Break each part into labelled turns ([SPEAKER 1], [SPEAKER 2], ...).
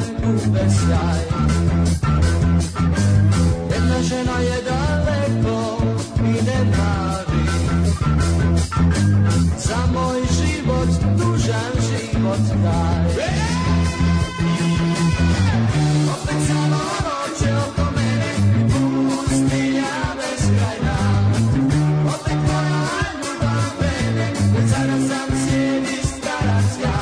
[SPEAKER 1] je sjaj Jedna žena je daleko i ne navi Za moj život, tužan život taj Opet samo noće oko mene pustinja beskrajna Opet moja ljubav mene, već sada sam sjedi staranska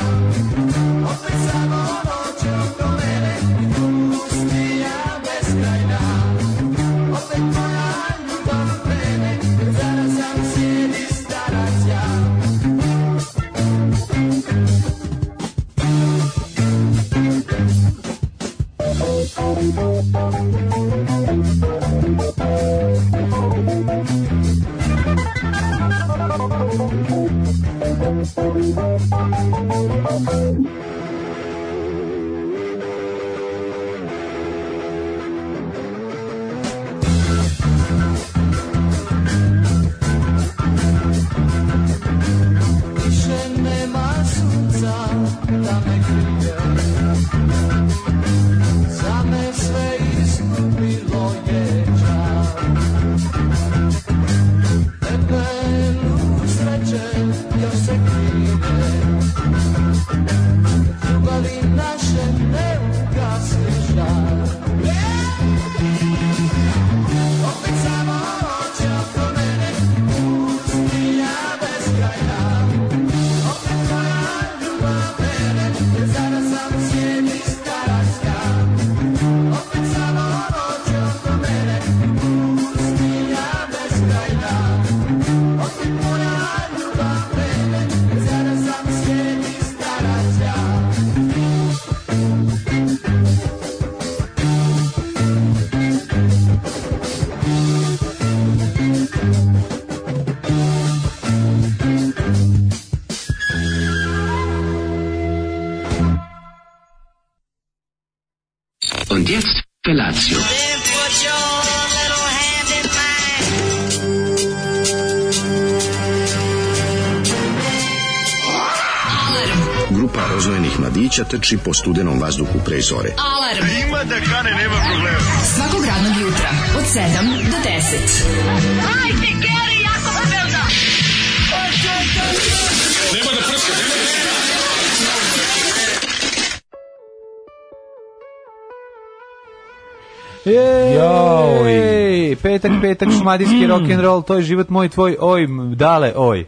[SPEAKER 1] Opet samo noće oko mene pustinja beskrajna Opet moja ljubav mene, već sada sam sjedi staranska Više nema sunca da me krije Za me sve izgubilo je čar Tebe u sreće još se krije Ljubavi naše ne ugasi žar Opet samo noće oko mene pustinja bez kraja opet moja ljubav mene, jer sada sam sjedi staračka. Opet samo noće oko mene, pustinja bez krajna. Opet moja ljubav mene, jer sada sam sjedi staračka.
[SPEAKER 2] Und jetzt Felatio.
[SPEAKER 3] Grupa rozvojenih mladića trči po studenom vazduhu pre zore.
[SPEAKER 4] Alarm. Ima da kane, nema problema. Svakog radnog jutra, od 7 do 10.
[SPEAKER 5] Jao,
[SPEAKER 6] Ej, petak, petak, šumadijski rock'n'roll, to je život moj, tvoj, oj, m, dale, oj.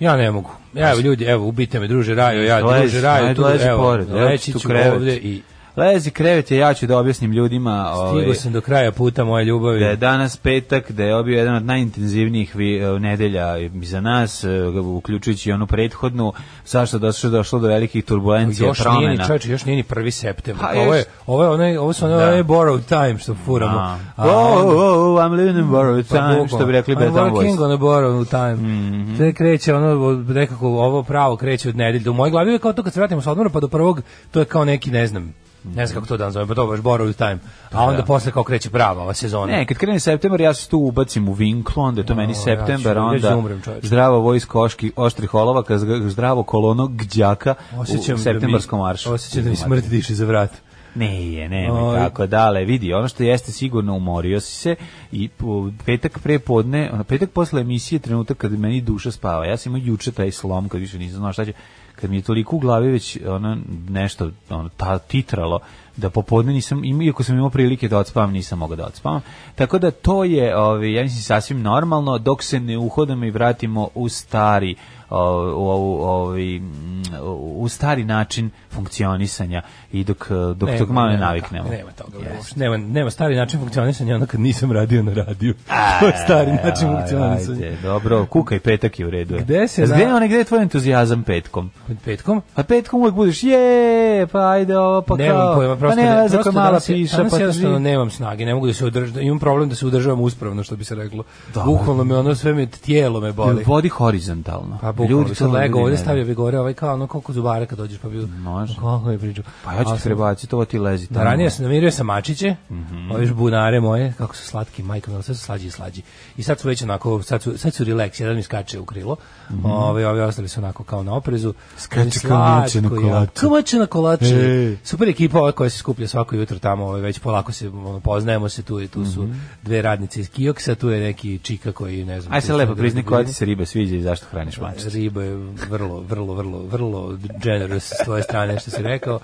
[SPEAKER 5] Ja ne mogu. Evo ljudi, evo ubite me druže Rajo, ja druže
[SPEAKER 6] Lezi,
[SPEAKER 5] Rajo,
[SPEAKER 6] ajde,
[SPEAKER 5] tu
[SPEAKER 6] lezi
[SPEAKER 5] evo,
[SPEAKER 6] pored, evo ti
[SPEAKER 5] leći
[SPEAKER 6] tu
[SPEAKER 5] ću
[SPEAKER 6] krevet.
[SPEAKER 5] ovde i
[SPEAKER 6] Lezi krevet je, ja ću da objasnim ljudima ovaj,
[SPEAKER 5] stigao sam do kraja puta moje ljubavi.
[SPEAKER 6] da je danas petak, da je obio jedan od najintenzivnijih vi, e, nedelja i za nas, e, uključujući i onu prethodnu, zašto je došlo, došlo do velikih turbulencija,
[SPEAKER 5] još
[SPEAKER 6] promena.
[SPEAKER 5] nije ni čovječe, još nije ni 1. septembar.
[SPEAKER 6] Pa,
[SPEAKER 5] ovo je,
[SPEAKER 6] još-
[SPEAKER 5] ovo je onaj, ovo su onaj,
[SPEAKER 6] Da.
[SPEAKER 5] onaj borrowed time što furamo.
[SPEAKER 6] A.
[SPEAKER 5] A
[SPEAKER 6] oh,
[SPEAKER 5] onda-
[SPEAKER 6] oh, oh, I'm living in borrowed
[SPEAKER 5] Pa,
[SPEAKER 6] time,
[SPEAKER 5] bukvalno.
[SPEAKER 6] što bi rekli
[SPEAKER 5] I'm
[SPEAKER 6] Beton
[SPEAKER 5] working
[SPEAKER 6] Boys. Mhm.
[SPEAKER 5] on a borrowed time. Mm kreće ono, od- nekako ovo pravo kreće od nedelje. U mojoj glavi je kao to kad se vratimo s odmora pa do prvog, to je kao neki, ne znam, ne znam kako to dan zove, pa to baš borrowed time. A onda posle kao kreće prava ova sezona.
[SPEAKER 6] Ne, kad krene septembar, ja se tu ubacim u vinklu, onda je to meni
[SPEAKER 5] ja ću-
[SPEAKER 6] septembar,
[SPEAKER 5] ja ću da
[SPEAKER 6] onda
[SPEAKER 5] umrem, čoveče.
[SPEAKER 6] zdravo vojsko oški, oštrih olovaka, zg- zdravo kolono gđaka
[SPEAKER 5] Osjećam
[SPEAKER 6] u septembarskom
[SPEAKER 5] da mi,
[SPEAKER 6] maršu.
[SPEAKER 5] Osjećam da mi smrt diše za vrat.
[SPEAKER 6] Ne, je, nemoj
[SPEAKER 5] Oj.
[SPEAKER 6] tako, dale, vidi, ono što jeste sigurno umorio si se i po- petak pre podne, ono, petak posle emisije je trenutak kad meni duša spava. Ja sam imao juče taj slom kad više nisam znao šta će, kad mi je toliko u glavi već ono nešto ono, ta, titralo da popodne nisam, im- iako sam imao prilike da odspavam, nisam mogao da odspavam. Tako da to je, ovaj, ja mislim, sasvim normalno dok se ne uhodamo i vratimo u stari o- u, ovu, ovaj, mm, u stari način funkcionisanja i dok, eh, dok dok,
[SPEAKER 5] Nema,
[SPEAKER 6] dok malo ne
[SPEAKER 5] E, nema
[SPEAKER 6] naviknemo.
[SPEAKER 5] tako, Nema toga. uopšte. Nema, nema stari način funkcionisanja, ono kad nisam radio na radiju. to je stari način
[SPEAKER 6] Aj,
[SPEAKER 5] funkcionisanja.
[SPEAKER 6] E, ajde, dobro, kukaj petak je u redu. je.
[SPEAKER 5] Gde se
[SPEAKER 6] A Gde je
[SPEAKER 5] na-
[SPEAKER 6] onaj, gde je tvoj entuzijazam petkom?
[SPEAKER 5] Petkom?
[SPEAKER 6] A petkom uvek budeš, je, pa ajde ovo, pa kao.
[SPEAKER 5] nemam pojma, prosto,
[SPEAKER 6] pa nema veze koja mala
[SPEAKER 5] danas je-
[SPEAKER 6] piša,
[SPEAKER 5] danas
[SPEAKER 6] pa
[SPEAKER 5] jednostavno
[SPEAKER 6] ti-
[SPEAKER 5] nemam snage, ne mogu da se održavam, imam problem da se održavam uspravno, što bi se reklo.
[SPEAKER 6] Da.
[SPEAKER 5] Bukvalno me ono sve mi tijelo me boli.
[SPEAKER 6] Vodi horizontalno.
[SPEAKER 5] Pa bukvalno, Ljudi, sad
[SPEAKER 6] to
[SPEAKER 5] lego,
[SPEAKER 6] ljudi
[SPEAKER 5] ovdje
[SPEAKER 6] ne-
[SPEAKER 5] stavio bi gore, ovaj kao ono koliko zubara kad dođeš, pa bi...
[SPEAKER 6] Može.
[SPEAKER 5] Kako je pričao.
[SPEAKER 6] Pa ja ću
[SPEAKER 5] Ali
[SPEAKER 6] ti
[SPEAKER 5] sam-
[SPEAKER 6] prebaciti, ovo ti lezi
[SPEAKER 5] Da,
[SPEAKER 6] tamo.
[SPEAKER 5] ranije sam namirio sam mačiće,
[SPEAKER 6] Mhm.
[SPEAKER 5] ove još bunare moje, kako su slatki, majko, mila, sve su slađi i slađi. I sad su već onako, sad su, sad su relax, jedan mi skače u krilo, ove, ove ostali su onako kao na oprezu.
[SPEAKER 6] Mhm. Skače kao mače na
[SPEAKER 5] Slatko, ja.
[SPEAKER 6] kolaču.
[SPEAKER 5] Kao mače na kolače.
[SPEAKER 6] Ej.
[SPEAKER 5] Super ekipa ova koja se skuplja svako jutro tamo, ovaj, već polako se ono, poznajemo se tu i tu su
[SPEAKER 6] Mhm.
[SPEAKER 5] dve radnice iz Kioksa, tu je neki čika koji ne znam.
[SPEAKER 6] Aj
[SPEAKER 5] tu
[SPEAKER 6] se
[SPEAKER 5] šta
[SPEAKER 6] lepo
[SPEAKER 5] da
[SPEAKER 6] priznaj
[SPEAKER 5] radi.
[SPEAKER 6] koja ti se riba sviđa i zašto hraniš mačicu.
[SPEAKER 5] Riba je vrlo, vrlo, vrlo, vrlo generous s tvoje strane što si rekao.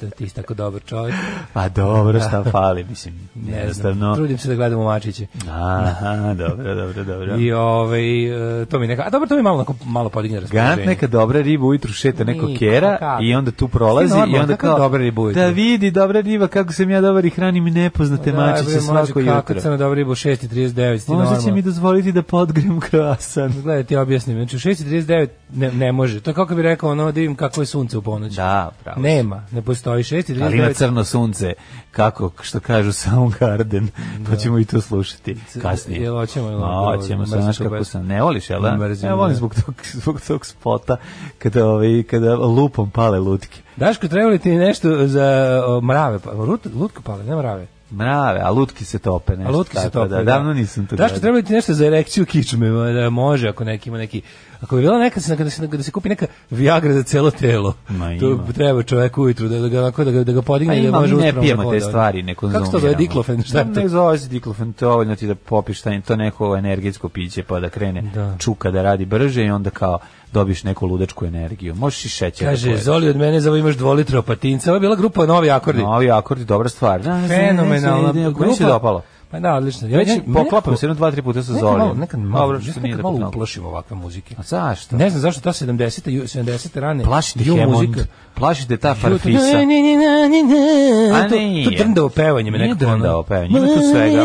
[SPEAKER 5] Da Ti si tako dobar čovjek.
[SPEAKER 6] Pa dobro, šta fali, mislim,
[SPEAKER 5] Ne znam,
[SPEAKER 6] jednostavno.
[SPEAKER 5] trudim se da gledam u mačiće.
[SPEAKER 6] Aha, dobro, dobro, dobro.
[SPEAKER 5] I ovaj, e, to mi neka, a dobro, to mi malo, onako- malo podigne raspoloženje.
[SPEAKER 6] Gant neka dobra riba ujutru šeta neko
[SPEAKER 5] Nikako,
[SPEAKER 6] kera
[SPEAKER 5] kako?
[SPEAKER 6] i onda tu prolazi
[SPEAKER 5] Svi normalni,
[SPEAKER 6] i onda
[SPEAKER 5] kako
[SPEAKER 6] kao
[SPEAKER 5] dobra riba ujutru?
[SPEAKER 6] da vidi dobra riba kako sam ja dobar i hranim i nepoznate mačiće
[SPEAKER 5] bre, mlađe,
[SPEAKER 6] svako
[SPEAKER 5] Kako
[SPEAKER 6] jutro.
[SPEAKER 5] crna dobra riba u 6.39, ti
[SPEAKER 6] Možda će
[SPEAKER 5] normalno.
[SPEAKER 6] mi dozvoliti da podgrem krasan.
[SPEAKER 5] Gledaj, ti objasnim. Znači, u 6.39 ne, ne može. To je kako bi rekao, ono, da vidim kako je sunce u ponoći.
[SPEAKER 6] Da, pravo.
[SPEAKER 5] Nema, ne postoji.
[SPEAKER 6] Ali ima
[SPEAKER 5] 6.39
[SPEAKER 6] crno sunce, kako, što kažu Soundgarden, pa ćemo i to slušati kasnije.
[SPEAKER 5] jel hoćemo, jel
[SPEAKER 6] Ma,
[SPEAKER 5] hoćemo,
[SPEAKER 6] hoćemo,
[SPEAKER 5] mrzim
[SPEAKER 6] znaš
[SPEAKER 5] to
[SPEAKER 6] kako
[SPEAKER 5] baš.
[SPEAKER 6] sam, ne voliš, jel da?
[SPEAKER 5] Mrzim,
[SPEAKER 6] Ja volim
[SPEAKER 5] da.
[SPEAKER 6] zbog tog, zbog tog spota, kada, ovaj, kada lupom pale lutke.
[SPEAKER 5] Daško, treba li ti nešto za o, mrave? Pa, Rut, lutko pale, ne mrave.
[SPEAKER 6] Mrave, a lutke se tope, nešto.
[SPEAKER 5] A lutke se
[SPEAKER 6] tako
[SPEAKER 5] tope.
[SPEAKER 6] Da, davno nisam to
[SPEAKER 5] Daško,
[SPEAKER 6] gledao.
[SPEAKER 5] treba li ti nešto za erekciju kičme? Ma, Da može, ako neki ima neki... Ako bi bila neka, da se, da se kupi neka Viagra za celo telo.
[SPEAKER 6] Ma,
[SPEAKER 5] to
[SPEAKER 6] ima.
[SPEAKER 5] treba čovek ujutru da, da, ga, onako da, ga, da ga
[SPEAKER 6] Pa
[SPEAKER 5] podigne i da
[SPEAKER 6] ima, mi
[SPEAKER 5] može
[SPEAKER 6] ne
[SPEAKER 5] usprom da
[SPEAKER 6] pijemo te
[SPEAKER 5] hoda.
[SPEAKER 6] stvari, ne konzumiramo.
[SPEAKER 5] Kako se to zove diklofen? Šta je to?
[SPEAKER 6] Ne zove se diklofen, to je dovoljno ti da popiš taj, to neko energetsko piće pa da krene
[SPEAKER 5] Da.
[SPEAKER 6] čuka da radi brže i onda kao dobiš neku ludačku energiju. Možeš i šećer da
[SPEAKER 5] Kaže,
[SPEAKER 6] pojedeš.
[SPEAKER 5] Zoli od mene za ovo imaš dvolitro patinca. Ovo je bila grupa Novi akordi.
[SPEAKER 6] Novi akordi, dobra stvar. Da,
[SPEAKER 5] Fenomenalna
[SPEAKER 6] grupa.
[SPEAKER 5] grupa.
[SPEAKER 6] Meni se dopalo.
[SPEAKER 5] Pa da, odlično.
[SPEAKER 6] Već
[SPEAKER 5] meni-
[SPEAKER 6] poklapam se jedno, dva, tri puta sa
[SPEAKER 5] nekad malo-
[SPEAKER 6] Zolijem.
[SPEAKER 5] Nekad malo,
[SPEAKER 6] Dobro,
[SPEAKER 5] ja se
[SPEAKER 6] što nije
[SPEAKER 5] nekad
[SPEAKER 6] da
[SPEAKER 5] malo
[SPEAKER 6] poklapam.
[SPEAKER 5] uplašim ovakve muzike.
[SPEAKER 6] A zašto?
[SPEAKER 5] Ne znam zašto ta 70-te, ju- 70-te rane.
[SPEAKER 6] Plašite
[SPEAKER 5] ju
[SPEAKER 6] Hemond,
[SPEAKER 5] muzika.
[SPEAKER 6] plašite ta
[SPEAKER 5] To,
[SPEAKER 6] farfisa.
[SPEAKER 5] ne, ne, ne, ne, ne, ne.
[SPEAKER 6] A
[SPEAKER 5] To-
[SPEAKER 6] nije.
[SPEAKER 5] To drndavo pevanje me
[SPEAKER 6] Nije
[SPEAKER 5] nekako. ono-
[SPEAKER 6] drndao pevanje, ima tu svega.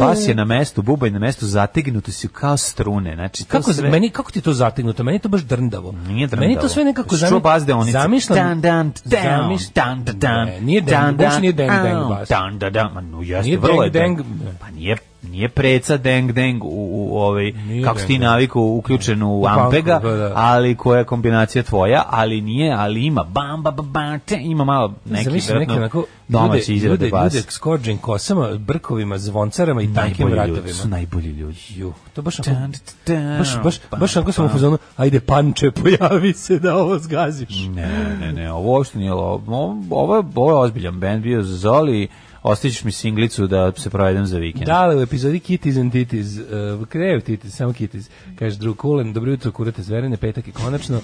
[SPEAKER 6] Bas je na mestu, bubanj na mestu, zategnuti su kao strune. Znači, to
[SPEAKER 5] Kako,
[SPEAKER 6] sve...
[SPEAKER 5] meni, kako ti je to zategnuto? Meni je to baš drndavo.
[SPEAKER 6] Nije drndavo.
[SPEAKER 5] Meni je to sve nekako
[SPEAKER 6] Što
[SPEAKER 5] zamišljam.
[SPEAKER 6] bas deonica?
[SPEAKER 5] Zamišljam.
[SPEAKER 6] Dan, dan, dan,
[SPEAKER 5] zamiš-
[SPEAKER 6] dan, dan, dan,
[SPEAKER 5] Ne, nije
[SPEAKER 6] dan,
[SPEAKER 5] deng, baš
[SPEAKER 6] dan,
[SPEAKER 5] nije deng, dang
[SPEAKER 6] au,
[SPEAKER 5] bas.
[SPEAKER 6] Dan, dan, dan, ma no jeste,
[SPEAKER 5] Nije
[SPEAKER 6] vrlo je
[SPEAKER 5] deng,
[SPEAKER 6] deng.
[SPEAKER 5] deng.
[SPEAKER 6] Pa nije, nije preca deng, deng u, u ovaj,
[SPEAKER 5] Nije
[SPEAKER 6] kako si ti
[SPEAKER 5] deng,
[SPEAKER 6] naviku uključen u
[SPEAKER 5] punku,
[SPEAKER 6] Ampega,
[SPEAKER 5] da, da.
[SPEAKER 6] ali koja je kombinacija tvoja, ali nije, ali ima bam, ba, ba, ba, te, ima malo neki,
[SPEAKER 5] Zamislim neke
[SPEAKER 6] vjerojatno,
[SPEAKER 5] onako
[SPEAKER 6] domaći
[SPEAKER 5] ljude,
[SPEAKER 6] izrade
[SPEAKER 5] ljude,
[SPEAKER 6] bas.
[SPEAKER 5] ljude s kođen kosama, brkovima, zvoncarama i tankim
[SPEAKER 6] Najbolji ljudi,
[SPEAKER 5] vratovima.
[SPEAKER 6] su najbolji ljudi.
[SPEAKER 5] Ju, to baš onako-
[SPEAKER 6] Tan, tan, Pa,
[SPEAKER 5] Baš, baš,
[SPEAKER 6] pam,
[SPEAKER 5] baš onako sam u
[SPEAKER 6] pam.
[SPEAKER 5] fazonu, ajde panče, pojavi se da ovo
[SPEAKER 6] Mm.
[SPEAKER 5] zgaziš.
[SPEAKER 6] Ne, ne, ne, ovo uopšte nije lo- ovo, ovo, je, ovo je ozbiljan band bio za Zoli, ostavićeš mi singlicu da se provedem za vikend.
[SPEAKER 5] Da, ali u epizodi Kitties and Titties, uh, kreju Titties, samo Kitties, kaže drug Kulen, dobro jutro, kurate zverene, petak je konačno.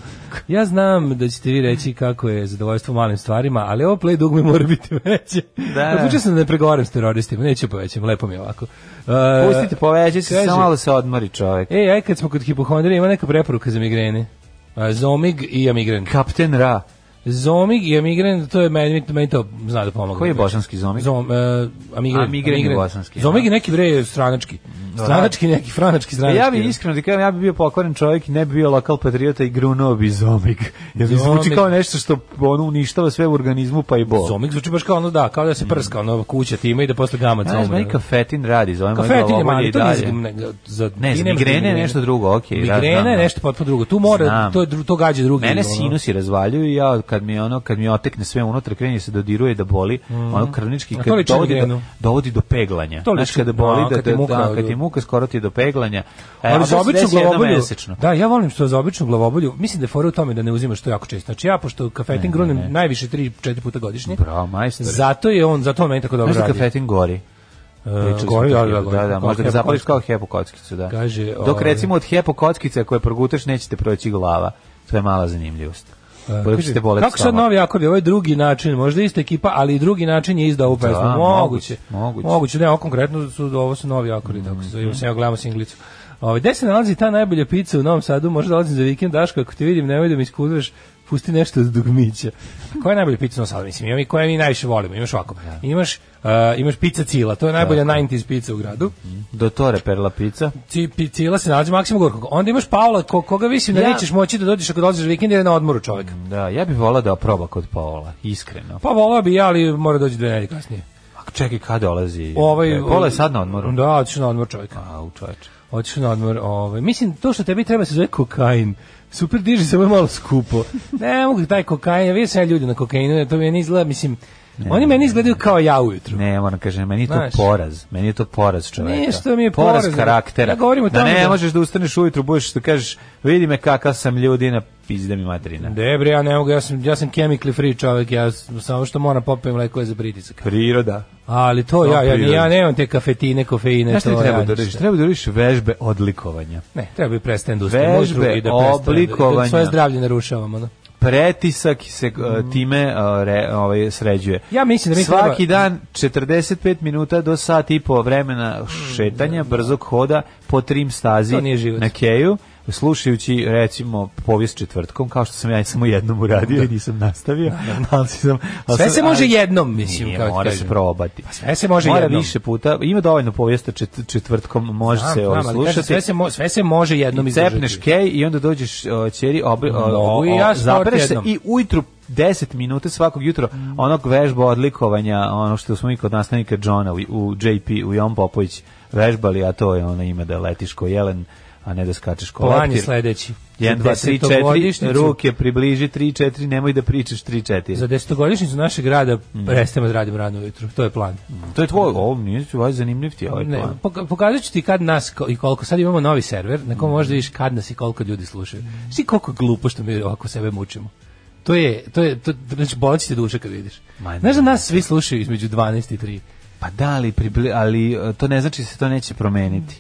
[SPEAKER 5] Ja znam da ćete vi reći kako je zadovoljstvo malim stvarima, ali ovo play dugme mora biti veće.
[SPEAKER 6] Da.
[SPEAKER 5] Odlučio sam da ne pregovaram s teroristima, neću povećam, lepo mi je ovako. Uh,
[SPEAKER 6] Pa, Pustite, povećaj se,
[SPEAKER 5] kaže- E,
[SPEAKER 6] samo malo se odmori čovek.
[SPEAKER 5] Ej, aj kad smo kod hipohondrije, ima neka preporuka za migrene. A, Zomig i amigren.
[SPEAKER 6] E, Kapten Ra,
[SPEAKER 5] Zomig i amigren, to je meni, meni to zna da pomogne.
[SPEAKER 6] koji je bošanski zomik?
[SPEAKER 5] Zom, e, amigren,
[SPEAKER 6] Amigren je bosanski,
[SPEAKER 5] Zomig je neki bre stranački. Stranački neki, franački stranački.
[SPEAKER 6] Ja bi iskreno da kažem, ja bi bio pokvaren čovjek i ne bi bio lokal patriota i grunuo bi zomik. Jer mi zvuči
[SPEAKER 5] Zomik.
[SPEAKER 6] kao nešto što ono uništava sve u organizmu pa i bol.
[SPEAKER 5] Zomig zvuči baš kao ono da, kao da se prska ono kuća time i da posle gamac
[SPEAKER 6] Znaš,
[SPEAKER 5] zomig.
[SPEAKER 6] meni kafetin radi, zove moj
[SPEAKER 5] Kafetin je
[SPEAKER 6] glavobolje
[SPEAKER 5] mali,
[SPEAKER 6] i
[SPEAKER 5] to nije
[SPEAKER 6] ono, dalje.
[SPEAKER 5] za, ne, za,
[SPEAKER 6] Ne,
[SPEAKER 5] ti
[SPEAKER 6] za
[SPEAKER 5] nemaš
[SPEAKER 6] migrene je
[SPEAKER 5] migrene.
[SPEAKER 6] nešto drugo, okej, da, znam,
[SPEAKER 5] Migrena je
[SPEAKER 6] da.
[SPEAKER 5] nešto potpuno drugo. Tu mora,
[SPEAKER 6] Znam.
[SPEAKER 5] to, je, dru- to gađa drugi.
[SPEAKER 6] Mene
[SPEAKER 5] ono.
[SPEAKER 6] sinusi razvaljuju i ja kad mi ono kad mi otekne sve unutra krenje se dodiruje da boli, ono krvnički
[SPEAKER 5] Mhm. A to
[SPEAKER 6] kad
[SPEAKER 5] liči na
[SPEAKER 6] dovodi do,
[SPEAKER 5] migrenu.
[SPEAKER 6] dovodi do peglanja.
[SPEAKER 5] To
[SPEAKER 6] Znaš
[SPEAKER 5] liči-
[SPEAKER 6] kada boli
[SPEAKER 5] da,
[SPEAKER 6] da,
[SPEAKER 5] kad ti
[SPEAKER 6] da,
[SPEAKER 5] muka-
[SPEAKER 6] da, kad ti muka skoro ti do peglanja. E,
[SPEAKER 5] ali
[SPEAKER 6] onda
[SPEAKER 5] za
[SPEAKER 6] se
[SPEAKER 5] običnu
[SPEAKER 6] desi jednom
[SPEAKER 5] glavobolju.
[SPEAKER 6] mesečno.
[SPEAKER 5] Da, ja volim što za običnu glavobolju. Mislim da je fora u tome da ne uzimaš to jako često. Znači ja pošto kafetin grunem najviše 3 4 puta godišnje.
[SPEAKER 6] Bravo, majstore.
[SPEAKER 5] Zato je on, zato on meni tako dobro
[SPEAKER 6] Znaš da
[SPEAKER 5] radi.
[SPEAKER 6] kafetin gori? Pričali
[SPEAKER 5] E,
[SPEAKER 6] smo
[SPEAKER 5] gori,
[SPEAKER 6] to
[SPEAKER 5] da, da,
[SPEAKER 6] hiljadu-
[SPEAKER 5] gori.
[SPEAKER 6] da, da,
[SPEAKER 5] Kao
[SPEAKER 6] možda ga
[SPEAKER 5] hepa
[SPEAKER 6] zapališ kao
[SPEAKER 5] kockica.
[SPEAKER 6] hepo kockicu, da.
[SPEAKER 5] Kaže,
[SPEAKER 6] Dok
[SPEAKER 5] ovaj-
[SPEAKER 6] recimo od hepo kockice koje progutaš nećete proći glava. To je mala zanimljivost.
[SPEAKER 5] E,
[SPEAKER 6] Koliko
[SPEAKER 5] kaže,
[SPEAKER 6] ćete boleti
[SPEAKER 5] Kako sad
[SPEAKER 6] stomak.
[SPEAKER 5] novi akordi, ovo je drugi način, možda ista ekipa, ali i drugi način je izdao ovu pesmu.
[SPEAKER 6] moguće,
[SPEAKER 5] moguće,
[SPEAKER 6] moguće.
[SPEAKER 5] moguće. ne, ovo konkretno su, ovo su novi akordi, tako se zove, ja gledamo singlicu. Ovaj, gde se nalazi ta najbolja pizza u Novom Sadu? Možda dolazim za vikend, Daško, ako te vidim, nemoj da mi iskuduješ, pusti nešto od dugmića. A Koja je najbolja pizza u Novom Sadu? Mislim, imam i koja mi najviše volimo. Imaš ovako, imaš, uh, imaš pizza cila, to je najbolja 90s pizza u gradu.
[SPEAKER 6] Do tore perla pizza.
[SPEAKER 5] Ci, pi- cila se nalazi u Maksimu Gorkog. Onda imaš Paola, ko, koga visim da
[SPEAKER 6] Ja-
[SPEAKER 5] nećeš moći da dođeš ako dolaziš za vikend jer je na odmoru čovek.
[SPEAKER 6] Da, ja bih volao da proba kod Paola, iskreno.
[SPEAKER 5] Pa volao bi ja, ali mora doći dve nedelje kasnije.
[SPEAKER 6] A Pa čekaj, kada dolazi?
[SPEAKER 5] Ovaj
[SPEAKER 6] E, Pola je sad na odmoru.
[SPEAKER 5] Da, otišao na odmor čovjek.
[SPEAKER 6] A, u čoveče.
[SPEAKER 5] Otišao na odmor. Ovaj mislim to što tebi treba se zove kokain. Super diže samo je malo skupo. ne mogu taj kokain, ja vidim sve ljude na kokainu, to mi ne izgleda, mislim Oni meni izgledaju kao ja ujutru.
[SPEAKER 6] Ne, moram kažem, meni je to
[SPEAKER 5] Znaš.
[SPEAKER 6] poraz. Meni je to poraz čoveka.
[SPEAKER 5] Nije što mi je poraz,
[SPEAKER 6] karaktera.
[SPEAKER 5] ja govorim o
[SPEAKER 6] da
[SPEAKER 5] tome
[SPEAKER 6] ne
[SPEAKER 5] da-
[SPEAKER 6] možeš da ustaneš ujutru, budeš da kažeš, vidi me kakav sam ljudina, pizda mi materina.
[SPEAKER 5] Debre, ja ne mogu, ja sam, ja sam chemically free čovjek, ja s- samo što moram popijem lekove za pritisak.
[SPEAKER 6] Priroda.
[SPEAKER 5] Ali to, ja, ja,
[SPEAKER 6] priroda.
[SPEAKER 5] ja nemam te kafetine, kofeine.
[SPEAKER 6] Znaš šta ti
[SPEAKER 5] to
[SPEAKER 6] treba
[SPEAKER 5] ja
[SPEAKER 6] da
[SPEAKER 5] ništa.
[SPEAKER 6] radiš? Treba da radiš vežbe odlikovanja.
[SPEAKER 5] Ne, treba bi prestati da ustajem
[SPEAKER 6] Vežbe,
[SPEAKER 5] ujutru i da prestanem da-
[SPEAKER 6] oblikovanja.
[SPEAKER 5] Da svoje zdravlje narušavam. Ono.
[SPEAKER 6] Pretisak se e, time e, re, ovaj, sređuje.
[SPEAKER 5] Mhm. Ja mislim da mi treba-
[SPEAKER 6] Svaki dan 45 minuta do sat i po vremena šetanja, brzog hoda po trim stazi
[SPEAKER 5] Mhm. To nije život.
[SPEAKER 6] na keju, slušajući recimo povijest četvrtkom, kao što sam ja samo jednom uradio i nisam nastavio. Ali sam, ali
[SPEAKER 5] Sve
[SPEAKER 6] sam-
[SPEAKER 5] se može
[SPEAKER 6] Pa ali-
[SPEAKER 5] jednom, mislim,
[SPEAKER 6] Nije,
[SPEAKER 5] kako ti
[SPEAKER 6] mora se
[SPEAKER 5] kažem. Pa
[SPEAKER 6] probati.
[SPEAKER 5] sve se može
[SPEAKER 6] mora
[SPEAKER 5] jednom.
[SPEAKER 6] više puta, ima dovoljno povijesta čet- četvrtkom, može
[SPEAKER 5] Znam,
[SPEAKER 6] se
[SPEAKER 5] znam,
[SPEAKER 6] ovaj,
[SPEAKER 5] ali kažem,
[SPEAKER 6] slušati.
[SPEAKER 5] sve, se mo, sve se može jednom izdržati.
[SPEAKER 6] Cepneš kej i onda dođeš o, ćeri, obri, o, o,
[SPEAKER 5] Mogu i
[SPEAKER 6] o,
[SPEAKER 5] ja sport
[SPEAKER 6] zapereš se
[SPEAKER 5] jednom. Mm.
[SPEAKER 6] i ujutru 10 minuta svakog jutra onog vežba odlikovanja, ono što smo mi kod nastavnika Johna u, u JP, u Jon Popović vežbali, a to je ono ime da letiš ko jelen, a ne da skačeš ko
[SPEAKER 5] Plan je
[SPEAKER 6] leptir.
[SPEAKER 5] sledeći.
[SPEAKER 6] 1, 2, 3, 4,
[SPEAKER 5] Desetogodišnjicu-
[SPEAKER 6] ruke približi, 3, 4, nemoj da pričaš 3, 4.
[SPEAKER 5] Za desetogodišnjicu našeg grada
[SPEAKER 6] Mm.
[SPEAKER 5] prestajemo da radimo rano ujutru. To je plan.
[SPEAKER 6] To je tvoj, ovo nije ovaj zanimljiv ti je ovaj
[SPEAKER 5] Ne,
[SPEAKER 6] plan.
[SPEAKER 5] poka- pokazat ću ti kad nas ko- i koliko. Sad imamo novi server na
[SPEAKER 6] Mm.
[SPEAKER 5] kom možeš da vidiš kad nas i koliko ljudi slušaju. Svi koliko je glupo što mi ovako sebe mučimo. To je, to je, to, znači bolit će ti duša kad vidiš.
[SPEAKER 6] Ma ne.
[SPEAKER 5] Znaš da nas svi slušaju između 12 i 3.
[SPEAKER 6] Pa da, ali, pribli, ali e, to ne znači da se to neće promeniti.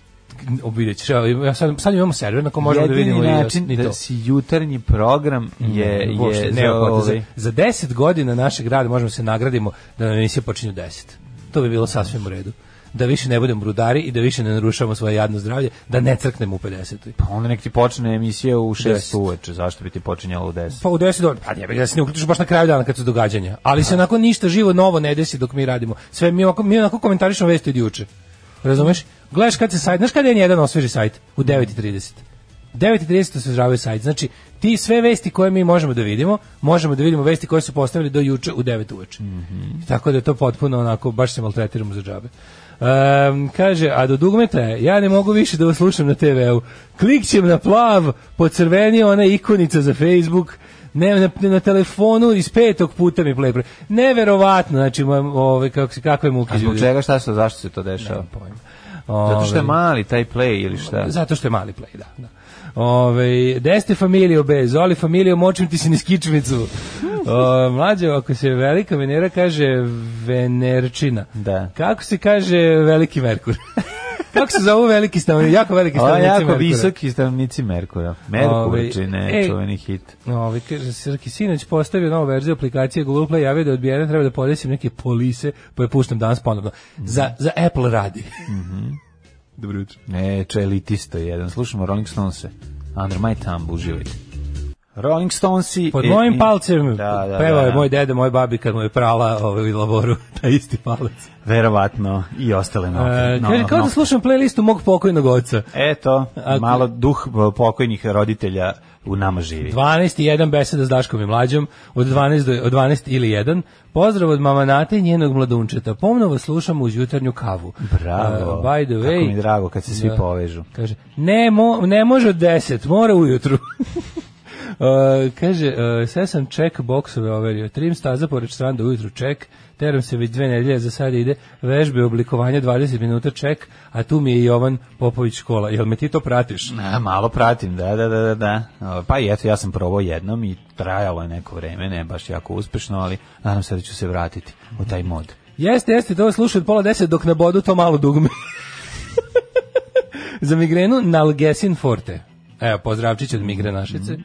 [SPEAKER 5] Vidjet ćeš, evo, ja sad, sad imamo server na kom možemo da
[SPEAKER 6] Jedini
[SPEAKER 5] vidimo i-
[SPEAKER 6] način
[SPEAKER 5] i to. Mhm.
[SPEAKER 6] da si jutarnji program je,
[SPEAKER 5] Uopšte,
[SPEAKER 6] je
[SPEAKER 5] ne,
[SPEAKER 6] za,
[SPEAKER 5] ovako,
[SPEAKER 6] ovaj,
[SPEAKER 5] za, za 10 godina našeg grada možemo da se nagradimo da nam emisije počinju 10. To bi bilo sasvim u redu. Da više ne budemo rudari i da više ne narušavamo svoje jadno zdravlje, da ne crknemo u 50.
[SPEAKER 6] Pa onda nek ti počne emisija u 6
[SPEAKER 5] Deset.
[SPEAKER 6] uveče, zašto bi ti počinjala u 10?
[SPEAKER 5] Pa u 10 dobro, pa jebe, da se ne uključiš baš na kraju dana kad su događanja. Ali se onako ništa živo novo ne desi dok mi radimo. Sve mi onako, mi onako komentarišemo vesti od juče. Razumeš? Gledaš kad se sajt, znaš kada je jedan osveži sajt? U 9.30. 9.30 se zravaju sajt. Znači, ti sve vesti koje mi možemo da vidimo, možemo da vidimo vesti koje su postavili do juče u 9 uveče. Tako da je to potpuno onako, baš se maltretiramo za džabe. Ehm, kaže, a do dugmeta je, ja ne mogu više da vas slušam na TV-u. Klikćem na plav, pocrveni ona ikonica za Facebook, ne, na, na telefonu iz petog puta mi play. pre- Neverovatno, znači, ma- ove, kako, se- kakve muke
[SPEAKER 6] A zbog
[SPEAKER 5] ljudi.
[SPEAKER 6] čega, šta se, zašto se to dešava?
[SPEAKER 5] Nemam pojma. Ovaj,
[SPEAKER 6] Zato što je
[SPEAKER 5] Ove,
[SPEAKER 6] mali taj play ili šta?
[SPEAKER 5] zato što je mali play, da. da. Ove, deste familio be, zoli familio, močim ti se niz kičmicu. O, mlađe, ako se velika Venera kaže Venerčina,
[SPEAKER 6] Da.
[SPEAKER 5] kako se kaže veliki Merkur? kako se zove veliki stanovnik? Jako veliki
[SPEAKER 6] Ovo
[SPEAKER 5] stanovnici
[SPEAKER 6] je jako
[SPEAKER 5] Merkura.
[SPEAKER 6] visoki stanovnici Merkura. Merkur,
[SPEAKER 5] Ovaj,
[SPEAKER 6] čine,
[SPEAKER 5] ej.
[SPEAKER 6] čuveni hit.
[SPEAKER 5] Ovi, ovaj, kaže, Srki Sinoć postavio novu verziju aplikacije Google Play, javio da je odbijena, treba da podesim neke polise, pa je puštam danas ponovno.
[SPEAKER 6] Mhm.
[SPEAKER 5] Za, za Apple radi.
[SPEAKER 6] Dobro jutro. Ne, če elitista jedan. Slušamo Rolling Stonese. Under my thumb, uživajte. Rolling Stonesi...
[SPEAKER 5] Pod
[SPEAKER 6] i-
[SPEAKER 5] mojim
[SPEAKER 6] E, i-
[SPEAKER 5] palcem
[SPEAKER 6] Da, da,
[SPEAKER 5] pevao
[SPEAKER 6] da,
[SPEAKER 5] je
[SPEAKER 6] da.
[SPEAKER 5] moj deda, moj babi kad mu je prala ovaj, u laboru taj isti palac.
[SPEAKER 6] Verovatno i ostale note.
[SPEAKER 5] E,
[SPEAKER 6] No,
[SPEAKER 5] kaže,
[SPEAKER 6] no,
[SPEAKER 5] kao
[SPEAKER 6] no.
[SPEAKER 5] da slušam playlistu mog pokojnog oca.
[SPEAKER 6] Eto,
[SPEAKER 5] Ako-
[SPEAKER 6] malo duh e, pokojnih roditelja u nama živi.
[SPEAKER 5] 12 i 1 beseda s Daškom i Mlađom, od 12, do, od 12 ili 1. Pozdrav od mama Nate i njenog mladunčeta. Pomno vas slušam uz jutarnju kavu.
[SPEAKER 6] Bravo.
[SPEAKER 5] E, by the
[SPEAKER 6] Kako
[SPEAKER 5] way,
[SPEAKER 6] mi je drago kad se svi povežu.
[SPEAKER 5] Kaže, ne, mo, ne može od 10, mora ujutru. E, kaže, e, sve sam ček boksove overio, trim staza pored stranda ujutru ček, teram se već dve nedelje, za sad ide vežbe oblikovanja 20 minuta ček, a tu mi je Jovan Popović škola. Jel me ti to pratiš?
[SPEAKER 6] A, malo pratim, da, da, da, da, da. O, Pa i eto, ja sam probao jednom i trajalo je neko vreme, ne baš jako uspešno, ali nadam se da ću se vratiti u taj mod.
[SPEAKER 5] Jeste, jeste, to slušaj od pola deset dok na bodu to malo dugme. Za migrenu Nalgesin Forte. Evo, pozdravčić od migrenašice.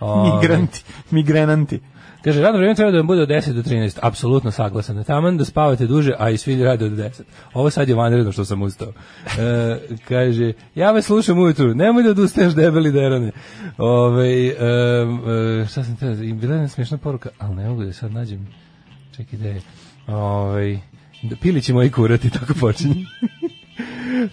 [SPEAKER 5] O,
[SPEAKER 6] Migranti, migrenanti.
[SPEAKER 5] Kaže, radno vrijeme treba da vam bude od 10 do 13. Apsolutno saglasan. Taman da spavate duže, a i svi rade od 10. Ovo sad je vanredno što sam ustao. E, kaže, ja vas slušam ujutru, nemoj da odustaneš debeli derane. Ove, em, e, šta sam teo, i bila je jedna smiješna poruka, ali ne mogu da je sad nađem. Čekaj da je. Ove, da pilići moji kurati, tako počinje.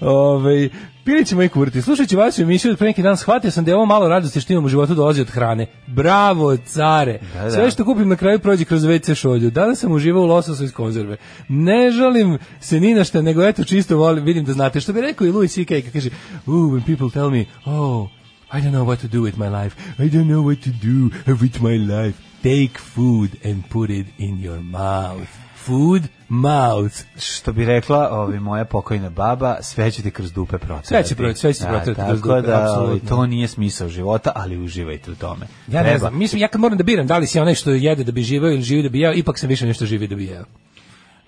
[SPEAKER 5] Ove, pili ćemo i kurti. Slušajući vas u emisiju od pre neki dan, shvatio sam da je ovo malo radosti što imam u životu dolazi od hrane. Bravo, care!
[SPEAKER 6] Da, da.
[SPEAKER 5] Sve što kupim na kraju prođe kroz WC šolju. Danas sam uživao u lososu iz konzerve. Ne žalim se ni na šta, nego eto čisto volim, vidim da znate. Što bi rekao i Louis C.K. kad kaže, ooh, when people tell me, oh, I don't know what to do with my life. I don't know what to do with my life. take food and put it in your mouth. Food, mouth.
[SPEAKER 6] Što bi rekla ovi, moja pokojna baba, sve će ti kroz dupe protrati.
[SPEAKER 5] Sve će pro- sve će ti protrati
[SPEAKER 6] da,
[SPEAKER 5] kroz
[SPEAKER 6] tako
[SPEAKER 5] dupe,
[SPEAKER 6] da,
[SPEAKER 5] apsolutno.
[SPEAKER 6] To nije smisao života, ali uživajte u tome.
[SPEAKER 5] Ja ne
[SPEAKER 6] Treba.
[SPEAKER 5] znam, mislim, ja kad moram da biram da li si onaj što jede da bi živeo ili živi da bi jeo, ipak sam više nešto živi da bi jeo.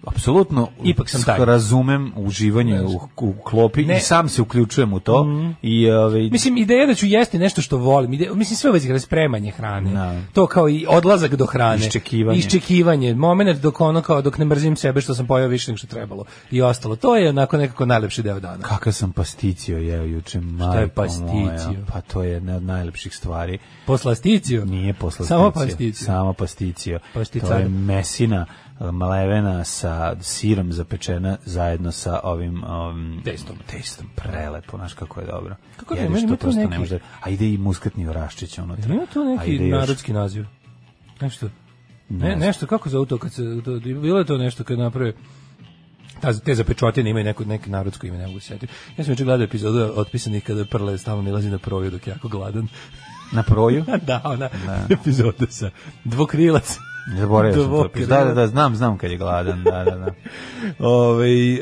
[SPEAKER 6] Apsolutno,
[SPEAKER 5] Ipak sam taj.
[SPEAKER 6] razumem uživanje u, u klopi
[SPEAKER 5] Ne. Mhm.
[SPEAKER 6] i sam se uključujem u to. I, ovaj,
[SPEAKER 5] Mislim, ideja da ću jesti nešto što volim, ide, mislim, sve uvezi spremanje hrane,
[SPEAKER 6] Da.
[SPEAKER 5] to kao i odlazak do hrane,
[SPEAKER 6] Iščekivanje.
[SPEAKER 5] iščekivanje moment dok ono kao, dok ne mrzim sebe što sam pojao više nego što trebalo i ostalo, to je onako nekako najlepši deo dana.
[SPEAKER 6] Kakav sam pasticio jeo juče, majko
[SPEAKER 5] pasticio?
[SPEAKER 6] moja. Pa to je jedna od najlepših stvari.
[SPEAKER 5] Poslasticiju?
[SPEAKER 6] Nije poslasticio.
[SPEAKER 5] Samo pasticiju.
[SPEAKER 6] Samo pasticio.
[SPEAKER 5] Pasticada.
[SPEAKER 6] To je mesina eh, mlevena sa sirom zapečena zajedno sa ovim um,
[SPEAKER 5] Testom.
[SPEAKER 6] Testom. Prelepo, znaš kako je dobro.
[SPEAKER 5] Kako je,
[SPEAKER 6] Jedeš
[SPEAKER 5] meni ima
[SPEAKER 6] to
[SPEAKER 5] tu
[SPEAKER 6] prosto
[SPEAKER 5] neki-
[SPEAKER 6] ne možeš da- A ide i muskatni oraščić unutra.
[SPEAKER 5] Ima tu
[SPEAKER 6] A
[SPEAKER 5] neki
[SPEAKER 6] ide još-
[SPEAKER 5] narodski naziv. Nešto. Ne,
[SPEAKER 6] znam.
[SPEAKER 5] nešto kako za to kad se to, bilo je to nešto kad naprave ta, te zapečotine imaju neko, neki narodsko ime, ne mogu se setiti. Ja sam juče gledao epizodu otpisanih kada Prle stalno nilazi na proviju dok je jako gladan.
[SPEAKER 6] Na proju?
[SPEAKER 5] da, ona epizoda sa dvokrilac.
[SPEAKER 6] Zaboravio sam to.
[SPEAKER 5] Dvokrilac.
[SPEAKER 6] Da, da, da, znam, znam kad je gladan. Da, da, da.
[SPEAKER 5] Ovaj,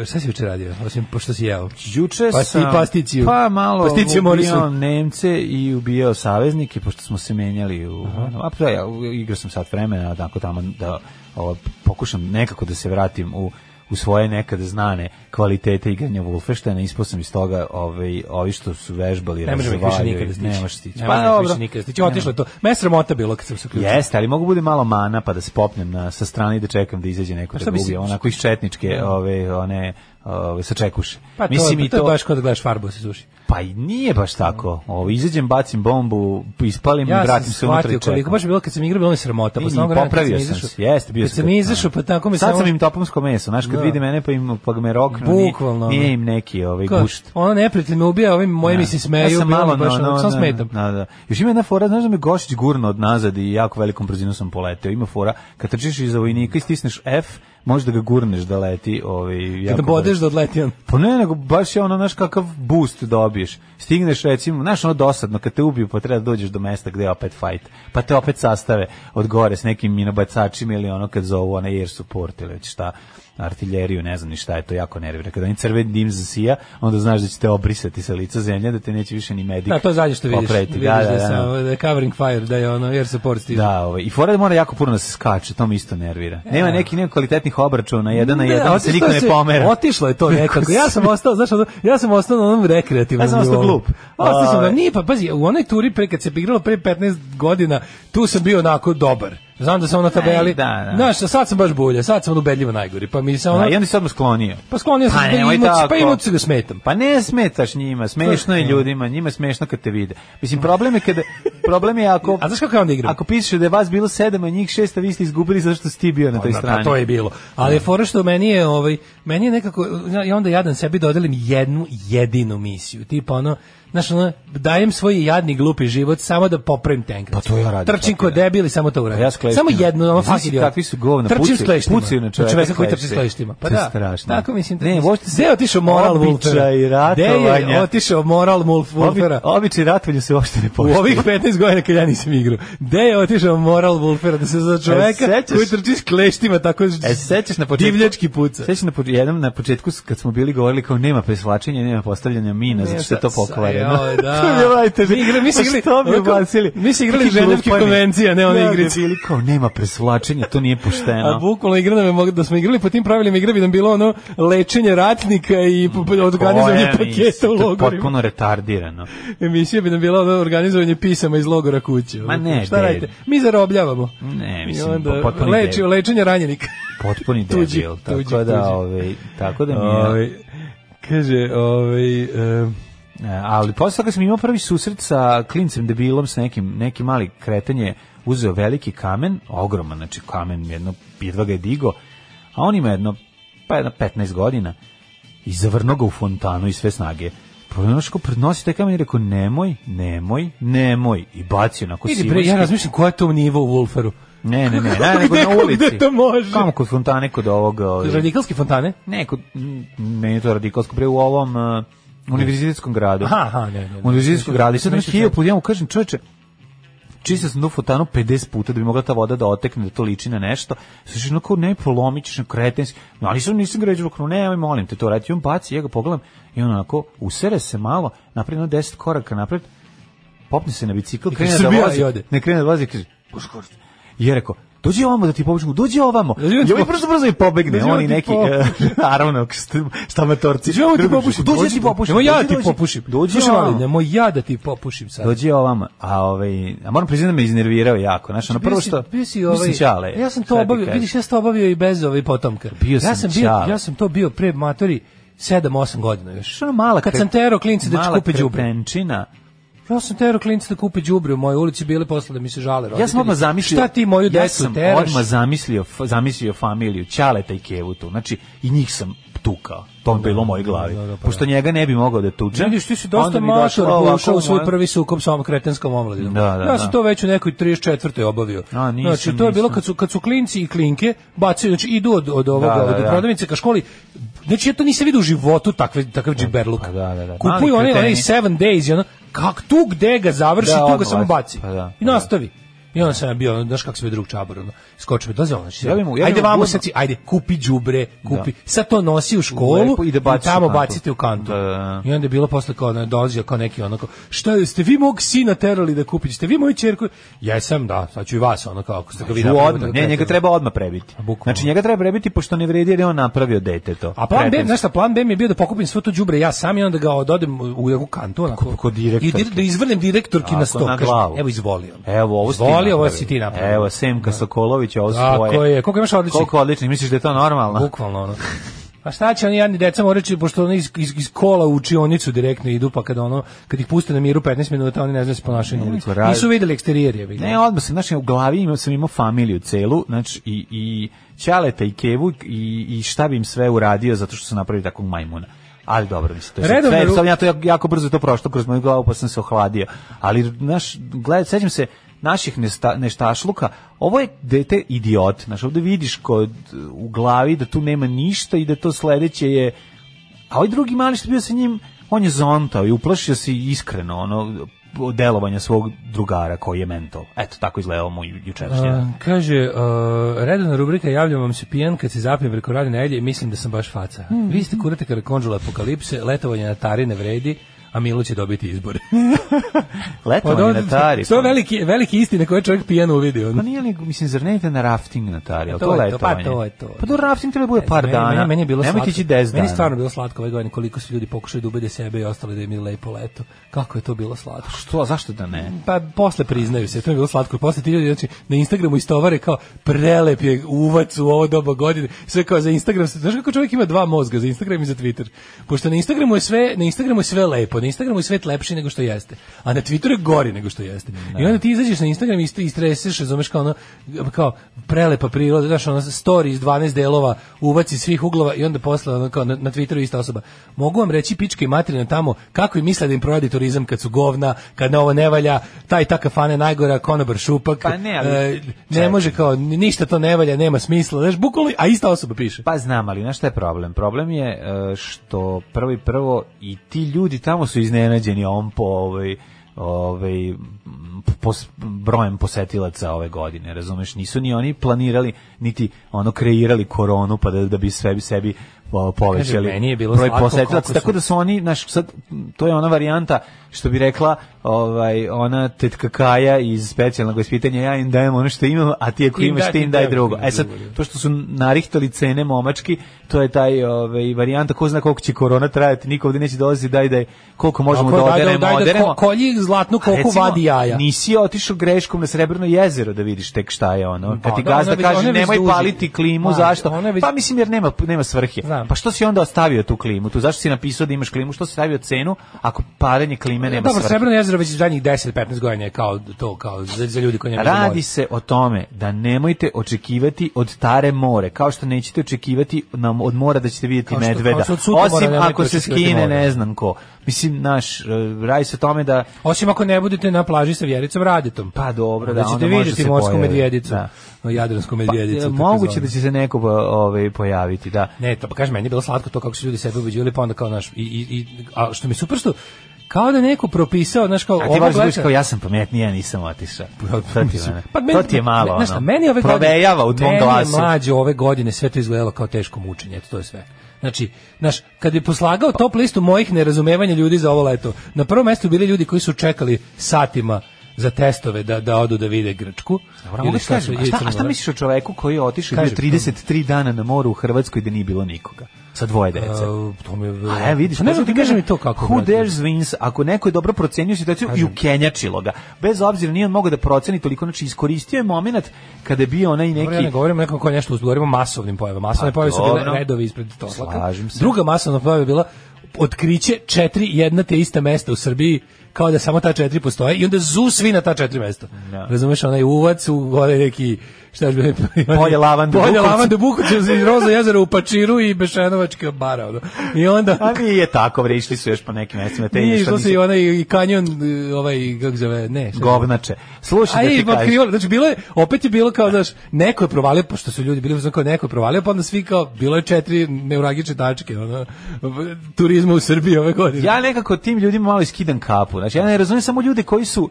[SPEAKER 5] e, šta si juče radio? Osim pošto si jeo.
[SPEAKER 6] Juče
[SPEAKER 5] Pasti-
[SPEAKER 6] sam
[SPEAKER 5] pasticiju.
[SPEAKER 6] pa malo
[SPEAKER 5] Pasticiju
[SPEAKER 6] ubijao
[SPEAKER 5] Morrison.
[SPEAKER 6] Nemce i ubijao saveznike pošto smo se menjali u ono, a pa ja igrao sam sat vremena tako tamo da ovo, pokušam nekako da se vratim u u svoje nekada znane kvalitete igranja Wolfensteina, ispao sam iz toga ovaj, ovi što su vežbali
[SPEAKER 5] Ne možemo ih više
[SPEAKER 6] razvaljaju,
[SPEAKER 5] nikada stići.
[SPEAKER 6] ne možeš stići.
[SPEAKER 5] Ne
[SPEAKER 6] Pa,
[SPEAKER 5] možemo ih
[SPEAKER 6] dobro.
[SPEAKER 5] više nikada stići. Otišlo je to. Me je sramota bilo kad sam se uključio.
[SPEAKER 6] Jeste, ali mogu bude malo mana pa da se popnem na, sa strane i da čekam da izađe neko
[SPEAKER 5] Pa šta
[SPEAKER 6] da gubi,
[SPEAKER 5] misliš?
[SPEAKER 6] onako iz četničke, ove, one, ove, sa čekuše.
[SPEAKER 5] Pa to,
[SPEAKER 6] Mislim, i
[SPEAKER 5] to, je baš kao da gledaš farbu se suši.
[SPEAKER 6] Pa i nije baš tako. Ovo, izađem, bacim bombu, ispalim i
[SPEAKER 5] Ja
[SPEAKER 6] vratim
[SPEAKER 5] sam
[SPEAKER 6] se unutra
[SPEAKER 5] shvatio
[SPEAKER 6] i
[SPEAKER 5] koliko
[SPEAKER 6] čekam.
[SPEAKER 5] baš je bilo kad sam igrao bilo mi sramota.
[SPEAKER 6] I-
[SPEAKER 5] Pa
[SPEAKER 6] i
[SPEAKER 5] sam onog vremena kad
[SPEAKER 6] popravio
[SPEAKER 5] sam
[SPEAKER 6] sam
[SPEAKER 5] izašao.
[SPEAKER 6] se, jeste, bio
[SPEAKER 5] Kad
[SPEAKER 6] sam
[SPEAKER 5] sam
[SPEAKER 6] kad-
[SPEAKER 5] izašao pa tako mi
[SPEAKER 6] Sad
[SPEAKER 5] samo
[SPEAKER 6] sam im topovsko meso, znaš, kad
[SPEAKER 5] Da.
[SPEAKER 6] vidi mene pa im pa me roknu, nije-
[SPEAKER 5] Bukvalno,
[SPEAKER 6] nije
[SPEAKER 5] ono.
[SPEAKER 6] im neki ovaj
[SPEAKER 5] Kao,
[SPEAKER 6] gušt.
[SPEAKER 5] Ono neprijatelj me ubija, ovi moji mi se smeju.
[SPEAKER 6] ja sam
[SPEAKER 5] bilo mi
[SPEAKER 6] malo
[SPEAKER 5] baš,
[SPEAKER 6] na,
[SPEAKER 5] onako,
[SPEAKER 6] na,
[SPEAKER 5] samo
[SPEAKER 6] na-
[SPEAKER 5] smetam.
[SPEAKER 6] na- da. Još ima jedna fora, znaš da me Gošić gurno od nazad i jako velikom brzinom sam poleteo. Ima fora, kad trčiš iza vojnika i stisneš F, možeš da ga gurneš da leti. Ovaj,
[SPEAKER 5] Kad
[SPEAKER 6] jako
[SPEAKER 5] da bodeš da odleti ono- on.
[SPEAKER 6] Pa ne, nego baš je ono, znaš, kakav boost dobiješ. Stigneš, recimo, znaš, ono dosadno, kad te ubiju, pa treba da dođeš do mesta gde je opet fight. Pa te opet sastave od gore s nekim minobacačima ili ono kad zovu one air support ili već šta, artiljeriju, ne znam ni šta je to jako nervira. Kada oni crven dim zasija, onda znaš da će te obrisati sa lica zemlje, da te neće više ni medik
[SPEAKER 5] Da, to je zadnje što vidiš.
[SPEAKER 6] popraviti.
[SPEAKER 5] vidiš da, sam, ono, da je covering fire, da je ono, jer se por stiže.
[SPEAKER 6] Da, ovaj, i fora da mora jako puno da se skače, to me isto nervira. Nema neki nema kvalitetnih obračuna, jedan na
[SPEAKER 5] E. Ne,
[SPEAKER 6] jedan, da se
[SPEAKER 5] otišlo
[SPEAKER 6] niko ne
[SPEAKER 5] se-
[SPEAKER 6] pomera.
[SPEAKER 5] Otišlo je to nekako. Ja sam ostao, znaš, ono, ja sam ostao na onom rekreativnom.
[SPEAKER 6] Ja sam ostao
[SPEAKER 5] nivou.
[SPEAKER 6] glup.
[SPEAKER 5] Ostao sam
[SPEAKER 6] Ovaj.
[SPEAKER 5] na nije, pa pazi, u onoj turi pre kad se igralo pre 15 godina, tu sam bio onako dobar. Znam da sam na tabeli.
[SPEAKER 6] Ej, da, da.
[SPEAKER 5] Znaš, a sad sam baš bulja, sad sam ubedljivo najgori. Pa mi se ono,
[SPEAKER 6] Da, I onda se odmah sklonio.
[SPEAKER 5] pa sklonio sam
[SPEAKER 6] Pa
[SPEAKER 5] se, pa
[SPEAKER 6] nemoj
[SPEAKER 5] imac,
[SPEAKER 6] tako.
[SPEAKER 5] pa imac se ga smetam.
[SPEAKER 6] Pa ne smetaš njima, smešno
[SPEAKER 5] Pa,
[SPEAKER 6] je ljudima, njima je smešno kad te vide. Mislim, problem je kada, problem je ako...
[SPEAKER 5] A znaš kako je onda igram?
[SPEAKER 6] Ako pišeš da je vas bilo sedam, a njih šest, a vi ste izgubili zato što si ti bio na toj
[SPEAKER 5] Pa,
[SPEAKER 6] strani.
[SPEAKER 5] Pa to je bilo. Ali je fora što meni je, ovaj, meni je nekako, zna- ja onda jadan sebi dodelim jednu jedinu misiju. Tipa ono, znaš, ono, dajem svoj jadni glupi život samo da popravim tenkrac.
[SPEAKER 6] Pa to ja radim
[SPEAKER 5] Trčim
[SPEAKER 6] svaki
[SPEAKER 5] kod
[SPEAKER 6] dan.
[SPEAKER 5] debili, samo to uradim.
[SPEAKER 6] A ja s kleštima.
[SPEAKER 5] samo jednu, ono,
[SPEAKER 6] Znaš
[SPEAKER 5] fuck idiot.
[SPEAKER 6] kakvi su govna,
[SPEAKER 5] Trčim
[SPEAKER 6] pucaju-
[SPEAKER 5] s kleštima.
[SPEAKER 6] pucaju na
[SPEAKER 5] Znači,
[SPEAKER 6] čoveka
[SPEAKER 5] čoveka koji trči s
[SPEAKER 6] klešće.
[SPEAKER 5] kleštima. Pa
[SPEAKER 6] To je
[SPEAKER 5] da,
[SPEAKER 6] strašno.
[SPEAKER 5] tako mislim.
[SPEAKER 6] Ne, uopšte-
[SPEAKER 5] Gde je otišao moral
[SPEAKER 6] Običaj
[SPEAKER 5] Wolfera? Gde je
[SPEAKER 6] ratovanja.
[SPEAKER 5] otišao moral Wolf-
[SPEAKER 6] Obi,
[SPEAKER 5] Wolfera?
[SPEAKER 6] običaj ratvolju se uopšte ne
[SPEAKER 5] U
[SPEAKER 6] poštuje.
[SPEAKER 5] ovih 15 godina kad ja nisam igrao, gde je otišao moral Wolfera da se za čoveka
[SPEAKER 6] E, sećaš?
[SPEAKER 5] koji trči s kleštima tako
[SPEAKER 6] E, se sećaš na početku...
[SPEAKER 5] divljački puca.
[SPEAKER 6] Sećaš na početku, jednom na početku s- kad smo bili govorili kao nema presvlačenja, nema postavljanja mina, zato što je to pokvareno.
[SPEAKER 5] Joj, da.
[SPEAKER 6] to mi je najteže.
[SPEAKER 5] Mi igra- mi se
[SPEAKER 6] Pa
[SPEAKER 5] igrali-
[SPEAKER 6] Što bi
[SPEAKER 5] ovako-
[SPEAKER 6] ubacili?
[SPEAKER 5] mi se igrali
[SPEAKER 6] Neki
[SPEAKER 5] ženevske
[SPEAKER 6] glupani.
[SPEAKER 5] konvencije, a ne one
[SPEAKER 6] Da,
[SPEAKER 5] igrice.
[SPEAKER 6] Da, bili kao nema presvlačenja, to nije pošteno.
[SPEAKER 5] A bukvalno igra nam je mog- da smo igrali po tim pravilima igre bi nam bilo ono lečenje ratnika i po- po- organizovanje
[SPEAKER 6] Koja misli,
[SPEAKER 5] paketa u
[SPEAKER 6] To je
[SPEAKER 5] logorima.
[SPEAKER 6] potpuno retardirano.
[SPEAKER 5] Emisija bi nam bila ono organizovanje pisama iz logora kuće.
[SPEAKER 6] Ma ne,
[SPEAKER 5] Šta
[SPEAKER 6] de-
[SPEAKER 5] radite? Mi zarobljavamo.
[SPEAKER 6] Ne,
[SPEAKER 5] I
[SPEAKER 6] mislim,
[SPEAKER 5] onda
[SPEAKER 6] potpuni
[SPEAKER 5] leči,
[SPEAKER 6] debil.
[SPEAKER 5] lečenje ranjenika.
[SPEAKER 6] Potpuni
[SPEAKER 5] Tuđi,
[SPEAKER 6] debil.
[SPEAKER 5] tuđi,
[SPEAKER 6] Tako da,
[SPEAKER 5] tuđi.
[SPEAKER 6] ovaj, tako da mi je...
[SPEAKER 5] Ovaj, kaže, ovaj, em,
[SPEAKER 6] E, ali posle toga sam imao prvi susret sa klincem debilom, sa nekim, neki mali kretanje, uzeo veliki kamen, ogroman, znači kamen, jedno, jedva ga je digo, a on ima jedno, pa jedno 15 godina, i zavrno ga u fontanu i sve snage. Pronaško prednosi taj kamen i rekao, nemoj, nemoj, nemoj, i bacio onako
[SPEAKER 5] vidi, bre,
[SPEAKER 6] silovski.
[SPEAKER 5] ja razmišljam koja je to nivo u Wolferu.
[SPEAKER 6] Ne, ne, ne, ne,
[SPEAKER 5] Kako-
[SPEAKER 6] nego
[SPEAKER 5] gde-
[SPEAKER 6] na ulici.
[SPEAKER 5] gde to može?
[SPEAKER 6] Kamo kod fontane, kod ovog... ovaj,
[SPEAKER 5] Radikalske fontane?
[SPEAKER 6] Ne, kod, m, meni je to radikalsko, pre u ovom uh, univerzitetskom gradu.
[SPEAKER 5] Aha, aha, ne, ne, ne.
[SPEAKER 6] Univerzitetskom gradu. I sad ono
[SPEAKER 5] Mislim,
[SPEAKER 6] mi hiljoput, ja mu kažem, čoveče, čistio sam tu fotanu 50 puta da bi mogla ta voda da otekne, da to liči na nešto. Slušaj, onako ne polomićeš, ne kretenski. No, ali sam nisam gređao, rekao, nemoj, molim te to raditi. I on baci, ja ga pogledam i on onako usere se malo, napravi jedno 10 koraka napred, popne se na bicikl,
[SPEAKER 5] kaže,
[SPEAKER 6] krene da
[SPEAKER 5] "Srbija", i
[SPEAKER 6] vozi,
[SPEAKER 5] ode.
[SPEAKER 6] ne krene da vozi, kaže, "Boško, I je rekao, dođi ovamo da ti pobičemo, dođi ovamo.
[SPEAKER 5] Dođi ovamo
[SPEAKER 6] I
[SPEAKER 5] ti
[SPEAKER 6] ovaj
[SPEAKER 5] po-
[SPEAKER 6] brzo, brzo i pobegne.
[SPEAKER 5] dođi ovamo
[SPEAKER 6] Oni
[SPEAKER 5] ti
[SPEAKER 6] neki,
[SPEAKER 5] po-
[SPEAKER 6] eh, naravno, st- stamatorci.
[SPEAKER 5] Dođi ja ti
[SPEAKER 6] Drugi,
[SPEAKER 5] popušim.
[SPEAKER 6] Dođi ja ti popušim.
[SPEAKER 5] Nemoj ja da
[SPEAKER 6] dođi,
[SPEAKER 5] ti ovaj,
[SPEAKER 6] dođi.
[SPEAKER 5] popušim.
[SPEAKER 6] Dođi
[SPEAKER 5] Slušaj,
[SPEAKER 6] ovamo.
[SPEAKER 5] Vali, nemoj ja da ti popušim sad.
[SPEAKER 6] Dođi ovam, a ovaj a moram priznati da me iznervirao jako. Znaš, ono
[SPEAKER 5] Bio
[SPEAKER 6] prvo
[SPEAKER 5] si-
[SPEAKER 6] što
[SPEAKER 5] bio si
[SPEAKER 6] bio
[SPEAKER 5] ovaj,
[SPEAKER 6] sam ćale.
[SPEAKER 5] ja sam
[SPEAKER 6] šta
[SPEAKER 5] to
[SPEAKER 6] ti
[SPEAKER 5] obavio,
[SPEAKER 6] kažem.
[SPEAKER 5] vidiš, ja sam to obavio i bez ove potomka.
[SPEAKER 6] Bio
[SPEAKER 5] ja
[SPEAKER 6] sam
[SPEAKER 5] sam bio,
[SPEAKER 6] ćale.
[SPEAKER 5] ja sam to bio pre matori 7-8 godina još.
[SPEAKER 6] Što je mala
[SPEAKER 5] Kad
[SPEAKER 6] kre-
[SPEAKER 5] sam tero klinci da
[SPEAKER 6] mala
[SPEAKER 5] kupe đubre.
[SPEAKER 6] kretenčina.
[SPEAKER 5] Ja sam tero klinci da kupe đubre u mojoj ulici bile posle da mi se žale roditelji.
[SPEAKER 6] Pa Ja sam odmah zamislio.
[SPEAKER 5] Šta ti moju
[SPEAKER 6] ja
[SPEAKER 5] decu
[SPEAKER 6] sam
[SPEAKER 5] teraš?
[SPEAKER 6] odmah zamislio, f- zamislio familiju Ćaleta i Kevu tu. Znači i njih sam tukao. To mi je bilo u mojoj glavi.
[SPEAKER 5] da, da, pa
[SPEAKER 6] Pošto njega ne bi mogao da tučem.
[SPEAKER 5] Vidiš, ti si
[SPEAKER 6] onda
[SPEAKER 5] dosta
[SPEAKER 6] mi je došla
[SPEAKER 5] mator
[SPEAKER 6] ovako
[SPEAKER 5] ušao u svoj
[SPEAKER 6] moja-
[SPEAKER 5] prvi sukob sa ovom kretenskom omladinom.
[SPEAKER 6] Da, da,
[SPEAKER 5] ja sam
[SPEAKER 6] da.
[SPEAKER 5] to već u nekoj 34. obavio.
[SPEAKER 6] A, nisam,
[SPEAKER 5] znači, to je bilo
[SPEAKER 6] nisam.
[SPEAKER 5] kad su, kad su klinci i klinke bacaju, znači idu od, od ovoga,
[SPEAKER 6] Da, da,
[SPEAKER 5] od
[SPEAKER 6] da.
[SPEAKER 5] prodavnice ka školi. Znači, ja to nisam vidio u životu takve, takav džiberluk.
[SPEAKER 6] Pa da, da, da. Mali
[SPEAKER 5] Kupuju one,
[SPEAKER 6] kreteni.
[SPEAKER 5] one seven days i ono, kak tu gde ga završi,
[SPEAKER 6] Da,
[SPEAKER 5] tu ga
[SPEAKER 6] odmah
[SPEAKER 5] samo
[SPEAKER 6] baci.
[SPEAKER 5] baci.
[SPEAKER 6] Pa da,
[SPEAKER 5] I
[SPEAKER 6] pa da.
[SPEAKER 5] nastavi. I onda sam ja bio, ono, znaš kako se mi drug čabor, ono, skoči me, dozi ono, znači,
[SPEAKER 6] Ja bi mu- ja bi
[SPEAKER 5] ajde
[SPEAKER 6] mu
[SPEAKER 5] vamo,
[SPEAKER 6] ugodno-
[SPEAKER 5] sad si- ajde, kupi đubre, kupi,
[SPEAKER 6] Da.
[SPEAKER 5] sad to nosi u školu
[SPEAKER 6] lepo i
[SPEAKER 5] i,
[SPEAKER 6] da baciš u
[SPEAKER 5] tamo
[SPEAKER 6] kantu.
[SPEAKER 5] bacite u kantu.
[SPEAKER 6] Da, da, da.
[SPEAKER 5] I onda je bilo posle kao ono, dolazio kao neki onako, šta je, ste vi mog sina terali da kupite, ste vi moju čerku? Jesam, da, sad ću i vas, ono kao, ako ste ga vi
[SPEAKER 6] U
[SPEAKER 5] napravili,
[SPEAKER 6] odmah,
[SPEAKER 5] da
[SPEAKER 6] ne, njega
[SPEAKER 5] kretenu.
[SPEAKER 6] treba odmah prebiti.
[SPEAKER 5] A, bukvalno.
[SPEAKER 6] Znači njega treba prebiti pošto ne vredi jer je on napravio dete to.
[SPEAKER 5] A plan B,
[SPEAKER 6] Kretenski.
[SPEAKER 5] znaš šta, plan B mi je bio da pokupim svo to đubre ja sam i onda ga ododem u neku kantu, onako.
[SPEAKER 6] kod direktorke.
[SPEAKER 5] I dir- da izvrnem direktorki
[SPEAKER 6] Tako,
[SPEAKER 5] na sto.
[SPEAKER 6] na
[SPEAKER 5] kažem,
[SPEAKER 6] glavu.
[SPEAKER 5] Evo, izvolio.
[SPEAKER 6] Evo, ovo si ti
[SPEAKER 5] Izvoli, ovo
[SPEAKER 6] napravio.
[SPEAKER 5] si ti napravio.
[SPEAKER 6] Evo, Semka Sokolović, ovo su
[SPEAKER 5] Tako
[SPEAKER 6] tvoje.
[SPEAKER 5] je, koliko imaš odličnih?
[SPEAKER 6] Koliko odličnih, misliš da je to normalno?
[SPEAKER 5] Bukvalno ono. A šta će oni jadni deca moraju će, pošto oni iz, iz, iz kola u učionicu direktno idu, pa kad ono, kad ih puste na miru 15 minuta, oni ne znaju da se ponašaju na ulici.
[SPEAKER 6] nego radi-
[SPEAKER 5] Nisu videli eksterijer je bilo.
[SPEAKER 6] Ne, odmah sam, znači, u glavi imao, sam imao familiju celu, znači, i, i Ćaleta i Kevu i, i šta bi im sve uradio zato što su napravili takvog majmuna. Ali dobro, mislim, to je sad
[SPEAKER 5] Redovne
[SPEAKER 6] sve,
[SPEAKER 5] ru-
[SPEAKER 6] sam ja to jako, jako brzo je to prošlo kroz moju glavu, pa sam se ohladio. Ali, naš, gledaj, sećam se naših nesta, neštašluka, ovo je dete idiot, znaš, ovde vidiš kod, u glavi da tu nema ništa i da to sledeće je A ovaj drugi mali što je bio sa njim, on je zontao i uplašio se iskreno, ono, od delovanja svog drugara koji je mental. Eto, tako izgledalo mu ju- jučerašnje.
[SPEAKER 5] A, kaže, uh, redovna rubrika javljam vam se pijan kad se zapijem preko radne nedelje i mislim da sam baš faca. Vi ste kurate karakonđula apokalipse, letovanje na tari ne vredi, a Milo će dobiti izbore.
[SPEAKER 6] Letovanje na tari.
[SPEAKER 5] Pa To je veliki, veliki istine koje čovjek pijan uvidi. Ono.
[SPEAKER 6] Pa nije li, mislim, zar ne idete na rafting na tari, ali
[SPEAKER 5] To
[SPEAKER 6] to,
[SPEAKER 5] je to,
[SPEAKER 6] letovanje?
[SPEAKER 5] pa to je to. E,
[SPEAKER 6] Pa do rafting treba da bude par
[SPEAKER 5] Meni-
[SPEAKER 6] dana.
[SPEAKER 5] Meni, meni je bilo
[SPEAKER 6] Nemojte
[SPEAKER 5] slatko.
[SPEAKER 6] ići 10 dana.
[SPEAKER 5] Meni je stvarno bilo slatko ove godine koliko su ljudi pokušali da ubede sebe i ostale da im je lepo leto. Kako je to bilo slatko.
[SPEAKER 6] Što, a zašto da ne?
[SPEAKER 5] Pa posle priznaju se, to je bilo slatko. Posle ti ljudi znači, na Instagramu istovare kao prelep je uvac u ovo doba godine. Sve kao za Instagram. Znaš kako čovjek ima dva mozga, za Instagram i za Twitter. Pošto na Instagramu je sve, na Instagramu je sve lepo, na Instagramu je svet lepši nego što jeste. A na Twitteru je gori nego što jeste. I onda ti izađeš na Instagram i ist- istreseš, razumeš kao ono, kao prelepa priroda, znaš ono, story iz 12 delova, uvac iz svih uglova i onda posle ono kao na, na Twitteru ista osoba. Mogu vam reći pičke i materine tamo kako i misle da im provadi turizam kad su govna, kad na ovo ne valja, taj ta kafana je najgora, konobar šupak.
[SPEAKER 6] Pa ne, ali-
[SPEAKER 5] e, ne
[SPEAKER 6] Čekaj.
[SPEAKER 5] može kao, ni- ništa to ne valja, nema smisla, znaš, bukvalno, a ista osoba piše.
[SPEAKER 6] Pa znam, ali znaš šta je problem? Problem je e, što prvo i prvo i ti ljudi tamo su iznenađeni on po ovaj ovaj m, po, s- brojem posetilaca ove godine, razumeš? Nisu ni oni planirali niti ono kreirali koronu pa da, da bi sebi sebi o, povećali
[SPEAKER 5] Kažem, meni je bilo
[SPEAKER 6] broj
[SPEAKER 5] slatko
[SPEAKER 6] posetilaca.
[SPEAKER 5] koliko su-
[SPEAKER 6] Tako da su oni, znaš, sad m, to je ona varijanta što bi rekla ovaj ona tetka Kaja iz specijalnog ispitanja ja im dajem ono što imam, a ti ako
[SPEAKER 5] Im
[SPEAKER 6] imaš
[SPEAKER 5] da-
[SPEAKER 6] ti
[SPEAKER 5] im
[SPEAKER 6] im daj
[SPEAKER 5] daj
[SPEAKER 6] drugo.
[SPEAKER 5] drugo,
[SPEAKER 6] E sad
[SPEAKER 5] da.
[SPEAKER 6] to što su narihtali cene momački, to je taj ovaj varijanta ko zna koliko će korona trajati, niko ovde neće dolaziti daj daj koliko možemo
[SPEAKER 5] Ako
[SPEAKER 6] da
[SPEAKER 5] daj da-
[SPEAKER 6] oderemo,
[SPEAKER 5] daj da
[SPEAKER 6] oderemo.
[SPEAKER 5] ko- kolji zlatnu koku
[SPEAKER 6] Recimo,
[SPEAKER 5] vadi jaja.
[SPEAKER 6] Nisi otišao greškom na Srebrno jezero da vidiš tek šta je ono. Kad
[SPEAKER 5] Pa
[SPEAKER 6] ti
[SPEAKER 5] da, ona
[SPEAKER 6] gazda
[SPEAKER 5] već-
[SPEAKER 6] kaže
[SPEAKER 5] ona već
[SPEAKER 6] nemoj
[SPEAKER 5] duži.
[SPEAKER 6] paliti klimu,
[SPEAKER 5] Pa,
[SPEAKER 6] zašto?
[SPEAKER 5] ona već-
[SPEAKER 6] Pa mislim jer nema nema svrhe.
[SPEAKER 5] Znam.
[SPEAKER 6] Pa što si onda ostavio tu klimu? Tu zašto si napisao da imaš klimu? Što si stavio cenu ako parenje klime nema
[SPEAKER 5] Dobro,
[SPEAKER 6] svrhe?
[SPEAKER 5] Srebrno jezero već zadnjih 10-15 godina je kao to, kao za, za ljudi koji ne mogu da vode.
[SPEAKER 6] Radi se o tome da nemojte očekivati od tare more, kao što nećete očekivati nam od mora da ćete vidjeti
[SPEAKER 5] Kao što-
[SPEAKER 6] medveda.
[SPEAKER 5] kao što od sutomora
[SPEAKER 6] Osim
[SPEAKER 5] nemojte
[SPEAKER 6] ako se
[SPEAKER 5] očekivati
[SPEAKER 6] skine
[SPEAKER 5] more.
[SPEAKER 6] ne znam ko. Mislim, naš, eh, radi se o tome da
[SPEAKER 5] Osim ako ne budete na plaži sa Vjericom Radetom.
[SPEAKER 6] Pa dobro,
[SPEAKER 5] da,
[SPEAKER 6] da,
[SPEAKER 5] ćete
[SPEAKER 6] onda može
[SPEAKER 5] vidjeti
[SPEAKER 6] se
[SPEAKER 5] morsku
[SPEAKER 6] pojavi.
[SPEAKER 5] medvjedicu,
[SPEAKER 6] Da.
[SPEAKER 5] da. jadransku
[SPEAKER 6] pa,
[SPEAKER 5] medvjedicu.
[SPEAKER 6] eh,
[SPEAKER 5] tako
[SPEAKER 6] moguće
[SPEAKER 5] zvanu.
[SPEAKER 6] da će se neko pa, ovaj, pojaviti, da.
[SPEAKER 5] Ne, to pa kažem, meni je bilo slatko to kako su ljudi sebe ubeđivali, pa onda kao naš, i, i, i, a što mi je super što Kao da je neko propisao, znaš kao,
[SPEAKER 6] A ti
[SPEAKER 5] ovog
[SPEAKER 6] baš zvuči
[SPEAKER 5] leta-
[SPEAKER 6] kao ja sam pametniji, ja nisam otišao. To ti, je, ono-
[SPEAKER 5] Pa meni-
[SPEAKER 6] to ti je malo,
[SPEAKER 5] znaš šta,
[SPEAKER 6] ono,
[SPEAKER 5] meni ove godine-
[SPEAKER 6] provejava u tvom
[SPEAKER 5] meni je
[SPEAKER 6] glasu.
[SPEAKER 5] mlađe ove godine sve to izgledalo kao teško mučenje, eto, to je sve. Znači, znaš, kad bi poslagao top listu mojih nerazumevanja ljudi za ovo leto, na prvom mestu bili ljudi koji su čekali satima za testove da, da odu da vide Grčku.
[SPEAKER 6] Dobro, a
[SPEAKER 5] ili
[SPEAKER 6] mogu ti
[SPEAKER 5] šta su-
[SPEAKER 6] kažem, a
[SPEAKER 5] ili
[SPEAKER 6] šta, a
[SPEAKER 5] Crnu
[SPEAKER 6] šta
[SPEAKER 5] Goru.
[SPEAKER 6] misliš o čoveku koji je otišao i bio
[SPEAKER 5] Kaži,
[SPEAKER 6] 33 dana na moru u Hrvatskoj da nije bilo nikoga? Sa dvoje dece.
[SPEAKER 5] A, to mi je bilo-
[SPEAKER 6] A, e, vidiš,
[SPEAKER 5] Pa ne znam,
[SPEAKER 6] pa
[SPEAKER 5] ti
[SPEAKER 6] sad
[SPEAKER 5] kažem i
[SPEAKER 6] kažem,
[SPEAKER 5] to kako.
[SPEAKER 6] Who
[SPEAKER 5] brate.
[SPEAKER 6] dares wins, ako neko je dobro procenio situaciju i ukenjačilo ga. Bez obzira nije on mogao da proceni toliko, znači iskoristio je moment kada je bio onaj
[SPEAKER 5] Dobro, ja ne
[SPEAKER 6] neki...
[SPEAKER 5] govorim nekom ko nešto uzgovorimo masovnim pojavama. Masovne
[SPEAKER 6] Pa,
[SPEAKER 5] pojave su
[SPEAKER 6] dobro.
[SPEAKER 5] bile redovi ispred toslaka.
[SPEAKER 6] Slažem se.
[SPEAKER 5] Druga masovna pojava je bila otkriće četiri jedna te ista mesta u Srbiji kao da samo ta četiri postoje i onda zu svi na ta četiri mesta.
[SPEAKER 6] Da.
[SPEAKER 5] Razumeš, onaj uvac u onaj neki šta je bilo?
[SPEAKER 6] Polje lavande
[SPEAKER 5] Polje
[SPEAKER 6] Bukovce.
[SPEAKER 5] lavande Bukovce i Roza jezero u Pačiru i Bešanovačka bara. ono. I
[SPEAKER 6] A
[SPEAKER 5] onda
[SPEAKER 6] nije tako, bre, išli su još po nekim mestima. Te
[SPEAKER 5] nije
[SPEAKER 6] ništa
[SPEAKER 5] išlo se
[SPEAKER 6] nisu-
[SPEAKER 5] i onaj i kanjon e, ovaj kako se zove, ne. šta je
[SPEAKER 6] Govnače. Slušaj,
[SPEAKER 5] A
[SPEAKER 6] da ti
[SPEAKER 5] i pa
[SPEAKER 6] kažem.
[SPEAKER 5] krivo, znači bilo je, opet je bilo kao, znaš, neko je provalio, pošto su ljudi bili uzman kao neko je provalio, pa onda svi kao, bilo je četiri neuragične tačke, ono, v- turizma u Srbiji ove godine.
[SPEAKER 6] Ja nekako tim ljudima malo iskidam kapu. Znači, ja ne razumem samo ljude koji su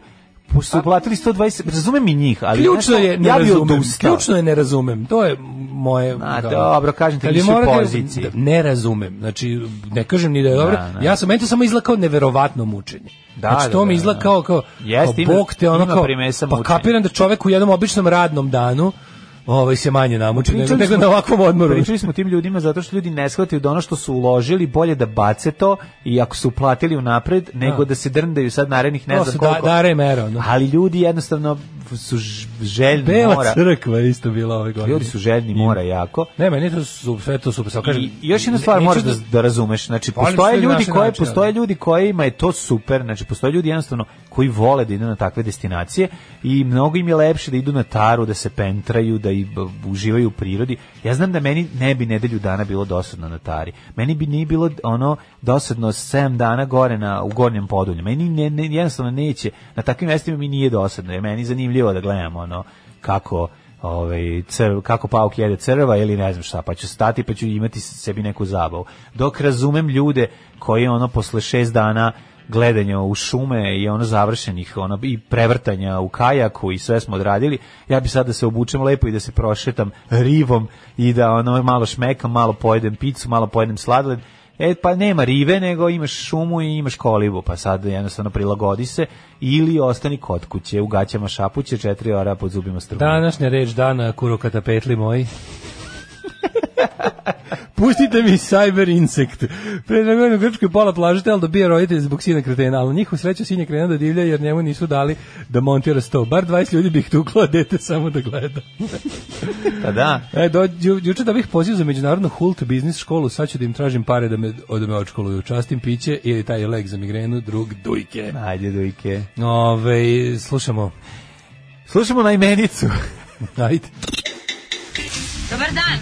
[SPEAKER 6] su uplatili 120, razumem i njih, ali
[SPEAKER 5] ključno
[SPEAKER 6] znaš,
[SPEAKER 5] je ne
[SPEAKER 6] ja bi
[SPEAKER 5] razumem,
[SPEAKER 6] odustao.
[SPEAKER 5] ključno je ne razumem, to je moje...
[SPEAKER 6] A,
[SPEAKER 5] da.
[SPEAKER 6] dobro, kažem ti,
[SPEAKER 5] Ali
[SPEAKER 6] nisu u
[SPEAKER 5] morate-
[SPEAKER 6] poziciji.
[SPEAKER 5] da, Ne razumem, znači, ne kažem ni da je dobro,
[SPEAKER 6] Da, da.
[SPEAKER 5] ja sam, meni to samo izgleda kao neverovatno mučenje.
[SPEAKER 6] Da,
[SPEAKER 5] znači, to
[SPEAKER 6] da,
[SPEAKER 5] mi
[SPEAKER 6] da,
[SPEAKER 5] izgleda
[SPEAKER 6] da.
[SPEAKER 5] kao, kao,
[SPEAKER 6] Jeste,
[SPEAKER 5] kao
[SPEAKER 6] ima-
[SPEAKER 5] bog te ono
[SPEAKER 6] ima
[SPEAKER 5] kao,
[SPEAKER 6] primesa
[SPEAKER 5] pa
[SPEAKER 6] mučenja.
[SPEAKER 5] kapiram da čovek u jednom običnom radnom danu ovaj se manje namuči nego,
[SPEAKER 6] Pričali
[SPEAKER 5] nego
[SPEAKER 6] smo-
[SPEAKER 5] na ovakvom odmoru.
[SPEAKER 6] Pričali smo tim ljudima zato što ljudi ne shvataju da ono što su uložili bolje da bace to i ako su uplatili unapred nego da se drndaju sad narednih ne
[SPEAKER 5] To
[SPEAKER 6] znam
[SPEAKER 5] su da-
[SPEAKER 6] koliko.
[SPEAKER 5] dare i mere, ono.
[SPEAKER 6] Ali ljudi jednostavno su ž- željni
[SPEAKER 5] Bela
[SPEAKER 6] mora.
[SPEAKER 5] crkva je isto bila ove godine.
[SPEAKER 6] Ljudi su željni mora jako.
[SPEAKER 5] Ne, meni to su sve to super, samo kažem.
[SPEAKER 6] I još jedna stvar
[SPEAKER 5] neću
[SPEAKER 6] moraš da, da razumeš, znači
[SPEAKER 5] Volim
[SPEAKER 6] postoje
[SPEAKER 5] što je
[SPEAKER 6] ljudi
[SPEAKER 5] naše
[SPEAKER 6] koji
[SPEAKER 5] način,
[SPEAKER 6] postoje
[SPEAKER 5] ali.
[SPEAKER 6] ljudi kojima je to super, znači postoje ljudi jednostavno koji vole da idu na takve destinacije i mnogo im je lepše da idu na taru, da se pentraju, da i b- uživaju u prirodi. Ja znam da meni ne bi nedelju dana bilo dosadno na tari. Meni bi nije bilo ono dosadno 7 dana gore na u gornjem podolju. Meni ne, ne, jednostavno neće na takvim mestima mi nije dosadno, jer meni je zanimljivo da gledam ono kako ovaj crv, kako pauk jede crva ili ne znam šta, pa ću stati pa ću imati sebi neku zabavu. Dok razumem ljude koji ono posle šest dana gledanja u šume i ono završenih ono i prevrtanja u kajaku i sve smo odradili, ja bi sad da se obučem lepo i da se prošetam rivom i da ono malo šmekam, malo pojedem picu, malo pojedem sladoled. E, pa nema rive, nego imaš šumu i imaš kolibu, pa sad jednostavno prilagodi se ili ostani kod kuće, u gaćama šapuće, četiri ora pod zubima strune.
[SPEAKER 5] Današnja reč dana, kurokata petli moji. Pustite mi Cyber Insect. Pre nego je u Grčkoj pola plaže tel dobije roditelj zbog sina kretena, ali na njih u sreću sinja krena da divlja jer njemu nisu dali da montira sto. Bar 20 ljudi bih tuklo, a dete samo da gleda.
[SPEAKER 6] Pa da.
[SPEAKER 5] E, do, ju, juče da bih poziv za međunarodnu Hult biznis školu, sad ću da im tražim pare da me, da me odškoluju. Častim piće ili taj lek za migrenu, drug dujke.
[SPEAKER 6] Ajde, dujke.
[SPEAKER 5] Ove, slušamo.
[SPEAKER 6] Slušamo najmenicu.
[SPEAKER 5] Ajde.
[SPEAKER 7] Dobar dan.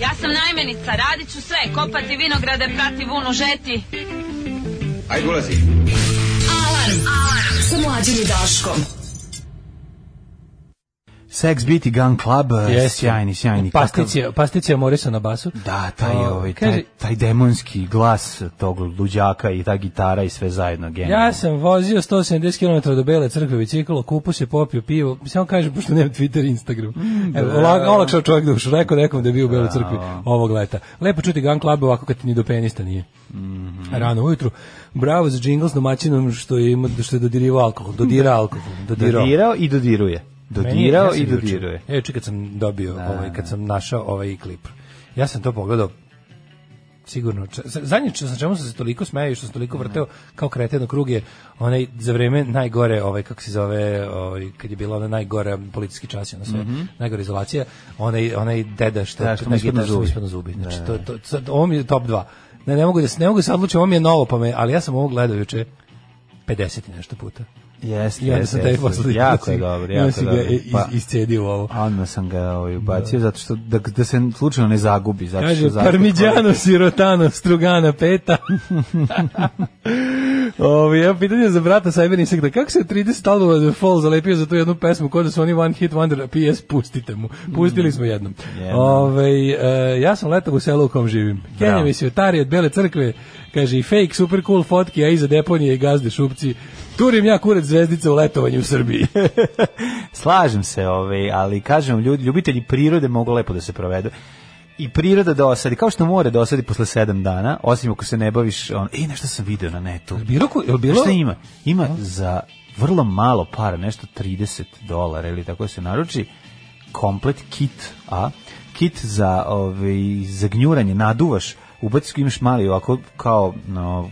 [SPEAKER 7] Ja sam najmenica, radit ću sve, kopati vinograde, prati vunu, žeti.
[SPEAKER 4] Alarm. Alarm. Sa mlađom i Daškom.
[SPEAKER 6] Sex Beat i Gun Club, yes. sjajni, sjajni.
[SPEAKER 5] Pasticija, pasticija Morisa na basu.
[SPEAKER 6] Kakav- Da, taj,
[SPEAKER 5] O,
[SPEAKER 6] ovaj,
[SPEAKER 5] kaže-
[SPEAKER 6] taj, taj demonski glas tog luđaka i ta gitara i sve zajedno. Genijalno.
[SPEAKER 5] Ja sam vozio 170 km do Bele crkve biciklo, kupo se, popio pivo, samo kažem, pošto nemam Twitter i Instagram. Evo, ola- olakšao čovjek dušu, rekao nekom da je bio u Beloj crkvi ovog leta. Lepo čuti Gun Club ovako kad ti ni do penista nije. Rano ujutru. Bravo za džingl s domaćinom što je, ima, što je dodirivao alkohol. Dodira alkohol. Dodirao.
[SPEAKER 6] Dodirao i dodiruje.
[SPEAKER 5] Meni je-
[SPEAKER 6] Dodirao
[SPEAKER 5] ja sam
[SPEAKER 6] i
[SPEAKER 5] juče-
[SPEAKER 6] dodiruje.
[SPEAKER 5] Ja juče kad sam dobio, ovaj, kad sam našao ovaj klip, ja sam to pogledao sigurno. Č- za- Zadnje što sam čemu sam se toliko smejao i što sam toliko vrteo kao kreten u krug je onaj za vreme najgore, ovaj kako se zove, ovaj kad je bila ona najgora policijski čas i ono sve, najgora izolacija, onaj onaj deda što
[SPEAKER 6] Mhm. Da, što mu
[SPEAKER 5] na
[SPEAKER 6] ispadnu
[SPEAKER 5] gitaru su mu
[SPEAKER 6] zubi.
[SPEAKER 5] ispadnu zubi. Znači to to sad ovo mi je top 2. Ne, ne mogu da se ne mogu da se odlučim, ovo mi je novo pa me, ali ja sam ovo gledao juče 50 i nešto puta.
[SPEAKER 6] Jeste,
[SPEAKER 5] I onda
[SPEAKER 6] jeste,
[SPEAKER 5] sam taj
[SPEAKER 6] jeste.
[SPEAKER 5] poslednji.
[SPEAKER 6] Jako je dobro, jako je
[SPEAKER 5] dobro.
[SPEAKER 6] dobro. Pa,
[SPEAKER 5] Iz, iscedio u ovo.
[SPEAKER 6] A Odmah sam ga ovaj, ubacio zato što da, da se slučajno ne zagubi. Zato što
[SPEAKER 5] Kaže,
[SPEAKER 6] zakup-
[SPEAKER 5] parmiđano, sirotano, strugana, peta. Ovi, ja pitanje za brata Cyber Insekta. Kako se 30 albuma The Fall zalepio za tu jednu pesmu kod da su oni One Hit Wonder, a PS pustite mu.
[SPEAKER 6] Mm.
[SPEAKER 5] Pustili smo jednom.
[SPEAKER 6] Jednom.
[SPEAKER 5] Ove, e, ja sam letom u selu u kom živim. Kenja
[SPEAKER 6] Bravo.
[SPEAKER 5] mi svetari od Bele crkve, kaže i fake, super cool fotke, a iza deponije i gazde šupci. Turim ja kurac zvezdica u letovanju u Srbiji.
[SPEAKER 6] Slažem se, ovaj, ali kažem vam, ljudi, ljubitelji prirode mogu lepo da se provedu. I priroda dosadi, kao što more dosadi posle sedam dana, osim ako se ne baviš, on, e, nešto sam video na netu.
[SPEAKER 5] bilo, ko- jel
[SPEAKER 6] Bilo? Šta ima? Ima za vrlo malo para, nešto 30 dolara ili tako se naruči, komplet kit, a kit za, ovaj, za gnjuranje, naduvaš, ubaciš imaš mali ovako kao no,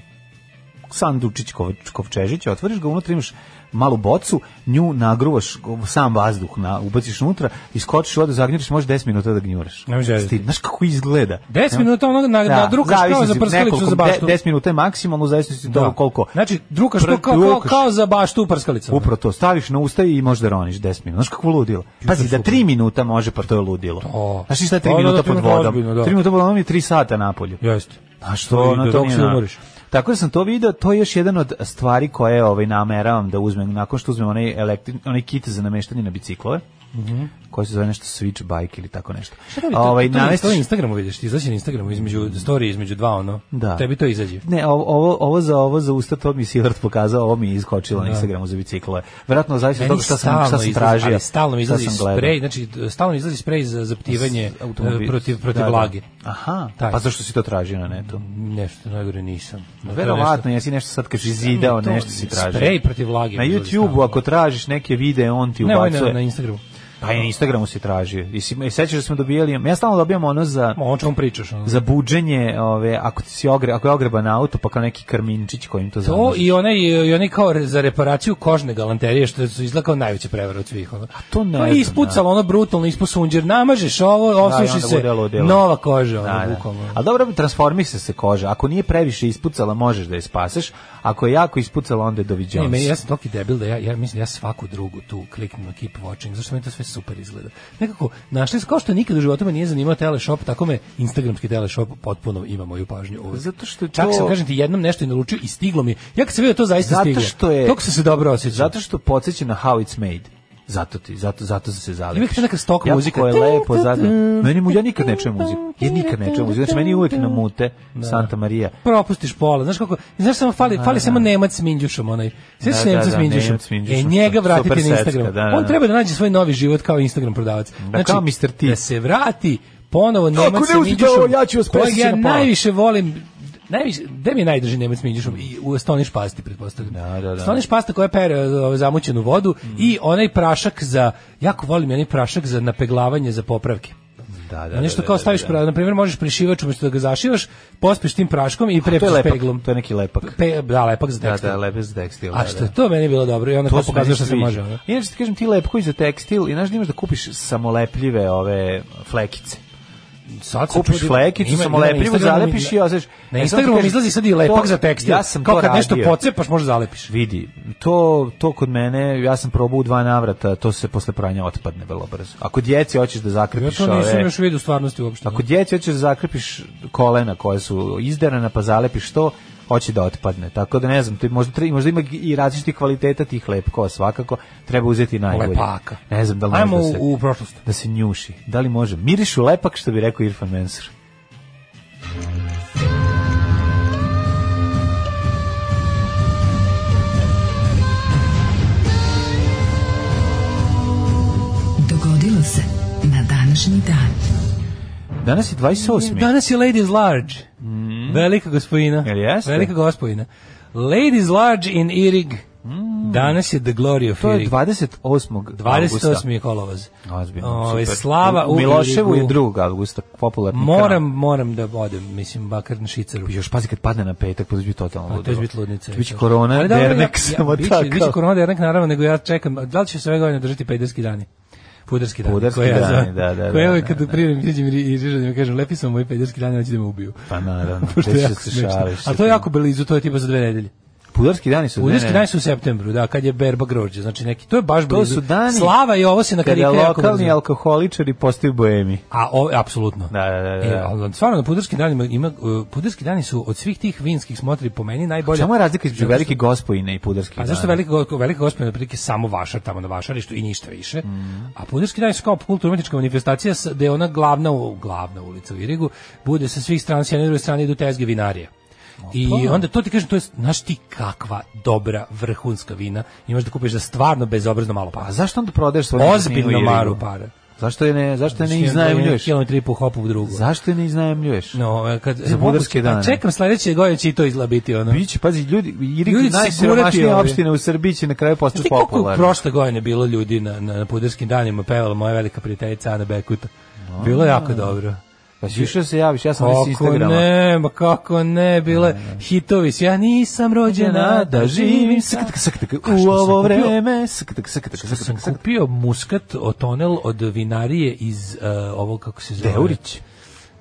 [SPEAKER 6] sandučić kov- kovčežić, otvoriš ga, unutra imaš malu bocu, nju nagruvaš sam vazduh, na, ubaciš unutra, iskočiš u vodu, zagnjuriš, može 10 minuta da gnjuraš.
[SPEAKER 5] Ne može
[SPEAKER 6] Sti-
[SPEAKER 5] jeziti.
[SPEAKER 6] Znaš kako izgleda?
[SPEAKER 5] 10
[SPEAKER 6] Ne?
[SPEAKER 5] minuta onog na, da, drukaš kao
[SPEAKER 6] zavisno
[SPEAKER 5] za
[SPEAKER 6] si,
[SPEAKER 5] prskalicu
[SPEAKER 6] nekoliko-
[SPEAKER 5] za baštu.
[SPEAKER 6] de- 10 minuta je maksimalno, u zavisnosti od toga koliko.
[SPEAKER 5] Znači, drukaš to
[SPEAKER 6] Pr-
[SPEAKER 5] kao, kao,
[SPEAKER 6] drukaš.
[SPEAKER 5] kao za baštu u prskalicama.
[SPEAKER 6] Upravo to, staviš na usta i možda roniš 10 minuta. Znaš kako ludilo? Pazi, da 3 minuta može, pa to je ludilo.
[SPEAKER 5] To.
[SPEAKER 6] Znaš i šta je 3
[SPEAKER 5] Da, da, da,
[SPEAKER 6] minuta
[SPEAKER 5] tri
[SPEAKER 6] pod
[SPEAKER 5] minuta
[SPEAKER 6] vodom?
[SPEAKER 5] ozbiljno, da.
[SPEAKER 6] 3 minuta pod vodom je 3 sata napolju.
[SPEAKER 5] Jeste.
[SPEAKER 6] A što
[SPEAKER 5] ide
[SPEAKER 6] ono to
[SPEAKER 5] dok
[SPEAKER 6] nije
[SPEAKER 5] se
[SPEAKER 6] na-
[SPEAKER 5] umoriš.
[SPEAKER 6] Tako da sam to video, to je još jedan od stvari koje ovaj nameravam da uzmem nakon što uzmem onaj elektri, onaj kit za nameštanje na biciklove. Mhm. koji se zove nešto switch bike ili tako nešto.
[SPEAKER 5] Ovaj na
[SPEAKER 6] namestiš-
[SPEAKER 5] Instagramu vidiš, ti izađe na Instagramu između story između dva ono.
[SPEAKER 6] Da.
[SPEAKER 5] Tebi to izađe.
[SPEAKER 6] Ne, ovo, ovo, ovo za ovo za usta to mi je Silvert pokazao, ovo mi je iskočilo na Instagramu za biciklove. Verovatno zavisi od
[SPEAKER 5] Meni
[SPEAKER 6] toga šta sam, šta
[SPEAKER 5] stalno
[SPEAKER 6] sam
[SPEAKER 5] izlazi-
[SPEAKER 6] tražio.
[SPEAKER 5] ali stalno mi
[SPEAKER 6] šta
[SPEAKER 5] izlazi
[SPEAKER 6] sam gledao.
[SPEAKER 5] sprej, znači stalno mi izlazi sprej za zaptivanje
[SPEAKER 6] S- automobil-
[SPEAKER 5] e, protiv protiv
[SPEAKER 6] da, da.
[SPEAKER 5] vlage.
[SPEAKER 6] Aha,
[SPEAKER 5] Taj.
[SPEAKER 6] pa zašto si to tražio na netu?
[SPEAKER 5] Nešto najgore nisam. Da, to je
[SPEAKER 6] Verovatno, jesi nešto sad kaži zidao,
[SPEAKER 5] To-
[SPEAKER 6] nešto si tražio.
[SPEAKER 5] Sprej protiv vlage.
[SPEAKER 6] Na
[SPEAKER 5] mi izlazi
[SPEAKER 6] YouTube-u
[SPEAKER 5] stalno.
[SPEAKER 6] ako tražiš neke videe, on ti
[SPEAKER 5] Ne, ovaj na,
[SPEAKER 6] ubacuje.
[SPEAKER 5] na Instagramu.
[SPEAKER 6] Pa i na Instagramu si tražio. I, si, i sećaš da smo dobijali, ja stalno dobijam ono za
[SPEAKER 5] Ma, o čemu pričaš? Ono.
[SPEAKER 6] za buđenje, ove, ako ti si ogre, ako je ogreba na auto, pa kao neki karminčić kojim to
[SPEAKER 5] To
[SPEAKER 6] zamaže.
[SPEAKER 5] i onaj, i onaj kao re- za reparaciju kožne galanterije, što su izgleda kao najveća prevara od svih. Ono. A
[SPEAKER 6] to ne
[SPEAKER 5] Pa
[SPEAKER 6] znam,
[SPEAKER 5] ispucalo, ono brutalno, ispod sunđer, namažeš ovo,
[SPEAKER 6] Da, i
[SPEAKER 5] osuši
[SPEAKER 6] onda
[SPEAKER 5] se,
[SPEAKER 6] bude ludilo.
[SPEAKER 5] nova koža, ono,
[SPEAKER 6] Da, da.
[SPEAKER 5] bukvalno.
[SPEAKER 6] A dobro, transformiše se koža. Ako nije previše ispucala, možeš da je spaseš. Ako je jako ispucala, onda je doviđao.
[SPEAKER 5] Ne, meni, ja sam toki debil da ja, ja mislim da ja svaku drugu tu kliknem na keep watching, zašto mi to sve super izgleda. Nekako, našli smo, kao što nikad u životu me nije zanimao teleshop, tako me instagramski teleshop potpuno ima moju pažnju. uvek.
[SPEAKER 6] Zato što je
[SPEAKER 5] Čak
[SPEAKER 6] to-
[SPEAKER 5] sam, kažem ti, jednom nešto i naručio i stiglo mi. je. Ja kad sam vidio to zaista
[SPEAKER 6] Zato
[SPEAKER 5] stiglo.
[SPEAKER 6] što je-
[SPEAKER 5] Toliko sam se dobro osjećao.
[SPEAKER 6] Zato što podsjeća na How It's Made. Zato ti, zato, zato se zalepiš.
[SPEAKER 5] Uvijek je neka stock muzika.
[SPEAKER 6] Jako je lepo, zato. Meni mu, ja nikad ne čujem muziku. Ja nikad ne čujem muziku. Znači, meni je uvijek na mute Santa Maria.
[SPEAKER 5] propustiš pola. Znaš kako, znaš samo fali, fali samo Nemac s Minđušom onaj. Sve
[SPEAKER 6] Da,
[SPEAKER 5] s
[SPEAKER 6] da,
[SPEAKER 5] Nemca
[SPEAKER 6] da,
[SPEAKER 5] s Minđušom.
[SPEAKER 6] Nemac s Minđušom,
[SPEAKER 5] E, njega
[SPEAKER 6] super-
[SPEAKER 5] vratite
[SPEAKER 6] super
[SPEAKER 5] na
[SPEAKER 6] secka,
[SPEAKER 5] Instagram.
[SPEAKER 6] da, da, da.
[SPEAKER 5] On treba da nađe svoj novi život kao Instagram prodavac. Znači,
[SPEAKER 6] kao Mr. T.
[SPEAKER 5] Da se vrati ponovo
[SPEAKER 6] Ako
[SPEAKER 5] Nemac
[SPEAKER 6] ne
[SPEAKER 5] s
[SPEAKER 6] uzmete
[SPEAKER 5] Minđušom.
[SPEAKER 6] ovo, ja ću vas
[SPEAKER 5] kojeg
[SPEAKER 6] presjeći
[SPEAKER 5] ja
[SPEAKER 6] na pola.
[SPEAKER 5] najviše volim najviše, gde mi je najdrži Nemac s Minđušom? I u Stoniš pasti, pretpostavljam.
[SPEAKER 6] Da, da, Mm. da.
[SPEAKER 5] Stoniš pasta koja pere e, zamućenu vodu i onaj prašak za, jako volim onaj prašak za napeglavanje, za popravke.
[SPEAKER 6] Da,
[SPEAKER 5] Da, nešto kao staviš, pra- na primjer, možeš prišivač umesto da ga zašivaš, pospiš tim praškom i
[SPEAKER 6] To
[SPEAKER 5] prepiš
[SPEAKER 6] je lepak,
[SPEAKER 5] peglom.
[SPEAKER 6] to je neki lepak.
[SPEAKER 5] Pe, da, lepak za
[SPEAKER 6] Da,
[SPEAKER 5] tekstil.
[SPEAKER 6] da, lepak za tekstil.
[SPEAKER 5] A
[SPEAKER 6] da,
[SPEAKER 5] što
[SPEAKER 6] da.
[SPEAKER 5] je to meni bilo dobro i onda to
[SPEAKER 6] To se
[SPEAKER 5] pokazuje
[SPEAKER 6] meni
[SPEAKER 5] što se
[SPEAKER 6] sviđa.
[SPEAKER 5] može. ono.
[SPEAKER 6] Inače ti kažem ti lepko za tekstil i znaš da imaš da kupiš samolepljive ove flekice.
[SPEAKER 5] Sad se
[SPEAKER 6] Kupiš
[SPEAKER 5] čudim,
[SPEAKER 6] flekicu,
[SPEAKER 5] ima-
[SPEAKER 6] samo
[SPEAKER 5] ima na
[SPEAKER 6] lepljivo
[SPEAKER 5] Instagramu
[SPEAKER 6] zalepiš
[SPEAKER 5] mi-
[SPEAKER 6] i ostaviš.
[SPEAKER 5] Na
[SPEAKER 6] E,
[SPEAKER 5] Instagramu
[SPEAKER 6] sad
[SPEAKER 5] mi
[SPEAKER 6] ti
[SPEAKER 5] izlazi
[SPEAKER 6] kažem,
[SPEAKER 5] sad i lepak
[SPEAKER 6] to-
[SPEAKER 5] za tekstil.
[SPEAKER 6] Ja sam
[SPEAKER 5] kao
[SPEAKER 6] to
[SPEAKER 5] kad nešto
[SPEAKER 6] radio.
[SPEAKER 5] pocepaš, možeš zalepiš.
[SPEAKER 6] Vidi, to, to kod mene, ja sam probao u dva navrata, to se posle pranja otpadne vrlo brzo. Ako djeci hoćeš da
[SPEAKER 5] Ja
[SPEAKER 6] zakrepiš
[SPEAKER 5] to nisam
[SPEAKER 6] ove...
[SPEAKER 5] još vidio u stvarnosti uopšte.
[SPEAKER 6] Ako djeci hoćeš da zakrepiš kolena koja su izderana pa zalepiš to, hoće da otpadne. Tako da ne znam, to je možda, tre- možda ima i različitih kvaliteta tih lepkova, svakako treba uzeti najbolje.
[SPEAKER 5] Lepaka.
[SPEAKER 6] Ne znam da li
[SPEAKER 5] Ajmo
[SPEAKER 6] može da se,
[SPEAKER 5] u, u prošlost.
[SPEAKER 6] da se njuši. Da li može? Mirišu lepak, što bi rekao Irfan Mensur.
[SPEAKER 4] Dogodilo se na današnji dan.
[SPEAKER 6] Danas je 28.
[SPEAKER 5] Danas je Ladies Large. Velika gospodina.
[SPEAKER 6] Mm. Jel jeste?
[SPEAKER 5] Velika gospodina. Ladies Large in Irig. Danas je The Glory of
[SPEAKER 6] Mm. To je
[SPEAKER 5] Irig.
[SPEAKER 6] 28.
[SPEAKER 5] 28. je kolovoz.
[SPEAKER 6] Ozbiljno,
[SPEAKER 5] Ove,
[SPEAKER 6] super.
[SPEAKER 5] Ovaj, slava u
[SPEAKER 6] Miloševu je
[SPEAKER 5] Irigu.
[SPEAKER 6] 2. augusta, popularni
[SPEAKER 5] Moram,
[SPEAKER 6] kanal.
[SPEAKER 5] moram da odem, mislim, bakar na Šicaru.
[SPEAKER 6] Još pazi kad padne na petak, pa to će biti totalno
[SPEAKER 5] A, to
[SPEAKER 6] ludilo.
[SPEAKER 5] će biti ludnica.
[SPEAKER 6] To će biti korona,
[SPEAKER 5] Ali
[SPEAKER 6] da,
[SPEAKER 5] dobro, ja-
[SPEAKER 6] dernek,
[SPEAKER 5] ja-
[SPEAKER 6] samo
[SPEAKER 5] biće-
[SPEAKER 6] tako.
[SPEAKER 5] Biće korona, dernek, naravno, nego ja čekam. a Da li će se ove godine držati pederski dani? Pudarski dani.
[SPEAKER 6] Pudarski
[SPEAKER 5] koje ja
[SPEAKER 6] dani,
[SPEAKER 5] zovem-
[SPEAKER 6] da, da,
[SPEAKER 5] Koje
[SPEAKER 6] da,
[SPEAKER 5] uvek
[SPEAKER 6] da,
[SPEAKER 5] kad
[SPEAKER 6] da.
[SPEAKER 5] prijem, iđem i i Žižanim, kažem, lepi sam moji pederski dani, hoće da me ubiju.
[SPEAKER 6] Pa naravno,
[SPEAKER 5] Pošto je
[SPEAKER 6] gde će
[SPEAKER 5] jako
[SPEAKER 6] se
[SPEAKER 5] smešno.
[SPEAKER 6] šališ.
[SPEAKER 5] A to je jako blizu, to je tipa za dve nedelje.
[SPEAKER 6] Udarski dani su...
[SPEAKER 5] Udarski dani su u septembru, da, kad je berba grožđe, znači neki, to je baš
[SPEAKER 6] To
[SPEAKER 5] blizu.
[SPEAKER 6] su dani
[SPEAKER 5] Slava i ovo se na
[SPEAKER 6] kada
[SPEAKER 5] karike jako
[SPEAKER 6] lokalni
[SPEAKER 5] brzo.
[SPEAKER 6] alkoholičari postaju boemi.
[SPEAKER 5] A o, apsolutno.
[SPEAKER 6] Da, da, da, da.
[SPEAKER 5] E, ali stvarno na pudarski danima ima uh, pudarski dani su od svih tih vinskih smotri po meni najbolje.
[SPEAKER 6] Samo je razlika između
[SPEAKER 5] Zato što- Pa
[SPEAKER 6] velike gospojine i pudarskih
[SPEAKER 5] A zašto
[SPEAKER 6] dana?
[SPEAKER 5] velika go- velika gospina prilike samo vaša tamo na vašarištu i ništa više.
[SPEAKER 6] Mhm.
[SPEAKER 5] A pudarski dani su kao kulturno umetnička manifestacija s- gde je ona glavna u- glavna ulica u Irigu bude sa svih strana s jedne i druge strane idu tezge vinarije. I onda to ti kažem, to je, znaš ti kakva dobra vrhunska vina imaš da kupiš za stvarno bezobrazno malo para.
[SPEAKER 6] A Pa zašto onda prodaješ svoju nekretninu u
[SPEAKER 5] Ozbiljno
[SPEAKER 6] Irigu?
[SPEAKER 5] maru pa. para. Znači,
[SPEAKER 6] Zašto je ne, zašto je ne iznajmljuješ?
[SPEAKER 5] Kilometri i po hopu u drugu.
[SPEAKER 6] Zašto je ne iznajmljuješ?
[SPEAKER 5] No, e, kad
[SPEAKER 6] Za bugarske
[SPEAKER 5] a
[SPEAKER 6] dane.
[SPEAKER 5] Čekam sledeće godine će i to izgleda biti ono.
[SPEAKER 6] Biće, pazi, ljudi, Irig
[SPEAKER 5] Ljudi
[SPEAKER 6] je
[SPEAKER 5] će se gurati
[SPEAKER 6] najsiromašnija
[SPEAKER 5] ovdje.
[SPEAKER 6] opština u Srbiji će na kraju
[SPEAKER 5] Znaš
[SPEAKER 6] postati
[SPEAKER 5] ti koliko je
[SPEAKER 6] popularna.
[SPEAKER 5] prošle godine bilo ljudi na, na, na pudarskim danima pevala moja velika prijateljica Ana Bekuta. Bilo je jako dobro.
[SPEAKER 6] Pa si išao da se javiš, ja sam već s
[SPEAKER 5] Kako
[SPEAKER 6] Instagrama.
[SPEAKER 5] ne, ma kako ne, bile hitovi s ja nisam rođena da živim sa...
[SPEAKER 6] Sk- sk-
[SPEAKER 5] A
[SPEAKER 6] sk-
[SPEAKER 5] što
[SPEAKER 6] u
[SPEAKER 5] sam kupio?
[SPEAKER 6] ovo vreme. Sk- sk- sk- sk- sk-
[SPEAKER 5] Sam
[SPEAKER 6] sk- sk-
[SPEAKER 5] kupio muskat otonel od vinarije iz uh, ovo kako se zove?
[SPEAKER 6] Deurić.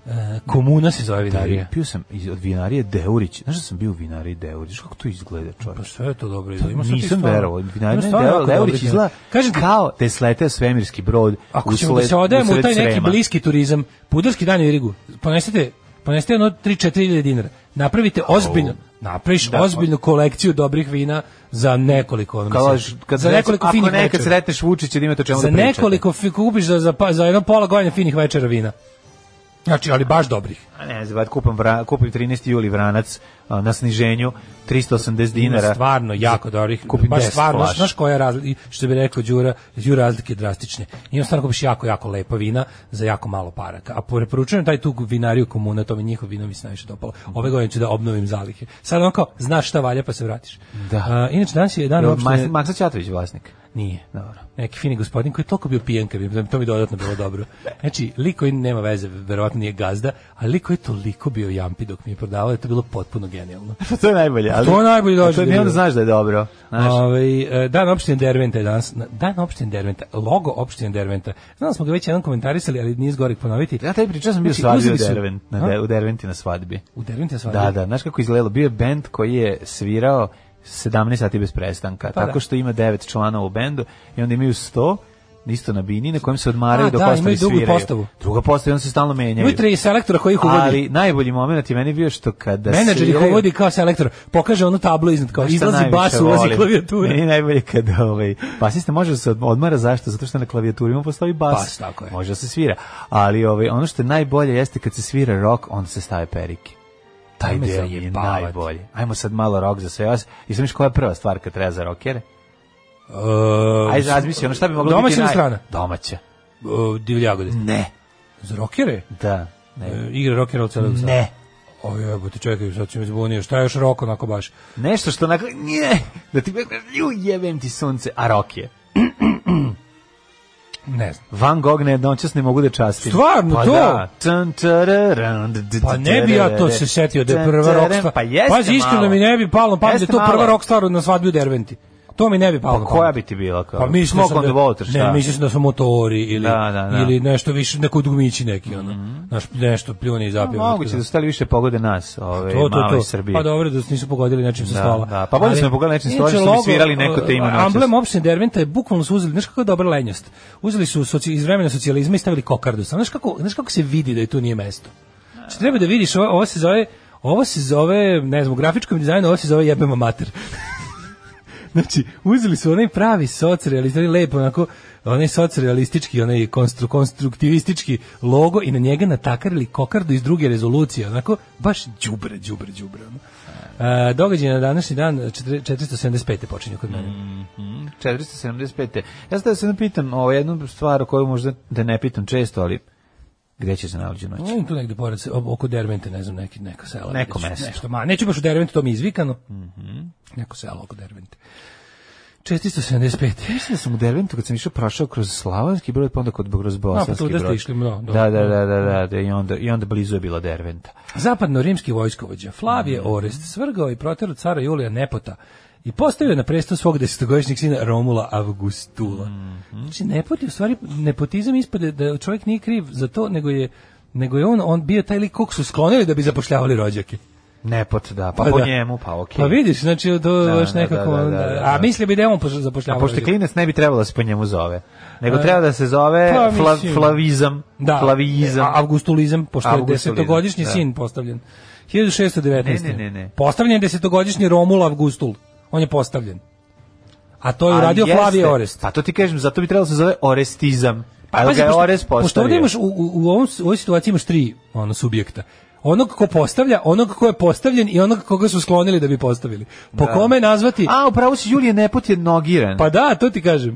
[SPEAKER 5] E, komuna se zove vinarija.
[SPEAKER 6] Pio sam iz, od vinarije Deurić. Znaš da sam bio u vinariji Deurić? Znaš Kako to izgleda, čovječ?
[SPEAKER 5] Pa sve je to dobro izgleda. Ima sad tih
[SPEAKER 6] Nisam
[SPEAKER 5] stvarno-
[SPEAKER 6] verovao.
[SPEAKER 5] ima
[SPEAKER 6] Vinarija
[SPEAKER 5] stvarno jako
[SPEAKER 6] Deurić, Deurić
[SPEAKER 5] dobrih
[SPEAKER 6] izgleda
[SPEAKER 5] vina. Kažem ti,
[SPEAKER 6] kao da je sleteo svemirski brod
[SPEAKER 5] Ako ćemo
[SPEAKER 6] usled,
[SPEAKER 5] da se odajemo u
[SPEAKER 6] usred
[SPEAKER 5] taj neki
[SPEAKER 6] Srema.
[SPEAKER 5] bliski turizam, pudarski dan u Irigu, ponesite, ponesite ono 3-4 hiljade dinara, napravite ozbiljno, napraviš ozbiljnu kolekciju dobrih vina za nekoliko, ono,
[SPEAKER 6] Kao,
[SPEAKER 5] mislim,
[SPEAKER 6] kad
[SPEAKER 5] za
[SPEAKER 6] se-
[SPEAKER 5] nekoliko
[SPEAKER 6] ako
[SPEAKER 5] finih
[SPEAKER 6] nekad
[SPEAKER 5] večera.
[SPEAKER 6] sretneš Vučića da imate o čemu
[SPEAKER 5] Za
[SPEAKER 6] da pričate.
[SPEAKER 5] nekoliko fi- kupiš za, za, pa- za jedno pola godine finih večera vina. Znači, ali baš dobrih.
[SPEAKER 6] A ne, znam, kupam, vra, kupim 13. juli vranac a, na sniženju 380 dinara.
[SPEAKER 5] Stvarno, jako dobrih.
[SPEAKER 6] Kupi
[SPEAKER 5] baš
[SPEAKER 6] 10
[SPEAKER 5] stvarno,
[SPEAKER 6] flaša.
[SPEAKER 5] znaš, znaš koja je razlika, što bi rekao Đura, Đura razlike drastične. Imam stvarno kupiš jako, jako lepa vina za jako malo paraka. A preporučujem taj tu vinariju komuna, to mi njihov vino mi se najviše dopalo. Ove godine ću da obnovim zalihe. Sad on kao, znaš šta valja pa se vratiš.
[SPEAKER 6] Da.
[SPEAKER 5] A, inače, danas je dan
[SPEAKER 6] Jel
[SPEAKER 5] opštine...
[SPEAKER 6] Mas- Maksa Ćatović vlasnik.
[SPEAKER 5] Nije.
[SPEAKER 6] Dobro.
[SPEAKER 5] Neki fini gospodin koji je toliko bio pijen, kad bi, to mi dodatno bilo dobro. Znači, lik koji nema veze, verovatno nije gazda, ali lik koji je toliko bio jampi dok mi je prodavao, da je to bilo potpuno genijalno.
[SPEAKER 6] Pa to je najbolje. Ali,
[SPEAKER 5] To je najbolje
[SPEAKER 6] a
[SPEAKER 5] dođe
[SPEAKER 6] To je
[SPEAKER 5] do
[SPEAKER 6] ne onda
[SPEAKER 5] ljudi.
[SPEAKER 6] znaš da je dobro. Znaš,
[SPEAKER 5] Ovaj, e, dan opštine Derventa je danas. Na- Dan opštine Derventa, logo opštine Derventa. Znam da smo ga već jednom komentarisali, ali nije zgorih ponoviti.
[SPEAKER 6] ja taj pričao sam bio
[SPEAKER 5] Znači,
[SPEAKER 6] svadbi u,
[SPEAKER 5] uzeli su-
[SPEAKER 6] Dervent, na
[SPEAKER 5] A?
[SPEAKER 6] de, u Derventi na svadbi.
[SPEAKER 5] U Derventa svadbi?
[SPEAKER 6] Da, da, znaš kako izgledalo? Bio je bend koji je svirao 17 sati bez prestanka,
[SPEAKER 5] Pa da.
[SPEAKER 6] tako što ima 9 članova u bendu i onda imaju 100 isto na bini na kojem se odmaraju
[SPEAKER 5] A,
[SPEAKER 6] dok
[SPEAKER 5] da,
[SPEAKER 6] ostali
[SPEAKER 5] imaju drugu
[SPEAKER 6] sviraju.
[SPEAKER 5] postavu.
[SPEAKER 6] Druga postava i onda se stalno menjaju.
[SPEAKER 5] Imaju tri selektora koji ih uvodi.
[SPEAKER 6] Ali najbolji moment je meni bio što kada
[SPEAKER 5] Menadžer ih
[SPEAKER 6] sviraju-
[SPEAKER 5] uvodi kao selektor. Pokaže onu tablu iznad kao
[SPEAKER 6] Znaš šta
[SPEAKER 5] Pa izlazi
[SPEAKER 6] najviše
[SPEAKER 5] bas, ulazi
[SPEAKER 6] volim? Meni
[SPEAKER 5] klavijatura. E,
[SPEAKER 6] je najbolje kada ovaj, basista može da se od- odmara, zašto? Zato što na klavijaturi ima postoji bas.
[SPEAKER 5] Bas, tako je.
[SPEAKER 6] Može da se svira. Ali ovaj, ono što je najbolje jeste kad se svira rock, onda se stave perike. Taj
[SPEAKER 5] Ajme
[SPEAKER 6] deo mi je
[SPEAKER 5] zajebavati.
[SPEAKER 6] najbolje. Ajmo sad malo rock za sve vas. I sam miš koja je prva stvar kad treba za rockere? Ajde, razmisli, ono šta bi moglo
[SPEAKER 5] Domaća
[SPEAKER 6] biti
[SPEAKER 5] ili
[SPEAKER 6] naj...
[SPEAKER 5] strana?
[SPEAKER 6] Domaća.
[SPEAKER 5] Uh, Divljagode.
[SPEAKER 6] Ne.
[SPEAKER 5] Za rokere?
[SPEAKER 6] Da. Ne.
[SPEAKER 5] E, igra rokera od celog sada.
[SPEAKER 6] Ne.
[SPEAKER 5] O jebote, čekaj, sad si me zbunio. Šta je još rok onako baš?
[SPEAKER 6] Nešto što onako... Nje, da ti kažeš, ju jebem ti sunce, a rock je.
[SPEAKER 5] Ne znam.
[SPEAKER 6] Van Gogh ne noćas ne mogu da častim.
[SPEAKER 5] Stvarno,
[SPEAKER 6] pa
[SPEAKER 5] to?
[SPEAKER 6] Da. Tun, tararan, d- d-
[SPEAKER 5] Pa ne bi ja to se setio da je prva
[SPEAKER 6] Tun,
[SPEAKER 5] rock
[SPEAKER 6] tararan.
[SPEAKER 5] stvar.
[SPEAKER 6] Pa jeste
[SPEAKER 5] Pazi, iskreno
[SPEAKER 6] malo.
[SPEAKER 5] mi ne bi palo na pamet da je
[SPEAKER 6] Jeste
[SPEAKER 5] to prva
[SPEAKER 6] malo.
[SPEAKER 5] rock stvar na svadbi u Derventi. To mi ne bi palo
[SPEAKER 6] Pa
[SPEAKER 5] na
[SPEAKER 6] koja
[SPEAKER 5] pamet.
[SPEAKER 6] bi ti bila kao?
[SPEAKER 5] Pa mislio
[SPEAKER 6] Smoke
[SPEAKER 5] sam
[SPEAKER 6] on
[SPEAKER 5] da,
[SPEAKER 6] the water, šta?
[SPEAKER 5] ne, mislio sam da su motori ili,
[SPEAKER 6] Da, da, da.
[SPEAKER 5] ili nešto više, neko dugmići neki, ono, znaš, nešto pljuni i zapije.
[SPEAKER 6] Pa Moguće da su stali više pogode nas, ove, to, male Srbije.
[SPEAKER 5] Pa dobro da se nisu pogodili nečim sa
[SPEAKER 6] Da,
[SPEAKER 5] stola.
[SPEAKER 6] da, pa bolje
[SPEAKER 5] Ali,
[SPEAKER 6] su me pogodili nečim sa stola,
[SPEAKER 5] inače,
[SPEAKER 6] što bi
[SPEAKER 5] logo,
[SPEAKER 6] svirali neko te ima
[SPEAKER 5] uh,
[SPEAKER 6] noćas.
[SPEAKER 5] Amblem opštine Derventa je bukvalno su uzeli, znaš kako je dobra lenjost. Uzeli su soci, iz vremena socijalizma i stavili kokardu. Samo Znaš kako, znaš kako se vidi da je tu nije mesto? Znači, treba da vidiš, ovo, ovo se zove, ovo se zove, ne znam, u grafičkom dizajnu, ovo se zove jebema mater. Znači, uzeli su onaj pravi socrealist, onaj lepo, onako, onaj socrealistički, onaj konstru, konstruktivistički logo i na njega natakarili kokardu iz druge rezolucije, onako, baš đubre, đubre, đubre. Ono. E, događaj na današnji dan, četiri- 475. počinju kod mene.
[SPEAKER 6] Mm. 475. Ja sad da se ne pitam o jednu stvar koju možda da ne pitam često, ali gde će se nalađu noć?
[SPEAKER 5] Mm. Tu negde pored, se- ob- oko Dervente, ne znam, neki, neko selo.
[SPEAKER 6] Neko
[SPEAKER 5] Neću-
[SPEAKER 6] mesto. Mhm.
[SPEAKER 5] Nešto, ma, neću baš u Dervente, to mi je izvikano. Neko selo oko Dervente. 475.
[SPEAKER 6] Mislim da sam u Derventu kad sam išao prošao kroz Slavonski brod, pa onda kod kroz
[SPEAKER 5] A, pa
[SPEAKER 6] Bosanski
[SPEAKER 5] tuda
[SPEAKER 6] brod.
[SPEAKER 5] ste išli, no, dobro.
[SPEAKER 6] da, da, da, da, da, da, i onda, i onda blizu je bila Derventa.
[SPEAKER 5] Pa Zapadno-rimski vojskovođa Flavije
[SPEAKER 6] Mhm.
[SPEAKER 5] Orest svrgao i proterao cara Julija Nepota i postavio na presto svog desetogodišnjeg sina Romula Augustula.
[SPEAKER 6] Mhm.
[SPEAKER 5] Znači, nepot je u stvari, nepotizam ispade da čovjek nije kriv za to, nego je, nego je on, on bio taj lik kog su sklonili da bi zapošljavali rođake.
[SPEAKER 6] Nepot, da, pa, po
[SPEAKER 5] da.
[SPEAKER 6] njemu, pa okej.
[SPEAKER 5] Pa vidiš, znači to
[SPEAKER 6] Da,
[SPEAKER 5] baš
[SPEAKER 6] da,
[SPEAKER 5] nekako...
[SPEAKER 6] da, da, da, da.
[SPEAKER 5] A mislim bi da je on poš-
[SPEAKER 6] A
[SPEAKER 5] zapošljavao.
[SPEAKER 6] pošto je klinac ne bi trebalo da se po njemu zove, nego
[SPEAKER 5] E,
[SPEAKER 6] treba da se zove
[SPEAKER 5] pa,
[SPEAKER 6] fla-
[SPEAKER 5] mislim.
[SPEAKER 6] flavizam,
[SPEAKER 5] Da,
[SPEAKER 6] flavizam.
[SPEAKER 5] a- avgustulizam, pošto je
[SPEAKER 6] Avgustulizam,
[SPEAKER 5] desetogodišnji
[SPEAKER 6] da.
[SPEAKER 5] sin postavljen. 1619.
[SPEAKER 6] Ne, ne, ne, ne.
[SPEAKER 5] Postavljen je desetogodišnji Romul Avgustul. On je postavljen. A to je
[SPEAKER 6] Ali
[SPEAKER 5] uradio
[SPEAKER 6] jeste.
[SPEAKER 5] Flavije Orest.
[SPEAKER 6] Pa to ti kažem, zato bi trebalo da se zove orestizam. Pa ga
[SPEAKER 5] pazi,
[SPEAKER 6] je
[SPEAKER 5] pošto-
[SPEAKER 6] orest
[SPEAKER 5] Pošto
[SPEAKER 6] postavio.
[SPEAKER 5] ovdje imaš, u, u, u, ovom, u ovoj situaciji imaš tri ono, subjekta. Onog ko postavlja, onog ko je postavljen i onog koga su sklonili da bi postavili. Po kome nazvati?
[SPEAKER 6] A, upravo si Julije Nepot je nogiran.
[SPEAKER 5] Pa da, to ti kažem.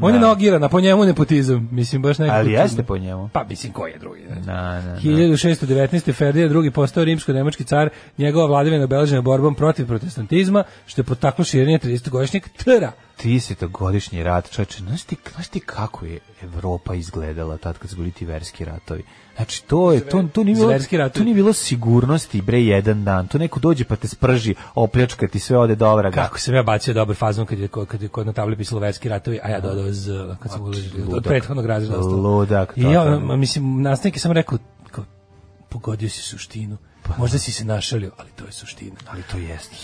[SPEAKER 5] On je nogiran, a po njemu nepotizam. Mislim, baš nekako...
[SPEAKER 6] Ali
[SPEAKER 5] čudno.
[SPEAKER 6] jeste po njemu.
[SPEAKER 5] Pa mislim, ko je drugi? znači?
[SPEAKER 6] Na, na, na.
[SPEAKER 5] 1619. Ferdija II. postao rimsko-nemački car, njegova vladavina obeležena borbom protiv protestantizma, što je potaklo širenje 30-godišnjeg tera.
[SPEAKER 6] 30-godišnji rat, čoveče, znaš ti, znaš ti kako je Evropa izgledala tad kad su bili ti verski ratovi? Znači, to je, to, to, nije, bilo,
[SPEAKER 5] Zverski ratovi.
[SPEAKER 6] to nije bilo sigurnosti, bre, jedan dan. To neko dođe pa te sprži, opljačka ti sve ode do vraga.
[SPEAKER 5] Kako sam ja bacio dobar fazon kad je, kad je kod na tabli pisalo verski ratovi, a ja dodao z, kad sam uložio, od
[SPEAKER 6] ludak.
[SPEAKER 5] prethodnog razreda. ostalo.
[SPEAKER 6] Ludak,
[SPEAKER 5] I ja,
[SPEAKER 6] totalno.
[SPEAKER 5] ma, mislim, nastavnik je samo rekao, kao, pogodio si suštinu.
[SPEAKER 6] Pa
[SPEAKER 5] Možda si se našalio, ali to je suština.
[SPEAKER 6] Ali to jeste.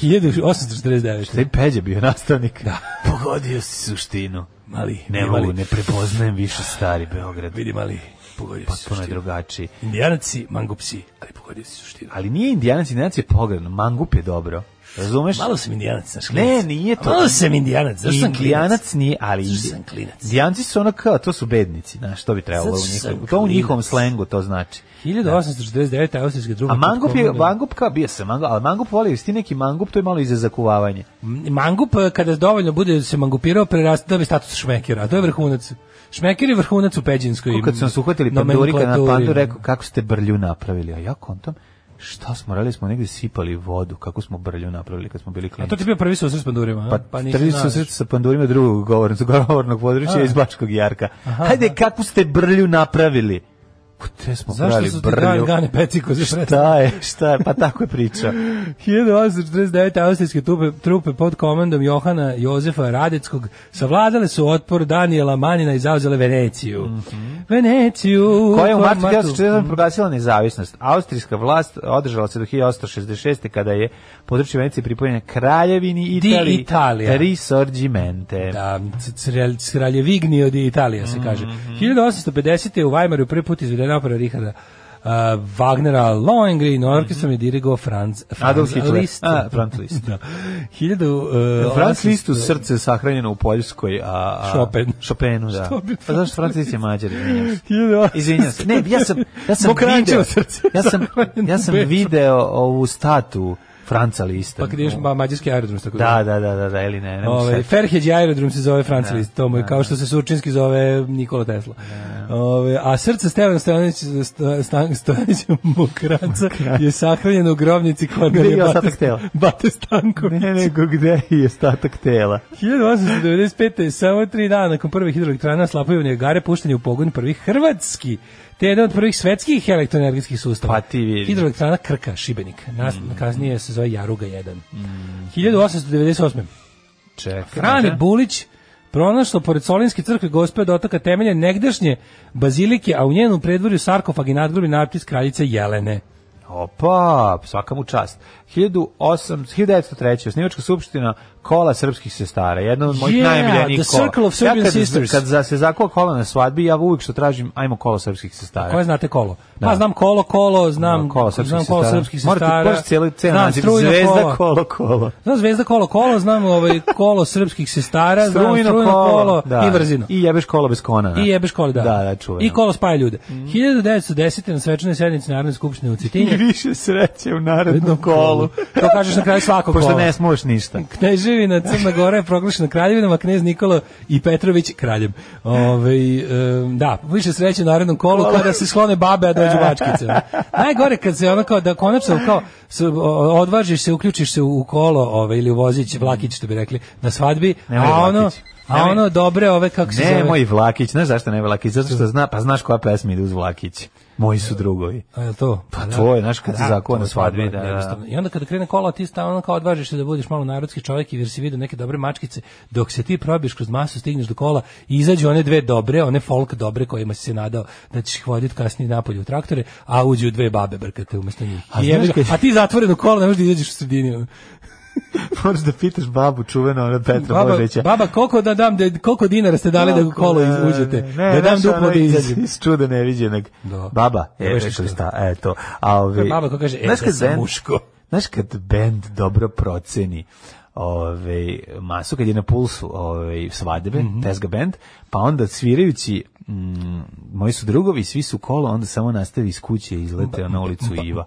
[SPEAKER 5] 1849.
[SPEAKER 6] Taj Peđa bio nastavnik. Da. Pogodio si suštinu.
[SPEAKER 5] Mali,
[SPEAKER 6] Ne
[SPEAKER 5] vidi,
[SPEAKER 6] mogu,
[SPEAKER 5] mali.
[SPEAKER 6] ne prepoznajem više stari Beograd.
[SPEAKER 5] Vidim, ali pogodio si
[SPEAKER 6] Potpuno je
[SPEAKER 5] suštinu.
[SPEAKER 6] drugačiji.
[SPEAKER 5] Indijanaci, mangupsi, ali pogodio si suštinu.
[SPEAKER 6] Ali nije indijanac, indijanac je pogledno. Mangup je dobro. Razumeš?
[SPEAKER 5] Malo sam indijanac, znaš
[SPEAKER 6] Ne,
[SPEAKER 5] klinac.
[SPEAKER 6] nije to.
[SPEAKER 5] Malo sam indijanac, zašto sam klinac?
[SPEAKER 6] Indijanac nije, ali
[SPEAKER 5] Zašto sam klinac?
[SPEAKER 6] Indijanci su ono kao, to su bednici, znaš, to bi trebalo
[SPEAKER 5] Zašto
[SPEAKER 6] u
[SPEAKER 5] sam
[SPEAKER 6] njihovom, to u njihovom
[SPEAKER 5] klinac?
[SPEAKER 6] slengu to znači.
[SPEAKER 5] 1849. austrijske druge.
[SPEAKER 6] A mangup je, mangup kao bio sam, mangup, ali mangup voli, ti neki mangup, to je malo i za zakuvavanje.
[SPEAKER 5] Mangup, eh, kada dovoljno bude se mangupirao, prerasta da bi status šmekera. A to je vrhunac. Šmeker je vrhunac u Peđinskoj.
[SPEAKER 6] Ko kad su nas uhvatili pandurika na
[SPEAKER 5] nomenklaturi.
[SPEAKER 6] pandu, rekao kako ste brlju napravili, a ja kontam, šta smo radili, smo negdje sipali vodu, kako smo brlju napravili kad smo bili
[SPEAKER 5] A
[SPEAKER 6] klinici.
[SPEAKER 5] E, to ti je bio prvi susret s pandurima, a?
[SPEAKER 6] Pa,
[SPEAKER 5] pa
[SPEAKER 6] pa
[SPEAKER 5] nisi
[SPEAKER 6] trvi
[SPEAKER 5] znaš.
[SPEAKER 6] susret sa pandurima drugog govornog, govornog područja iz Bačkog Jarka. Hajde, kako ste brlju napravili? Kde smo
[SPEAKER 5] Zašto
[SPEAKER 6] brali
[SPEAKER 5] su ti dan
[SPEAKER 6] brlju?
[SPEAKER 5] gane peciko za sredstvo?
[SPEAKER 6] Šta je, šta je, pa tako je priča.
[SPEAKER 5] 1849. austrijske trupe, trupe pod komandom Johana Jozefa Radeckog savladale su otpor Danijela Manina i zauzele Veneciju. Veneciju!
[SPEAKER 6] Mhm. Koja je u
[SPEAKER 5] koja
[SPEAKER 6] martu
[SPEAKER 5] Mm.
[SPEAKER 6] 1947. proglasila nezavisnost. Austrijska vlast održala se do 1866. kada je područje Venecije pripojene Kraljevini Italiji.
[SPEAKER 5] Italija.
[SPEAKER 6] Risorgimente.
[SPEAKER 5] Da, Sraljevignio di Italija se kaže.
[SPEAKER 6] Mhm,
[SPEAKER 5] 1850. je u Weimaru prvi put izvedena opera Richarda uh, Wagnera Lohengrin, orkestrom je dirigao Franz, Franz
[SPEAKER 6] Mhm. Adolf Hitler.
[SPEAKER 5] Liszt.
[SPEAKER 6] A, Franz Liszt.
[SPEAKER 5] da. 1000, uh,
[SPEAKER 6] Franz Liszt u
[SPEAKER 5] 800
[SPEAKER 6] srce sahranjeno u Poljskoj, a... a
[SPEAKER 5] Chopin.
[SPEAKER 6] Chopinu, da.
[SPEAKER 5] Što bi
[SPEAKER 6] Pa zašto Franz Liszt je mađar, izvinjam se.
[SPEAKER 5] 1800
[SPEAKER 6] Izvinjam se. Ne, ja sam ja sam
[SPEAKER 5] Mokrančevo
[SPEAKER 6] video.
[SPEAKER 5] srce.
[SPEAKER 6] Ja sam ja sam
[SPEAKER 5] Beč.
[SPEAKER 6] video ovu statu Franca Lista.
[SPEAKER 5] Pa kad ideš ma, mađarski aerodrom, tako
[SPEAKER 6] Da, da, da, da, da, ili ne, ne
[SPEAKER 5] Ovaj
[SPEAKER 6] Ove,
[SPEAKER 5] Ferhedž aerodrom se zove Franz Liszt, to mu je kao što se Surčinski zove Nikola Tesla. Ovaj, a srce Stevana Stojanić Sto- Stan- Stojanića Mokranca je sahranjeno u grobnici
[SPEAKER 6] Gde je
[SPEAKER 5] Kornelija
[SPEAKER 6] ostatak
[SPEAKER 5] Bate,
[SPEAKER 6] tela?
[SPEAKER 5] Bate Stanković.
[SPEAKER 6] Ne, nego gde je ostatak tela?
[SPEAKER 5] 1895. samo tri dana nakon prvih hidroelektrana slapojevne gare puštanje u pogon prvih hrvatski te jedan od prvih svetskih elektroenergetskih sustava.
[SPEAKER 6] Pa ti vidi. Mm.
[SPEAKER 5] Hidroelektrana Krka, Šibenik. Nas, Kasnije se zove Jaruga 1. 1898.
[SPEAKER 6] Čekaj.
[SPEAKER 5] Frane Bulić pronašlo pored Solinske crkve gospe od otoka temelje negdašnje bazilike, a u njenom predvorju sarkofag i nadgrobi natpis kraljice Jelene.
[SPEAKER 6] Opa, svaka mu čast. 1800, 1903. Osnivačka skupština kola srpskih sestara, jedna od mojih
[SPEAKER 5] Yeah,
[SPEAKER 6] najmiljenijih
[SPEAKER 5] the
[SPEAKER 6] kola.
[SPEAKER 5] Circle of Serbian
[SPEAKER 6] ja kad,
[SPEAKER 5] Sisters.
[SPEAKER 6] Kad za, se zakuva kola na svadbi, ja uvijek što tražim, ajmo kola srpskih sestara.
[SPEAKER 5] Koje znate kolo? Pa
[SPEAKER 6] E. Da.
[SPEAKER 5] znam kolo, kolo, znam,
[SPEAKER 6] kola srpskih
[SPEAKER 5] znam kolo
[SPEAKER 6] sestara.
[SPEAKER 5] srpskih
[SPEAKER 6] Morate
[SPEAKER 5] sestara.
[SPEAKER 6] možete cijeli, cijeli
[SPEAKER 5] znam
[SPEAKER 6] naziv.
[SPEAKER 5] strujno
[SPEAKER 6] Zvezda,
[SPEAKER 5] kolo.
[SPEAKER 6] kolo, kolo.
[SPEAKER 5] Znam zvezda kolo kolo, znam ovaj kolo srpskih sestara, znam
[SPEAKER 6] Strujno
[SPEAKER 5] strujno kolo, i vrzino.
[SPEAKER 6] I jebeš kolo bez kona. da.
[SPEAKER 5] I jebeš koli, da.
[SPEAKER 6] Da, da, čuveno. Mhm.
[SPEAKER 5] I kolo spaja ljude. 1910. na svečanoj sednici Narodne skupštine u
[SPEAKER 6] I
[SPEAKER 5] Cetinju.
[SPEAKER 6] više sreće u narednom kolu.
[SPEAKER 5] To kažeš na kraju svakog kola.
[SPEAKER 6] Pošto ne smuješ ništa.
[SPEAKER 5] Kneževina Crna Gora je proglašena kraljevinom, a knez Nikola i Petrović kraljem. Ove, e, da, više sreće u narednom kolu kada se slone babe, a dođu bačkice. Najgore kad se ono kao, da konačno kao, s- o- odvažiš se, uključiš se u kolo ove, ili u vozić, vlakić, što bi rekli, na svadbi,
[SPEAKER 6] Nemoj
[SPEAKER 5] a ono...
[SPEAKER 6] vlakić.
[SPEAKER 5] A ono dobre ove kako se
[SPEAKER 6] Ne,
[SPEAKER 5] zove?
[SPEAKER 6] moj Vlakić, znaš zašto ne Vlakić? Zato što zna, pa znaš koja pesma ide uz Vlakić. Moji su drugovi.
[SPEAKER 5] A je to?
[SPEAKER 6] Pa to je, znaš, kad si zakon
[SPEAKER 5] to je
[SPEAKER 6] na svadbi,
[SPEAKER 5] to,
[SPEAKER 6] da, da.
[SPEAKER 5] jednostavno. I onda kada krene kola, ti stavno kao odvažiš se da budeš malo narodski čovjek i jer si vidio neke dobre mačkice, dok se ti probiješ kroz masu, stigneš do kola i izađu one dve dobre, one folk dobre kojima si se nadao da ćeš ih voditi kasnije napolje u traktore, a uđu dve babe brkate umjesto njih.
[SPEAKER 6] A
[SPEAKER 5] I jebi
[SPEAKER 6] znaš
[SPEAKER 5] ga,
[SPEAKER 6] kad-
[SPEAKER 5] a ti zatvoreno kolo ne možeš da izađeš u sredini. ono.
[SPEAKER 6] Moraš da pitaš babu čuvena, ona Petra
[SPEAKER 5] Baba,
[SPEAKER 6] Božića.
[SPEAKER 5] baba koliko da dam da- koliko dinara ste dali da u kolo
[SPEAKER 6] Ne, ne,
[SPEAKER 5] uđete?
[SPEAKER 6] Ne,
[SPEAKER 5] da dam
[SPEAKER 6] znaš, ono
[SPEAKER 5] duplo da
[SPEAKER 6] iz-
[SPEAKER 5] izađem.
[SPEAKER 6] Iz čuda neviđenog.
[SPEAKER 5] Da.
[SPEAKER 6] Baba,
[SPEAKER 5] Da,
[SPEAKER 6] e,
[SPEAKER 5] baš
[SPEAKER 6] rekli
[SPEAKER 5] ništa.
[SPEAKER 6] šta, eto. A ovi,
[SPEAKER 5] To je baba koja kaže, e,
[SPEAKER 6] znaš
[SPEAKER 5] da
[SPEAKER 6] kad
[SPEAKER 5] sam
[SPEAKER 6] band-
[SPEAKER 5] muško.
[SPEAKER 6] Znaš kad bend dobro proceni ove, masu, kad je na pulsu ove, svadebe,
[SPEAKER 5] Mhm.
[SPEAKER 6] tezga bend, pa onda svirajući mm, moji su drugovi, svi su kolo, onda samo nastavi iz kuće i izlete na ulicu Iva.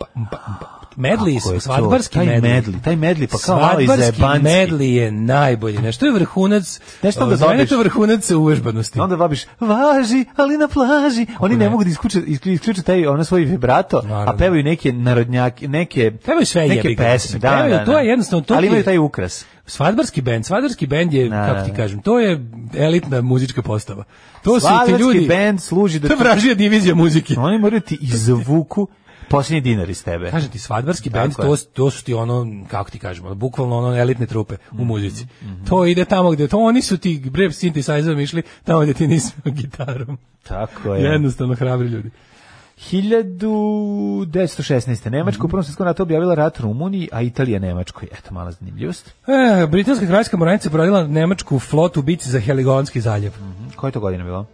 [SPEAKER 5] Medli,
[SPEAKER 6] Kako je to?
[SPEAKER 5] svadbarski
[SPEAKER 6] taj
[SPEAKER 5] medli.
[SPEAKER 6] medli. Taj medli, pa kao malo i
[SPEAKER 5] Svadbarski
[SPEAKER 6] zajebanski.
[SPEAKER 5] medli je najbolji. Nešto je vrhunac.
[SPEAKER 6] Nešto da
[SPEAKER 5] za mene je to
[SPEAKER 6] dobiš.
[SPEAKER 5] vrhunac uvežbanosti.
[SPEAKER 6] Onda babiš, važi, ali na plaži. Oni ne,
[SPEAKER 5] ne?
[SPEAKER 6] mogu da isključe, isklju- isključe taj ono svoj vibrato,
[SPEAKER 5] Naravno.
[SPEAKER 6] a pevaju neke narodnjake, neke,
[SPEAKER 5] Pevaju sve, jebi
[SPEAKER 6] neke
[SPEAKER 5] ga,
[SPEAKER 6] pesme.
[SPEAKER 5] mislim.
[SPEAKER 6] Da,
[SPEAKER 5] Pevaju,
[SPEAKER 6] da,
[SPEAKER 5] to
[SPEAKER 6] da.
[SPEAKER 5] je jednostavno, to
[SPEAKER 6] ali
[SPEAKER 5] ti je-
[SPEAKER 6] imaju taj ukras.
[SPEAKER 5] Svadbarski bend, svadbarski bend je,
[SPEAKER 6] Da,
[SPEAKER 5] kako
[SPEAKER 6] da,
[SPEAKER 5] ti
[SPEAKER 6] da.
[SPEAKER 5] kažem, to je elitna muzička postava. To su ti
[SPEAKER 6] Slavarski
[SPEAKER 5] ljudi,
[SPEAKER 6] band služi da...
[SPEAKER 5] to je vražija divizija muzike.
[SPEAKER 6] Oni moraju ti izvuku posljednji dinar iz tebe.
[SPEAKER 5] Kažem ti, svadbarski
[SPEAKER 6] Tako
[SPEAKER 5] bend,
[SPEAKER 6] je.
[SPEAKER 5] to, to su ti ono, kako ti kažemo, bukvalno ono elitne trupe u
[SPEAKER 6] Mhm,
[SPEAKER 5] muzici. To ide tamo gde, to oni su ti, bre, synthesizerom išli tamo gde ti nisi gitarom.
[SPEAKER 6] Tako je.
[SPEAKER 5] Jednostavno hrabri ljudi.
[SPEAKER 6] 1916. Nemačka u prvom svjetskom ratu objavila rat Rumuniji, a Italija Nemačkoj. Eto, mala zanimljivost.
[SPEAKER 5] E, britanska kraljska mornarica prodila nemačku flotu u bici za Heligonski zaljev.
[SPEAKER 6] Koja je to godina bila?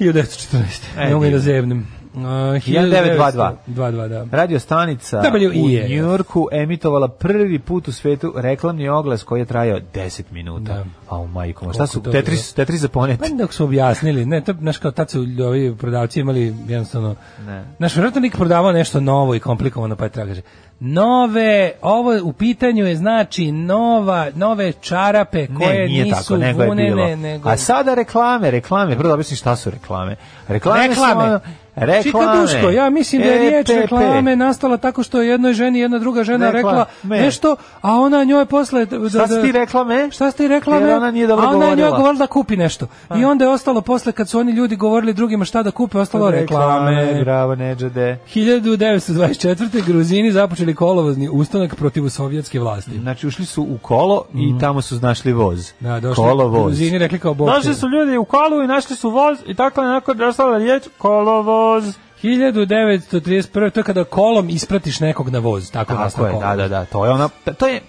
[SPEAKER 5] 1914.
[SPEAKER 6] E,
[SPEAKER 5] ne mogu ni da
[SPEAKER 6] divno.
[SPEAKER 5] zevnem. Uh,
[SPEAKER 6] 1922.
[SPEAKER 5] 22, da.
[SPEAKER 6] Radio stanica
[SPEAKER 5] WIE.
[SPEAKER 6] u Njujorku emitovala prvi put u svetu reklamni oglas koji je trajao 10 minuta.
[SPEAKER 5] Da.
[SPEAKER 6] A u majko, moja,
[SPEAKER 5] Koliko
[SPEAKER 6] šta su
[SPEAKER 5] to
[SPEAKER 6] Tetris, Tetris za
[SPEAKER 5] Pa
[SPEAKER 6] poneti?
[SPEAKER 5] dok su objasnili, ne, to, znaš, kao tad su ovi prodavci imali jednostavno,
[SPEAKER 6] Ne.
[SPEAKER 5] znaš, vjerojatno nik prodavao nešto novo i komplikovano, pa je treba kaže, nove, ovo u pitanju je znači nova, nove čarape Pa koje
[SPEAKER 6] ne, nije
[SPEAKER 5] nisu
[SPEAKER 6] tako, nego je
[SPEAKER 5] vunene,
[SPEAKER 6] bilo.
[SPEAKER 5] nego...
[SPEAKER 6] A sada reklame, reklame, prvo da objasnim šta su reklame. Reklame,
[SPEAKER 5] Reklame.
[SPEAKER 6] su ono- reklame. E
[SPEAKER 5] Čika Duško, ja mislim da je riječ
[SPEAKER 6] EPP.
[SPEAKER 5] reklame nastala tako što je jednoj ženi jedna druga žena
[SPEAKER 6] Rekla-
[SPEAKER 5] rekla
[SPEAKER 6] me.
[SPEAKER 5] nešto, a ona njoj posle... Da,
[SPEAKER 6] Šta si
[SPEAKER 5] da-
[SPEAKER 6] ti reklame?
[SPEAKER 5] Šta ste rekla?
[SPEAKER 6] Jer
[SPEAKER 5] me?
[SPEAKER 6] ona nije dobro
[SPEAKER 5] A ona je njoj
[SPEAKER 6] govorila. Pa.
[SPEAKER 5] govorila da kupi nešto. I onda je ostalo posle kad su oni ljudi govorili drugima šta da kupe, ostalo reklame.
[SPEAKER 6] Bravo, Nedžade.
[SPEAKER 5] 1924. Gruzini započeli kolovozni ustanak protiv sovjetske vlasti.
[SPEAKER 6] Znači, ušli su u kolo i tamo su našli voz.
[SPEAKER 5] Mhm. Da, došli
[SPEAKER 6] kolo voz.
[SPEAKER 5] Gruzini rekli kao bok.
[SPEAKER 6] Došli su ljudi u kolu i našli su voz i tako je onako došla riječ kolovoz.
[SPEAKER 5] 1931. to je kada kolom ispratiš nekog na voz, tako,
[SPEAKER 6] Tako
[SPEAKER 5] nastao
[SPEAKER 6] je,
[SPEAKER 5] kolo.
[SPEAKER 6] da, da, da, to je ona, to je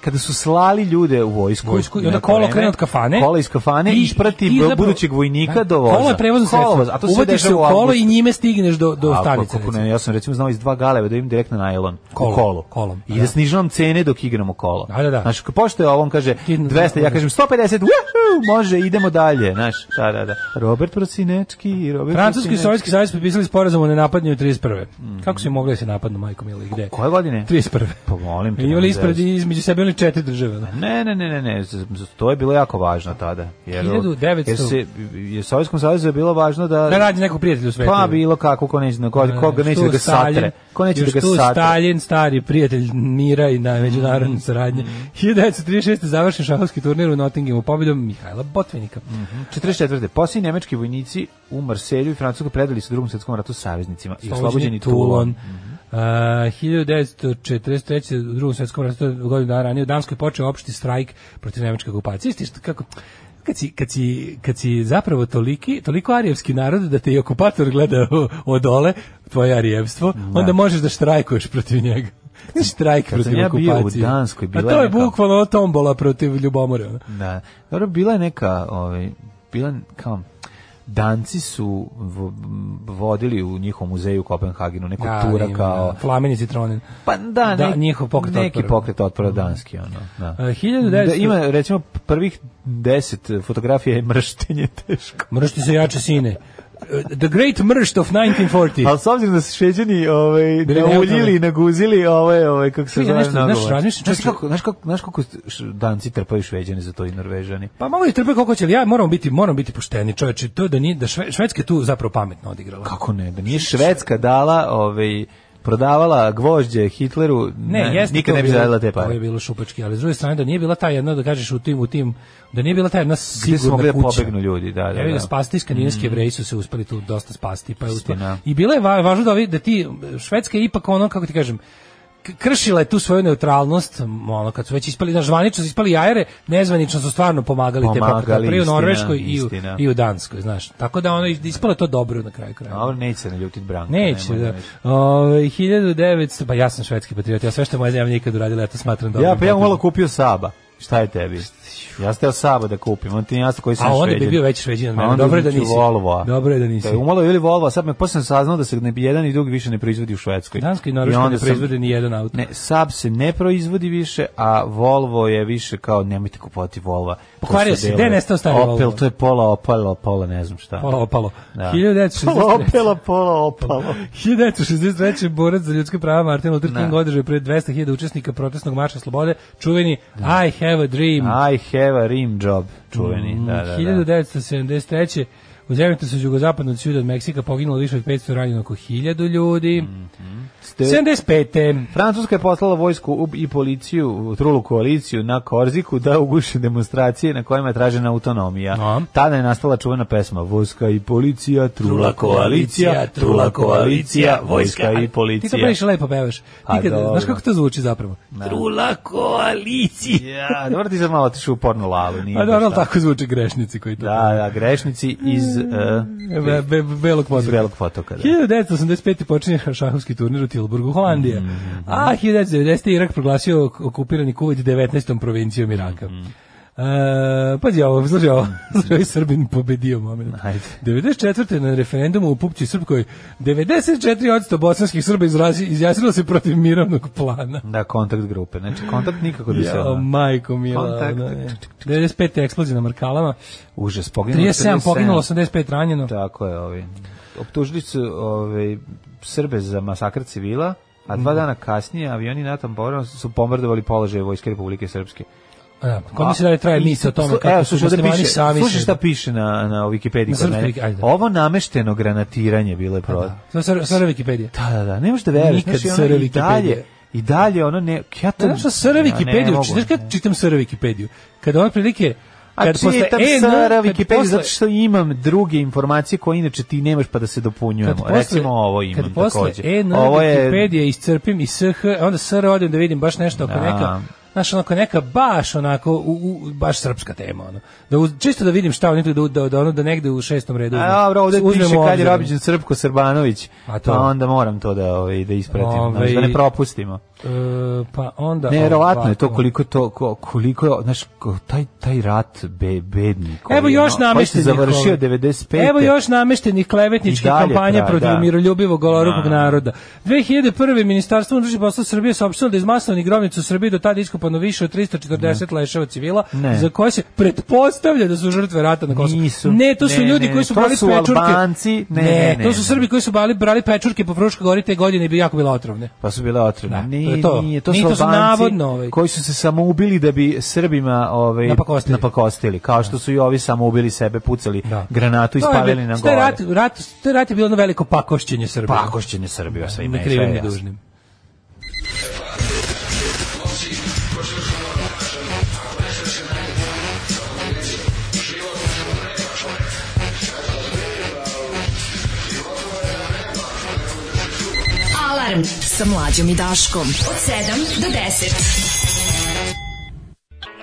[SPEAKER 6] kada su slali ljude u vojsku.
[SPEAKER 5] Vojsku, i
[SPEAKER 6] na
[SPEAKER 5] onda kolo
[SPEAKER 6] vreme,
[SPEAKER 5] krene od kafane.
[SPEAKER 6] Kolo iz kafane
[SPEAKER 5] I-
[SPEAKER 6] i, isprati
[SPEAKER 5] i zapravo-
[SPEAKER 6] budućeg vojnika
[SPEAKER 5] Da,
[SPEAKER 6] do voza.
[SPEAKER 5] Kolo je prevozno
[SPEAKER 6] Kolovoz,
[SPEAKER 5] sredstvo.
[SPEAKER 6] a to
[SPEAKER 5] Uvatiš se u kolo i njime stigneš do, do stanice.
[SPEAKER 6] pa Kako
[SPEAKER 5] recimo.
[SPEAKER 6] ne, ja sam recimo znao iz dva galeve da idem direktno na najlon.
[SPEAKER 5] Kolom,
[SPEAKER 6] u kolo.
[SPEAKER 5] kolom,
[SPEAKER 6] I
[SPEAKER 5] da.
[SPEAKER 6] da, snižavam cene dok igramo kolo.
[SPEAKER 5] Da, da, da.
[SPEAKER 6] Znaš, pošto je ovom kaže
[SPEAKER 5] Idem
[SPEAKER 6] 200, ja
[SPEAKER 5] tako,
[SPEAKER 6] kažem 150, wuhu, može, idemo dalje. Znaš, da, da, da. Robert Prosinečki, Robert
[SPEAKER 5] Francuski i
[SPEAKER 6] Prosinečki.
[SPEAKER 5] Sovjetski savez potpisali sporazum o nenapadnju 31. Kako su im mogli da se napadnu, majkom ili gde?
[SPEAKER 6] Koje godine?
[SPEAKER 5] 31.
[SPEAKER 6] Mhm. Pa molim te,
[SPEAKER 5] I imali
[SPEAKER 6] nemoj
[SPEAKER 5] ispred i između sebe imali četiri države. ono. Da.
[SPEAKER 6] Ne, ne, ne, ne, ne, z- z- to je bilo jako važno tada. Jer,
[SPEAKER 5] 1900.
[SPEAKER 6] Jer se, jer Sovjetskom savezu je bilo važno da...
[SPEAKER 5] Da nađe nekog prijatelja u svetu.
[SPEAKER 6] Pa bilo kako, ko neće, da- ko, ko ga neće
[SPEAKER 5] Tu
[SPEAKER 6] da ga
[SPEAKER 5] Stalin,
[SPEAKER 6] satre. Ko neće da
[SPEAKER 5] još
[SPEAKER 6] ga
[SPEAKER 5] tu
[SPEAKER 6] satre. Mhm.
[SPEAKER 5] Stalin, stari prijatelj mira i na međunarodne saradnje. 1936. završen šahovski turnir u Nottinghamu pobedom Mihajla Botvinika.
[SPEAKER 6] Mhm. 44. Poslije nemečki vojnici u Marselju i Francusku predali su u drugom svjetskom ratu saveznicima. I oslobođeni Mhm. Tulon.
[SPEAKER 5] Uh, 1943. u drugom svjetskom ratu, to je godinu dana ranije, u Danskoj počeo opšti strajk protiv nemačke okupacije. Isti što kako kad si, kad, si, kad si zapravo toliki, toliko arijevski narod da te i okupator gleda o- odole, tvoje arijevstvo, onda možeš da štrajkuješ protiv njega. Štrajk
[SPEAKER 6] Kad sam
[SPEAKER 5] protiv
[SPEAKER 6] ja bio u
[SPEAKER 5] okupacije.
[SPEAKER 6] Danskoj, bila
[SPEAKER 5] A to
[SPEAKER 6] je
[SPEAKER 5] je
[SPEAKER 6] neka-
[SPEAKER 5] bukvalno ono tombola protiv ljubomore. ono.
[SPEAKER 6] Da. Dobro, bila je neka, ovaj, bila je kao, Danci su v- vodili u njihovom muzeju u Kopenhagenu neku
[SPEAKER 5] Da,
[SPEAKER 6] tura
[SPEAKER 5] ima,
[SPEAKER 6] kao...
[SPEAKER 5] da. Flamen i citronin.
[SPEAKER 6] Pa da,
[SPEAKER 5] Da,
[SPEAKER 6] nek-
[SPEAKER 5] njihov pokret
[SPEAKER 6] neki
[SPEAKER 5] otpora.
[SPEAKER 6] pokret otpora danski, ono, da.
[SPEAKER 5] E, 1900
[SPEAKER 6] Da, ima, recimo, prvih deset fotografija je mrštenje teško.
[SPEAKER 5] Mršti se jače sine. E, The Great Mršt of 1940.
[SPEAKER 6] Ali s obzirom da su šeđeni ovaj,
[SPEAKER 5] Bili
[SPEAKER 6] nauljili
[SPEAKER 5] neutralni.
[SPEAKER 6] i naguzili, ovaj, ovaj, kako se
[SPEAKER 5] Čekaj,
[SPEAKER 6] zove
[SPEAKER 5] nešto, znaš,
[SPEAKER 6] nagovor.
[SPEAKER 5] razmišljam,
[SPEAKER 6] Znaš
[SPEAKER 5] čovječe-
[SPEAKER 6] kako, znaš kako, znaš kako š- danci trpaju šveđani za to i norvežani?
[SPEAKER 5] Pa mogu i trpe koliko će, ali ja moram biti, moram biti pošteni, čoveče, to da nije da šve, švedska je tu zapravo pametno odigrala.
[SPEAKER 6] Kako ne, da nije Švedska dala ovaj, prodavala gvožđe Hitleru, ne,
[SPEAKER 5] jeste
[SPEAKER 6] nikad
[SPEAKER 5] to
[SPEAKER 6] ne bi
[SPEAKER 5] bilo-
[SPEAKER 6] zaradila te
[SPEAKER 5] To je
[SPEAKER 6] pare.
[SPEAKER 5] bilo šupački, ali s druge strane da nije bila ta jedna da kažeš u tim u tim da nije bila ta jedna
[SPEAKER 6] Gde
[SPEAKER 5] sigurna
[SPEAKER 6] su mogli da
[SPEAKER 5] kuća.
[SPEAKER 6] pobegnu ljudi, da, Pa da, Mm.
[SPEAKER 5] Ja vidim
[SPEAKER 6] da.
[SPEAKER 5] spasti iz skandinavski jevreji su se uspeli tu dosta spasti, pa je uspela-
[SPEAKER 6] Istina.
[SPEAKER 5] I bilo je va- važno da ovi- da ti Švedska je ipak ono kako ti kažem k- kršila je tu svoju neutralnost, m, ono kad su već ispali, znaš, zvanično su ispali jajere, nezvanično su stvarno pomagali, te
[SPEAKER 6] Pomagali,
[SPEAKER 5] pokrete, pri u
[SPEAKER 6] istina,
[SPEAKER 5] Norveškoj i u,
[SPEAKER 6] istina.
[SPEAKER 5] i u Danskoj, znaš. Tako da ono ispalo je to dobro na kraju krajeva.
[SPEAKER 6] Dobro, neće se naljutit Branko.
[SPEAKER 5] Neće,
[SPEAKER 6] nemoj
[SPEAKER 5] da.
[SPEAKER 6] reći.
[SPEAKER 5] Ove, 1900, pa ja sam švedski patriot, ja sve što je moja zemlja nikad uradila, ja to smatram dobro.
[SPEAKER 6] Ja, pa ja malo kupio Saba. Šta je tebi? Ja sam teo Saba da kupim, on ti nije jasno koji sam
[SPEAKER 5] A onda bi
[SPEAKER 6] Šveđan.
[SPEAKER 5] bio veći šveđan od
[SPEAKER 6] A
[SPEAKER 5] mene.
[SPEAKER 6] onda
[SPEAKER 5] Dobro je
[SPEAKER 6] bi
[SPEAKER 5] da
[SPEAKER 6] bio
[SPEAKER 5] nisi.
[SPEAKER 6] Volvo.
[SPEAKER 5] Dobro je da nisi.
[SPEAKER 6] Da je umalo ili Volvo, a sad me posle sam saznao da se ne jedan i drugi više ne proizvodi u Švedskoj.
[SPEAKER 5] Danska i Norveška
[SPEAKER 6] onda
[SPEAKER 5] ne
[SPEAKER 6] sam-
[SPEAKER 5] proizvode ni jedan auto.
[SPEAKER 6] Ne, Saab se ne proizvodi više, a Volvo je više kao nemojte kupovati Volvo.
[SPEAKER 5] Pokvario
[SPEAKER 6] To su
[SPEAKER 5] si,
[SPEAKER 6] delove.
[SPEAKER 5] gde je nestao stari
[SPEAKER 6] Opel,
[SPEAKER 5] Volvo?
[SPEAKER 6] to je pola opalo, pola ne znam šta.
[SPEAKER 5] Pola opalo.
[SPEAKER 6] Da.
[SPEAKER 5] 1963.
[SPEAKER 6] Pola opela, pola opalo.
[SPEAKER 5] 1963. borac za ljudska prava Martin Luther King
[SPEAKER 6] Da.
[SPEAKER 5] održao je pred 200.000 učesnika protestnog marša slobode čuveni I have a dream.
[SPEAKER 6] I have a rim job, čuveni. Da, da, da.
[SPEAKER 5] 1973. U zemljitu su jugozapadno od svuda od Meksika poginulo više od 500 ranjeno oko 1000 ljudi.
[SPEAKER 6] Mm.
[SPEAKER 5] 75.
[SPEAKER 6] Francuska je poslala vojsku u- i policiju, u trulu koaliciju na Korziku da uguše demonstracije na kojima je tražena autonomija.
[SPEAKER 5] A?
[SPEAKER 6] Tada je nastala čuvena pesma Vojska i policija, trula koalicija, trula koalicija, vojska i
[SPEAKER 5] Ti to
[SPEAKER 6] policija.
[SPEAKER 5] previše lepo pevaš.
[SPEAKER 6] A,
[SPEAKER 5] Ti kad,
[SPEAKER 6] dobro.
[SPEAKER 5] znaš kako to zvuči zapravo? Trula koalicija.
[SPEAKER 6] Ja, dobro ti sad malo otišu u pornu lavu, nije
[SPEAKER 5] A
[SPEAKER 6] baš
[SPEAKER 5] Pa dobro, ali
[SPEAKER 6] tako.
[SPEAKER 5] tako zvuče grešnici koji to...
[SPEAKER 6] Da, da, grešnici iz, eh,
[SPEAKER 5] Be, be, belog
[SPEAKER 6] iz
[SPEAKER 5] potoka.
[SPEAKER 6] Belog potoka. Da.
[SPEAKER 5] 1985. počinje šahovski turnir u Tilburgu, Holandija.
[SPEAKER 6] Mhm.
[SPEAKER 5] A 1990. Irak proglasio ok- okupirani Kuvajt 19. provincijom Iraka.
[SPEAKER 6] Mhm.
[SPEAKER 5] E, pazi ovo, slušaj ovo, slušaj ovaj Srbin pobedio moment.
[SPEAKER 6] Ajde.
[SPEAKER 5] 94. na referendumu u Pupći Srpkoj 94% bosanskih Srba izrazi, izjasnilo se protiv mirovnog plana.
[SPEAKER 6] Da, kontakt grupe. Znači, kontakt nikako da se...
[SPEAKER 5] Ja,
[SPEAKER 6] ono-
[SPEAKER 5] majko mila.
[SPEAKER 6] Kontakt.
[SPEAKER 5] ono je. 95. eksplozija na Markalama,
[SPEAKER 6] Užas, poginulo
[SPEAKER 5] 37 poginulo, 85 ranjeno.
[SPEAKER 6] Tako je, ovi. Optužili su ovi, Srbe za masakr civila, a dva
[SPEAKER 5] Mhm.
[SPEAKER 6] dana kasnije avioni NATO borom su bombardovali položaje Vojske Republike Srpske.
[SPEAKER 5] Da, E, kod mi se dalje traje misle o tome
[SPEAKER 6] Slu-
[SPEAKER 5] kako
[SPEAKER 6] evo,
[SPEAKER 5] su
[SPEAKER 6] slušaj, ovde
[SPEAKER 5] muslimani
[SPEAKER 6] piše,
[SPEAKER 5] sami
[SPEAKER 6] Slušaj
[SPEAKER 5] sebe-
[SPEAKER 6] šta piše na, na Wikipediji
[SPEAKER 5] Na
[SPEAKER 6] kod
[SPEAKER 5] srpskoj
[SPEAKER 6] mene.
[SPEAKER 5] Wiki, ajde.
[SPEAKER 6] Ovo namešteno granatiranje bilo je prvo.
[SPEAKER 5] Sve sve sve Wikipedia.
[SPEAKER 6] Da, da, da, ne možeš da veruješ.
[SPEAKER 5] Nikad
[SPEAKER 6] Znači, ono,
[SPEAKER 5] SR
[SPEAKER 6] i dalje,
[SPEAKER 5] Wikipedija.
[SPEAKER 6] I dalje ono ne... Ja to,
[SPEAKER 5] Znaš što SR
[SPEAKER 6] ja ne
[SPEAKER 5] Wikipediju,
[SPEAKER 6] mogu.
[SPEAKER 5] čitaš kad čitam SR Wikipediju, kada ove prilike,
[SPEAKER 6] A
[SPEAKER 5] kad posle
[SPEAKER 6] čitam
[SPEAKER 5] E, N,
[SPEAKER 6] Sara
[SPEAKER 5] kad
[SPEAKER 6] Wikipediju
[SPEAKER 5] posle-
[SPEAKER 6] zato što imam druge informacije koje inače ti nemaš pa da se dopunjujemo.
[SPEAKER 5] kad posle,
[SPEAKER 6] Recimo ovo imam
[SPEAKER 5] kad posle
[SPEAKER 6] takođe.
[SPEAKER 5] E, N,
[SPEAKER 6] ovo je
[SPEAKER 5] Wikipedija iscrpim i SH, onda SR odem da vidim baš nešto oko
[SPEAKER 6] Da.
[SPEAKER 5] neka Znaš, onako neka baš onako, u, u, baš srpska tema, ono. Da uz, čisto da vidim šta oni tu, da, da, da, ono, da negde u šestom redu.
[SPEAKER 6] A dobro, ovde
[SPEAKER 5] uzmemo
[SPEAKER 6] piše kad je
[SPEAKER 5] obzir.
[SPEAKER 6] Robićen Srpko Srbanović,
[SPEAKER 5] A to.
[SPEAKER 6] pa onda moram to da, ovaj, da ispratim,
[SPEAKER 5] Ovaj-
[SPEAKER 6] znaš, da ne propustimo.
[SPEAKER 5] E, pa onda...
[SPEAKER 6] Nevjerovatno je to
[SPEAKER 5] ovako. ono.
[SPEAKER 6] koliko to ko- koliko je, znaš ko- taj taj rat be bedni koji
[SPEAKER 5] Evo
[SPEAKER 6] je,
[SPEAKER 5] još
[SPEAKER 6] ono,
[SPEAKER 5] nameštenih.
[SPEAKER 6] koji se završio
[SPEAKER 5] ovaj.
[SPEAKER 6] 95.
[SPEAKER 5] Evo još nameštenih klevetničkih
[SPEAKER 6] I dalje
[SPEAKER 5] kampanja
[SPEAKER 6] traje,
[SPEAKER 5] protiv
[SPEAKER 6] da.
[SPEAKER 5] miroljubivog goloruhog
[SPEAKER 6] Da.
[SPEAKER 5] naroda. 2001. ministarstvo unutrašnjih poslova Srbije saopštilo da iz masovnih grobnica u Srbiji do tada iskopano više od 340 leševa civila
[SPEAKER 6] Ne.
[SPEAKER 5] za koje se pretpostavlja da su žrtve rata na Kosovu.
[SPEAKER 6] Nisu.
[SPEAKER 5] Ne, to su
[SPEAKER 6] Ne,
[SPEAKER 5] ljudi
[SPEAKER 6] ne,
[SPEAKER 5] koji su
[SPEAKER 6] to
[SPEAKER 5] brali
[SPEAKER 6] su
[SPEAKER 5] pečurke.
[SPEAKER 6] Albanci. Ne, ne, ne,
[SPEAKER 5] to su
[SPEAKER 6] ne.
[SPEAKER 5] Srbi koji su brali brali pečurke po Fruškoj gori te godine i bi jako bila otrovne.
[SPEAKER 6] Pa su bile otrovne.
[SPEAKER 5] Da,
[SPEAKER 6] Nije,
[SPEAKER 5] to je to.
[SPEAKER 6] Nije, to
[SPEAKER 5] Nije,
[SPEAKER 6] su
[SPEAKER 5] to su
[SPEAKER 6] Albanci
[SPEAKER 5] navodno, ovaj.
[SPEAKER 6] koji su se samoubili da bi Srbima ovaj,
[SPEAKER 5] Napakostili.
[SPEAKER 6] napakostili, Kao što su i ovi samoubili sebe, pucali
[SPEAKER 5] Da.
[SPEAKER 6] granatu i
[SPEAKER 5] To je bi-
[SPEAKER 6] spalili na
[SPEAKER 5] to je
[SPEAKER 6] gore. Pa,
[SPEAKER 5] rat, rat, to je rat je bilo jedno veliko pakošćenje Srbije.
[SPEAKER 6] Pakošćenje Srbija sa ime.
[SPEAKER 5] Ni krivim, ni dužnim.
[SPEAKER 4] Alarm sa mlađom i Daškom. Od 7 do 10.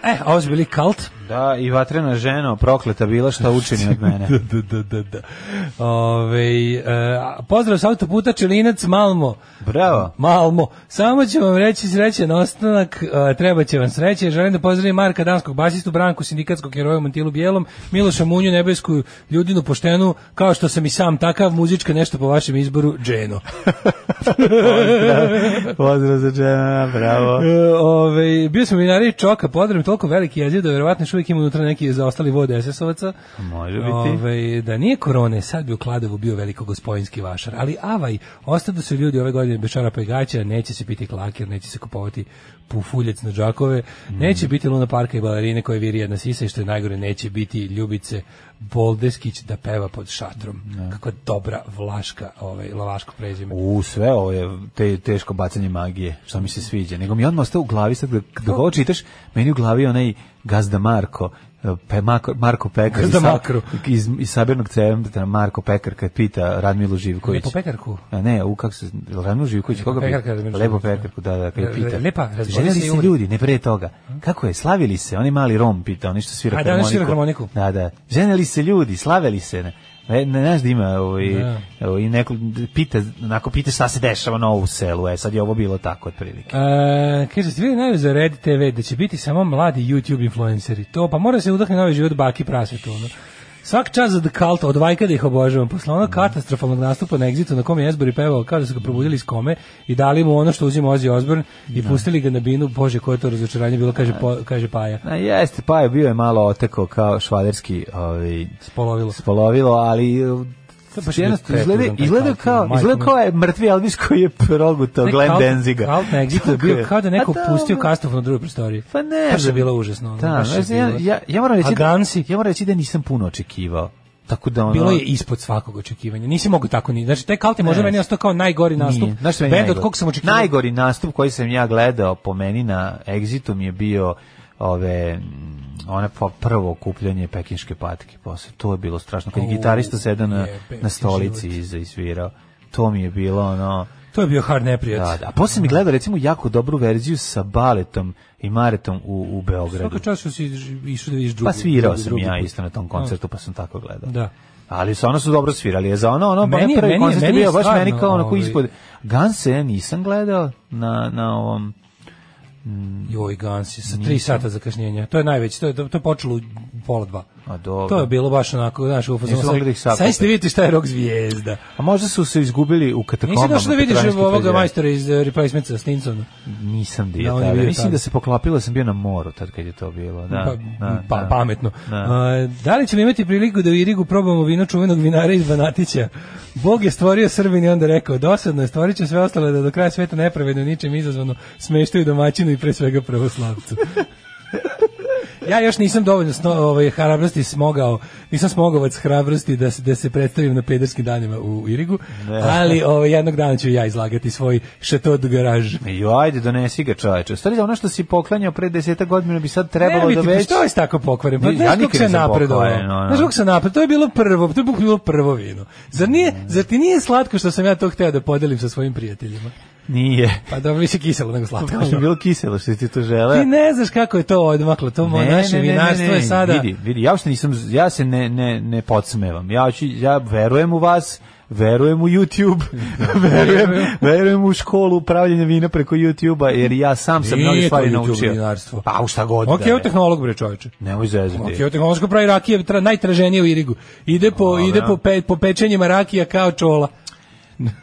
[SPEAKER 5] E, a ovo su bili kalt.
[SPEAKER 6] Da, i vatrena ženo, prokleta bila šta učini od mene.
[SPEAKER 5] da, da, da, da. Ovaj, e, a, pozdrav sa autoputa Čelinac Malmo.
[SPEAKER 6] Bravo.
[SPEAKER 5] Malmo. Samo ću vam reći srećan ostanak, e, treba će vam sreće. Želim da pozdravim Marka Danskog basistu, Branku Sindikatskog heroja u Mantilu Bijelom, Miloša Munju, Nebesku ljudinu poštenu, kao što sam i sam takav, muzička nešto po vašem izboru, Dženo.
[SPEAKER 6] Pozdrav za žena, bravo.
[SPEAKER 5] E, ovaj, bio sam u vinariji Čoka, podrem toliko veliki jeziv da verovatno još uvijek ima unutra neki zaostali vode SS-ovaca.
[SPEAKER 6] Može biti.
[SPEAKER 5] Ovaj, da nije korone, sad bi u Kladovu bio veliko gospodinski vašar, ali avaj, ostadu su ljudi ove godine bez čarapa i gaća, neće se piti klakir, neće se kupovati pufuljec na džakove, neće biti Luna Parka i balerine koje viri jedna sisa i što je najgore, neće biti ljubice Boldeskić da peva pod šatrom. Kako je dobra vlaška, ovaj, lavaško prezime.
[SPEAKER 6] U, sve ovo je te, teško bacanje magije, što mi se sviđa. Nego mi on ostao u glavi, sad kada ovo čitaš, meni u glavi je onaj Gazda Marko, e, Pe, Marko, Marko Pekar
[SPEAKER 5] Gazda
[SPEAKER 6] iz,
[SPEAKER 5] Makro.
[SPEAKER 6] iz, iz sabirnog centra Marko Pekar kad pita Radmilu
[SPEAKER 5] Ne
[SPEAKER 6] Živković.
[SPEAKER 5] po pekarku.
[SPEAKER 6] A ne, u kako se Radmil Živković koga
[SPEAKER 5] Lepo
[SPEAKER 6] pita?
[SPEAKER 5] Pekarka, Radmil
[SPEAKER 6] Lepo
[SPEAKER 5] Živković.
[SPEAKER 6] Pekarku, da, da, kad
[SPEAKER 5] Le-
[SPEAKER 6] pita.
[SPEAKER 5] lepa, razvoli
[SPEAKER 6] Željeli
[SPEAKER 5] se i
[SPEAKER 6] se
[SPEAKER 5] umri.
[SPEAKER 6] ljudi, ne pre toga. Kako je, slavili se, oni mali Rom pita, oni što svira
[SPEAKER 5] A, da, Hm? oni svira harmoniku.
[SPEAKER 6] Da, da. Ženeli se ljudi, slavili se. Ne, ne, ne znaš da ima ovaj,
[SPEAKER 5] Da.
[SPEAKER 6] ovaj, neko pita, onako pita šta se dešava novo u selu, e sad je ovo bilo tako otprilike.
[SPEAKER 5] E, kaže, ste vidjeli najave za Red TV da će biti samo mladi YouTube influenceri. To, pa mora se udahne novi život baki prasvetu. Ono. Svak čas za The Cult, od vajka da ih obožavam. Posle onog katastrofalnog nastupa na Exitu na kom je Esbury pevao, kao da su ga probudili iz kome i dali mu ono što uzima Ozzy Osbourne i pustili ga na binu. Bože, koje je to razočaranje bilo, kaže, po, kaže Paja.
[SPEAKER 6] A jeste, pa je bio je malo oteko kao švaderski ovaj,
[SPEAKER 5] Polovilo.
[SPEAKER 6] spolovilo, ali
[SPEAKER 5] To je baš
[SPEAKER 6] jednostavno
[SPEAKER 5] bio
[SPEAKER 6] izgleda,
[SPEAKER 5] pretužan taj
[SPEAKER 6] izgleda
[SPEAKER 5] Cult,
[SPEAKER 6] kao,
[SPEAKER 5] majko
[SPEAKER 6] izgleda
[SPEAKER 5] moja.
[SPEAKER 6] kao je mrtvi Elvis koji je progutao
[SPEAKER 5] Ne,
[SPEAKER 6] Glenn
[SPEAKER 5] Cult-
[SPEAKER 6] Denziga.
[SPEAKER 5] Cult na Exitu je
[SPEAKER 6] Tako
[SPEAKER 5] bio kao da je neko
[SPEAKER 6] A
[SPEAKER 5] pustio
[SPEAKER 6] ono-
[SPEAKER 5] kastof na drugoj prostoriji.
[SPEAKER 6] Pa ne.
[SPEAKER 5] Baš je
[SPEAKER 6] znam.
[SPEAKER 5] bilo užasno. ono,
[SPEAKER 6] Da,
[SPEAKER 5] baš je
[SPEAKER 6] znaš, ja,
[SPEAKER 5] bilo.
[SPEAKER 6] ja, ja moram reći,
[SPEAKER 5] A Gansi?
[SPEAKER 6] da, ja moram reći da nisam puno očekivao. Tako da ono,
[SPEAKER 5] Bilo je ispod svakog očekivanja. Nisi mogao tako ni. Znači taj Kalt je možda
[SPEAKER 6] Ne.
[SPEAKER 5] meni ostao kao najgori nastup.
[SPEAKER 6] Nije. Znaš šta je meni
[SPEAKER 5] Bend od
[SPEAKER 6] najgori?
[SPEAKER 5] kog sam očekivao.
[SPEAKER 6] Najgori nastup koji sam ja gledao po meni na Exitu mi je bio ove mm, one po prvo okupljanje pekinške patke posle to je bilo strašno kad je
[SPEAKER 5] U,
[SPEAKER 6] gitarista sedao na,
[SPEAKER 5] jebe
[SPEAKER 6] na
[SPEAKER 5] ti
[SPEAKER 6] stolici
[SPEAKER 5] život.
[SPEAKER 6] i za- i svirao to mi je bilo ono
[SPEAKER 5] To je bio hard neprijat.
[SPEAKER 6] da, da. a posle mi gledao recimo jako dobru verziju sa baletom i maretom u, u Beogradu
[SPEAKER 5] Svaka čast što si ž- išao da vidiš drugi.
[SPEAKER 6] pa svirao
[SPEAKER 5] drugi-
[SPEAKER 6] sam
[SPEAKER 5] drugi
[SPEAKER 6] ja
[SPEAKER 5] put.
[SPEAKER 6] isto na tom koncertu pa sam tako gledao
[SPEAKER 5] Da.
[SPEAKER 6] Ali stvarno su dobro svirali, je za ono, ono,
[SPEAKER 5] Meni
[SPEAKER 6] meni,
[SPEAKER 5] je-
[SPEAKER 6] prvi
[SPEAKER 5] meni je-
[SPEAKER 6] koncert je
[SPEAKER 5] meni je
[SPEAKER 6] bio baš
[SPEAKER 5] stvarno,
[SPEAKER 6] meni kao onako
[SPEAKER 5] ovaj-
[SPEAKER 6] ispod. Ganse ja nisam gledao na, na ovom,
[SPEAKER 5] Joj Gansi sa 3 sata zakašnjenja. To je najveće. To je to je počelo u pola dva.
[SPEAKER 6] a dobro.
[SPEAKER 5] To je bilo baš onako, znaš, u fazonu.
[SPEAKER 6] Nisu mogli da ih
[SPEAKER 5] Sad
[SPEAKER 6] sakupe.
[SPEAKER 5] sad ste vidite šta je rok zvijezda.
[SPEAKER 6] A možda su se izgubili u katakombama.
[SPEAKER 5] Nisi došao da vidiš
[SPEAKER 6] Petroniških
[SPEAKER 5] ovoga
[SPEAKER 6] pezera.
[SPEAKER 5] majstora iz eh, Replacementsa Stinsona.
[SPEAKER 6] Nisam bio
[SPEAKER 5] Da, on je
[SPEAKER 6] tada.
[SPEAKER 5] bio
[SPEAKER 6] Mislim
[SPEAKER 5] tada.
[SPEAKER 6] da se poklopilo, sam bio na moru tad kad je to bilo. Da,
[SPEAKER 5] pa,
[SPEAKER 6] da,
[SPEAKER 5] pa,
[SPEAKER 6] da.
[SPEAKER 5] pametno.
[SPEAKER 6] Da.
[SPEAKER 5] A, da li ćemo imati priliku da u Irigu probamo vino čuvenog vinara iz Banatića? Bog je stvorio Srbin i onda rekao, dosadno je, stvorit će sve ostale da do kraja sveta nepravedno i ničem izazvano smeštaju domaćinu i pre svega pravoslavcu. Ja još nisam dovoljno sno, ovaj, hrabrosti smogao, nisam smogovac hrabrosti da se, da se predstavim na pederskim danima u, u Irigu, ali ovaj, jednog dana ću ja izlagati svoj šato de garaž.
[SPEAKER 6] Jo, ajde, donesi ga čoveče. Stari da ono što si poklanjao pre deseta godina bi sad trebalo
[SPEAKER 5] Ne,
[SPEAKER 6] da
[SPEAKER 5] biti,
[SPEAKER 6] već...
[SPEAKER 5] Što je tako pokvaren? Pa
[SPEAKER 6] Ne,
[SPEAKER 5] znaš
[SPEAKER 6] ja
[SPEAKER 5] kako
[SPEAKER 6] nikad
[SPEAKER 5] se
[SPEAKER 6] nisam
[SPEAKER 5] napredovalo?
[SPEAKER 6] pokvaren, ono.
[SPEAKER 5] Znaš kako se napredovalo? To je bilo prvo, to je bilo prvo vino. Zar, nije,
[SPEAKER 6] Mm.
[SPEAKER 5] zar ti nije slatko što sam ja to hteo da podelim sa svojim prijateljima?
[SPEAKER 6] Nije.
[SPEAKER 5] Pa dobro, nisi kiselo nego slatko.
[SPEAKER 6] Baš je bilo kiselo što ti to žele.
[SPEAKER 5] Ti ne znaš kako je to odmaklo, to moje naše vinarstvo je sada...
[SPEAKER 6] Vidi, vidi, ja uopšte nisam, ja se ne, ne, ne podsmevam. Ja, ću, ja verujem u vas, verujem u YouTube, verujem, verujem u školu upravljanja vina preko YouTube-a, jer ja sam sam
[SPEAKER 5] Nije
[SPEAKER 6] mnogi
[SPEAKER 5] to
[SPEAKER 6] stvari
[SPEAKER 5] YouTube
[SPEAKER 6] naučio.
[SPEAKER 5] vinarstvo.
[SPEAKER 6] Pa u šta god
[SPEAKER 5] Ok,
[SPEAKER 6] da je.
[SPEAKER 5] evo tehnolog bre čoveče.
[SPEAKER 6] Nemoj zezati.
[SPEAKER 5] Ok, evo tehnološko pravi rakije, tra, najtraženije u Irigu. Ide po,
[SPEAKER 6] Dobro.
[SPEAKER 5] ide po, pe, po pečenjima rakija kao čola.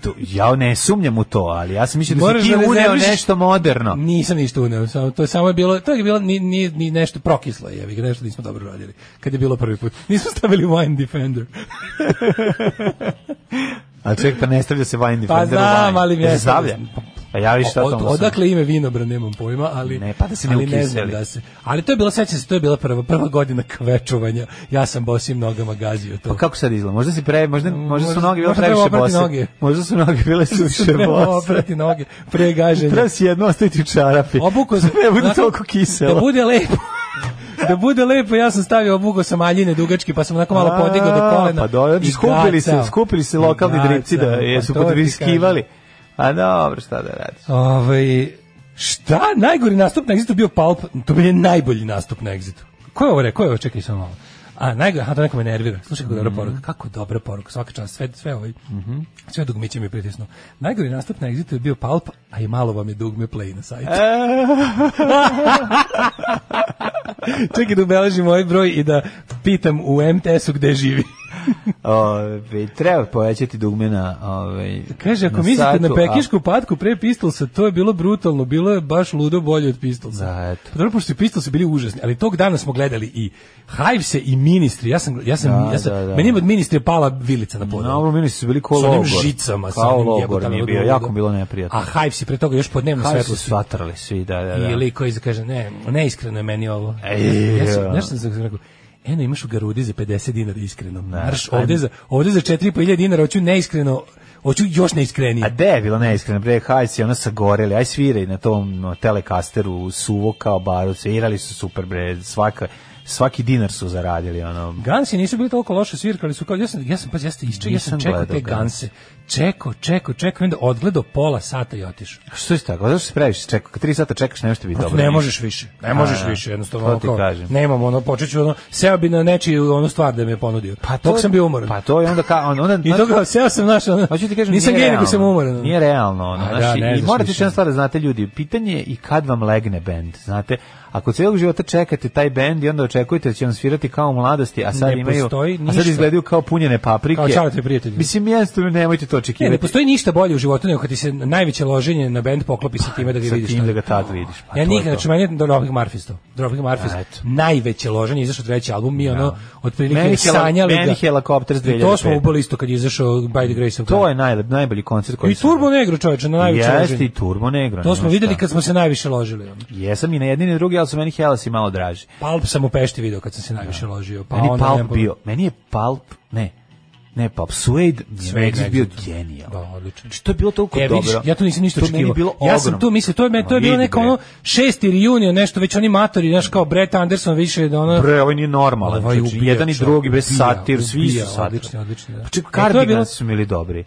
[SPEAKER 6] To- ja ne sumnjam u to, ali ja sam mislio da
[SPEAKER 5] Moraš
[SPEAKER 6] si ti
[SPEAKER 5] da ne
[SPEAKER 6] uneo
[SPEAKER 5] završiš-
[SPEAKER 6] nešto moderno.
[SPEAKER 5] Nisam ništa uneo, samo to je samo je bilo, to je bilo ni ni ni nešto prokislo je, jebi ga, nešto nismo dobro radili. Kad je bilo prvi put, nismo stavili Wine Defender.
[SPEAKER 6] Ali čovjek pa ne stavlja se Wine Defender
[SPEAKER 5] Pa
[SPEAKER 6] u
[SPEAKER 5] znam,
[SPEAKER 6] wine.
[SPEAKER 5] ali
[SPEAKER 6] Ja
[SPEAKER 5] mjesto-
[SPEAKER 6] se stavlja. Pa ja viš šta
[SPEAKER 5] Od,
[SPEAKER 6] tamo sam.
[SPEAKER 5] odakle ime vinobra nemam pojma, ali
[SPEAKER 6] Ne, pa da se ne
[SPEAKER 5] ali ne znam
[SPEAKER 6] ukiseli.
[SPEAKER 5] da se. Ali to je bilo sećam se, to je bila prva prva godina kvečovanja. Ja sam bosim nogama gazio to.
[SPEAKER 6] Pa kako sad izgleda? Možda si pre, možda, možda su
[SPEAKER 5] Možda-
[SPEAKER 6] noge bile
[SPEAKER 5] možda treba
[SPEAKER 6] previše
[SPEAKER 5] oprati
[SPEAKER 6] bose.
[SPEAKER 5] noge.
[SPEAKER 6] Možda su noge bile suviše
[SPEAKER 5] Treba
[SPEAKER 6] bose.
[SPEAKER 5] oprati noge pre gaženja.
[SPEAKER 6] Treba si jedno ostaviti u čarapi.
[SPEAKER 5] Obuko sam-
[SPEAKER 6] Ne bude
[SPEAKER 5] onako,
[SPEAKER 6] toliko kiselo.
[SPEAKER 5] Da bude lepo. da bude lepo, ja sam stavio obuko sa maljine dugački, pa sam onako malo
[SPEAKER 6] A,
[SPEAKER 5] podigao do kolena.
[SPEAKER 6] Pa dobro,
[SPEAKER 5] i
[SPEAKER 6] skupili se,
[SPEAKER 5] gacao.
[SPEAKER 6] skupili se
[SPEAKER 5] I
[SPEAKER 6] lokalni
[SPEAKER 5] gacao,
[SPEAKER 6] dripci da
[SPEAKER 5] pa
[SPEAKER 6] jesu
[SPEAKER 5] to ti
[SPEAKER 6] podriskivali. A dobro, šta da radiš?
[SPEAKER 5] kažem. Ovaj, šta? Najgori nastup na Exitu bio Pulp, to mi je najbolji nastup na Exitu. Ko je ovo rekao? Ko je ovo? Čekaj samo malo. A, najgore, aha, to neko me nervira. Slušaj kako dobra
[SPEAKER 6] Mhm.
[SPEAKER 5] poruka, kako dobra poruka, svaka čast, sve, sve ovaj, sve dugmiće mi je pritisnuo. Najgori nastup na Exitu je bio Palp, a i malo vam je dugme play na sajtu. Čekaj da ubeležim ovaj broj i da pitam u MTS-u gde živi.
[SPEAKER 6] Ove, treba povećati dugme na... Ove,
[SPEAKER 5] Kaže, ako mislite na pekišku patku pre Pistolsa, to je bilo brutalno, bilo je baš ludo bolje od Pistolsa.
[SPEAKER 6] Da, eto.
[SPEAKER 5] Pa dobro, pošto su Pistolsi bili užasni, ali tog dana smo gledali i Hives-e i Ministri, ja sam, ja sam,
[SPEAKER 6] Da,
[SPEAKER 5] ja sam
[SPEAKER 6] da, da.
[SPEAKER 5] meni je od Ministri pala vilica na podu.
[SPEAKER 6] Na ovom mini su bili ko
[SPEAKER 5] sa onim
[SPEAKER 6] logor.
[SPEAKER 5] žicama, sa
[SPEAKER 6] Kao
[SPEAKER 5] onim
[SPEAKER 6] logor
[SPEAKER 5] jebotama
[SPEAKER 6] mi je
[SPEAKER 5] od
[SPEAKER 6] bio,
[SPEAKER 5] luda.
[SPEAKER 6] jako mi bilo neprijatno.
[SPEAKER 5] A Hives-i pre toga još pod dnevno
[SPEAKER 6] Kaj
[SPEAKER 5] svetlo
[SPEAKER 6] su
[SPEAKER 5] Ah, su
[SPEAKER 6] svatrali svi, da, E, da, da.
[SPEAKER 5] i lik koji kaže, ne, neiskreno je meni ovo.
[SPEAKER 6] Ej,
[SPEAKER 5] ja sam,
[SPEAKER 6] ja.
[SPEAKER 5] znaš šta sam rekao, eno imaš u Garudi za 50 dinara iskreno.
[SPEAKER 6] Da.
[SPEAKER 5] Marš ovde za, ovde za 4.500 dinara, hoću neiskreno, hoću još neiskrenije.
[SPEAKER 6] A de je bila neiskrena, bre, haj si ona sagoreli, aj sviraj na tom no, telekasteru suvo kao baru, svirali su super, bre, svaka, svaki dinar su zaradili, ono,
[SPEAKER 5] Gansi nisu bili toliko loše svirkali su kao ja sam ja sam pa ja sam isče, ja sam
[SPEAKER 6] Nisam
[SPEAKER 5] čekao
[SPEAKER 6] gledao
[SPEAKER 5] te
[SPEAKER 6] Ganse.
[SPEAKER 5] Ganse. Čekao, čekao, čekao, i onda odgledao pola sata i otišao.
[SPEAKER 6] Što je tako? Zašto se praviš? Čekaj, kad 3 sata čekaš, nešto bi E, dobro.
[SPEAKER 5] Pa Ne možeš više. Ne možeš
[SPEAKER 6] da.
[SPEAKER 5] više, jednostavno.
[SPEAKER 6] To
[SPEAKER 5] ono
[SPEAKER 6] ti
[SPEAKER 5] kao,
[SPEAKER 6] kažem.
[SPEAKER 5] Nemam ono, počeću ono, seo bi na nečiju onu stvar da mi je ponudio. Pa to, Dok sam bio umoran.
[SPEAKER 6] Pa to je onda kao onda, onda
[SPEAKER 5] I to kao, seo sam, znaš, ono,
[SPEAKER 6] Hoću ti kažem,
[SPEAKER 5] nisam
[SPEAKER 6] nije
[SPEAKER 5] gej, nego
[SPEAKER 6] realno.
[SPEAKER 5] sam umoran. ono.
[SPEAKER 6] Nije realno, ono,
[SPEAKER 5] A
[SPEAKER 6] znaš,
[SPEAKER 5] da,
[SPEAKER 6] i-
[SPEAKER 5] ne
[SPEAKER 6] i
[SPEAKER 5] znaš
[SPEAKER 6] morate
[SPEAKER 5] više.
[SPEAKER 6] jedna stvar da znate ljudi, pitanje je i kad vam legne bend, znate, ako celog života čekate taj bend i onda očekujete da će vam svirati kao u mladosti, a sad
[SPEAKER 5] Ne
[SPEAKER 6] imaju,
[SPEAKER 5] postoji
[SPEAKER 6] a sad
[SPEAKER 5] ništa.
[SPEAKER 6] izgledaju kao punjene paprike.
[SPEAKER 5] Kao čarate prijatelji.
[SPEAKER 6] Mislim, jednostavno nemojte to
[SPEAKER 5] Ne,
[SPEAKER 6] očekivati.
[SPEAKER 5] ne postoji ništa bolje u životu nego kad ti se najveće loženje na bend poklopi sa time da ga
[SPEAKER 6] Pa, Sa
[SPEAKER 5] vidiš.
[SPEAKER 6] tim
[SPEAKER 5] ono.
[SPEAKER 6] da ga tad vidiš. Pa
[SPEAKER 5] ja
[SPEAKER 6] to je
[SPEAKER 5] nikad,
[SPEAKER 6] to.
[SPEAKER 5] znači meni je do Robin Marfis to. Do Robin Marfis,
[SPEAKER 6] A, eto.
[SPEAKER 5] najveće loženje, izašao treći album, mi ono, otprilike
[SPEAKER 6] Meni hela-
[SPEAKER 5] sanjali
[SPEAKER 6] meni Helicopters
[SPEAKER 5] I to smo
[SPEAKER 6] 2005.
[SPEAKER 5] ubali isto kad je izašao By the Grace of God.
[SPEAKER 6] To je najlep, najbolji koncert koji
[SPEAKER 5] I Turbo Negro, čoveče, na najveće
[SPEAKER 6] Jeste
[SPEAKER 5] loženje.
[SPEAKER 6] i Turbo Negro.
[SPEAKER 5] To smo
[SPEAKER 6] nema
[SPEAKER 5] videli
[SPEAKER 6] šta.
[SPEAKER 5] kad smo se najviše ložili. ono.
[SPEAKER 6] Jesam i na jedni i na drugi, ali su meni Hellas i malo draži.
[SPEAKER 5] Palp sam u Pešti video kad sam se najviše ložio. Pa
[SPEAKER 6] meni
[SPEAKER 5] onda nemam
[SPEAKER 6] Palp
[SPEAKER 5] pojma.
[SPEAKER 6] bio, meni je Palp, ne, ne Palp, Suede,
[SPEAKER 5] Suede
[SPEAKER 6] Suede Exit bio
[SPEAKER 5] Exit.
[SPEAKER 6] genijal.
[SPEAKER 5] Da, odlično.
[SPEAKER 6] Znači, to je bilo toliko
[SPEAKER 5] E,
[SPEAKER 6] dobro.
[SPEAKER 5] vidiš, ja tu nisam ništa
[SPEAKER 6] To meni je bilo
[SPEAKER 5] očekivao. Ja sam
[SPEAKER 6] ogromno.
[SPEAKER 5] tu mislio, to je, me- to je
[SPEAKER 6] Ma,
[SPEAKER 5] bilo
[SPEAKER 6] vidi,
[SPEAKER 5] neko
[SPEAKER 6] bre.
[SPEAKER 5] ono šesti reunion, nešto, već oni matori, znaš, kao Brett Anderson više da ono...
[SPEAKER 6] Bre, ovaj nije normalan.
[SPEAKER 5] Ovaj
[SPEAKER 6] znači,
[SPEAKER 5] ubija,
[SPEAKER 6] jedan i
[SPEAKER 5] čo-
[SPEAKER 6] drugi, bre,
[SPEAKER 5] ubija,
[SPEAKER 6] satir, svi
[SPEAKER 5] ubija,
[SPEAKER 6] su satir.
[SPEAKER 5] odlični, odlični, da.
[SPEAKER 6] Pa čekaj,
[SPEAKER 5] E, to je bilo-
[SPEAKER 6] Cardigans su bili dobri.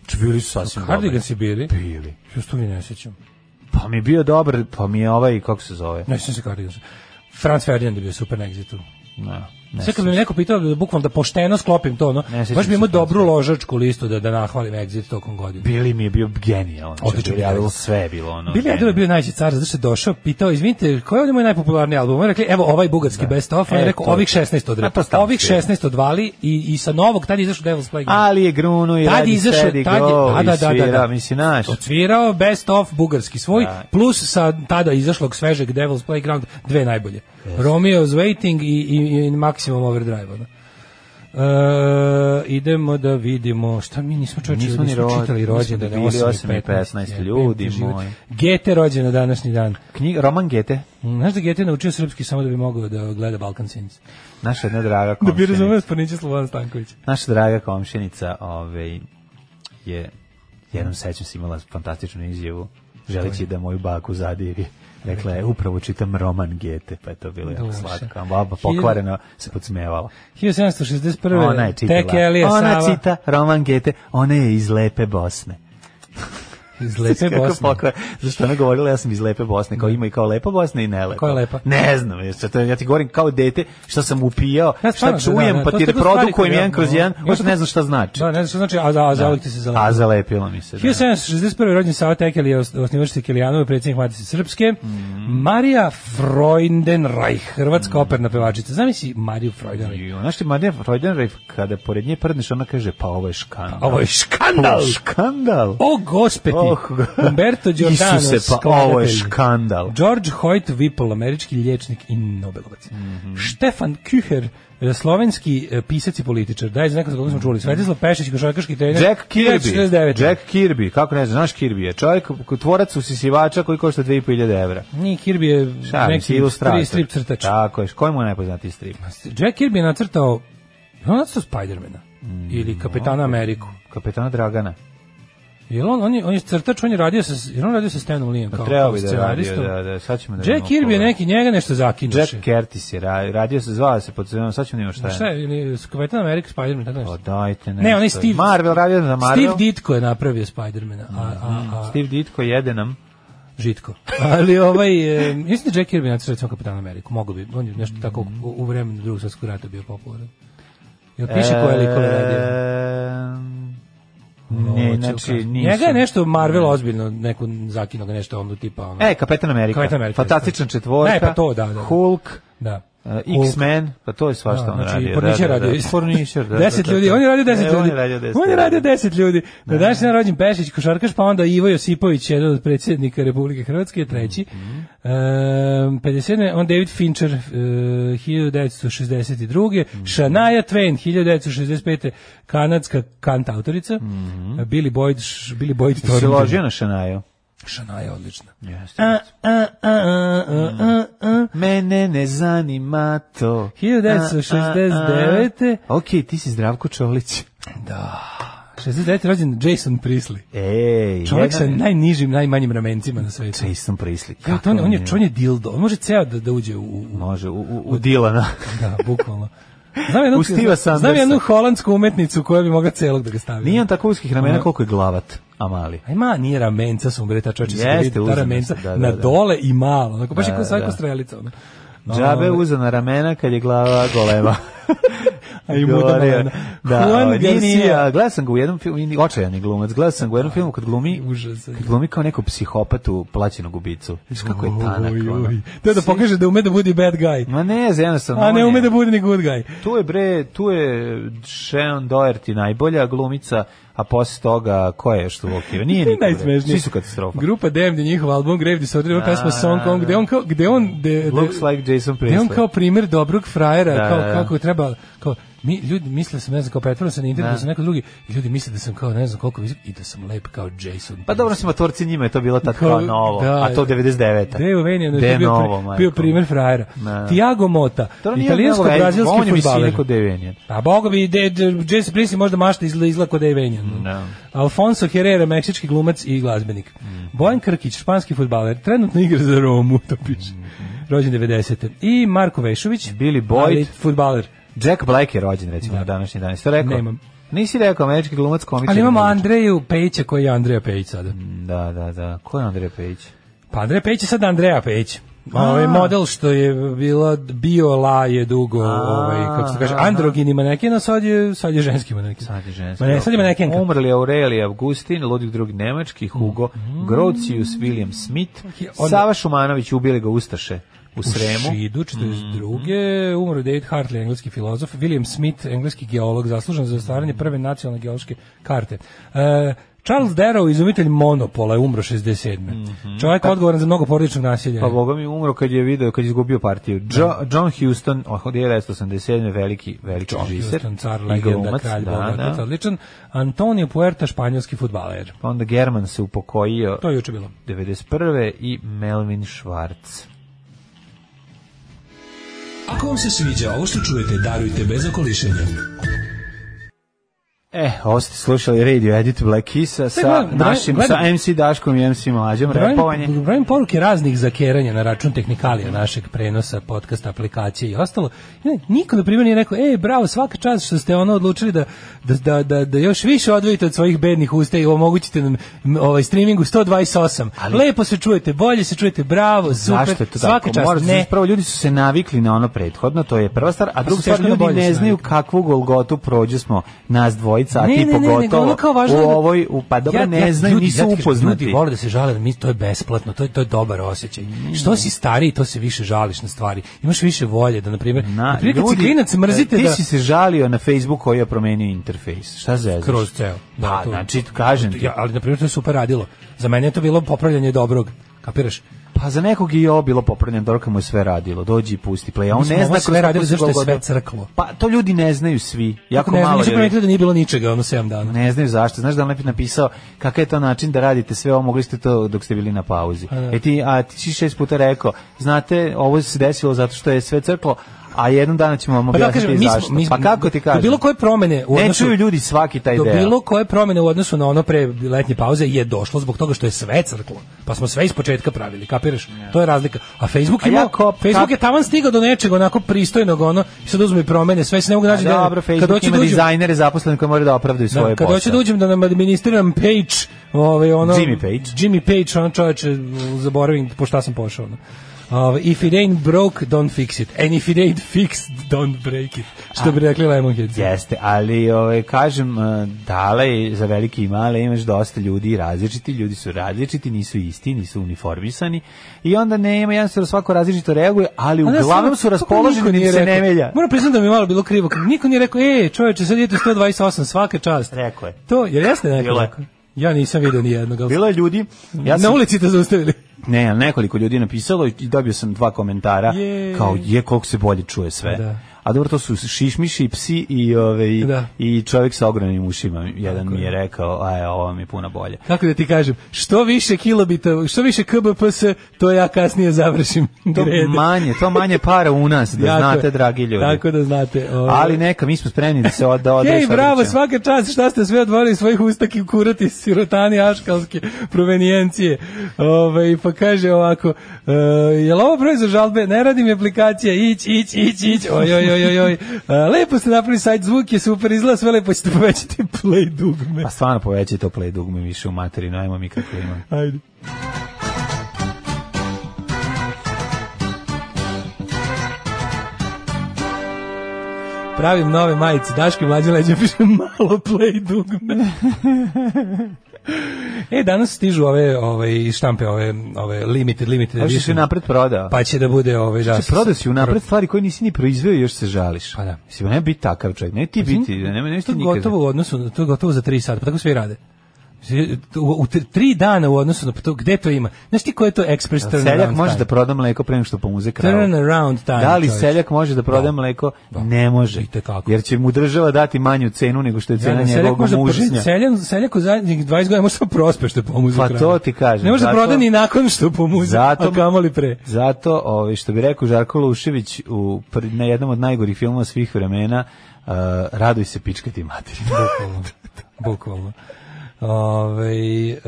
[SPEAKER 6] Znači, bili su sasvim dobri.
[SPEAKER 5] Cardigan si bili?
[SPEAKER 6] Bili.
[SPEAKER 5] Just to mi ne sjećam.
[SPEAKER 6] Pa mi je bio dobar, pa mi je ovaj, kako se zove?
[SPEAKER 5] Ne sjećam se Cardigan. Franz Ferdinand je bio super na Exitu.
[SPEAKER 6] Ne, ne
[SPEAKER 5] Sve kad bi me neko pitao da bukvalno da pošteno sklopim to, no,
[SPEAKER 6] Ne sjećam
[SPEAKER 5] baš bi
[SPEAKER 6] se
[SPEAKER 5] imao
[SPEAKER 6] Franz
[SPEAKER 5] dobru ložačku listu da, da nahvalim Exit tokom godine.
[SPEAKER 6] Bili mi je bio genijalan.
[SPEAKER 5] Odličan
[SPEAKER 6] Odlično, ja
[SPEAKER 5] genijalan.
[SPEAKER 6] sve je bilo ono.
[SPEAKER 5] Bili Idol je bio najveći car, zato što je došao, pitao, izvinite, koji je ovdje moj najpopularniji album? Oni rekli, evo ovaj bugarski best of, on je
[SPEAKER 6] E,
[SPEAKER 5] rekao,
[SPEAKER 6] to je
[SPEAKER 5] ovih
[SPEAKER 6] to.
[SPEAKER 5] 16
[SPEAKER 6] A pa
[SPEAKER 5] odrekao,
[SPEAKER 6] stalno
[SPEAKER 5] ovih
[SPEAKER 6] se ide.
[SPEAKER 5] 16 odvali i, i sa novog, tada je izašao Devil's Playground.
[SPEAKER 6] Ali je grunuo i
[SPEAKER 5] Tad je
[SPEAKER 6] radi
[SPEAKER 5] izašao-
[SPEAKER 6] sedi
[SPEAKER 5] tad je-
[SPEAKER 6] go
[SPEAKER 5] da, da, da,
[SPEAKER 6] i svira,
[SPEAKER 5] da.
[SPEAKER 6] mislim, znaš.
[SPEAKER 5] Odsvirao best of bugarski svoj,
[SPEAKER 6] Da.
[SPEAKER 5] plus sa tada izašlog svežeg Devil's Playground, dve najbolje. Romeo's Waiting i, i, i Maximum Overdrive. ono. E, idemo da vidimo šta mi nismo čoveče
[SPEAKER 6] Nismo
[SPEAKER 5] nismo,
[SPEAKER 6] ni ro-
[SPEAKER 5] čitali rođendane
[SPEAKER 6] nismo bili 8 i 15, ljudi moji.
[SPEAKER 5] Gete rođena današnji dan
[SPEAKER 6] Knjiga, roman Gete,
[SPEAKER 5] Znaš da Gete naučio srpski samo da bi mogao da gleda Balkan Sins?
[SPEAKER 6] naša jedna draga
[SPEAKER 5] Da bi
[SPEAKER 6] komšinica.
[SPEAKER 5] razumeo Spanića Slobodan Stanković.
[SPEAKER 6] Naša draga komšenica ovaj, je, jednom sećam se imala fantastičnu izjavu, želeći da moju baku zadiri. Rekla je, upravo čitam roman Gete, pa je to bilo jako
[SPEAKER 5] Duša.
[SPEAKER 6] slatko. A Baba
[SPEAKER 5] Hiljadu-
[SPEAKER 6] pokvareno se podsmevala.
[SPEAKER 5] 1761.
[SPEAKER 6] Ona je čitala.
[SPEAKER 5] Tek Elija
[SPEAKER 6] ona
[SPEAKER 5] Sava
[SPEAKER 6] čita roman Gete, ona je iz Lepe Bosne.
[SPEAKER 5] iz Lepe
[SPEAKER 6] Kako
[SPEAKER 5] Bosne.
[SPEAKER 6] pokvar- Zašto ona govorila, ja sam iz Lepe Bosne, kao ima i kao Lepa Bosna i nelepa.
[SPEAKER 5] Koja je lepa?
[SPEAKER 6] Ne znam, jer sad to- ja ti govorim kao dete, šta sam upijao,
[SPEAKER 5] Ja
[SPEAKER 6] šta
[SPEAKER 5] stvarno,
[SPEAKER 6] čujem,
[SPEAKER 5] da, da,
[SPEAKER 6] pa
[SPEAKER 5] to
[SPEAKER 6] ti
[SPEAKER 5] su te stvari
[SPEAKER 6] reprodukujem
[SPEAKER 5] koje
[SPEAKER 6] jedan kroz
[SPEAKER 5] ja-
[SPEAKER 6] jedan,
[SPEAKER 5] ja
[SPEAKER 6] još
[SPEAKER 5] sam-
[SPEAKER 6] ne znam šta znači.
[SPEAKER 5] Da, ne znam što znači, a, za, a zauvijek ti se
[SPEAKER 6] A
[SPEAKER 5] zalepio.
[SPEAKER 6] zalepilo mi se, da.
[SPEAKER 5] 1761. rođen Sava Tekel je os- osnivač Tekelijanova, predsjednik Matice Srpske.
[SPEAKER 6] Mhm.
[SPEAKER 5] Marija Freudenreich, hrvatska operna pevačica. Zamisli Mariju Freudenreich.
[SPEAKER 6] I Znaš ti, Marija Freudenreif, kada pored nje prdneš, ona kaže, pa ovo je škandal.
[SPEAKER 5] Ovo je škandal!
[SPEAKER 6] Škandal!
[SPEAKER 5] O, gospeti!
[SPEAKER 6] Oh, go-
[SPEAKER 5] Umberto Giordano,
[SPEAKER 6] Isuse, pa
[SPEAKER 5] skladatelj.
[SPEAKER 6] ovo je škandal.
[SPEAKER 5] George Hoyt Whipple, američki liječnik i Nobelovac.
[SPEAKER 6] Mhm.
[SPEAKER 5] Štefan Küher, eh, slovenski eh, pisac i političar. Daj, za neko za koga smo čuli. Svetislav Pešić, košarkaški trener.
[SPEAKER 6] Mhm. Jack Kirby,
[SPEAKER 5] 1949.
[SPEAKER 6] Jack Kirby, kako ne znaš, znaš Kirby je čovjek, tvorac usisivač koji košta 2500 evra.
[SPEAKER 5] Nije Kirby je
[SPEAKER 6] Šalim se,
[SPEAKER 5] neki
[SPEAKER 6] ilustrator.
[SPEAKER 5] stri- strip crtač.
[SPEAKER 6] Tako je, koji mu je najpoznatiji strip?
[SPEAKER 5] Jack Kirby je nacrtao, je on nacrtao Spidermana
[SPEAKER 6] Mm,
[SPEAKER 5] ili Kapetana Ameriku.
[SPEAKER 6] Kapetana Dragana.
[SPEAKER 5] Jel on, on, je, on je crtač, on je radio sa, jel on radio sa Stanom Lijem kao,
[SPEAKER 6] Trebao
[SPEAKER 5] kao
[SPEAKER 6] Pa bi da radio,
[SPEAKER 5] scenaristom?
[SPEAKER 6] da, da, sad ćemo da...
[SPEAKER 5] Jack Kirby je neki, njega nešto zakinuše.
[SPEAKER 6] Jack Curtis je ra- radio, se, zvao se pod zvanom, sad ćemo da imamo šta je.
[SPEAKER 5] Šta je, ili s Kapetan Amerika, Spider-Man, tako
[SPEAKER 6] O,
[SPEAKER 5] nešto.
[SPEAKER 6] dajte nešto.
[SPEAKER 5] Ne, on je Steve...
[SPEAKER 6] Marvel, radio za Marvel. Mm,
[SPEAKER 5] Steve Ditko je napravio Spider-mana, a, a, a,
[SPEAKER 6] Steve Ditko jede nam.
[SPEAKER 5] Žitko. Ali ovaj, e, mislim da Jack Kirby nacrta recimo Kapetan Ameriku, mogu bi, on je nešto tako
[SPEAKER 6] Mm.
[SPEAKER 5] u, u vremenu drugog svjetskog rata bio popularan. Jel piše koje
[SPEAKER 6] E,
[SPEAKER 5] likove radio?
[SPEAKER 6] Ne,
[SPEAKER 5] Ovo,
[SPEAKER 6] znači,
[SPEAKER 5] čuka.
[SPEAKER 6] nisam.
[SPEAKER 5] Njega je nešto Marvel ozbiljno, neku zakinog nešto ono tipa ono.
[SPEAKER 6] E, Kapetan Amerika.
[SPEAKER 5] Kapetan Amerika,
[SPEAKER 6] Fantastična
[SPEAKER 5] da.
[SPEAKER 6] četvorka.
[SPEAKER 5] Ne, pa to, da, da.
[SPEAKER 6] Hulk.
[SPEAKER 5] da.
[SPEAKER 6] e,
[SPEAKER 5] Hulk.
[SPEAKER 6] X-Men, pa to je svašta
[SPEAKER 5] Da,
[SPEAKER 6] on
[SPEAKER 5] znači,
[SPEAKER 6] radio.
[SPEAKER 5] Porničar radio.
[SPEAKER 6] Porničar, da, da,
[SPEAKER 5] 10
[SPEAKER 6] da,
[SPEAKER 5] ljudi,
[SPEAKER 6] da.
[SPEAKER 5] on je radio 10
[SPEAKER 6] E,
[SPEAKER 5] ljudi.
[SPEAKER 6] On je radio 10
[SPEAKER 5] On je radio 10 ljudi. Na današnji dan rođen Pešić košarkaš, pa onda Ivo Josipović, jedan od predsjednika Republike Hrvatske, je treći.
[SPEAKER 6] Mhm.
[SPEAKER 5] Ehm, 57. On David Fincher, e, 1962.
[SPEAKER 6] Mhm.
[SPEAKER 5] Shania Twain, 1965. Kanadska kant autorica. Eh, Billy Boyd, š- Billy Boyd
[SPEAKER 6] Mhm. Se
[SPEAKER 5] Thornton.
[SPEAKER 6] ložio na Šanaju.
[SPEAKER 5] Šana je odlična.
[SPEAKER 6] Jeste. Mhm. Mene ne zanima to.
[SPEAKER 5] 1969.
[SPEAKER 6] Ok, ti si Zdravko Čolić.
[SPEAKER 5] Da. 69. rođen Jason Priestley.
[SPEAKER 6] Ej,
[SPEAKER 5] Čovjek sa najnižim, najmanjim ramencima na svetu.
[SPEAKER 6] Jason Prislik.
[SPEAKER 5] Ja, to on, on, je, on je dildo. On može ceo da, da uđe u, u,
[SPEAKER 6] Može, u, u, u Dilana.
[SPEAKER 5] da, bukvalno. Znam jednu,
[SPEAKER 6] U Steve'a
[SPEAKER 5] znam
[SPEAKER 6] Sandersa.
[SPEAKER 5] jednu holandsku umetnicu koja bi mogla celog da ga stavi.
[SPEAKER 6] Nije on tako uskih ramena koliko je glavat, Amali.
[SPEAKER 5] Aj ma, nije ramenca su umbre, ta čovječe se
[SPEAKER 6] Jeste,
[SPEAKER 5] vidi, ta
[SPEAKER 6] uzmem
[SPEAKER 5] ramenca
[SPEAKER 6] se, da, da,
[SPEAKER 5] na
[SPEAKER 6] da.
[SPEAKER 5] dole i malo, onako baš je kao svako
[SPEAKER 6] da.
[SPEAKER 5] strelica. Ono.
[SPEAKER 6] Džabe uza na ramena kad je glava golema.
[SPEAKER 5] A i muda
[SPEAKER 6] Govorio je,
[SPEAKER 5] malena.
[SPEAKER 6] Da,
[SPEAKER 5] Juan
[SPEAKER 6] ovaj, nije, nije,
[SPEAKER 5] Garcia.
[SPEAKER 6] a gledao sam ga u jednom filmu, nije očajan je glumac, gledao sam ga u jednom filmu kad glumi,
[SPEAKER 5] Užasan.
[SPEAKER 6] kad glumi kao neku psihopatu plaćenog ubicu. Viš kako je tanak.
[SPEAKER 5] Oj,
[SPEAKER 6] ono.
[SPEAKER 5] oj. To je da pokaže da ume da budi bad guy.
[SPEAKER 6] Ma ne, jednostavno.
[SPEAKER 5] A
[SPEAKER 6] on
[SPEAKER 5] ne
[SPEAKER 6] je-
[SPEAKER 5] ume da bude ni good guy.
[SPEAKER 6] Tu je bre, tu je Sharon Doherty najbolja glumica, a posle toga ko je što vokira? Nije niko. bre.
[SPEAKER 5] Najsmešnije.
[SPEAKER 6] Svi su katastrofa.
[SPEAKER 5] Grupa DMD, njihov album Grave Disorder, ima
[SPEAKER 6] Da,
[SPEAKER 5] pesma Song
[SPEAKER 6] da,
[SPEAKER 5] Kong,
[SPEAKER 6] da.
[SPEAKER 5] gde on kao, gde on, de, de-
[SPEAKER 6] Looks like Jason
[SPEAKER 5] gde on
[SPEAKER 6] Priestley.
[SPEAKER 5] kao primjer dobrog frajera,
[SPEAKER 6] Da,
[SPEAKER 5] kao,
[SPEAKER 6] da, da.
[SPEAKER 5] kako treba, kao, mi, ljudi misle da sam, ne znam, kao pretvorno sam na internetu, da. sam neko drugi, i ljudi misle da sam kao, ne znam koliko visok, i da sam lep kao Jason.
[SPEAKER 6] Pa dobro, smo torci njima je to bilo tako kao novo,
[SPEAKER 5] da,
[SPEAKER 6] a to 99.
[SPEAKER 5] Deo Veni, ono
[SPEAKER 6] Gde
[SPEAKER 5] je to bio,
[SPEAKER 6] novo,
[SPEAKER 5] pri,
[SPEAKER 6] majko?
[SPEAKER 5] bio primjer frajera.
[SPEAKER 6] Da.
[SPEAKER 5] Tiago Mota,
[SPEAKER 6] To nije novo, ej,
[SPEAKER 5] italijansko-brazilski
[SPEAKER 6] on je visine
[SPEAKER 5] futbaler.
[SPEAKER 6] ko Devenijan.
[SPEAKER 5] Pa boga bi, de, de, Jason Priestley možda mašta izgleda, izgleda kod Evenjan.
[SPEAKER 6] Da.
[SPEAKER 5] Alfonso Herrera, meksički glumac i glazbenik. Bojan Krkić, španski futbaler, trenutno igra za Romu, to piše.
[SPEAKER 6] Mhm.
[SPEAKER 5] Rođen 90. I Marko Vešović.
[SPEAKER 6] Billy Boyd.
[SPEAKER 5] ali Futbaler.
[SPEAKER 6] Jack Black je rođen recimo na današnji dan. Jesi to rekao?
[SPEAKER 5] Nemam.
[SPEAKER 6] Nisi rekao američki glumac komičar.
[SPEAKER 5] Ali imamo
[SPEAKER 6] i muzičar.
[SPEAKER 5] Andreju Pejića, koji je Andreja Pejić sada.
[SPEAKER 6] Da, da, da. Ko je Andrej Pejić?
[SPEAKER 5] Pa Andreja Pejić je sad Andreja Pejić. Ovaj model što je bila bio la je dugo, ovaj kako se kaže, androgini maneken, a sad je sad je ženski maneken.
[SPEAKER 6] Sad je ženski.
[SPEAKER 5] Ma ne, sad je manekenka.
[SPEAKER 6] Umrli Aurelija Augustin, Ludvig II Nemački, Hugo
[SPEAKER 5] Mhm.
[SPEAKER 6] Grocius, William Smith,
[SPEAKER 5] Onda-
[SPEAKER 6] Sava Šumanović, ubili ga Ustaše u Sremu.
[SPEAKER 5] U Šidu, 42.
[SPEAKER 6] Mhm.
[SPEAKER 5] Umro David Hartley, engleski filozof, William Smith, engleski geolog, zaslužen za stvaranje
[SPEAKER 6] Mhm.
[SPEAKER 5] prve nacionalne geološke karte. E, Charles Darrow, izumitelj monopola, je umro 67. Čovjek odgovoran za mnogo porodičnog nasilja.
[SPEAKER 6] Mhm. Pa Boga mi umro kad je video, kad je izgubio partiju. Jo, John Houston, od 1987. veliki, veliki
[SPEAKER 5] John
[SPEAKER 6] režiser.
[SPEAKER 5] Houston, car,
[SPEAKER 6] i
[SPEAKER 5] legenda,
[SPEAKER 6] glumac,
[SPEAKER 5] kralj,
[SPEAKER 6] da,
[SPEAKER 5] bog,
[SPEAKER 6] da.
[SPEAKER 5] otac, odličan. Antonio Puerta, španjolski futbaler.
[SPEAKER 6] Pa onda German se upokojio
[SPEAKER 5] To je juče bilo.
[SPEAKER 6] 91. i Melvin Schwartz.
[SPEAKER 8] Ako vam se sviđa ovo što čujete, darujte bez okolišenja.
[SPEAKER 6] E, ovo ste slušali Radio Edit Black Kisa sa
[SPEAKER 5] gledam,
[SPEAKER 6] našim,
[SPEAKER 5] gledam.
[SPEAKER 6] sa MC Daškom i MC Mlađom, repovanje.
[SPEAKER 5] Brojim, brojim poruke raznih zakeranja na račun tehnikalija našeg prenosa, podcasta, aplikacije i ostalo. I ne, Niko, na primjer, nije rekao, e, bravo, svaka čast što ste ono odlučili da, da, da, da, da još više odvojite od svojih bednih usta i omogućite nam m, ovaj streamingu 128.
[SPEAKER 6] Ali-
[SPEAKER 5] Lepo se čujete, bolje se čujete, bravo, super,
[SPEAKER 6] Zašto je to
[SPEAKER 5] svaka
[SPEAKER 6] tako?
[SPEAKER 5] čast,
[SPEAKER 6] Morate
[SPEAKER 5] ne. Pa
[SPEAKER 6] se- prvo ljudi su se navikli na ono prethodno, to je prva stvar, a druga
[SPEAKER 5] su
[SPEAKER 6] stvar
[SPEAKER 5] teško da
[SPEAKER 6] ljudi
[SPEAKER 5] bolje se
[SPEAKER 6] ne znaju
[SPEAKER 5] naviknu.
[SPEAKER 6] kakvu golgotu prođe smo nas dvojica, a
[SPEAKER 5] Ne,
[SPEAKER 6] ti
[SPEAKER 5] ne, ne, nego ono kao
[SPEAKER 6] pogotovo
[SPEAKER 5] važno je
[SPEAKER 6] u
[SPEAKER 5] da-
[SPEAKER 6] ovoj, u, pa dobro ne znaju,
[SPEAKER 5] ljudi,
[SPEAKER 6] nisu
[SPEAKER 5] ja ti kažem,
[SPEAKER 6] upoznati.
[SPEAKER 5] Ljudi vole da se žale, da mi to je besplatno, to je, to je dobar osjećaj. Što
[SPEAKER 6] Mm.
[SPEAKER 5] si stariji, to se više žališ na stvari. Imaš više volje da, na primjer, na, primjer kad si klinac mrzite
[SPEAKER 6] e, ti
[SPEAKER 5] da...
[SPEAKER 6] si se žalio na Facebook koji je promenio interfejs. Šta zezaš?
[SPEAKER 5] Kroz ceo. Da,
[SPEAKER 6] Pa,
[SPEAKER 5] to-
[SPEAKER 6] znači, kažem ti.
[SPEAKER 5] Ja, ali, na primjer, to je super radilo. Za mene je to bilo popravljanje dobrog. Kapiraš?
[SPEAKER 6] Pa za nekog je i ovo bilo popravljeno, Dorka mu je sve radilo. Dođi i pusti play. A
[SPEAKER 5] Mi
[SPEAKER 6] on
[SPEAKER 5] smo
[SPEAKER 6] ne
[SPEAKER 5] ovo
[SPEAKER 6] zna
[SPEAKER 5] sve
[SPEAKER 6] kroz
[SPEAKER 5] radili
[SPEAKER 6] kako se
[SPEAKER 5] zato što je sve
[SPEAKER 6] golgota-
[SPEAKER 5] crklo.
[SPEAKER 6] Pa to ljudi ne znaju svi. Jako
[SPEAKER 5] ne,
[SPEAKER 6] malo
[SPEAKER 5] Nisam
[SPEAKER 6] ljudi.
[SPEAKER 5] primetio da nije bilo ničega, ono 7 dana.
[SPEAKER 6] Ne znaju zašto. Znaš da on lepo napisao kakav je to način da radite sve ovo, mogli ste to dok ste bili na
[SPEAKER 5] Pa
[SPEAKER 6] pauzi. E ti, a ti si šest puta rekao, znate, ovo se desilo zato što je sve crklo, a jednom dana ćemo vam
[SPEAKER 5] Pa da,
[SPEAKER 6] objasniti
[SPEAKER 5] kažem, mi smo-
[SPEAKER 6] zašto.
[SPEAKER 5] mi smo-
[SPEAKER 6] pa kako ti
[SPEAKER 5] do
[SPEAKER 6] kažem?
[SPEAKER 5] bilo koje promene u
[SPEAKER 6] Ne
[SPEAKER 5] odnosu-
[SPEAKER 6] čuju ljudi svaki taj
[SPEAKER 5] do
[SPEAKER 6] deo.
[SPEAKER 5] bilo koje promene u odnosu na ono pre letnje pauze je došlo zbog toga što je sve crklo. Pa smo sve iz početka pravili, kapiraš? To je razlika. A Facebook
[SPEAKER 6] A
[SPEAKER 5] je
[SPEAKER 6] ja ko-
[SPEAKER 5] Facebook
[SPEAKER 6] kap-
[SPEAKER 5] je taman stigao do nečeg onako pristojnog ono i sad uzme i promene, sve se ne mogu naći. gde-
[SPEAKER 6] A Dobro,
[SPEAKER 5] kad
[SPEAKER 6] Facebook
[SPEAKER 5] hoću
[SPEAKER 6] ima
[SPEAKER 5] da uđem-
[SPEAKER 6] dizajnere zaposlene koji moraju da opravdaju svoje
[SPEAKER 5] Da, kad
[SPEAKER 6] posao.
[SPEAKER 5] hoću da uđem da nam administriram page, ovaj ono
[SPEAKER 6] Jimmy Page.
[SPEAKER 5] Jimmy Page, on čoveče zaboravim po šta sam pošao. ono. Ovaj, if it ain't broke, don't fix it. And if it ain't fixed, don't break it. Što bi rekli Lemonheads.
[SPEAKER 6] Jeste, ali ovaj kažem eh, dale za velike i male imaš dosta ljudi različiti, ljudi su različiti, nisu isti, nisu uniformisani i onda nema jedan svako različito reaguje, ali
[SPEAKER 5] A ne, stvarno,
[SPEAKER 6] uglavnom su
[SPEAKER 5] kako niko
[SPEAKER 6] raspoloženi
[SPEAKER 5] nije
[SPEAKER 6] da se ne
[SPEAKER 5] rekao?
[SPEAKER 6] melja.
[SPEAKER 5] Moram priznati da mi je malo bilo krivo. kad Niko nije rekao, e, čoveče, sad idete 128, svaka čast.
[SPEAKER 6] Rekao je.
[SPEAKER 5] To, jer jeste neko
[SPEAKER 6] Bilo je.
[SPEAKER 5] rekao? Ja nisam vidio ni jednog. Ali...
[SPEAKER 6] Bilo je ljudi, ja
[SPEAKER 5] Na
[SPEAKER 6] sam,
[SPEAKER 5] ulici te zaustavili.
[SPEAKER 6] ne, ali nekoliko ljudi je napisalo i dobio sam dva komentara
[SPEAKER 5] Jej.
[SPEAKER 6] kao je koliko se bolje čuje sve.
[SPEAKER 5] Da.
[SPEAKER 6] a dobro to su šišmiši, psi i, ove,
[SPEAKER 5] Da.
[SPEAKER 6] i čovjek sa ogranim ušima. Jedan
[SPEAKER 5] Tako
[SPEAKER 6] mi je
[SPEAKER 5] je.
[SPEAKER 6] rekao, aj, ovo mi je puno bolje.
[SPEAKER 5] Kako da ti kažem, što više kilobita, što više KBPS, to ja kasnije završim.
[SPEAKER 6] To
[SPEAKER 5] grede.
[SPEAKER 6] manje, to manje para u nas, da
[SPEAKER 5] Jako je.
[SPEAKER 6] znate, dragi ljudi.
[SPEAKER 5] Tako da znate. ovaj.
[SPEAKER 6] Ali neka, mi smo spremni da se od, da odreš
[SPEAKER 5] Ej, bravo,
[SPEAKER 6] odličan.
[SPEAKER 5] svaka čast, šta ste sve odvorili iz svojih usta i kurati sirotani aškalske provenijencije. Ove, pa kaže ovako, e, je li ovo broj za žalbe? Ne radi mi aplikacija, ić, ić, ić, ić, oj, oj, oj, oj, oj. E, lepo ste napravili sajt, zvuk je super, izgleda sve lepo, ćete povećati play dugme.
[SPEAKER 6] Pa stvarno povećaj to play dugme više u materinu, ajmo mi kako imam.
[SPEAKER 5] Ajde. Pravim nove majice, Daške mlađe leđe piše malo play dugme. e, danas stižu ove, ove štampe, ove, ove limited, limited
[SPEAKER 6] Ovo što si
[SPEAKER 5] edition.
[SPEAKER 6] napred prodao.
[SPEAKER 5] Pa će da bude ove, da.
[SPEAKER 6] Znači, prodao si unapred stvari koje nisi ni proizveo i još se žališ.
[SPEAKER 5] Pa da. Pa
[SPEAKER 6] Mislim, ne biti takav čovjek, ne ti biti, ne, ne, ne
[SPEAKER 5] to
[SPEAKER 6] ti
[SPEAKER 5] je
[SPEAKER 6] nikad.
[SPEAKER 5] gotovo u odnosu, to je gotovo za 3 sata, pa tako svi rade. U, u tri- tri dana u odnosu na pa to, gde to ima? Znaš ti ko je to ekspres turnaround
[SPEAKER 6] Seljak može
[SPEAKER 5] time?
[SPEAKER 6] da proda mleko pre nego što pomuze kravu.
[SPEAKER 5] Turn around time.
[SPEAKER 6] Da li
[SPEAKER 5] čoveče.
[SPEAKER 6] seljak može da proda
[SPEAKER 5] Da.
[SPEAKER 6] mleko?
[SPEAKER 5] Da.
[SPEAKER 6] Ne može.
[SPEAKER 5] Itekako.
[SPEAKER 6] Jer će mu država dati manju cenu nego što je cena
[SPEAKER 5] Ja, ne, seljak
[SPEAKER 6] njegovog
[SPEAKER 5] može
[SPEAKER 6] mužnja.
[SPEAKER 5] mužnja. Seljan, seljak u zadnjih 20 godina može samo prospe što je pomuzio
[SPEAKER 6] Pa
[SPEAKER 5] kravu.
[SPEAKER 6] to ti kažem,
[SPEAKER 5] Ne može da
[SPEAKER 6] zato-
[SPEAKER 5] proda ni nakon što pomuzio,
[SPEAKER 6] Zato-
[SPEAKER 5] a kamoli pre.
[SPEAKER 6] Zato, ovaj što bi rekao Žarko Lušević u pr- na jednom od najgorih filmova svih vremena, uh, raduj se pičkati materinu.
[SPEAKER 5] Bukvalno. Bukvalno. Ove, e,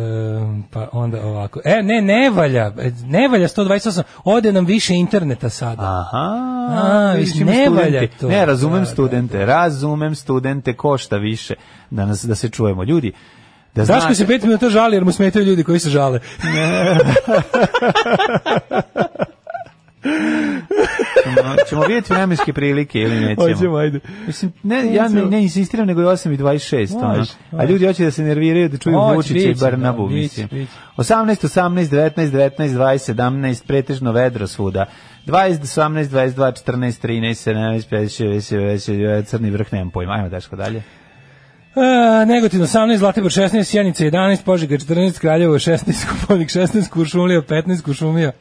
[SPEAKER 5] pa onda ovako. E, ne, ne valja. E, Ne valja 128. Ode nam više interneta sada.
[SPEAKER 6] Aha.
[SPEAKER 5] A,
[SPEAKER 6] vidiš,
[SPEAKER 5] vidiš,
[SPEAKER 6] ima
[SPEAKER 5] ne
[SPEAKER 6] studente.
[SPEAKER 5] valja to.
[SPEAKER 6] Ne, razumem
[SPEAKER 5] Da, da,
[SPEAKER 6] studente, razumem studente, košta više da, nas, da se čujemo. Ljudi, da
[SPEAKER 5] Zašto
[SPEAKER 6] znate,
[SPEAKER 5] se pet minuta žali jer mu smetaju ljudi koji se žale?
[SPEAKER 6] ćemo, ćemo vidjeti vremenske prilike ili nećemo.
[SPEAKER 5] Hoćemo, ajde.
[SPEAKER 6] Mislim, ne, ja ne, ne insistiram, nego je 8 i 26. ono.
[SPEAKER 5] Može,
[SPEAKER 6] A ljudi hoće da se nerviraju, da čuju
[SPEAKER 5] Hoće,
[SPEAKER 6] Vučića i
[SPEAKER 5] biće,
[SPEAKER 6] Barnabu.
[SPEAKER 5] da, biće,
[SPEAKER 6] mislim.
[SPEAKER 5] biće.
[SPEAKER 6] 18, 18, 19, 19, 20, 17, pretežno vedro svuda. 20, 18, 22, 14, 13, 17, 15, 16, 17, 19, crni vrh, nemam pojma. Ajmo, Daško, dalje.
[SPEAKER 5] E, Negotin 18, Zlatibor 16, Sjenica 11, Požega 14, Kraljevo 16, Kuponik 16, Kuršumlija 15, Kuršumlija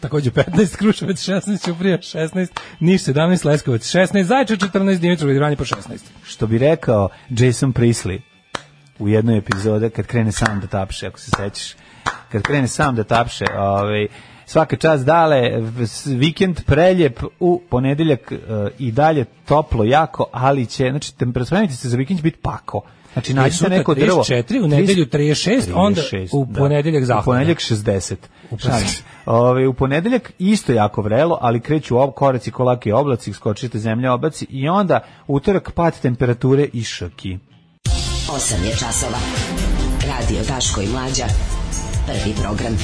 [SPEAKER 5] takođe 15, Kruševac 16, Ćuprija 16, Niš 17, Leskovac 16, Zajče 14, Dimitrov Vranje po 16.
[SPEAKER 6] Što bi rekao Jason Priestley u jednoj epizode, kad krene sam da tapše, ako se sećaš. Kad krene sam da tapše, ovaj, svaka čast dale, v- s- vikend preljep u ponedeljak e, i dalje toplo jako, ali će, znači, temperatura se za vikend će biti pako. Znači, nađite
[SPEAKER 5] sutra
[SPEAKER 6] neko drvo.
[SPEAKER 5] 34, u nedelju 36, onda u ponedeljak
[SPEAKER 6] da. U
[SPEAKER 5] zahvalno.
[SPEAKER 6] ponedeljak 60.
[SPEAKER 5] U
[SPEAKER 6] Šalim
[SPEAKER 5] ponedeljak.
[SPEAKER 6] se. Ove, u ponedeljak isto jako vrelo, ali kreću ob koraci, kolaki oblaci, skočite zemlje oblaci i onda utorak pad temperature i šaki.
[SPEAKER 4] 8 je časova. Radio Daško i Mlađa. Prvi program.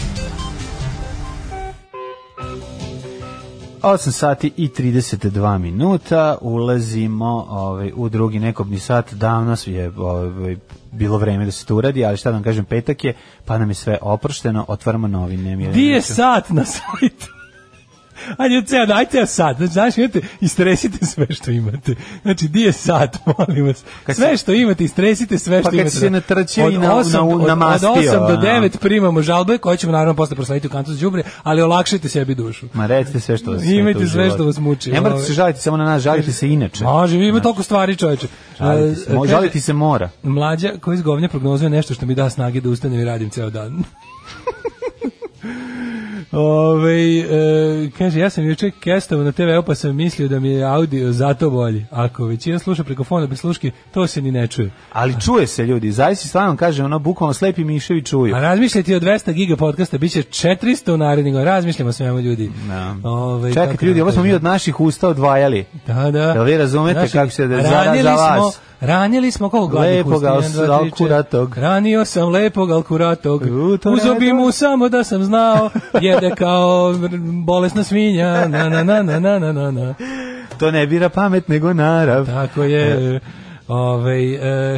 [SPEAKER 6] 8 sati i 32 minuta ulazimo ovaj, u drugi nekobni sat davno je ovaj, bilo vreme da se to uradi ali šta da vam kažem petak je pa nam je sve oprošteno otvaramo novine Mirjana
[SPEAKER 5] Di je
[SPEAKER 6] Mirković.
[SPEAKER 5] sat na sajtu? Ajde, od ceo, ajde ceo sat. Znači, znaš, imate, istresite sve što imate. Znači, di je sat, molim vas.
[SPEAKER 6] Kad
[SPEAKER 5] Sve
[SPEAKER 6] se-
[SPEAKER 5] što imate, istresite sve
[SPEAKER 6] Pa
[SPEAKER 5] što
[SPEAKER 6] kad
[SPEAKER 5] imate.
[SPEAKER 6] si se natrčio
[SPEAKER 5] Od
[SPEAKER 6] i na-
[SPEAKER 5] osam-
[SPEAKER 6] na-
[SPEAKER 5] od-
[SPEAKER 6] namastio,
[SPEAKER 5] Od 8 do
[SPEAKER 6] ono.
[SPEAKER 5] 9 primamo žalbe, koje ćemo naravno posle proslediti u kantu za đubre, ali olakšajte sebi dušu.
[SPEAKER 6] Ma recite sve što vas smeta
[SPEAKER 5] Imajte
[SPEAKER 6] u
[SPEAKER 5] sve
[SPEAKER 6] životu.
[SPEAKER 5] što vas muči,
[SPEAKER 6] Ne morate
[SPEAKER 5] ovaj.
[SPEAKER 6] se žaliti samo na nas, žalite se inače.
[SPEAKER 5] Može, vi ima toliko stvari, čoveče.
[SPEAKER 6] Žaliti se,
[SPEAKER 5] E,
[SPEAKER 6] mo-
[SPEAKER 5] kaže,
[SPEAKER 6] žaliti se mora.
[SPEAKER 5] Mlađa koji iz govnja prognozuje nešto što mi da snage da ustanem i radim ceo dan. Ove, e, kaže, ja sam juče kestovo na TV-u pa sam mislio da mi je audio zato bolji. Ako većina sluša preko fona bez sluške, to se ni ne čuje.
[SPEAKER 6] Ali čuje se ljudi, zaista stvarno kažem, ono bukvalno slepi miševi čuju.
[SPEAKER 5] A razmišljati o 200 giga podcasta, bit će 400 u narednih godina. Razmišljamo o svemu ljudi.
[SPEAKER 6] Da.
[SPEAKER 5] Ovaj, kako
[SPEAKER 6] Čekajte ljudi,
[SPEAKER 5] da
[SPEAKER 6] ovo smo mi
[SPEAKER 5] kažem.
[SPEAKER 6] od naših usta odvajali.
[SPEAKER 5] Da, da.
[SPEAKER 6] Jel vi razumete kako se da- za-
[SPEAKER 5] ranili
[SPEAKER 6] za vas?
[SPEAKER 5] Smo, ranili smo kako gladnih
[SPEAKER 6] Lepog
[SPEAKER 5] usta, jedan,
[SPEAKER 6] al-
[SPEAKER 5] dva, tri, četiri.
[SPEAKER 6] alkuratog.
[SPEAKER 5] Ranio sam lepog alkuratog.
[SPEAKER 6] U, to ne
[SPEAKER 5] Uzobi
[SPEAKER 6] znam.
[SPEAKER 5] mu samo da sam znao, jede kao r- bolesna svinja. Na, na, na, na, na, na, na, na.
[SPEAKER 6] To ne bira pamet, nego narav.
[SPEAKER 5] Tako
[SPEAKER 6] E.
[SPEAKER 5] je. Ove,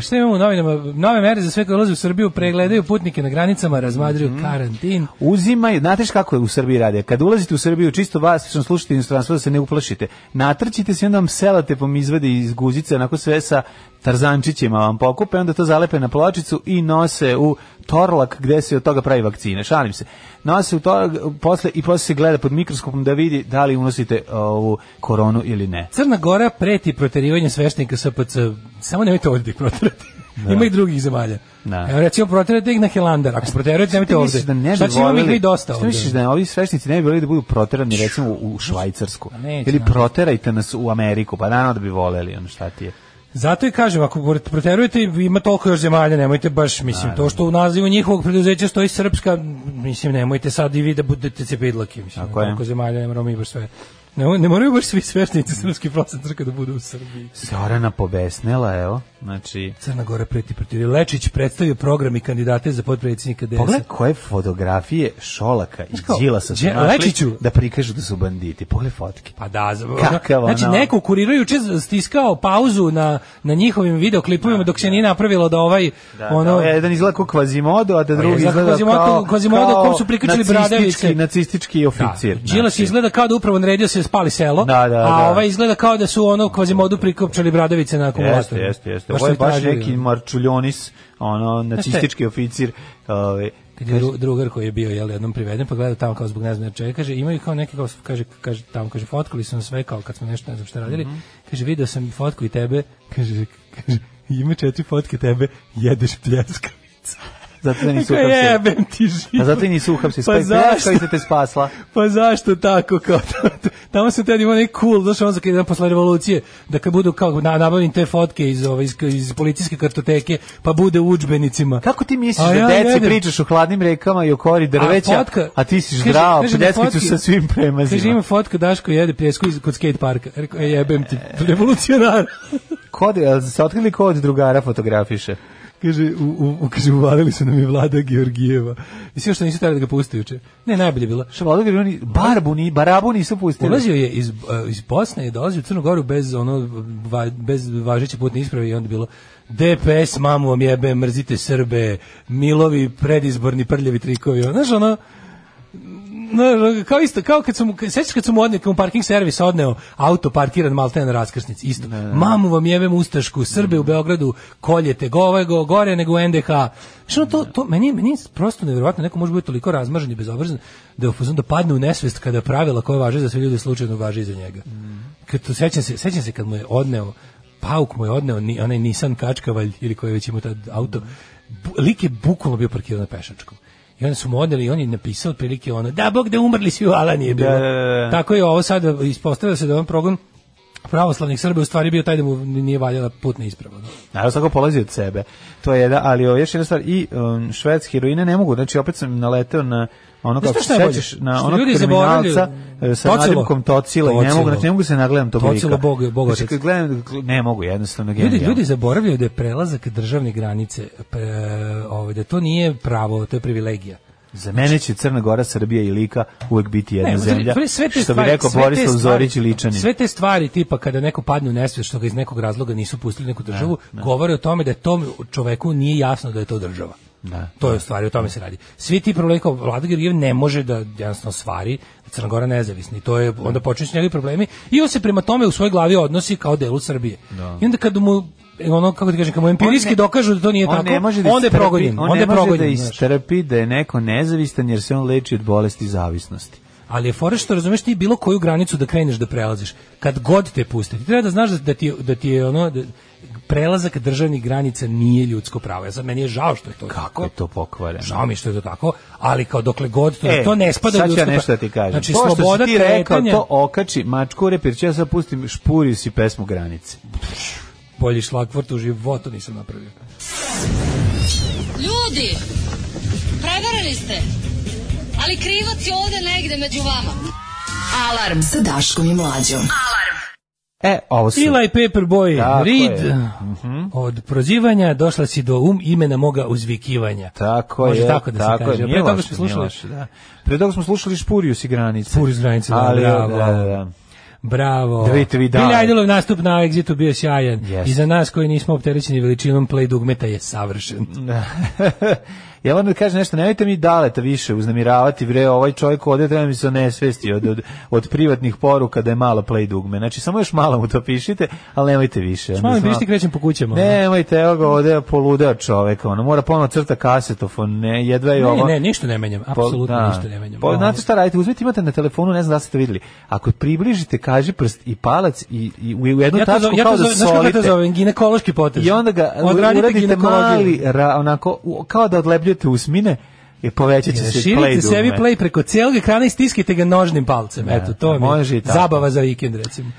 [SPEAKER 5] šta imamo u novinama? Nove mere za sve koje ulaze u Srbiju pregledaju putnike na granicama, razmadruju
[SPEAKER 6] Mhm.
[SPEAKER 5] karantin.
[SPEAKER 6] Uzimaj, znate šta kako je u Srbiji radi? Kad ulazite u Srbiju, čisto vas što slušate inostranstvo da se ne uplašite. Natrčite se i onda vam selate pom izvade iz guzice, onako sve sa tarzančićima vam pokupe, onda to zalepe na pločicu i nose u torlak gde se od toga pravi vakcina. Šalim se. Nose u torlak posle, i posle se gleda pod mikroskopom da vidi da li unosite ovu koronu ili ne.
[SPEAKER 5] Crna Gora preti proterivanje sveštenika SPC. Samo nemojte ovdje da ih proterati. Ima i drugih zemalja.
[SPEAKER 6] Da.
[SPEAKER 5] Evo recimo proterate ih na Helandar. Ako proterujete, nemojte
[SPEAKER 6] Ti misliš
[SPEAKER 5] ovdje.
[SPEAKER 6] da ne bi
[SPEAKER 5] Šta će imam
[SPEAKER 6] voleli-
[SPEAKER 5] ih i dosta
[SPEAKER 6] Šta
[SPEAKER 5] ovdje?
[SPEAKER 6] misliš da ovi svešnici ne bi voleli da budu proterani recimo u u Švajcarsku?
[SPEAKER 5] Pa neće,
[SPEAKER 6] Ili
[SPEAKER 5] naravno.
[SPEAKER 6] proterajte nas u Ameriku, pa naravno da bi voleli, ono šta ti je.
[SPEAKER 5] Zato i kažem, ako proterujete, ima toliko još zemalja, nemojte baš, mislim, to što u nazivu njihovog preduzeća stoji Srpska, mislim, nemojte sad i vi da budete cepidlaki, mislim,
[SPEAKER 6] Tako je.
[SPEAKER 5] toliko zemalja, ne moramo mi baš sve. Ne, mo- ne moraju baš svi
[SPEAKER 6] Mm.
[SPEAKER 5] svešnici Srpski pravoslavne crkve da budu u Srbiji.
[SPEAKER 6] Zorana pobesnela, evo. Znači,
[SPEAKER 5] Crna Gora preti protiv. Lečić predstavio program i kandidate za potpredsjednika DS.
[SPEAKER 6] pogledaj koje fotografije Šolaka i
[SPEAKER 5] kao,
[SPEAKER 6] Đilasa su
[SPEAKER 5] Đe-
[SPEAKER 6] našli
[SPEAKER 5] Lečiću.
[SPEAKER 6] da prikažu da su banditi. Pogledaj fotke.
[SPEAKER 5] Pa da, z-
[SPEAKER 6] Kakav
[SPEAKER 5] znači
[SPEAKER 6] ono-
[SPEAKER 5] neko u kuriru je juče stiskao pauzu na, na njihovim videoklipovima dok se nije napravilo da ovaj
[SPEAKER 6] Da,
[SPEAKER 5] ono
[SPEAKER 6] da, jedan izgleda kao Kvazimodo, a da drugi
[SPEAKER 5] izgleda
[SPEAKER 6] izgleda
[SPEAKER 5] Kvazimodo-
[SPEAKER 6] kao,
[SPEAKER 5] Kvazimodo kom su prikačili bradavice.
[SPEAKER 6] nacistički, nacistički oficir.
[SPEAKER 5] Da. Đilas
[SPEAKER 6] znači.
[SPEAKER 5] izgleda kao da upravo naredio se spali selo,
[SPEAKER 6] Da, da,
[SPEAKER 5] a
[SPEAKER 6] da.
[SPEAKER 5] ovaj izgleda kao da su ono kvazimodu prikopčali bradavice na
[SPEAKER 6] Jeste,
[SPEAKER 5] akumulatoru.
[SPEAKER 6] jeste, jeste. Ovo je
[SPEAKER 5] su i
[SPEAKER 6] baš
[SPEAKER 5] tražili.
[SPEAKER 6] neki marčuljonis, ono, nacistički oficir. ovaj, Ove,
[SPEAKER 5] Kad je dru- drugar koji je bio jel, jednom priveden, pa gleda tamo kao zbog ne znam čega, kaže, imaju kao neki, kao, kaže, kaže, tamo kaže, fotkali su nas sve kao kad smo nešto ne znam šta radili,
[SPEAKER 6] Mhm.
[SPEAKER 5] kaže, video sam fotku i tebe, kaže, kaže, ima četiri fotke tebe, jedeš pljeskavica.
[SPEAKER 6] zato da nisu
[SPEAKER 5] Kao
[SPEAKER 6] uhapsili.
[SPEAKER 5] jebem ti život.
[SPEAKER 6] Pa zato i nisu uhapsili.
[SPEAKER 5] Pa
[SPEAKER 6] Pa
[SPEAKER 5] zašto?
[SPEAKER 6] zašto? te spasla.
[SPEAKER 5] Pa zašto tako kao tamo se tad ima neki cool, znaš, on za kad posle revolucije da kad budu kao na, nabavim te fotke iz ove iz, iz policijske kartoteke, pa bude u udžbenicima.
[SPEAKER 6] Kako ti misliš
[SPEAKER 5] A
[SPEAKER 6] da
[SPEAKER 5] ja
[SPEAKER 6] deci
[SPEAKER 5] jedem.
[SPEAKER 6] pričaš o hladnim rekama i o kori drveća, a,
[SPEAKER 5] fotka-
[SPEAKER 6] ti si
[SPEAKER 5] kaže-
[SPEAKER 6] zdrav,
[SPEAKER 5] kaže na
[SPEAKER 6] pljeskicu
[SPEAKER 5] fotki-
[SPEAKER 6] sa svim premazima.
[SPEAKER 5] Kaže ima fotka Daško jede pljesku iz kod skate parka. Rekao e, jebem ti revolucionar.
[SPEAKER 6] Kod, jel se otkrili ko od drugara fotografiše?
[SPEAKER 5] kaže u, u, u kaže uvalili su nam je Vlada Georgijeva. Mislim što nisu trebali da ga puste juče. Ne, najbolje je bilo.
[SPEAKER 6] Što vladu jer oni barbu, ni, barabu nisu pustili.
[SPEAKER 5] Ulazio je iz, eh, iz Bosne i dolazio u Crnu Goru bez, ono, va, bez važeće putne isprave i onda bilo DPS, mamu vam jebe, mrzite Srbe, Milovi, predizborni, prljavi trikovi. Znaš, ono, znaš, ono, kao isto, kao kad su mu, sećaš kad su mu odneo, kad mu parking servis odneo auto parkiran maltene na raskrsnici, isto. Mamu vam jebem ustašku, Srbe u Beogradu koljete, gove go, gore nego u NDH. Znaš, ono, to, to, meni, meni je prosto nevjerovatno, neko može biti toliko razmažen i bezobrazan da je u fazonu da padne u nesvest kada pravila koja važe za sve ljude slučajno važe i za njega. Kad to, sećam, se, sećam se kad mu je odneo, Pauk mu je odneo ni, onaj Nissan Kačkavalj ili koji je već imao tad auto, bu, lik je bukvalno bio parkiran na pešačkom. I onda su mu odneli i on je napisao otprilike ono, da bog da umrli svi u Alani je bilo.
[SPEAKER 6] Da, da, da, da.
[SPEAKER 5] Tako je ovo sada ispostavilo se da je on progon pravoslavnih Srba u stvari bio taj da mu nije valjala putna isprava. Da.
[SPEAKER 6] Naravno, svako polazi od sebe. To je jedan, ali o, još jedna stvar, i um, švedske heroine ne mogu, znači opet sam naleteo na ono
[SPEAKER 5] Znaš
[SPEAKER 6] kako
[SPEAKER 5] šta je bolje?
[SPEAKER 6] sećaš, na
[SPEAKER 5] Što
[SPEAKER 6] onog
[SPEAKER 5] ljudi
[SPEAKER 6] kriminalca
[SPEAKER 5] zaboravljaju-
[SPEAKER 6] e, sa
[SPEAKER 5] Tocilo.
[SPEAKER 6] nadimkom Tocila i ne mogu,
[SPEAKER 5] Tocilo.
[SPEAKER 6] znači ne mogu se nagledam to
[SPEAKER 5] Tocilo,
[SPEAKER 6] lika.
[SPEAKER 5] Bog- Bogotac.
[SPEAKER 6] Znači, kad gledam, gl- ne mogu, jednostavno
[SPEAKER 5] Ljudi,
[SPEAKER 6] genijalno.
[SPEAKER 5] ljudi zaboravljaju da je prelazak državne granice, pre, ovaj, da to nije pravo, to je privilegija.
[SPEAKER 6] Za mene će Crna Gora, Srbija i Lika uvek biti jedna
[SPEAKER 5] Ne,
[SPEAKER 6] zemlja.
[SPEAKER 5] sve- sve te
[SPEAKER 6] što bi
[SPEAKER 5] stvari-
[SPEAKER 6] rekao
[SPEAKER 5] sve te
[SPEAKER 6] Borislav
[SPEAKER 5] stvari-
[SPEAKER 6] Zorić i Ličanin.
[SPEAKER 5] Sve te stvari tipa kada neko padne u nesvijest što ga iz nekog razloga nisu pustili u neku državu, govore o tome da tom čoveku nije jasno da je to država.
[SPEAKER 6] Da.
[SPEAKER 5] To je u stvari, o tome se radi. Svi ti problemi kao Vlada Georgijev ne može da jednostavno stvari da Crna Gora nezavisni. To je, onda počinju s njegovi problemi i on se prema tome u svojoj glavi odnosi kao delu Srbije. I onda kad mu ono kako ti kažem, kad mu empirijski
[SPEAKER 6] ne-
[SPEAKER 5] dokažu da to nije
[SPEAKER 6] on
[SPEAKER 5] tako,
[SPEAKER 6] ne može da
[SPEAKER 5] onda je
[SPEAKER 6] istrpi-
[SPEAKER 5] progonjen.
[SPEAKER 6] On
[SPEAKER 5] onda
[SPEAKER 6] ne
[SPEAKER 5] je
[SPEAKER 6] može da
[SPEAKER 5] progonjen, znaš.
[SPEAKER 6] istrpi da je neko nezavistan jer se on leči od bolesti zavisnosti.
[SPEAKER 5] Ali je fora što razumeš ti bilo koju granicu da kreneš da prelaziš. Kad god te puste, ti treba da znaš da, da ti, da ti je ono... Da, prelazak državnih granica nije ljudsko pravo. Ja sad meni je žao što je to
[SPEAKER 6] Kako
[SPEAKER 5] tako.
[SPEAKER 6] je to pokvareno?
[SPEAKER 5] Žao mi je što je to tako, ali kao dokle god to,
[SPEAKER 6] E,
[SPEAKER 5] to ne spada u
[SPEAKER 6] sad ću
[SPEAKER 5] ljudsko
[SPEAKER 6] ja nešto
[SPEAKER 5] pravo.
[SPEAKER 6] da ti kažem.
[SPEAKER 5] Znači,
[SPEAKER 6] to što
[SPEAKER 5] sloboda
[SPEAKER 6] si ti rekao,
[SPEAKER 5] kretanja,
[SPEAKER 6] to okači mačku u repir, ću ja sad pustim špuris i pesmu granice.
[SPEAKER 5] bolji šlagvort u životu nisam napravio.
[SPEAKER 9] Ljudi, prevarili ste. Ali krivac je ovde negde među vama.
[SPEAKER 4] Alarm sa Daškom i Mlađom.
[SPEAKER 6] E, ovo su...
[SPEAKER 5] Eli Paperboy,
[SPEAKER 6] Tako
[SPEAKER 5] Reed,
[SPEAKER 6] je. Mhm.
[SPEAKER 5] od prozivanja došla si do um imena moga uzvikivanja.
[SPEAKER 6] Tako
[SPEAKER 5] Može
[SPEAKER 6] je,
[SPEAKER 5] tako da
[SPEAKER 6] tako
[SPEAKER 5] se kaže. Pre
[SPEAKER 6] je. Nije
[SPEAKER 5] toga
[SPEAKER 6] loše,
[SPEAKER 5] smo slušali
[SPEAKER 6] nije loše, da. Pre toga smo slušali špurijus i granice.
[SPEAKER 5] Špurijus i granice, da,
[SPEAKER 6] Ali,
[SPEAKER 5] bravo.
[SPEAKER 6] da, da, da.
[SPEAKER 5] Bravo.
[SPEAKER 6] Da vidite vi da.
[SPEAKER 5] Billy Idolov nastup na Exitu bio sjajan.
[SPEAKER 6] Yes.
[SPEAKER 5] I za nas koji nismo opterećeni veličinom play dugmeta je savršen.
[SPEAKER 6] ja moram da kažem nešto, nemojte mi daleta više uznamiravati, bre, ovaj čovjek ovdje treba mi se onesvesti od, od, od privatnih poruka da je malo play dugme. Znači, samo još malo mu to pišite, ali nemojte više.
[SPEAKER 5] Malo mi
[SPEAKER 6] Onda
[SPEAKER 5] pišti krećem po kućama.
[SPEAKER 6] Nemojte, evo ga ovdje poludeo čovjek, ono, mora ponovno crta kasetofon, ne, jedva je
[SPEAKER 5] Ne,
[SPEAKER 6] ovo...
[SPEAKER 5] ne, ništa ne menjam,
[SPEAKER 6] Po-
[SPEAKER 5] apsolutno
[SPEAKER 6] da.
[SPEAKER 5] ništa ne menjam. Ono,
[SPEAKER 6] Po, znate šta radite, uzmite, imate na telefonu, ne znam da li ste to vidjeli, ako približite kaži prst i palac i, i u u jednu
[SPEAKER 5] ja to
[SPEAKER 6] ono, tačku
[SPEAKER 5] zovem, ja
[SPEAKER 6] kao
[SPEAKER 5] to
[SPEAKER 6] da
[SPEAKER 5] zovem, znaš kako ja to
[SPEAKER 6] solite.
[SPEAKER 5] zovem, ginekološki potez.
[SPEAKER 6] I onda ga
[SPEAKER 5] Odradite
[SPEAKER 6] uradite
[SPEAKER 5] ginekologiju.
[SPEAKER 6] mali, ra, onako, u- kao da odlepljujete usmine i povećat će se play
[SPEAKER 5] Širite sebi
[SPEAKER 6] dugme.
[SPEAKER 5] play preko cijelog ekrana i stiskite ga nožnim palcem. Eto, to mi
[SPEAKER 6] može i
[SPEAKER 5] je
[SPEAKER 6] tako.
[SPEAKER 5] zabava za vikend, recimo.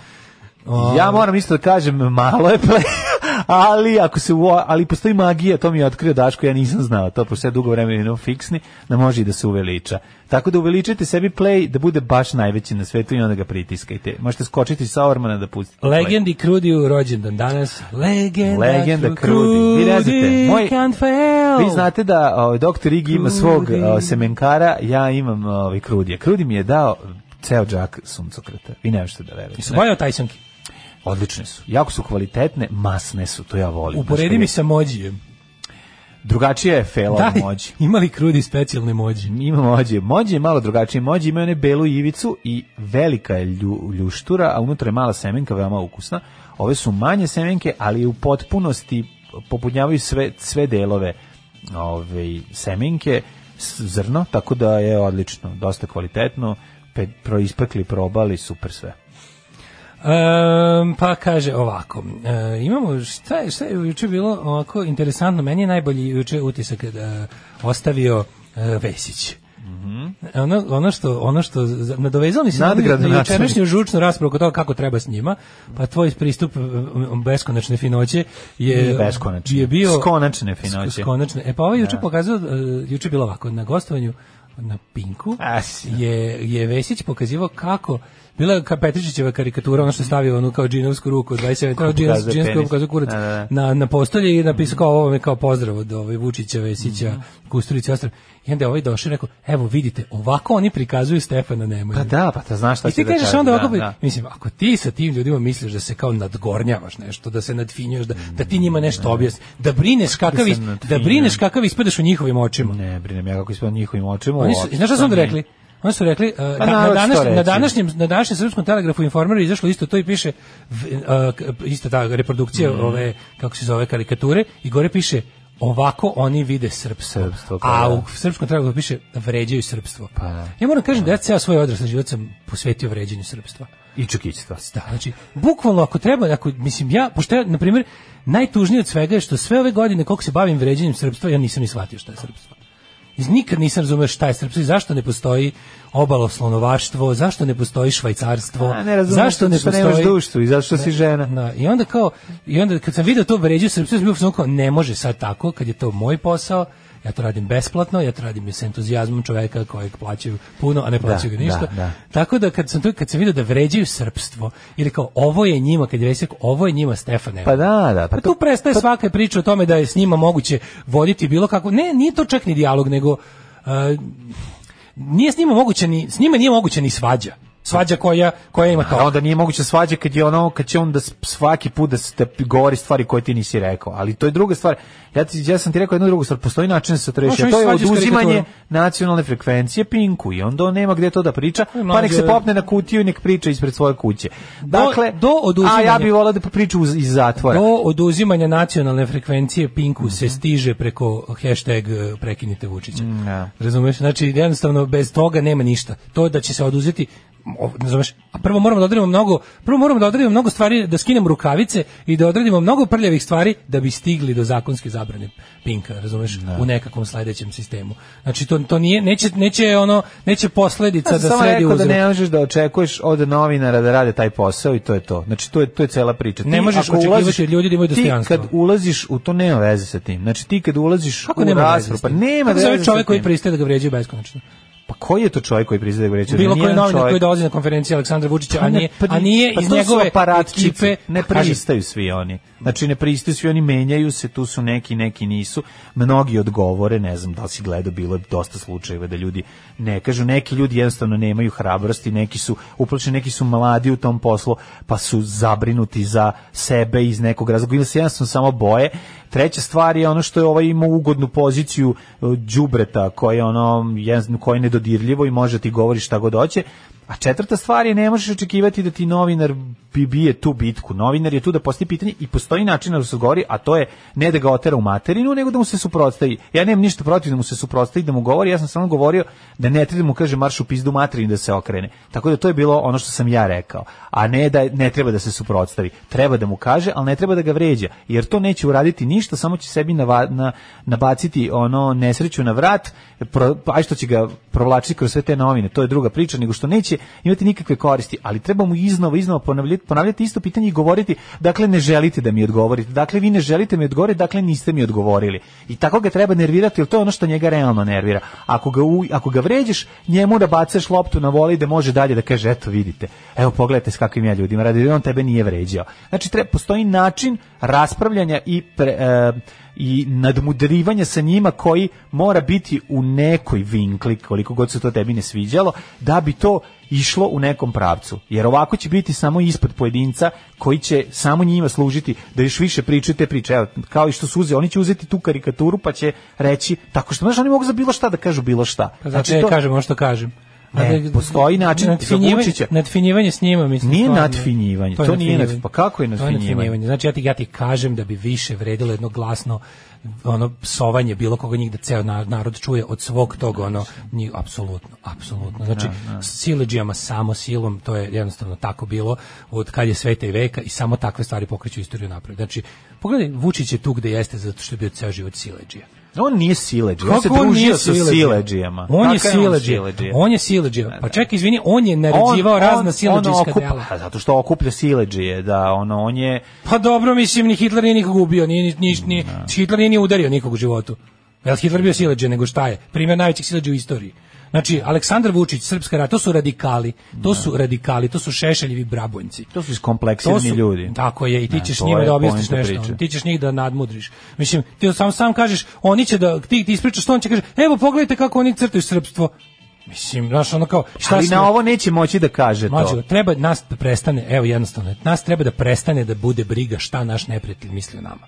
[SPEAKER 5] O,
[SPEAKER 6] Ja moram isto da kažem, malo je play, ali, ako se, u- ali postoji magija, to mi je otkrio Daško, ja nisam znao to, pošto je dugo vremena jednom fiksni, da može i da se uveliča. Tako da uveličite sebi play, da bude baš najveći na svetu i onda ga pritiskajte. Možete skočiti sa ormana da pustite play.
[SPEAKER 5] Legendi Krudiju rođendan danas. Legenda,
[SPEAKER 6] Legenda Krudi.
[SPEAKER 5] Krudi.
[SPEAKER 6] Vi ne znate, moj-
[SPEAKER 5] can't fail.
[SPEAKER 6] Vi znate da ovaj doktor Igi ima
[SPEAKER 5] Krudi.
[SPEAKER 6] svog o, semenkara, ja imam ovaj Krudija. Krudi mi je dao ceo džak suncokreta. Vi ne možete da verujete.
[SPEAKER 5] Su bolje od Tysonki.
[SPEAKER 6] Odlične su. Jako su kvalitetne, masne su, to ja volim.
[SPEAKER 5] Uporedi
[SPEAKER 6] Znaš,
[SPEAKER 5] mi sa mođijem.
[SPEAKER 6] Drugačije je fela
[SPEAKER 5] Da,
[SPEAKER 6] od mođe.
[SPEAKER 5] ima li Krudi specijalne mođi?
[SPEAKER 6] Ima mođe. Mođe je malo drugačije. Mođe ima one belu ivicu i velika je lju- ljuštura, a unutra je mala semenka, veoma ukusna. Ove su manje semenke, ali u potpunosti popunjavaju sve, sve delove ove, semenke, s- zrno, tako da je odlično, dosta kvalitetno, pe, proispekli, probali, super sve.
[SPEAKER 5] Ehm, pa kaže ovako, e, imamo šta je, šta je juče bilo ovako interesantno, meni je najbolji juče utisak e, ostavio e, Vesić.
[SPEAKER 6] Mhm.
[SPEAKER 5] Ono, ono što ono što za- nadovezalo mi se na- na
[SPEAKER 6] Nadgradonačelnik.
[SPEAKER 5] jučerašnju žučnu raspravu oko toga kako treba s njima, pa tvoj pristup e, beskonačne finoće je
[SPEAKER 6] Nije beskonačne.
[SPEAKER 5] je bio
[SPEAKER 6] Skonačne finoće.
[SPEAKER 5] Sk- skonačne. E pa ovaj juče pokazao e, juče je bilo ovako na gostovanju na Pinku
[SPEAKER 6] As.
[SPEAKER 5] je, je Vesić pokazivao kako bila je ka- Petričićeva karikatura, ono što je stavio onu kao džinovsku ruku od ono 27, kao džinov-
[SPEAKER 6] pokazuje
[SPEAKER 5] džinovsku
[SPEAKER 6] penis.
[SPEAKER 5] ruku, pokazuje kurac
[SPEAKER 6] Da, da, da.
[SPEAKER 5] na, na postolje i napisao kao ovo vam je kao pozdrav od ovaj Vučića, Vesića,
[SPEAKER 6] Mhm.
[SPEAKER 5] Kusturića, i ostalih. I onda je ovaj došao i rekao, evo vidite, ovako oni prikazuju Stefana Nemanju.
[SPEAKER 6] Pa da, pa da znaš šta
[SPEAKER 5] I
[SPEAKER 6] ću
[SPEAKER 5] ti
[SPEAKER 6] da
[SPEAKER 5] kažeš
[SPEAKER 6] kažem,
[SPEAKER 5] onda
[SPEAKER 6] da,
[SPEAKER 5] ovako,
[SPEAKER 6] da.
[SPEAKER 5] mislim, ako ti sa tim ljudima misliš da se kao nadgornjavaš nešto, da se nadfinjuješ, da, da ti njima nešto objasni, da brineš kakav,
[SPEAKER 6] Mm. se
[SPEAKER 5] is- da
[SPEAKER 6] nadfinjujem.
[SPEAKER 5] brineš kakav ispadaš u njihovim očima.
[SPEAKER 6] Ne, brinem ja kako ispod njihovim očima.
[SPEAKER 5] Oni su,
[SPEAKER 6] uopšte,
[SPEAKER 5] znaš šta su onda
[SPEAKER 6] to mi- Pa
[SPEAKER 5] rekli? Oni su rekli, uh, da- na,
[SPEAKER 6] narod
[SPEAKER 5] današnj-
[SPEAKER 6] što reći.
[SPEAKER 5] na, današnjem, na današnjem srpskom telegrafu Informeru je izašlo isto to i piše v- uh, k- isto ta reprodukcija
[SPEAKER 6] Mm.
[SPEAKER 5] ove, kako se zove, karikature i gore piše ovako oni vide srpstvo.
[SPEAKER 6] Srpstvo, pa
[SPEAKER 5] a
[SPEAKER 6] da. Pa,
[SPEAKER 5] u srpskom telegrafu piše vređaju srpstvo. Ja moram kažem da ja ceo svoj odrasli život sam posvetio vređanju srpstva.
[SPEAKER 6] I čukićstva.
[SPEAKER 5] Da, znači, bukvalno ako treba, ako, mislim, ja, pošto ja, na primjer, najtužnije od svega je što sve ove godine koliko se bavim vređenjem srpstva, ja nisam ni shvatio šta je srpstvo. Iz- Nikad nisam razumio šta je srpstvo i zašto ne postoji obaloslonovaštvo, zašto ne postoji švajcarstvo,
[SPEAKER 6] A, ne razumeš
[SPEAKER 5] zašto ne
[SPEAKER 6] što
[SPEAKER 5] postoji...
[SPEAKER 6] nemaš dušu i zašto si žena.
[SPEAKER 5] Da, I onda kao, i onda kad sam vidio to vređu srpstvo, sam bio u fazonu kao, ne može sad tako, kad je to moj posao, ja to radim besplatno, ja to radim sa entuzijazmom čoveka kojeg plaćaju puno, a ne plaćaju ga
[SPEAKER 6] da,
[SPEAKER 5] ništa.
[SPEAKER 6] da.
[SPEAKER 5] Tako da kad sam tu, kad sam vidio da vređaju srpstvo, ili kao, ovo je njima, kad je Resik, ovo je njima Stefane.
[SPEAKER 6] Pa da, da, pa
[SPEAKER 5] Pa
[SPEAKER 6] to-
[SPEAKER 5] tu prestaje svaka priča o tome da je s njima moguće voditi bilo kako. Ne, nije to čak ni dijalog, nego e, nije s njima moguće ni s njima nije moguće ni svađa. Svađa koja koja ima to.
[SPEAKER 6] A onda nije moguće svađa kad je ono kad će onda svaki put da se te govori stvari koje ti nisi rekao. Ali to je druga stvar. Ja ti ja sam ti rekao jednu drugu stvar, postoji način da se to reši.
[SPEAKER 5] Možeš
[SPEAKER 6] a To je
[SPEAKER 5] mi svađu s
[SPEAKER 6] oduzimanje
[SPEAKER 5] karikaturom.
[SPEAKER 6] nacionalne frekvencije Pinku i onda on nema gde to da priča,
[SPEAKER 5] E,
[SPEAKER 6] pa
[SPEAKER 5] mlađe-
[SPEAKER 6] nek se popne na kutiju i nek priča ispred svoje kuće. Dakle,
[SPEAKER 5] do
[SPEAKER 6] a ja
[SPEAKER 5] oduzimanja-
[SPEAKER 6] bih volao da priča uz- iz zatvora.
[SPEAKER 5] Do oduzimanja nacionalne frekvencije Pinku se
[SPEAKER 6] Mhm.
[SPEAKER 5] stiže preko hashtag e, prekinite Vučića.
[SPEAKER 6] da.
[SPEAKER 5] Razumeš? Znači, jednostavno, bez toga nema ništa. To da će se oduzeti, o, razumeš? A prvo moramo da odredimo mnogo, prvo moramo da odredimo mnogo stvari, da skinemo rukavice i da odredimo mnogo prljavih stvari da bi stigli do zakonske zabrane Pinka, razumeš? U nekakvom sledećem sistemu. Znači, to, to nije, neće, neće ono, neće posledica
[SPEAKER 6] Ja
[SPEAKER 5] da
[SPEAKER 6] sam Pa samo
[SPEAKER 5] sledi
[SPEAKER 6] rekao
[SPEAKER 5] uzrok.
[SPEAKER 6] da ne možeš da očekuješ od novinara da rade taj posao i to je to. Znači to je to je cela priča.
[SPEAKER 5] Ne možeš
[SPEAKER 6] ako
[SPEAKER 5] očekivati
[SPEAKER 6] ulaziš-
[SPEAKER 5] od ljudi da imaju dostojanstvo.
[SPEAKER 6] Ti kad ulaziš u to nema veze sa tim. Znači ti kad ulaziš
[SPEAKER 5] Kako
[SPEAKER 6] u
[SPEAKER 5] nema veze s
[SPEAKER 6] raspravu, pa
[SPEAKER 5] tim?
[SPEAKER 6] nema
[SPEAKER 5] Kako se zove
[SPEAKER 6] veze. sa
[SPEAKER 5] čovjek koji
[SPEAKER 6] tim.
[SPEAKER 5] pristaje da ga vređaju beskonačno?
[SPEAKER 6] Pa koji je to čovjek koji priznaje da je rečio?
[SPEAKER 5] Bilo koji novinar koji dolazi na konferenciju Aleksandra Vučića, a nije, a nije
[SPEAKER 6] pa
[SPEAKER 5] iz
[SPEAKER 6] to su
[SPEAKER 5] njegove
[SPEAKER 6] aparatčice,
[SPEAKER 5] ekipe,
[SPEAKER 6] ne
[SPEAKER 5] kaži,
[SPEAKER 6] pristaju svi oni. Znači ne pristaju svi oni, menjaju se, tu su neki, neki nisu. Mnogi odgovore, ne znam da li si gledao, bilo je dosta slučajeva da ljudi ne kažu, neki ljudi jednostavno nemaju hrabrosti, neki su uplašeni, neki su mladi u tom poslu, pa su zabrinuti za sebe iz nekog razloga ili se jednostavno samo boje. Treća stvar je ono što je ovaj imao ugodnu poziciju e, đubreta koji je ono jedan koji je nedodirljivo i može ti govori šta god hoće. A četvrta stvar je ne možeš očekivati da ti novinar bi bije tu bitku. Novinar je tu da postavi pitanje i postoji način da se govori, a to je ne da ga otera u materinu, nego da mu se suprotstavi. Ja nemam ništa protiv da mu se suprotstavi, da mu govori, ja sam samo govorio da ne treba da mu kaže marš u pizdu materinu da se okrene. Tako da to je bilo ono što sam ja rekao, a ne da ne treba da se suprotstavi. Treba da mu kaže, ali ne treba da ga vređa, jer to neće uraditi ništa, samo će sebi nava- na, nabaciti ono nesreću na vrat, pro, aj što će ga provlačiti kroz sve te novine, to je druga priča, nego što neće imati nikakve koristi, ali treba mu iznova, iznova ponavljati, ponavljati isto pitanje i govoriti, dakle ne želite da mi odgovorite, dakle vi ne želite mi odgovoriti, dakle niste mi odgovorili. I tako ga treba nervirati, jer to je ono što njega realno nervira. Ako ga, u- ako ga vređaš, njemu da bacaš loptu na voli da može dalje da kaže, eto vidite, evo pogledajte s kakvim ja ljudima radi, on tebe nije vređao. Znači, treba, postoji način raspravljanja i pre, e, i nadmudrivanja sa njima koji mora biti u nekoj vinkli, koliko god se to tebi ne sviđalo, da bi to išlo u nekom pravcu. Jer ovako će biti samo ispod pojedinca koji će samo njima služiti da još više pričaju te priče. Evo, kao i što su uzeli, oni će uzeti tu karikaturu pa će reći, tako što, znaš, oni mogu za bilo šta da kažu bilo šta.
[SPEAKER 5] zato ja
[SPEAKER 6] Znači, to-
[SPEAKER 5] kažem ono što kažem. A
[SPEAKER 6] Ne,
[SPEAKER 5] da-
[SPEAKER 6] postoji način za Vučića.
[SPEAKER 5] Nadfinjivanje s njima, mislim.
[SPEAKER 6] Nije
[SPEAKER 5] stvarno.
[SPEAKER 6] nadfinjivanje, to nije nadf- pa kako je
[SPEAKER 5] To
[SPEAKER 6] nadfinjivanje?
[SPEAKER 5] Znači, ja ti, ja ti kažem da bi više vredilo jedno glasno ono psovanje bilo koga njih da ceo na- narod čuje od svog tog ono njih apsolutno apsolutno znači s sileđijama samo silom to je jednostavno tako bilo od kad je sveta i veka i samo takve stvari pokreću istoriju napred znači pogledaj Vučić je tu gde jeste zato što je bio ceo život sileđija
[SPEAKER 6] On nije sileđi, on se
[SPEAKER 5] kako on nije
[SPEAKER 6] družio sa
[SPEAKER 5] sileđija?
[SPEAKER 6] sileđijama.
[SPEAKER 5] On je
[SPEAKER 6] Kakav
[SPEAKER 5] sileđija.
[SPEAKER 6] sileđija?
[SPEAKER 5] On je sileđija. Pa čekaj, izvini, on je
[SPEAKER 6] On-
[SPEAKER 5] narađivao
[SPEAKER 6] on-
[SPEAKER 5] razna
[SPEAKER 6] on
[SPEAKER 5] sileđijska
[SPEAKER 6] okupa-
[SPEAKER 5] dela.
[SPEAKER 6] Pa zato što okuplja sileđije, da, ono, on je...
[SPEAKER 5] Pa dobro, mislim, ni Hitler nije nikog ubio, ni, ni, ni, ni, Hitler nije ni udario nikog u životu. Jel Hitler bio sileđe nego šta je? Primjer najvećih sileđe u istoriji. Znači, Aleksandar Vučić, Srpska rata, to su radikali, to su radikali, to su šešeljevi brabojnci.
[SPEAKER 6] To su iskompleksirani ljudi.
[SPEAKER 5] Tako je, i ti
[SPEAKER 6] Ne,
[SPEAKER 5] ćeš
[SPEAKER 6] to
[SPEAKER 5] njima
[SPEAKER 6] je
[SPEAKER 5] da objasniš
[SPEAKER 6] poenta
[SPEAKER 5] nešto.
[SPEAKER 6] priče.
[SPEAKER 5] Ti ćeš njih da nadmudriš. Mislim, ti sam sam kažeš, oni će da ti ti ispričaš što on će kaže, evo pogledajte kako oni crtaju srpstvo. Mislim, znaš, ono kao, šta
[SPEAKER 6] Ali
[SPEAKER 5] smo-
[SPEAKER 6] na ovo neće moći da kaže
[SPEAKER 5] Mlađo,
[SPEAKER 6] to.
[SPEAKER 5] treba nas da prestane, evo jednostavno, nas treba da prestane da bude briga šta naš neprijatelj misli o nama.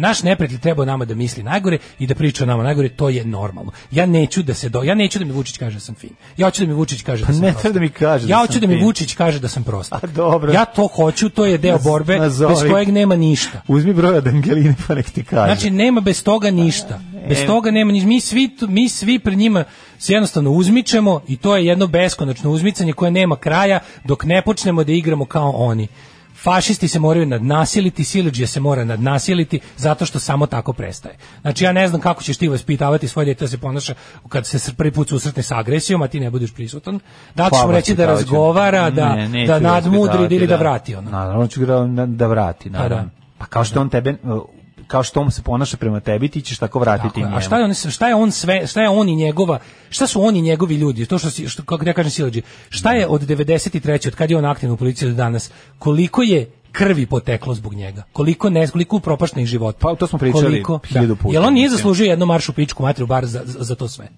[SPEAKER 5] Naš neprijatelj treba o nama da misli najgore i da priča o nama najgore, to je normalno. Ja neću da se do, ja neću da mi Vučić kaže da sam fin. Ja hoću da mi Vučić kaže da sam
[SPEAKER 6] Pa ne
[SPEAKER 5] prost.
[SPEAKER 6] treba da mi kaže da
[SPEAKER 5] Ja
[SPEAKER 6] sam
[SPEAKER 5] hoću da mi
[SPEAKER 6] fin.
[SPEAKER 5] Vučić kaže da sam prost.
[SPEAKER 6] A, dobro.
[SPEAKER 5] Ja to hoću, to je deo
[SPEAKER 6] Naz-
[SPEAKER 5] borbe
[SPEAKER 6] nazovi.
[SPEAKER 5] bez kojeg nema ništa.
[SPEAKER 6] Uzmi broj od Angeline pa nek ti kaže.
[SPEAKER 5] Znači nema bez toga ništa.
[SPEAKER 6] E.
[SPEAKER 5] Bez toga nema ništa. Mi svi tu- mi svi pred njima se jednostavno uzmičemo i to je jedno beskonačno uzmicanje koje nema kraja dok ne počnemo da igramo kao oni. Fašisti se moraju nadnasiliti, sileđija se mora nadnasiliti zato što samo tako prestaje. Znači ja ne znam kako ćeš ti vaspitavati svoje dete da se ponaša kad se sr- prvi put susretne sa agresijom, a ti ne budeš prisutan. Da li ćeš mu
[SPEAKER 6] Pa,
[SPEAKER 5] reći da
[SPEAKER 6] vaspitavaću.
[SPEAKER 5] razgovara, da,
[SPEAKER 6] Ne, neću
[SPEAKER 5] da nadmudri
[SPEAKER 6] vaspitavati,
[SPEAKER 5] ili da vrati ono.
[SPEAKER 6] Naravno ću ga da, da vrati,
[SPEAKER 5] Pa da.
[SPEAKER 6] naravno. Pa kao što on tebe uh, kao što on se ponaša prema tebi, ti ćeš tako vratiti
[SPEAKER 5] Tako je.
[SPEAKER 6] njemu.
[SPEAKER 5] A šta je on šta je on sve šta je on i njegova šta su oni njegovi ljudi to što si- što kako da ja kažem silađi šta je od 93 od kad je on aktivan u policiji do danas koliko je krvi poteklo zbog njega koliko ne koliko propaštenih života
[SPEAKER 6] Pa, to smo pričali
[SPEAKER 5] koliko
[SPEAKER 6] hiljadu puta,
[SPEAKER 5] jel on nije
[SPEAKER 6] mislim.
[SPEAKER 5] zaslužio jednu maršu pičku materu bar za, za, za to sve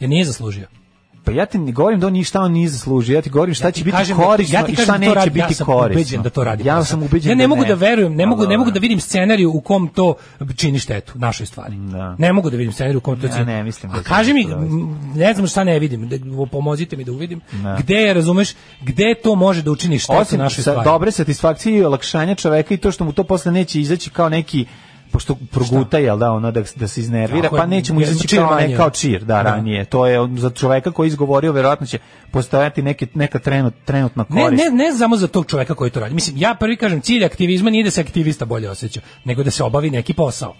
[SPEAKER 5] jer nije zaslužio
[SPEAKER 6] Pa ja ti ne govorim da on ništa on nije zaslužio, ja ti govorim šta će biti
[SPEAKER 5] Kažem da-
[SPEAKER 6] korisno
[SPEAKER 5] ja ti
[SPEAKER 6] i
[SPEAKER 5] kažem
[SPEAKER 6] šta
[SPEAKER 5] da to
[SPEAKER 6] neće
[SPEAKER 5] radi,
[SPEAKER 6] biti
[SPEAKER 5] ja sam
[SPEAKER 6] korisno.
[SPEAKER 5] ubeđen da to radi.
[SPEAKER 6] Ja
[SPEAKER 5] Sad,
[SPEAKER 6] sam ubeđen
[SPEAKER 5] Ja ne mogu da verujem, ne
[SPEAKER 6] Pa
[SPEAKER 5] mogu, ne
[SPEAKER 6] dobro.
[SPEAKER 5] mogu da vidim scenariju u kom to čini štetu našoj stvari.
[SPEAKER 6] Da.
[SPEAKER 5] Ne mogu da vidim scenariju u kom to
[SPEAKER 6] Ja
[SPEAKER 5] čini.
[SPEAKER 6] ne mislim da
[SPEAKER 5] A
[SPEAKER 6] će
[SPEAKER 5] kaži mi,
[SPEAKER 6] to
[SPEAKER 5] m, ne znam šta ne vidim, da- pomozite mi da uvidim. Gde je, razumeš, gde to može da učini štetu
[SPEAKER 6] osim
[SPEAKER 5] našoj
[SPEAKER 6] sa-
[SPEAKER 5] stvari?
[SPEAKER 6] dobre satisfakcije i olakšanja čoveka i to što mu to posle neće izaći kao neki pošto proguta je da ono da da se iznervira
[SPEAKER 5] Tako je,
[SPEAKER 6] pa neće mu
[SPEAKER 5] jer
[SPEAKER 6] izaći
[SPEAKER 5] čir
[SPEAKER 6] kao
[SPEAKER 5] manje.
[SPEAKER 6] ne, kao čir da,
[SPEAKER 5] Da.
[SPEAKER 6] ranije to je on- za čoveka koji je izgovorio verovatno će postojati neke neka trenut, trenutna
[SPEAKER 5] Ne,
[SPEAKER 6] korist
[SPEAKER 5] ne, ne samo za tog čoveka koji to radi. Mislim, ja prvi kažem, cilj aktivizma nije da se aktivista bolje osjeća, nego da se obavi neki posao.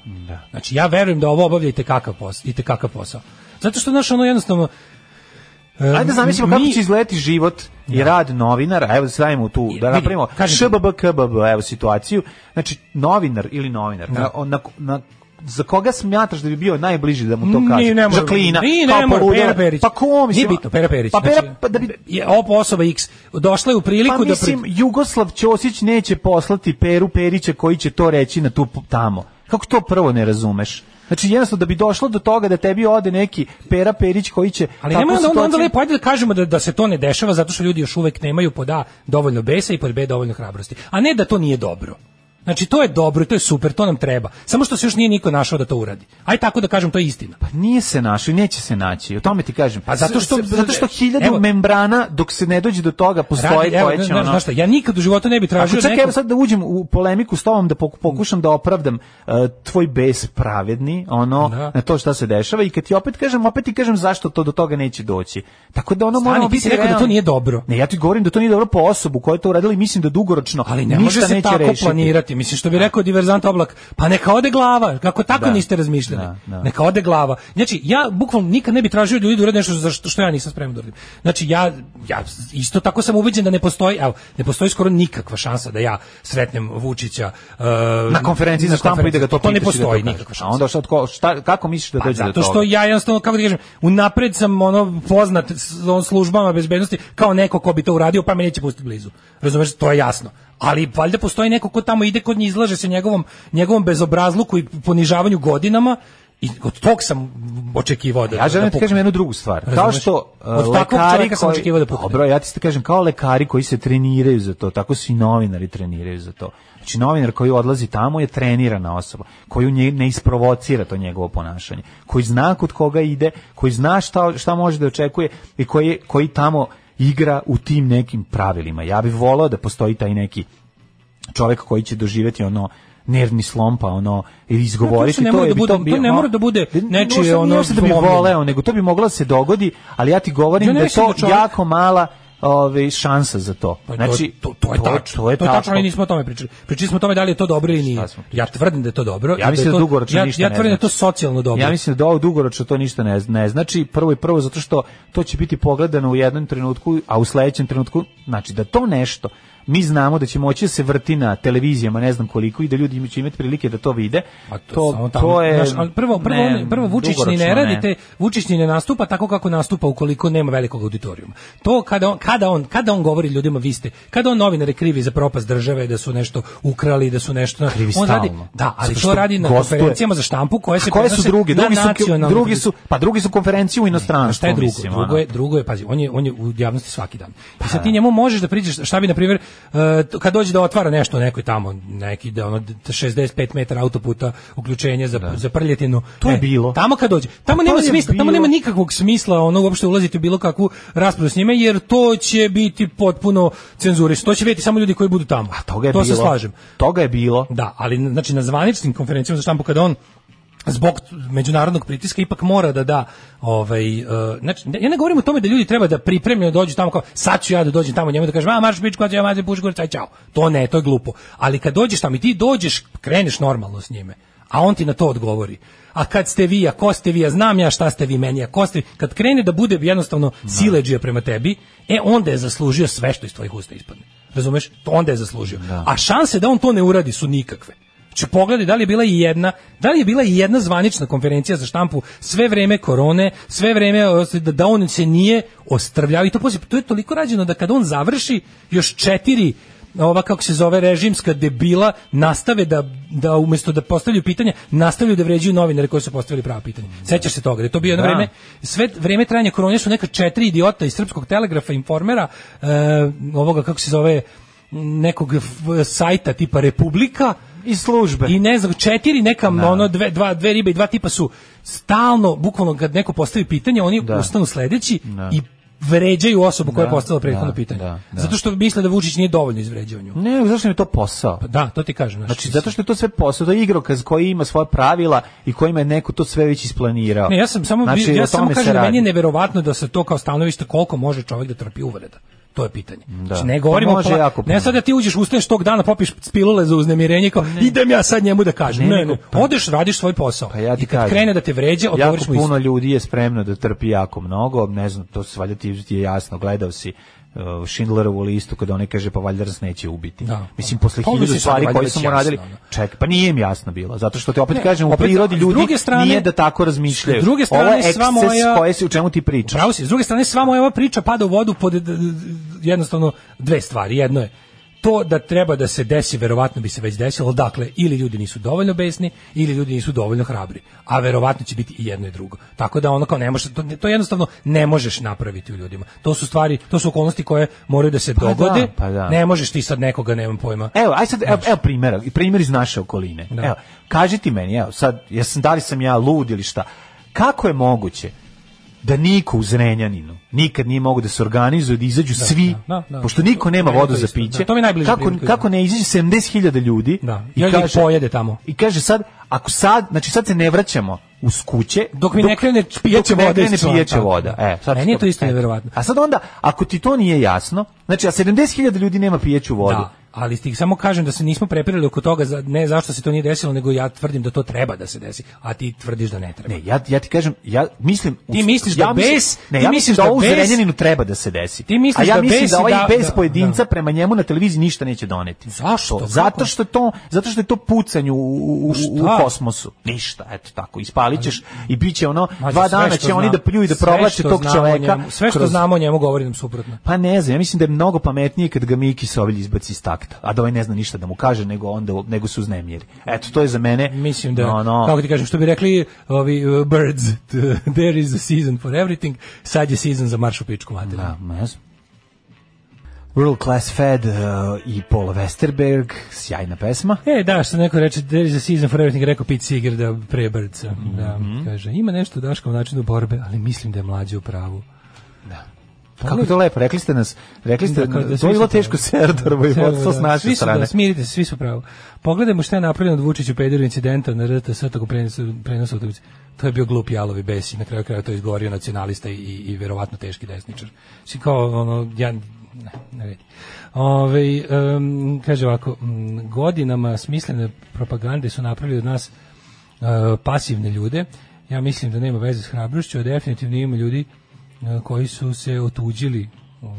[SPEAKER 5] Znači, ja verujem da ovo obavlja i tekakav posao. Itekakav posao. Zato što, znaš, ono jednostavno... e,
[SPEAKER 6] Ajde da zamislimo kako
[SPEAKER 5] mi-
[SPEAKER 6] će izgledati život i rad novinara. Evo da stavimo tu da
[SPEAKER 5] Vidi,
[SPEAKER 6] napravimo
[SPEAKER 5] kažem ti.
[SPEAKER 6] šbb kbb evo situaciju. Znači novinar ili novinar na, na, na za koga smatraš da bi bio najbliži da mu to kaže?
[SPEAKER 5] Ni, ne mora-
[SPEAKER 6] Žaklina,
[SPEAKER 5] ni, ne
[SPEAKER 6] kao
[SPEAKER 5] mora,
[SPEAKER 6] poludeo.
[SPEAKER 5] Pera Perić.
[SPEAKER 6] Pa ko mislim?
[SPEAKER 5] Nije bitno, Pera Perić.
[SPEAKER 6] Pa Pera,
[SPEAKER 5] znači,
[SPEAKER 6] pa da bi,
[SPEAKER 5] je op- osoba X došla je u priliku
[SPEAKER 6] pa mislim,
[SPEAKER 5] da
[SPEAKER 6] Jugoslav Ćosić neće poslati Peru Perića koji će to reći na tu tamo. Kako to prvo ne razumeš? Znači jednostavno da bi došlo do toga da tebi ode neki Pera Perić koji će
[SPEAKER 5] Ali
[SPEAKER 6] takvu
[SPEAKER 5] nema onda, onda, onda
[SPEAKER 6] situaciju-
[SPEAKER 5] lepo, ajde da kažemo da, da se to ne dešava zato što ljudi još uvek nemaju pod A dovoljno besa i pod B dovoljno hrabrosti. A ne da to nije dobro. Znači, to je dobro i to je super, to nam treba. Samo što se još nije niko našao da to uradi. Aj tako da kažem, to je istina.
[SPEAKER 6] Pa nije se našao, i neće se naći. O tome ti kažem.
[SPEAKER 5] Pa zato što-
[SPEAKER 6] S- s- zato što hiljadu
[SPEAKER 5] evo-
[SPEAKER 6] membrana dok se ne dođe do toga postoje
[SPEAKER 5] Radi- evo,
[SPEAKER 6] koje će
[SPEAKER 5] znaš,
[SPEAKER 6] ono-
[SPEAKER 5] znaš šta, ja nikad u životu ne bi
[SPEAKER 6] Ako
[SPEAKER 5] tražio
[SPEAKER 6] čak
[SPEAKER 5] neko- Mm.
[SPEAKER 6] evo sad da uđem u polemiku s tobom da poku- pokušam da opravdam uh, tvoj bes pravedni, ono
[SPEAKER 5] Da.
[SPEAKER 6] na to šta se dešava i kad ti opet kažem, opet ti kažem zašto to do toga neće doći. Tako da ono
[SPEAKER 5] Stani,
[SPEAKER 6] moramo
[SPEAKER 5] ti
[SPEAKER 6] biti
[SPEAKER 5] si rekao da to
[SPEAKER 6] realni.
[SPEAKER 5] nije dobro.
[SPEAKER 6] Ne, ja ti govorim da to nije dobro po osobu koja je to uradila i mislim da dugoročno
[SPEAKER 5] Ali ne
[SPEAKER 6] ništa
[SPEAKER 5] može se
[SPEAKER 6] neće
[SPEAKER 5] tako
[SPEAKER 6] rešiti.
[SPEAKER 5] planirati. Mislim što bi rekao diverzant oblak, pa neka ode glava. Kako tako
[SPEAKER 6] Da.
[SPEAKER 5] niste razmišljali?
[SPEAKER 6] Da, da.
[SPEAKER 5] Neka ode glava. Znači ja bukvalno nikad ne bi tražio od ljudi da urade nešto za što, što ja nisam spreman da uradim. Znači ja ja isto tako sam ubeđen da ne postoji, evo, ne postoji skoro nikakva šansa da ja sretnem Vučića e,
[SPEAKER 6] na konferenciji
[SPEAKER 5] na
[SPEAKER 6] za štampu i da ga to
[SPEAKER 5] to ne
[SPEAKER 6] pitaš i da to
[SPEAKER 5] postoji
[SPEAKER 6] kaže.
[SPEAKER 5] nikakva
[SPEAKER 6] A
[SPEAKER 5] šansa.
[SPEAKER 6] onda šta, tko- šta, kako misliš da
[SPEAKER 5] Pa,
[SPEAKER 6] dođe do
[SPEAKER 5] zato
[SPEAKER 6] toga?
[SPEAKER 5] što ja jednostavno, kako ti kažem, unapred sam ono poznat s on službama bezbednosti kao neko ko bi to uradio, pa me neće pustiti blizu. Razumeš, to je jasno. Ali valjda postoji neko ko tamo ide kod nje, izlaže se njegovom, njegovom bezobrazluku i ponižavanju godinama i od tog sam očekivao da
[SPEAKER 6] Ja želim
[SPEAKER 5] da
[SPEAKER 6] ti kažem jednu drugu stvar. Kao
[SPEAKER 5] Razumeš?
[SPEAKER 6] što uh,
[SPEAKER 5] Od takvog
[SPEAKER 6] lekari
[SPEAKER 5] čoveka sam
[SPEAKER 6] koji
[SPEAKER 5] očekivao da pukne.
[SPEAKER 6] Dobro, ja ti se kažem kao lekari koji se treniraju za to, tako su i novinari treniraju za to. Znači novinar koji odlazi tamo je trenirana osoba, koju nje ne isprovocira to njegovo ponašanje, koji zna kod koga ide, koji zna šta šta može da očekuje i koji je- koji tamo igra u tim nekim pravilima. Ja bih voleo da postoji taj neki čovjek koji će doživjeti ono nervni slom pa ono
[SPEAKER 5] Ja, to
[SPEAKER 6] izgovoriti
[SPEAKER 5] ne
[SPEAKER 6] to
[SPEAKER 5] mora
[SPEAKER 6] je
[SPEAKER 5] da
[SPEAKER 6] bi
[SPEAKER 5] bude-
[SPEAKER 6] bi-
[SPEAKER 5] to ne
[SPEAKER 6] no,
[SPEAKER 5] mora da bude
[SPEAKER 6] ne- ne
[SPEAKER 5] nečije,
[SPEAKER 6] možda-
[SPEAKER 5] ono,
[SPEAKER 6] ne možda da bi
[SPEAKER 5] zlomljeno.
[SPEAKER 6] voleo nego to bi moglo da se dogodi ali ja ti govorim
[SPEAKER 5] Ja ne
[SPEAKER 6] da je
[SPEAKER 5] mislim
[SPEAKER 6] to
[SPEAKER 5] da čovjek-
[SPEAKER 6] jako mala ovaj šansa za to
[SPEAKER 5] Pa
[SPEAKER 6] znači
[SPEAKER 5] to, to, to je tačno. To je tačno, ali nismo o tome pričali. Pričali smo o tome da li je to dobro ili nije.
[SPEAKER 6] Šta smo
[SPEAKER 5] Ja tvrdim da je to dobro. i
[SPEAKER 6] Ja mislim da
[SPEAKER 5] je to-
[SPEAKER 6] dugoročno
[SPEAKER 5] ja,
[SPEAKER 6] ništa
[SPEAKER 5] ja
[SPEAKER 6] ne
[SPEAKER 5] tvrdim da je to
[SPEAKER 6] znači.
[SPEAKER 5] socijalno dobro.
[SPEAKER 6] Ja mislim da ovo dugoročno to ništa ne, ne znači. Prvo i prvo zato što to će biti pogledano u jednom trenutku, a u sledećem trenutku, znači da to nešto mi znamo da će moći da se vrti na televizijama, ne znam koliko, i da ljudi će imati prilike da to vide.
[SPEAKER 5] Pa to,
[SPEAKER 6] to,
[SPEAKER 5] samo
[SPEAKER 6] to,
[SPEAKER 5] tamo,
[SPEAKER 6] je...
[SPEAKER 5] znaš, ali prvo, prvo,
[SPEAKER 6] ne,
[SPEAKER 5] on- prvo Vučić ni
[SPEAKER 6] dugoročno
[SPEAKER 5] ne radi te, Vučić ni ne nastupa tako kako nastupa ukoliko nema velikog auditorijuma. To kada on, kada on, kada on govori ljudima vi ste, kada on novinare krivi za propast države, da su nešto ukrali, da su nešto...
[SPEAKER 6] Krivi
[SPEAKER 5] on radi,
[SPEAKER 6] stalno.
[SPEAKER 5] da, ali to
[SPEAKER 6] Zato što
[SPEAKER 5] radi na
[SPEAKER 6] gostuje.
[SPEAKER 5] konferencijama za štampu koje se
[SPEAKER 6] A koje su
[SPEAKER 5] prenose
[SPEAKER 6] drugi?
[SPEAKER 5] na
[SPEAKER 6] Drugi su,
[SPEAKER 5] nacionalnu
[SPEAKER 6] drugi su, pa drugi su konferencije u
[SPEAKER 5] a šta
[SPEAKER 6] inostranstvu,
[SPEAKER 5] je drugo?
[SPEAKER 6] mislim.
[SPEAKER 5] drugo,
[SPEAKER 6] ono. Pa
[SPEAKER 5] je, drugo je, pazi, on je, on je u javnosti svaki dan. I sad ti njemu možeš da priđeš, šta bi, na primjer, e, t- kad dođe da otvara nešto nekoj tamo, neki da ono d- 65 metara autoputa, uključenje za, za prljetinu.
[SPEAKER 6] To je
[SPEAKER 5] E,
[SPEAKER 6] bilo. Pa
[SPEAKER 5] Tamo kad dođe, tamo nema
[SPEAKER 6] je
[SPEAKER 5] smisla, tamo
[SPEAKER 6] bilo.
[SPEAKER 5] nema nikakvog smisla ono uopšte ulaziti u bilo kakvu raspravu s njime, jer to će biti potpuno cenzurisano. To će vidjeti samo ljudi koji budu tamo.
[SPEAKER 6] A toga je
[SPEAKER 5] to
[SPEAKER 6] bilo.
[SPEAKER 5] se slažem.
[SPEAKER 6] Toga je bilo.
[SPEAKER 5] Da, ali znači na zvaničnim konferencijama za štampu kada on zbog međunarodnog pritiska ipak mora da da ovaj e, znači ne- ja ne govorim o tome da ljudi treba da pripremljeno dođu tamo kao sad ću ja da dođem tamo njemu da kažem a marš bičko ja mađe puš gore, aj čao to ne to je glupo ali kad dođeš tamo i ti dođeš kreneš normalno s njime a on ti na to odgovori a kad ste vi a ko ste vi a znam ja šta ste vi meni a ko ste kad krene da bude jednostavno siledžija prema tebi e onda je zaslužio sve što iz tvojih usta ispadne razumeš to onda je zaslužio a šanse da on to ne uradi su nikakve Znači pogledaj da li je bila i jedna, da li je bila i jedna zvanična konferencija za štampu sve vreme korone, sve vreme o, da, da on se nije ostrvljao i to poslije, to je toliko rađeno da kad on završi još četiri ova kako se zove režimska debila nastave da da umesto da postavljaju pitanja nastavljaju da vređaju novinare koji su postavili prava pitanja. Sećaš se toga? Da je to bio jedno
[SPEAKER 6] Da.
[SPEAKER 5] vreme sve vreme trajanja korone su neka četiri idiota iz srpskog telegrafa informera e, ovoga kako se zove nekog f- sajta tipa Republika
[SPEAKER 6] I službe.
[SPEAKER 5] i ne znam, četiri neka ono dve, dva, dve ribe i dva tipa su stalno, bukvalno kad neko postavi pitanje, oni
[SPEAKER 6] Da.
[SPEAKER 5] ustanu sledeći
[SPEAKER 6] Da.
[SPEAKER 5] i vređaju osobu koja
[SPEAKER 6] Da,
[SPEAKER 5] je postavila prethodno
[SPEAKER 6] da,
[SPEAKER 5] pitanje.
[SPEAKER 6] da, da.
[SPEAKER 5] Zato što misle da Vučić nije dovoljno izvređao nju.
[SPEAKER 6] Ne, zašto mi je to posao?
[SPEAKER 5] Pa Da, to ti kažem.
[SPEAKER 6] Znači, zato što je to sve posao, to je igrokaz koji ima svoje pravila i kojima je neko to sve već isplanirao.
[SPEAKER 5] Ne, ja sam samo
[SPEAKER 6] Znači, o
[SPEAKER 5] ja samo
[SPEAKER 6] tome se
[SPEAKER 5] kažem da
[SPEAKER 6] radi.
[SPEAKER 5] meni je neverovatno da se to kao stanovište koliko može čovjek da trpi uvreda. To je pitanje. Znači, ne
[SPEAKER 6] Pa
[SPEAKER 5] govorimo
[SPEAKER 6] može
[SPEAKER 5] o pla-
[SPEAKER 6] jako puno.
[SPEAKER 5] ne sad da ti uđeš ustaneš tog dana popiš pilule za uznemirenje i kao idem ja sad njemu da kažem.
[SPEAKER 6] Ne,
[SPEAKER 5] Ne, ne,
[SPEAKER 6] nego- pa-
[SPEAKER 5] odeš radiš svoj posao.
[SPEAKER 6] Pa ja ti
[SPEAKER 5] I kad
[SPEAKER 6] kažem,
[SPEAKER 5] krene da te vređa,
[SPEAKER 6] jako
[SPEAKER 5] odgovoriš mu isto.
[SPEAKER 6] puno ljudi je spremno da trpi jako mnogo, ne znam, to se valjda ti je jasno, gledao si uh, Schindlerovu listu kada oni kaže pa valjda nas neće ubiti.
[SPEAKER 5] Da.
[SPEAKER 6] Mislim posle
[SPEAKER 5] Pa, mislim,
[SPEAKER 6] hiljadu
[SPEAKER 5] sad
[SPEAKER 6] stvari
[SPEAKER 5] valjda
[SPEAKER 6] koje
[SPEAKER 5] već
[SPEAKER 6] su mu
[SPEAKER 5] jasno,
[SPEAKER 6] radili.
[SPEAKER 5] ono.
[SPEAKER 6] Ček, pa nije im jasno bilo, zato što te opet
[SPEAKER 5] Ne,
[SPEAKER 6] kažem, u
[SPEAKER 5] opet,
[SPEAKER 6] prirodi
[SPEAKER 5] s
[SPEAKER 6] ljudi
[SPEAKER 5] druge strane-
[SPEAKER 6] nije da tako razmišljaju.
[SPEAKER 5] S druge strane,
[SPEAKER 6] Ovo je
[SPEAKER 5] sva
[SPEAKER 6] eksces
[SPEAKER 5] moja-
[SPEAKER 6] koje si, u čemu ti pričaš.
[SPEAKER 5] Pravo si, s druge strane, sva moja ova priča pada u vodu pod d- d- jednostavno dve stvari. Jedno je to da treba da se desi, verovatno bi se već desilo, dakle, ili ljudi nisu dovoljno besni, ili ljudi nisu dovoljno hrabri, a verovatno će biti i jedno i drugo. Tako da ono kao ne može, to, to jednostavno ne možeš napraviti u ljudima. To su stvari, to su okolnosti koje moraju da se
[SPEAKER 6] da,
[SPEAKER 5] dogode,
[SPEAKER 6] pa da. E,
[SPEAKER 5] ne možeš ti sad nekoga, nemam pojma.
[SPEAKER 6] Evo, aj sad, evo, evo primjera, i primjer iz naše okoline.
[SPEAKER 5] Da.
[SPEAKER 6] Evo, kaži ti meni, evo, sad, jesam, da li sam ja lud ili šta, kako je moguće da niko u Zrenjaninu nikad nije mogu da se organizuju, da izađu svi,
[SPEAKER 5] da, da, da.
[SPEAKER 6] pošto niko nema
[SPEAKER 5] To je
[SPEAKER 6] vodu
[SPEAKER 5] to
[SPEAKER 6] za
[SPEAKER 5] isto,
[SPEAKER 6] piće,
[SPEAKER 5] da, to mi je najbliži
[SPEAKER 6] kako,
[SPEAKER 5] primjer koji
[SPEAKER 6] kako ne izađe 70.000 ljudi
[SPEAKER 5] Da, i onda ih pojede tamo.
[SPEAKER 6] I kaže sad, ako sad, znači sad se ne vraćamo uz kuće,
[SPEAKER 5] Dok mi ne krene pijeća
[SPEAKER 6] dok ne
[SPEAKER 5] voda iz
[SPEAKER 6] krene
[SPEAKER 5] člana,
[SPEAKER 6] pijeća
[SPEAKER 5] tako.
[SPEAKER 6] voda. E, sad
[SPEAKER 5] Meni je to isto
[SPEAKER 6] eto.
[SPEAKER 5] neverovatno.
[SPEAKER 6] A sad onda, ako ti to nije jasno, znači a 70.000 ljudi nema pijeću vodu,
[SPEAKER 5] Da, ali ti samo kažem da se nismo prepirali oko toga, za- ne zašto se to nije desilo, nego ja tvrdim da to treba da se desi, a ti tvrdiš da ne treba.
[SPEAKER 6] Ne, ja, ja ti kažem, ja mislim...
[SPEAKER 5] Ti misliš da
[SPEAKER 6] mislim-
[SPEAKER 5] bes-
[SPEAKER 6] Ne,
[SPEAKER 5] ti
[SPEAKER 6] ja mislim
[SPEAKER 5] misliš
[SPEAKER 6] da,
[SPEAKER 5] da
[SPEAKER 6] ovo u
[SPEAKER 5] bes-
[SPEAKER 6] Zrenjaninu treba da se desi.
[SPEAKER 5] Ti misliš
[SPEAKER 6] A ja
[SPEAKER 5] da
[SPEAKER 6] mislim
[SPEAKER 5] bes
[SPEAKER 6] da
[SPEAKER 5] i
[SPEAKER 6] ovaj
[SPEAKER 5] da-
[SPEAKER 6] bes
[SPEAKER 5] da,
[SPEAKER 6] pojedinca
[SPEAKER 5] da.
[SPEAKER 6] prema njemu na televiziji ništa neće doneti.
[SPEAKER 5] Zašto?
[SPEAKER 6] To,
[SPEAKER 5] Kako?
[SPEAKER 6] zato što to, zato što je to pucanj u, u, u, u
[SPEAKER 5] Šta?
[SPEAKER 6] kosmosu. Ništa, eto tako. Ispalićeš i bit će ono,
[SPEAKER 5] Mađo,
[SPEAKER 6] dva
[SPEAKER 5] sve
[SPEAKER 6] dana
[SPEAKER 5] što
[SPEAKER 6] će oni
[SPEAKER 5] znam-
[SPEAKER 6] da pljuju i da
[SPEAKER 5] sve
[SPEAKER 6] provlače
[SPEAKER 5] što
[SPEAKER 6] tog
[SPEAKER 5] znamo o
[SPEAKER 6] čoveka.
[SPEAKER 5] njemu- sve što
[SPEAKER 6] kroz-
[SPEAKER 5] znamo o njemu govori nam suprotno.
[SPEAKER 6] Pa ne znam, ja mislim da je mnogo pametnije kad ga Miki Sovilj izbaci iz takta, a da ovaj ne zna ništa da mu kaže, nego onda nego su uznemljeri. Eto, to je za mene... ono-
[SPEAKER 5] Mislim da,
[SPEAKER 6] no, no.
[SPEAKER 5] kako ti kažem, što bi rekli ovi uh, birds, t- there is a season for everything, sad je season za maršu pičku materinu.
[SPEAKER 6] Da, Pa, ne znam. World Class Fed uh, i Paul Westerberg, sjajna pesma.
[SPEAKER 5] E, da, što neko reče, there is a season for everything, rekao Pete Seeger da pre birdsa. Da,
[SPEAKER 6] Mhm.
[SPEAKER 5] kaže, ima nešto u Daškom načinu borbe, ali mislim da je mlađe u pravu.
[SPEAKER 6] Kako je to lepo, rekli ste nas, rekli ste,
[SPEAKER 5] Da, kao da
[SPEAKER 6] to
[SPEAKER 5] svi
[SPEAKER 6] je bilo
[SPEAKER 5] su pravi.
[SPEAKER 6] teško serdor vojvodstvo
[SPEAKER 5] Server,
[SPEAKER 6] s
[SPEAKER 5] da.
[SPEAKER 6] naše
[SPEAKER 5] svi su,
[SPEAKER 6] strane.
[SPEAKER 5] Da, smirite se, svi su pravo. Pogledajmo šta je napravljeno od Vučića u pederu incidenta na RTS tako prenosu prenosu utakmice. To je bio glup jalovi besi, na kraju kraja to je izgovorio nacionalista i, i verovatno teški desničar. Mislim kao ono ja ne, ne vidim. Ovaj, em, kaže ovako, mm, godinama smislene propagande su napravili od nas e, pasivne ljude. Ja mislim da nema veze s hrabrošću, a definitivno ima ljudi e, koji su se otuđili o,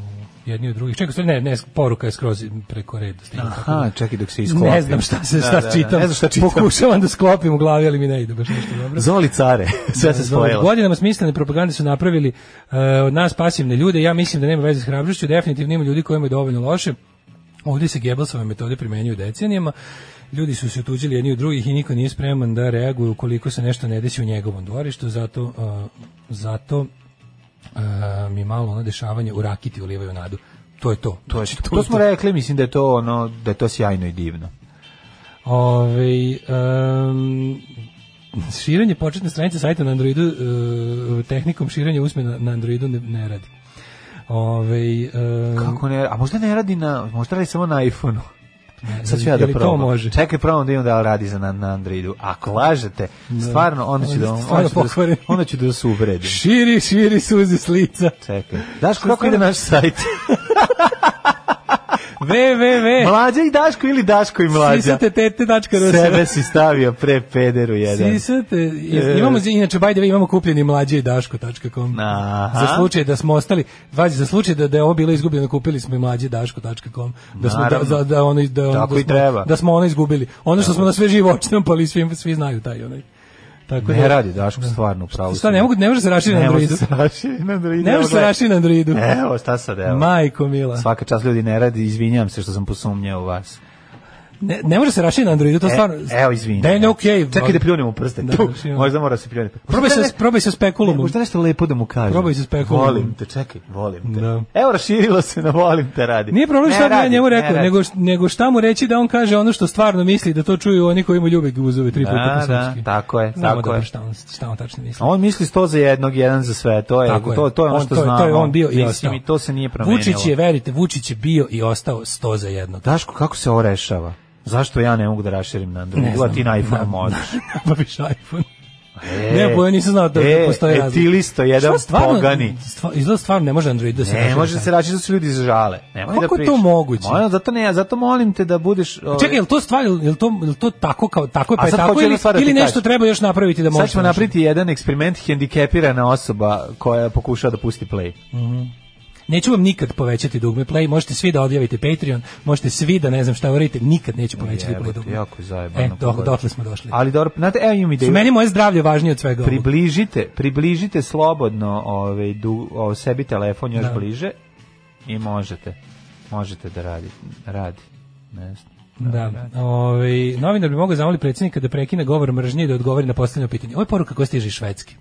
[SPEAKER 5] jedni od drugih. Čekaj, stoj, ne, ne, poruka je skroz preko reda. stigla.
[SPEAKER 6] Aha, čekaj dok se isklopi.
[SPEAKER 5] Ne znam šta se
[SPEAKER 6] Da,
[SPEAKER 5] šta
[SPEAKER 6] da, da,
[SPEAKER 5] čitam.
[SPEAKER 6] Ne znam šta čitam.
[SPEAKER 5] Pokušavam da sklopim u glavi, ali mi ne ide baš nešto dobro.
[SPEAKER 6] Zoli care, sve se spojilo.
[SPEAKER 5] Godinama smislene propagande su napravili e, od nas pasivne ljude. Ja mislim da nema veze s hrabrošću. Definitivno ima ljudi kojima je dovoljno loše. Ovdje se Gebelsove metode primenjuju decenijama. Ljudi su se otuđili jedni od drugih i niko nije spreman da reaguje ukoliko se nešto ne desi u njegovom dvorištu. Zato, e, zato e, mi malo ono dešavanje u Rakiti ulivaju nadu. To je to.
[SPEAKER 6] To, je, to smo rekli, mislim da je to ono, da je to sjajno i divno.
[SPEAKER 5] Ove, um, Ovaj, širenje početne stranice sajta na Androidu e, tehnikom širenja usmena na Androidu ne, ne radi. Ove, um,
[SPEAKER 6] Kako ne, a možda ne radi na, možda radi samo na iPhone-u. Sad ću ja
[SPEAKER 5] je
[SPEAKER 6] da
[SPEAKER 5] li to
[SPEAKER 6] probam.
[SPEAKER 5] može?
[SPEAKER 6] Čekaj, probam da imam da li radi za na, na Androidu. Ako lažete, stvarno, onda ću
[SPEAKER 5] Onda
[SPEAKER 6] da,
[SPEAKER 5] ste
[SPEAKER 6] onda
[SPEAKER 5] stvarno
[SPEAKER 6] ću da,
[SPEAKER 5] pokvareni.
[SPEAKER 6] onda ću da se uvredim.
[SPEAKER 5] Širi, širi suze s lica.
[SPEAKER 6] Čekaj. Daško, kako ide naš sajt?
[SPEAKER 5] Ve, ve, ve.
[SPEAKER 6] Mlađa i Daško ili Daško i Mlađa?
[SPEAKER 5] Sisate tete tačka ruse.
[SPEAKER 6] Sebe si stavio pre pederu jedan. E.
[SPEAKER 5] Sisate. I- e, Imamo, inače, by the way, imamo kupljeni mlađe i daško.com.
[SPEAKER 6] Aha.
[SPEAKER 5] Za slučaj da smo ostali, vazi, za slučaj da, da je ovo bilo izgubljeno, kupili smo i mlađe i daško.com. Da smo, da,
[SPEAKER 6] Naravno.
[SPEAKER 5] da, da, ono, da, ono-
[SPEAKER 6] Tako
[SPEAKER 5] da
[SPEAKER 6] i
[SPEAKER 5] smo,
[SPEAKER 6] treba.
[SPEAKER 5] Da smo ono izgubili. Ono što smo na sve živo očitampali, svi, svi znaju taj onaj. Tako
[SPEAKER 6] Ne radi Daško stvarno, pravo.
[SPEAKER 5] Šta, ne mogu, ne može se rašiti na
[SPEAKER 6] Ne može
[SPEAKER 5] Androidu.
[SPEAKER 6] se raširi na Androidu.
[SPEAKER 5] Ne
[SPEAKER 6] Evo,
[SPEAKER 5] može se
[SPEAKER 6] gledaj.
[SPEAKER 5] rašiti na Androidu.
[SPEAKER 6] Evo, šta sad, evo.
[SPEAKER 5] Majko mila.
[SPEAKER 6] Svaka čast ljudi ne radi, izvinjam se što sam posumnjao u vas.
[SPEAKER 5] Ne, ne može se rašiti na Androidu, to
[SPEAKER 6] E,
[SPEAKER 5] Pa stvarno...
[SPEAKER 6] evo, izvinjam.
[SPEAKER 5] Ne, ne, okej.
[SPEAKER 6] Čekaj da pljunem u prste.
[SPEAKER 5] Da,
[SPEAKER 6] Tu,
[SPEAKER 5] znači, ono.
[SPEAKER 6] možda mora se pljuniti.
[SPEAKER 5] Probaj sa, probaj sa
[SPEAKER 6] Ne,
[SPEAKER 5] spekulumom.
[SPEAKER 6] možda nešto lepo da mu kažem.
[SPEAKER 5] Probaj se s pekulom.
[SPEAKER 6] Volim te, čekaj, volim te.
[SPEAKER 5] Da.
[SPEAKER 6] Evo, raširilo se na volim te radi.
[SPEAKER 5] Nije problem
[SPEAKER 6] Ne
[SPEAKER 5] šta bi ja
[SPEAKER 6] radi,
[SPEAKER 5] njemu
[SPEAKER 6] ne
[SPEAKER 5] rekao,
[SPEAKER 6] radi.
[SPEAKER 5] nego, nego šta mu reći da on kaže ono što stvarno misli, da to čuju oni koji mu ljube guzove tri puta
[SPEAKER 6] Da,
[SPEAKER 5] po srpski.
[SPEAKER 6] da, tako je,
[SPEAKER 5] Znamo
[SPEAKER 6] tako
[SPEAKER 5] dobro
[SPEAKER 6] je.
[SPEAKER 5] šta on, šta on tačno misli.
[SPEAKER 6] A on misli 100 za jednog, jedan za sve. To je,
[SPEAKER 5] Tako je.
[SPEAKER 6] to, to je ono
[SPEAKER 5] to,
[SPEAKER 6] što
[SPEAKER 5] je-
[SPEAKER 6] znamo.
[SPEAKER 5] To je on bio i ostao.
[SPEAKER 6] Mislim, i to se nije promenilo.
[SPEAKER 5] Vučić je, verite, Vučić je bio i ostao sto za jedno.
[SPEAKER 6] Daško, kako se ovo rešava? Zašto ja ne mogu da raširim na
[SPEAKER 5] Ne
[SPEAKER 6] Androidu, a
[SPEAKER 5] znam.
[SPEAKER 6] ti na iPhone
[SPEAKER 5] Da.
[SPEAKER 6] možeš?
[SPEAKER 5] Nabaviš pa iPhone.
[SPEAKER 6] E,
[SPEAKER 5] Ne, bo ja nisam znao da,
[SPEAKER 6] e,
[SPEAKER 5] da postoji
[SPEAKER 6] e, ti listo, jedan
[SPEAKER 5] Šta stvarno-
[SPEAKER 6] pogani.
[SPEAKER 5] stva- izgleda stvarno ne može Android da se
[SPEAKER 6] Ne
[SPEAKER 5] raširi
[SPEAKER 6] može
[SPEAKER 5] sam.
[SPEAKER 6] se rašiti da su ljudi žale. Nemoj da
[SPEAKER 5] Kako je to
[SPEAKER 6] pričaš.
[SPEAKER 5] moguće?
[SPEAKER 6] Moja, zato, ne, zato molim te da budeš... ovaj,
[SPEAKER 5] Čekaj, je li to stvar, je li to, je li to tako, kao, tako je,
[SPEAKER 6] A
[SPEAKER 5] pa je
[SPEAKER 6] sad
[SPEAKER 5] tako
[SPEAKER 6] hoću jednu
[SPEAKER 5] ili,
[SPEAKER 6] stvar da ti
[SPEAKER 5] ili nešto
[SPEAKER 6] kažem.
[SPEAKER 5] treba još napraviti da može?
[SPEAKER 6] Sad ćemo napraviti jedan eksperiment hendikepirana osoba koja pokušava da pusti play.
[SPEAKER 5] Neću vam nikad povećati dugme play, možete svi da odjavite Patreon, možete svi da ne znam šta uradite, nikad neću povećati play
[SPEAKER 6] Jebote,
[SPEAKER 5] dugme.
[SPEAKER 6] jako je zajebano.
[SPEAKER 5] E, do,
[SPEAKER 6] pogledaj.
[SPEAKER 5] dotle smo došli.
[SPEAKER 6] Ali dobro, znate, evo imam
[SPEAKER 5] Su
[SPEAKER 6] ideju.
[SPEAKER 5] meni moje zdravlje važnije od svega ovog.
[SPEAKER 6] Približite, približite slobodno ovaj, du, o, sebi telefon još bliže i možete. Možete da radi. Radi. Ne znam.
[SPEAKER 5] Da, ovaj, novinar bi mogao zamoli predsjednika da prekine govor mržnje i da odgovori na postavljeno pitanje. Ovo je poruka koja stiže iz Švedske.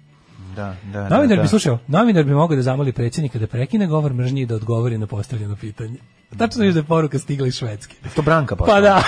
[SPEAKER 6] Da, da, da,
[SPEAKER 5] Novinar
[SPEAKER 6] da.
[SPEAKER 5] bi slušao, novinar bi mogao da zamoli predsjednika da prekine govor mržnje i da odgovori na postavljeno pitanje. Tačno viš da je poruka stigla iz Švedske.
[SPEAKER 6] To Branka pa.
[SPEAKER 5] Pa da.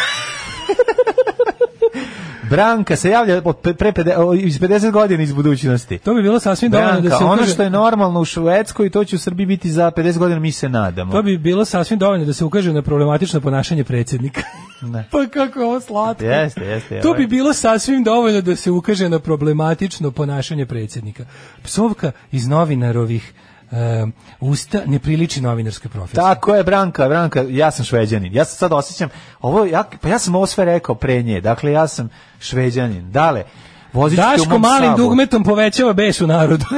[SPEAKER 6] Branka se javlja od pe- pre, pede- o, iz 50 godina iz budućnosti.
[SPEAKER 5] To bi bilo sasvim dovoljno
[SPEAKER 6] Branka,
[SPEAKER 5] da se
[SPEAKER 6] ono
[SPEAKER 5] ukaže-
[SPEAKER 6] što je normalno u Švedskoj, to će u Srbiji biti za 50 godina, mi se nadamo.
[SPEAKER 5] To bi bilo sasvim dovoljno da se ukaže na problematično ponašanje predsjednika.
[SPEAKER 6] Ne.
[SPEAKER 5] pa kako je ovo slatko.
[SPEAKER 6] Jeste, jeste.
[SPEAKER 5] To
[SPEAKER 6] ovaj.
[SPEAKER 5] bi bilo sasvim dovoljno da se ukaže na problematično ponašanje predsjednika. Psovka iz novinarovih e, usta ne priliči novinarskoj profesiji.
[SPEAKER 6] Tako je, Branka, Branka, ja sam šveđanin. Ja se sad osjećam, ovo, ja, pa ja sam ovo sve rekao pre nje, dakle ja sam šveđanin. Dale, vozit ću te u
[SPEAKER 5] Daško
[SPEAKER 6] mom
[SPEAKER 5] malim
[SPEAKER 6] sabu.
[SPEAKER 5] dugmetom povećava bes u narodu.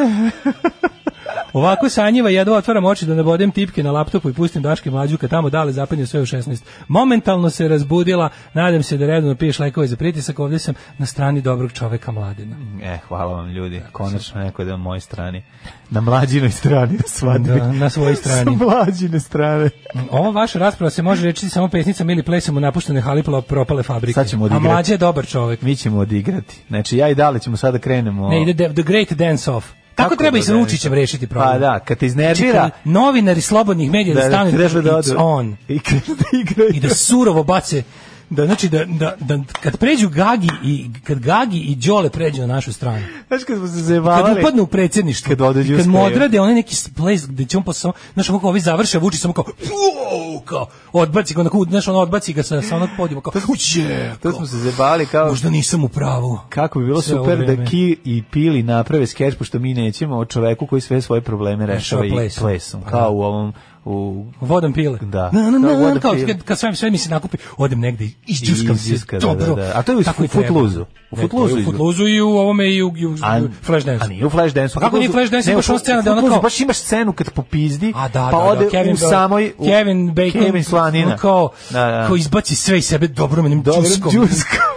[SPEAKER 5] Ovako sanjiva, jedva otvaram oči da ne bodem tipke na laptopu i pustim Daške mlađu kad tamo dale zapadnje sve u 16. Momentalno se razbudila, nadam se da redovno piješ lekove za pritisak, ovdje sam na strani dobrog čoveka mladena.
[SPEAKER 6] E, hvala vam ljudi, konačno neko da je na mojoj strani. Na mlađinoj strani, da shvatim.
[SPEAKER 5] Da, na svojoj strani.
[SPEAKER 6] Sa mlađine strane.
[SPEAKER 5] Ova vaša rasprava se može reći samo pesnicom ili plesom u napuštene halipla propale fabrike.
[SPEAKER 6] Sad ćemo
[SPEAKER 5] A
[SPEAKER 6] odigrati.
[SPEAKER 5] mlađe je dobar čovek.
[SPEAKER 6] Mi ćemo odigrati. Znači, ja i Dale ćemo sada krenemo...
[SPEAKER 5] Ne, ide The Great Dance Off. Tako, treba i sa
[SPEAKER 6] da-
[SPEAKER 5] Vučićem rešiti problem.
[SPEAKER 6] Pa da, kad te
[SPEAKER 5] Znači,
[SPEAKER 6] iznervira...
[SPEAKER 5] kad novinari slobodnih medija da, stanu i kažu,
[SPEAKER 6] treba da
[SPEAKER 5] "It's
[SPEAKER 6] odu-
[SPEAKER 5] on.
[SPEAKER 6] I krenu da igraju.
[SPEAKER 5] i da surovo bace da znači da, da, da kad pređu Gagi i kad Gagi i Đole pređu na našu stranu
[SPEAKER 6] Znaš kad smo se
[SPEAKER 5] kad
[SPEAKER 6] zajebavali...
[SPEAKER 5] upadnu u predsjedništvo
[SPEAKER 6] Kad odeđu u
[SPEAKER 5] kad mu
[SPEAKER 6] spreju.
[SPEAKER 5] odrade onaj neki place gde će on posao znaš kako ovi završe Vučić samo kao "Uou", kao odbaci ga onako znaš ono odbaci ga sa, sa onog podijuma kao uće
[SPEAKER 6] Pa To smo se zajebavali kao...
[SPEAKER 5] možda nisam u pravu
[SPEAKER 6] Kako bi bilo
[SPEAKER 5] Sve ovo
[SPEAKER 6] super da
[SPEAKER 5] vreme.
[SPEAKER 6] Ki i Pili naprave skeč, pošto mi nećemo o čoveku koji sve svoje probleme rešava i
[SPEAKER 5] E, plesom.
[SPEAKER 6] plesom.
[SPEAKER 5] Pa da.
[SPEAKER 6] Kao u ovom... U,
[SPEAKER 5] Vodom pile.
[SPEAKER 6] Da.
[SPEAKER 5] Na, na, na,
[SPEAKER 6] Da, vodom
[SPEAKER 5] kao,
[SPEAKER 6] pile.
[SPEAKER 5] kad, kad sve, sve mi se nakupi, odem negde i izđuskam se.
[SPEAKER 6] izđuska, da,
[SPEAKER 5] dobro.
[SPEAKER 6] da, da. A to je u
[SPEAKER 5] Tako i
[SPEAKER 6] Footlooseu.
[SPEAKER 5] treba.
[SPEAKER 6] U
[SPEAKER 5] Ne, to je
[SPEAKER 6] Footlooseu
[SPEAKER 5] U Footlooseu i u ovome i u, i u
[SPEAKER 6] An-
[SPEAKER 5] Flashdance.
[SPEAKER 6] A nije u Flashdance.
[SPEAKER 5] Pa Kako nije u Flashdance? Imaš onu scenu da ona ono kao-
[SPEAKER 6] Baš imaš scenu kad popizdi,
[SPEAKER 5] A da,
[SPEAKER 6] pa
[SPEAKER 5] da,
[SPEAKER 6] ode
[SPEAKER 5] da, Kevin
[SPEAKER 6] u
[SPEAKER 5] Bacon-
[SPEAKER 6] samoj... U,
[SPEAKER 5] Kevin Bacon
[SPEAKER 6] Kevin Slanina.
[SPEAKER 5] ono Kao,
[SPEAKER 6] Da, da.
[SPEAKER 5] kao izbaci sve iz sebe dobrom menim
[SPEAKER 6] Dobro,
[SPEAKER 5] džuskom.
[SPEAKER 6] džuska.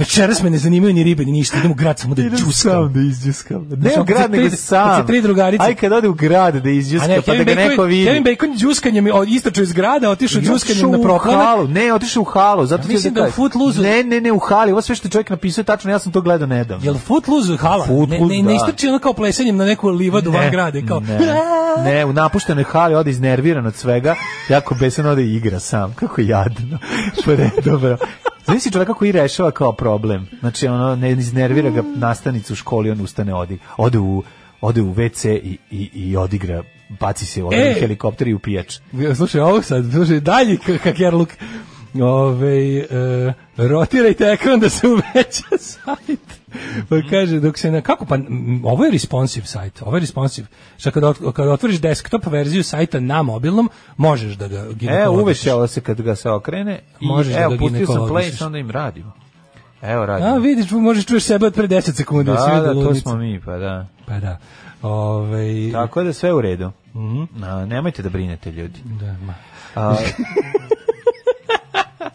[SPEAKER 5] Večeras me ne zanimaju ni ribe ni ništa, idem u grad samo da
[SPEAKER 6] Idem
[SPEAKER 5] džuskam.
[SPEAKER 6] sam da izđuskam. Ne
[SPEAKER 5] Znači,
[SPEAKER 6] u
[SPEAKER 5] ako se
[SPEAKER 6] grad,
[SPEAKER 5] tri-
[SPEAKER 6] nego
[SPEAKER 5] ako
[SPEAKER 6] sam.
[SPEAKER 5] se tri drugarice-
[SPEAKER 6] Aj kad ode u grad da izđuska, pa da ga neko
[SPEAKER 5] Bacon, Kevin
[SPEAKER 6] vidi.
[SPEAKER 5] Bacon džuskanjem je o- istračio iz grada, otišao
[SPEAKER 6] I
[SPEAKER 5] džuskanjem
[SPEAKER 6] otišao
[SPEAKER 5] na
[SPEAKER 6] u
[SPEAKER 5] proklanak.
[SPEAKER 6] halu. Ne, otišao u halu. Zato ti
[SPEAKER 5] mislim
[SPEAKER 6] ja
[SPEAKER 5] da u
[SPEAKER 6] kažem.
[SPEAKER 5] Footlooseu-
[SPEAKER 6] Ne, ne, ne, u hali. Ovo sve što je čovjek napisao je tačno, ja sam to gledao nedavno.
[SPEAKER 5] Jel Footloose hala? ne,
[SPEAKER 6] Footloose,
[SPEAKER 5] ne, ne
[SPEAKER 6] da.
[SPEAKER 5] istrči ono kao plesanjem na neku livadu van grade. Kao,
[SPEAKER 6] ne, ne, u napuštenoj hali ode iznerviran od svega, jako besan ode i igra sam, kako jadno. Pa ne, dobro. Znaš si čovjeka koji rešava kao problem. Znači, ono, ne iznervira ga nastavnica u školi, on ustane, odi, ode, u, ode u WC i, i, i odigra, baci se u
[SPEAKER 5] E!
[SPEAKER 6] helikopter i u pijač.
[SPEAKER 5] Ja, Slušaj, ovo sad, slušaj, dalji k- hakerluk. Ove, e, rotirajte ekran da se uveća sajt. Pa
[SPEAKER 6] Mhm.
[SPEAKER 5] kaže, dok se na, kako pa, m, ovo je responsive sajt, ovo je responsive. Šta kad, ot, kad otvoriš desktop verziju sajta na mobilnom, možeš da ga
[SPEAKER 6] E,
[SPEAKER 5] ginekologiš.
[SPEAKER 6] uvećala se kad ga se okrene i
[SPEAKER 5] Možeš da
[SPEAKER 6] evo,
[SPEAKER 5] ga
[SPEAKER 6] pustio sam play,
[SPEAKER 5] ginekologiš.
[SPEAKER 6] onda im radimo. Evo, radimo.
[SPEAKER 5] A, vidiš, možeš čuješ sebe od pre 10 sekundi.
[SPEAKER 6] da,
[SPEAKER 5] jesi vidio
[SPEAKER 6] da, to
[SPEAKER 5] ludnicu?
[SPEAKER 6] smo mi, pa da.
[SPEAKER 5] Pa da. Ove,
[SPEAKER 6] Tako da sve u redu.
[SPEAKER 5] Mhm.
[SPEAKER 6] A, nemojte da brinete ljudi.
[SPEAKER 5] da, ma.
[SPEAKER 6] A,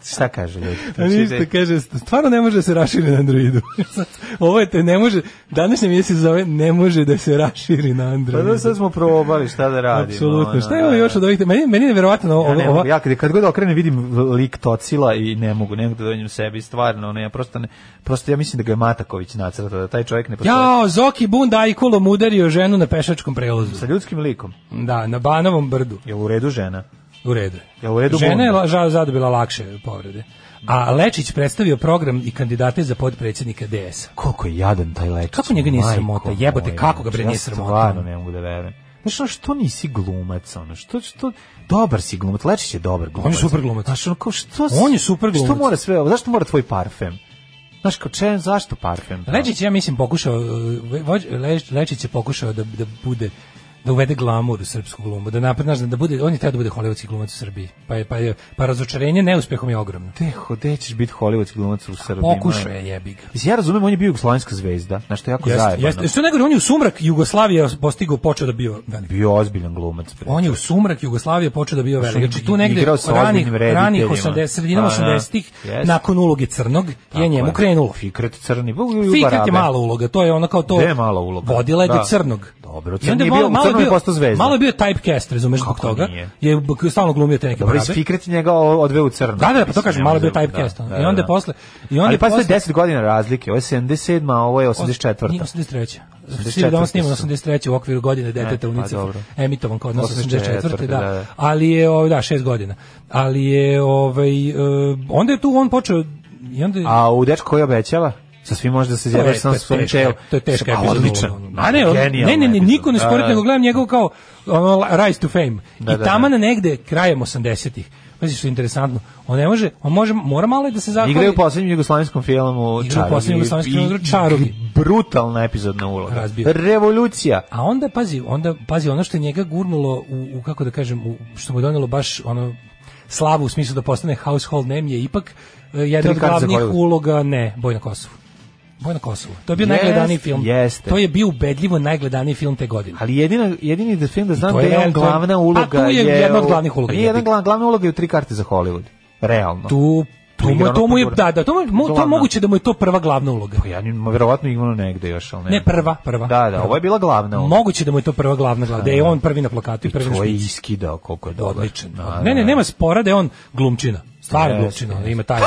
[SPEAKER 6] šta kaže ljudi? Znači,
[SPEAKER 5] A ništa, kaže, stvarno ne može da se raširi na Androidu. Ovo je te, ne može, današnje mjesec zove, ne može da se raširi na
[SPEAKER 6] Pa
[SPEAKER 5] Androidu.
[SPEAKER 6] da sad smo probali šta da radimo.
[SPEAKER 5] Apsolutno.
[SPEAKER 6] ono,
[SPEAKER 5] Šta ima još
[SPEAKER 6] da.
[SPEAKER 5] od ovih? te- Meni, meni je nevjerovatno ovo.
[SPEAKER 6] Ja, ne
[SPEAKER 5] ova-
[SPEAKER 6] mogu, ja kad, kad god okrenem vidim lik Tocila i ne mogu, ne mogu da dođem sebi, stvarno, ne, ja prosto, ne, prosto ja mislim da ga je Mataković nacrtao, da taj čovjek ne postoji.
[SPEAKER 5] Jao, Zoki Bunda Ajkulom udario ženu na pešačkom prelazu.
[SPEAKER 6] Sa ljudskim likom.
[SPEAKER 5] Da, na Banovom brdu.
[SPEAKER 6] Je u redu žena?
[SPEAKER 5] U redu. je.
[SPEAKER 6] Jel u redu
[SPEAKER 5] Žena je
[SPEAKER 6] Bunda?
[SPEAKER 5] la- žal, zadobila lakše povrede. A Lečić predstavio program i kandidate za podpredsjednika DS-a.
[SPEAKER 6] Koliko je jadan taj lečić.
[SPEAKER 5] Kako njega nije
[SPEAKER 6] majko
[SPEAKER 5] sramota?
[SPEAKER 6] moja.
[SPEAKER 5] Jebote, kako ga bre
[SPEAKER 6] Ja
[SPEAKER 5] nije sramota?
[SPEAKER 6] Stvarno ne mogu da verujem. Znaš, ono, što nisi glumac, ono, što, što, dobar si glumac, Lečić je dobar glumac.
[SPEAKER 5] super glumac.
[SPEAKER 6] Znaš, ono, kao, što,
[SPEAKER 5] On je super
[SPEAKER 6] Što
[SPEAKER 5] glumac.
[SPEAKER 6] mora sve ovo, zašto mora tvoj parfem? Znaš, kao, čem, zašto parfem?
[SPEAKER 5] e, Lečić ja mislim pokušao uh, vođ- Leš- Lečić je pokušao da da bude da uvede glamur u srpsku glumu, da naprednaš, da bude, on je teo da bude hollywoodski glumac u Srbiji. Pa, je- pa, je- pa razočarenje neuspehom je ogromno.
[SPEAKER 6] Te, gde ćeš biti hollywoodski glumac u Srbiji?
[SPEAKER 5] Pokušao
[SPEAKER 6] molim?
[SPEAKER 5] je jebi ga.
[SPEAKER 6] Mislim, ja razumem, on je bio jugoslavenska zvezda, znaš, to je jako Ono,
[SPEAKER 5] Jeste,
[SPEAKER 6] zajebano.
[SPEAKER 5] jeste. Što je najgore, on je u sumrak Jugoslavije postigao, počeo da bio veliki.
[SPEAKER 6] Bio ozbiljan glumac. bre.
[SPEAKER 5] On je u sumrak Jugoslavije počeo da bio veliki.
[SPEAKER 6] on
[SPEAKER 5] Znači tu negde
[SPEAKER 6] igrao sa
[SPEAKER 5] ranih,
[SPEAKER 6] ozbiljnim
[SPEAKER 5] ranih
[SPEAKER 6] rediteljima.
[SPEAKER 5] 80, sredinom
[SPEAKER 6] Pa, da.
[SPEAKER 5] 80-ih,
[SPEAKER 6] Jeste.
[SPEAKER 5] nakon uloge Crnog, je
[SPEAKER 6] Tako
[SPEAKER 5] njemu krenulo.
[SPEAKER 6] Fikret crni. Bu, bu, bu,
[SPEAKER 5] Fikret
[SPEAKER 6] barabe.
[SPEAKER 5] je mala uloga, to je ono kao to.
[SPEAKER 6] Gde je mala uloga?
[SPEAKER 5] Vodila je do
[SPEAKER 6] Da.
[SPEAKER 5] crnog.
[SPEAKER 6] Dobro,
[SPEAKER 5] I onda
[SPEAKER 6] Crni je
[SPEAKER 5] malo-
[SPEAKER 6] bio-
[SPEAKER 5] malo
[SPEAKER 6] Crni je postao zvezda.
[SPEAKER 5] Malo je bio typecast, razumeš, zbog
[SPEAKER 6] Kako
[SPEAKER 5] toga.
[SPEAKER 6] nije?
[SPEAKER 5] Je b- stalno glumio te neke
[SPEAKER 6] Dobro, iz
[SPEAKER 5] barabe.
[SPEAKER 6] Fikret je njega o- odveo u crno.
[SPEAKER 5] Da, da, pa to
[SPEAKER 6] Mislim,
[SPEAKER 5] kažem,
[SPEAKER 6] ne
[SPEAKER 5] malo je bio
[SPEAKER 6] mogu da-
[SPEAKER 5] typecast. ono.
[SPEAKER 6] da,
[SPEAKER 5] I onda
[SPEAKER 6] da.
[SPEAKER 5] je posle... I onda
[SPEAKER 6] Ali
[SPEAKER 5] je
[SPEAKER 6] pa to je
[SPEAKER 5] posle-
[SPEAKER 6] 10 godina razlike. Ovo je 77, a ovo je 84.
[SPEAKER 5] Nije 83.
[SPEAKER 6] 84.
[SPEAKER 5] Svi doma snimamo
[SPEAKER 6] su.
[SPEAKER 5] 83. u okviru godine deteta
[SPEAKER 6] E,
[SPEAKER 5] u
[SPEAKER 6] pa
[SPEAKER 5] Nicefu.
[SPEAKER 6] dobro.
[SPEAKER 5] Emitovan kod nas
[SPEAKER 6] 84.,
[SPEAKER 5] 84.
[SPEAKER 6] da, da.
[SPEAKER 5] Da. Ali je, ovaj, da, 6 godina. Ali je, ovaj, e, onda je tu on počeo, i onda je,
[SPEAKER 6] A u dečko koji obećava? Sa svim može da se zjebaš sam svojim
[SPEAKER 5] teška-
[SPEAKER 6] čelom.
[SPEAKER 5] To je teška
[SPEAKER 6] A,
[SPEAKER 5] epizoda.
[SPEAKER 6] Odličan.
[SPEAKER 5] A ne, on- ne, ne, ne, niko ne spori, nego gledam njegov kao ono, Rise to Fame.
[SPEAKER 6] Da,
[SPEAKER 5] I
[SPEAKER 6] da,
[SPEAKER 5] tamo na negde, krajem 80-ih, Pazi što je interesantno. On ne može, on može, mora malo i da se zahvali.
[SPEAKER 6] Igraju u poslednjem jugoslavenskom filmu
[SPEAKER 5] Igra u
[SPEAKER 6] Čarovi.
[SPEAKER 5] poslednjem jugoslavenskom
[SPEAKER 6] I-
[SPEAKER 5] filmu Čarovi.
[SPEAKER 6] i Brutalna epizodna uloga.
[SPEAKER 5] Razbio.
[SPEAKER 6] Revolucija.
[SPEAKER 5] A onda pazi, onda pazi ono što je njega gurnulo u, u kako da kažem, u, što mu je donelo baš ono slavu u smislu da postane household name je ipak e, jedna od
[SPEAKER 6] Tri karte za
[SPEAKER 5] glavnih
[SPEAKER 6] Hollywood.
[SPEAKER 5] uloga, ne, Boj na Kosovu. Boj na Kosovu. To je bio
[SPEAKER 6] Jest,
[SPEAKER 5] najgledaniji film.
[SPEAKER 6] jeste.
[SPEAKER 5] To je bio ubedljivo najgledaniji film te godine.
[SPEAKER 6] Ali jedina, jedini da film da znam
[SPEAKER 5] to
[SPEAKER 6] da
[SPEAKER 5] je
[SPEAKER 6] je on
[SPEAKER 5] realno-
[SPEAKER 6] glavna
[SPEAKER 5] a
[SPEAKER 6] uloga
[SPEAKER 5] tu je jedna od
[SPEAKER 6] u-
[SPEAKER 5] glavnih uloga,
[SPEAKER 6] Nije jedna
[SPEAKER 5] jebi ga.
[SPEAKER 6] glavna, glavna uloga je u tri karte za Hollywood. Realno.
[SPEAKER 5] Tu to mu, to mu je da, da, to, mu, mo- to je
[SPEAKER 6] ono Glavna.
[SPEAKER 5] moguće da mu je to prva glavna uloga.
[SPEAKER 6] Pa ja njim, verovatno igrano negde još, ali ne.
[SPEAKER 5] Ne prva, prva.
[SPEAKER 6] Da, da,
[SPEAKER 5] prva.
[SPEAKER 6] ovo je bila glavna uloga.
[SPEAKER 5] Moguće da mu je to prva glavna glavna, da je on prvi na plakatu i prvi na
[SPEAKER 6] To je
[SPEAKER 5] špici.
[SPEAKER 6] iskidao koliko je dobar.
[SPEAKER 5] odličan.
[SPEAKER 6] Da, da,
[SPEAKER 5] ne, ne,
[SPEAKER 6] da.
[SPEAKER 5] nema spora da je on glumčina. Stvarno
[SPEAKER 6] Jeste,
[SPEAKER 5] glumčina,
[SPEAKER 6] jeste.
[SPEAKER 5] ima taj.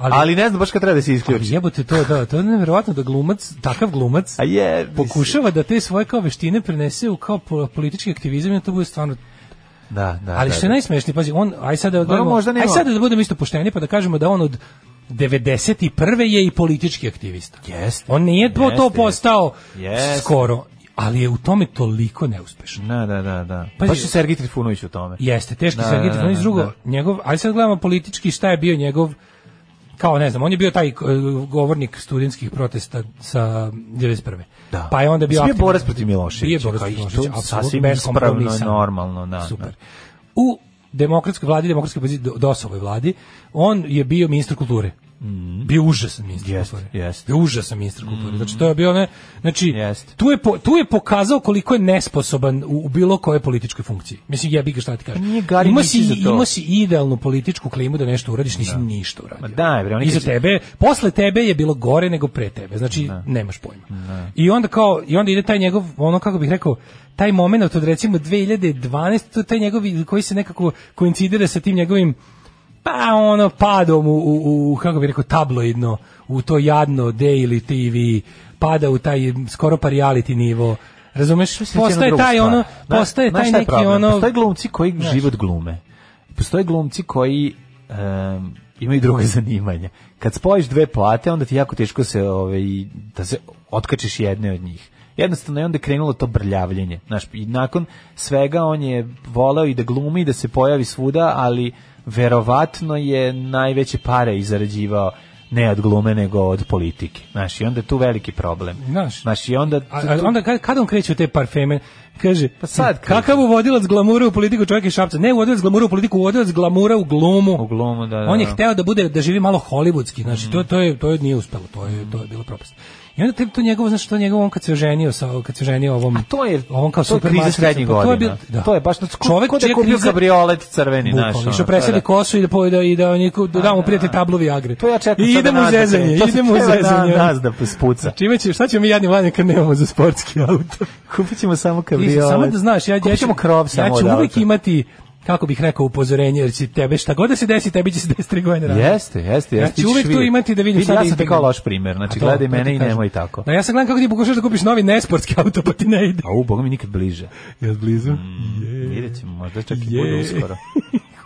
[SPEAKER 6] Ali, ne znam baš kad treba da se
[SPEAKER 5] ali
[SPEAKER 6] isključi.
[SPEAKER 5] jebote to, da, to je nevjerovatno da glumac, takav glumac
[SPEAKER 6] A je, mislim,
[SPEAKER 5] pokušava da te svoje kao veštine prenese u kao po- politički aktivizam i da to bude stvarno
[SPEAKER 6] Da, da.
[SPEAKER 5] ali
[SPEAKER 6] da,
[SPEAKER 5] što je
[SPEAKER 6] da.
[SPEAKER 5] najsmešnije, pazi, on, aj sad da, gledamo,
[SPEAKER 6] možda nema.
[SPEAKER 5] aj sad da budemo isto pošteni pa da kažemo da on od 91. je i politički aktivista.
[SPEAKER 6] Jeste.
[SPEAKER 5] On nije to, to
[SPEAKER 6] Jeste,
[SPEAKER 5] postao
[SPEAKER 6] Jeste.
[SPEAKER 5] skoro, ali je u tome toliko neuspešan.
[SPEAKER 6] Da, da, da, da.
[SPEAKER 5] Pazi-
[SPEAKER 6] Baš je Sergij Trifunović u tome.
[SPEAKER 5] Jeste, teški
[SPEAKER 6] Da,
[SPEAKER 5] Sergej
[SPEAKER 6] da,
[SPEAKER 5] Trifunović,
[SPEAKER 6] da,
[SPEAKER 5] drugo,
[SPEAKER 6] da.
[SPEAKER 5] njegov, ali sad gledamo politički šta je bio njegov kao ne znam, on je bio taj e, govornik studentskih protesta sa 91.
[SPEAKER 6] Da.
[SPEAKER 5] Pa je onda bio
[SPEAKER 6] Mislim, bio
[SPEAKER 5] aktivan-
[SPEAKER 6] borac protiv Miloševića,
[SPEAKER 5] Bio je borac
[SPEAKER 6] kao i
[SPEAKER 5] protiv
[SPEAKER 6] to
[SPEAKER 5] Miloševića, apsolutno,
[SPEAKER 6] sasvim
[SPEAKER 5] beskompromisan.
[SPEAKER 6] ispravno i normalno, da,
[SPEAKER 5] Super.
[SPEAKER 6] da.
[SPEAKER 5] U demokratskoj vladi, demokratskoj poziciji DOS-ovoj vladi, on je bio ministar kulture.
[SPEAKER 6] Mhm.
[SPEAKER 5] Bio užasan ministar
[SPEAKER 6] Jeste,
[SPEAKER 5] kulture.
[SPEAKER 6] jeste.
[SPEAKER 5] Bio užasan ministar kulture.
[SPEAKER 6] Mm.
[SPEAKER 5] Znači to je bio ne, znači
[SPEAKER 6] Jeste.
[SPEAKER 5] tu je po- tu je pokazao koliko je nesposoban u, u bilo kojoj političkoj funkciji. Mislim jebi ga šta ti kažem.
[SPEAKER 6] Nije Gari
[SPEAKER 5] Imao
[SPEAKER 6] Mišić
[SPEAKER 5] si,
[SPEAKER 6] za to.
[SPEAKER 5] imao si idealnu političku klimu da nešto uradiš, nisi ništa uradio.
[SPEAKER 6] Ma daj, bre, oni
[SPEAKER 5] Iza
[SPEAKER 6] kad-
[SPEAKER 5] tebe, posle tebe je bilo gore nego pre tebe. Znači nemaš pojma. I onda kao i onda ide taj njegov ono kako bih rekao taj momenat od recimo 2012 to je taj njegov koji se nekako koincidira sa tim njegovim pa ono padom u, u, u kako bih rekao tabloidno u to jadno Daily TV pada u taj skoro pa reality nivo razumeš
[SPEAKER 6] Mislim, to je jedna
[SPEAKER 5] postaje
[SPEAKER 6] druga
[SPEAKER 5] taj
[SPEAKER 6] stvar.
[SPEAKER 5] ono
[SPEAKER 6] Znaš-
[SPEAKER 5] postaje
[SPEAKER 6] znaš
[SPEAKER 5] taj
[SPEAKER 6] šta je
[SPEAKER 5] neki
[SPEAKER 6] problem?
[SPEAKER 5] ono
[SPEAKER 6] Postoje glumci koji život glume. Postoje glumci koji em, imaju druge zanimanja. Kad spojiš dve plate, onda ti je jako teško se ovaj da se otkačiš jedne od njih. Jednostavno je onda krenulo to brljavljenje. Znaš, i nakon svega on je voleo i da glumi i da se pojavi svuda, ali verovatno je najveće pare i zarađivao ne od glume nego od politike. Znaš, i onda je tu veliki problem.
[SPEAKER 5] Znaš.
[SPEAKER 6] Znaš, i onda...
[SPEAKER 5] A, a Pa, onda kad, kad on kreće u te parfeme, kaže, "Hm,
[SPEAKER 6] Pa sad kreće.
[SPEAKER 5] kakav uvodilac glamura u politiku čovjek je šapca. Ne uvodilac glamura u politiku, uvodilac glamura u glumu.
[SPEAKER 6] U glumu, da, da,
[SPEAKER 5] On je
[SPEAKER 6] da. Mm.
[SPEAKER 5] hteo da bude da živi malo hollywoodski, znači to to je to je nije uspelo, to je to je bilo propast. I onda te- to njegovo, znači to njegovo on kad se oženio sa kad se ženio ovom
[SPEAKER 6] A to je
[SPEAKER 5] ovom kao
[SPEAKER 6] to je
[SPEAKER 5] super
[SPEAKER 6] kriza srednjih godina.
[SPEAKER 5] To je bio- da.
[SPEAKER 6] To je baš znači
[SPEAKER 5] čovjek
[SPEAKER 6] čovjek ko da je
[SPEAKER 5] čija
[SPEAKER 6] kupio
[SPEAKER 5] kriza-
[SPEAKER 6] kabriolet crveni naš.
[SPEAKER 5] Bukvalno,
[SPEAKER 6] ono,
[SPEAKER 5] išao
[SPEAKER 6] to
[SPEAKER 5] presadi
[SPEAKER 6] da.
[SPEAKER 5] kosu i da pojede i da, niko, da da mu prijatelj tablovi agre.
[SPEAKER 6] To ja čekam
[SPEAKER 5] I
[SPEAKER 6] sada
[SPEAKER 5] idemo u
[SPEAKER 6] nas da
[SPEAKER 5] zezanje,
[SPEAKER 6] krene. To se
[SPEAKER 5] idemo u
[SPEAKER 6] treba na-
[SPEAKER 5] zezanje. Znači,
[SPEAKER 6] nas da spuca.
[SPEAKER 5] Čime će, šta ćemo mi jadni mladi kad nemamo za sportski auto?
[SPEAKER 6] Kupit ćemo samo
[SPEAKER 5] Ti
[SPEAKER 6] kabriolet.
[SPEAKER 5] samo da znaš, ja, ja,
[SPEAKER 6] kupit ćemo krov samo
[SPEAKER 5] ja ću
[SPEAKER 6] od
[SPEAKER 5] uvijek
[SPEAKER 6] auta.
[SPEAKER 5] imati, kako bih rekao, upozorenje, jer će tebe šta god da se desi, tebi će se desiti tri godine ranije.
[SPEAKER 6] Jeste, jeste, jeste.
[SPEAKER 5] Ja ću uvek tu imati da vidim
[SPEAKER 6] Vidi,
[SPEAKER 5] šta da
[SPEAKER 6] ja sam ti
[SPEAKER 5] izbegnem.
[SPEAKER 6] kao loš primer, znači
[SPEAKER 5] A to,
[SPEAKER 6] gledaj
[SPEAKER 5] to ti
[SPEAKER 6] mene i
[SPEAKER 5] kažem.
[SPEAKER 6] nemoj tako.
[SPEAKER 5] Da, ja sam gledam kako ti pokušaš da kupiš novi nesportski auto, pa ti ne ide. Mm.
[SPEAKER 6] A u Boga mi nikad bliže.
[SPEAKER 5] Ja blizu.
[SPEAKER 6] Vidjet ćemo, možda čak i
[SPEAKER 5] Je.
[SPEAKER 6] bude uskoro.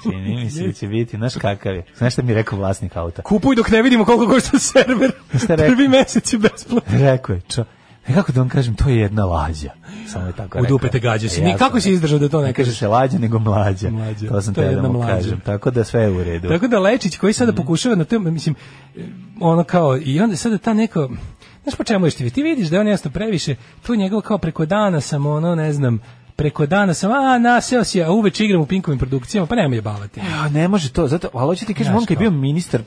[SPEAKER 6] Čini mi se da će biti, znaš kakav je. Znaš šta mi je rekao vlasnik auta?
[SPEAKER 5] Kupuj dok ne vidimo koliko košta server.
[SPEAKER 6] Šta rekao?
[SPEAKER 5] Prvi mesec je besplatno.
[SPEAKER 6] Rekao je, čo, nekako da vam kažem, to je jedna lađa. Samo je tako
[SPEAKER 5] U
[SPEAKER 6] rekao. E,
[SPEAKER 5] dupe te gađa si.
[SPEAKER 6] Ja
[SPEAKER 5] Ni kako
[SPEAKER 6] sam-
[SPEAKER 5] si izdržao da to ne
[SPEAKER 6] Ne kaže
[SPEAKER 5] kažeš?
[SPEAKER 6] se lađa, nego mlađa.
[SPEAKER 5] Mlađa.
[SPEAKER 6] To sam
[SPEAKER 5] To je
[SPEAKER 6] te da
[SPEAKER 5] jedna
[SPEAKER 6] mu
[SPEAKER 5] mlađa.
[SPEAKER 6] kažem. Tako da Mhm. sve je u redu.
[SPEAKER 5] Tako da Lečić koji sada pokušava na to, mislim, ono kao, i onda sada ta neka, Znaš po čemu ješ ti? Ti vidiš da je on jasno previše, tu njegov kao preko dana sam, ono, ne znam, preko dana sam, a naseo si, a uveč igram u Pinkovim produkcijama, pa nema je bavati.
[SPEAKER 6] Ja, ne može to, zato, ali hoću ti kažem,
[SPEAKER 5] Znaš
[SPEAKER 6] on kad je
[SPEAKER 5] kao.
[SPEAKER 6] bio ministar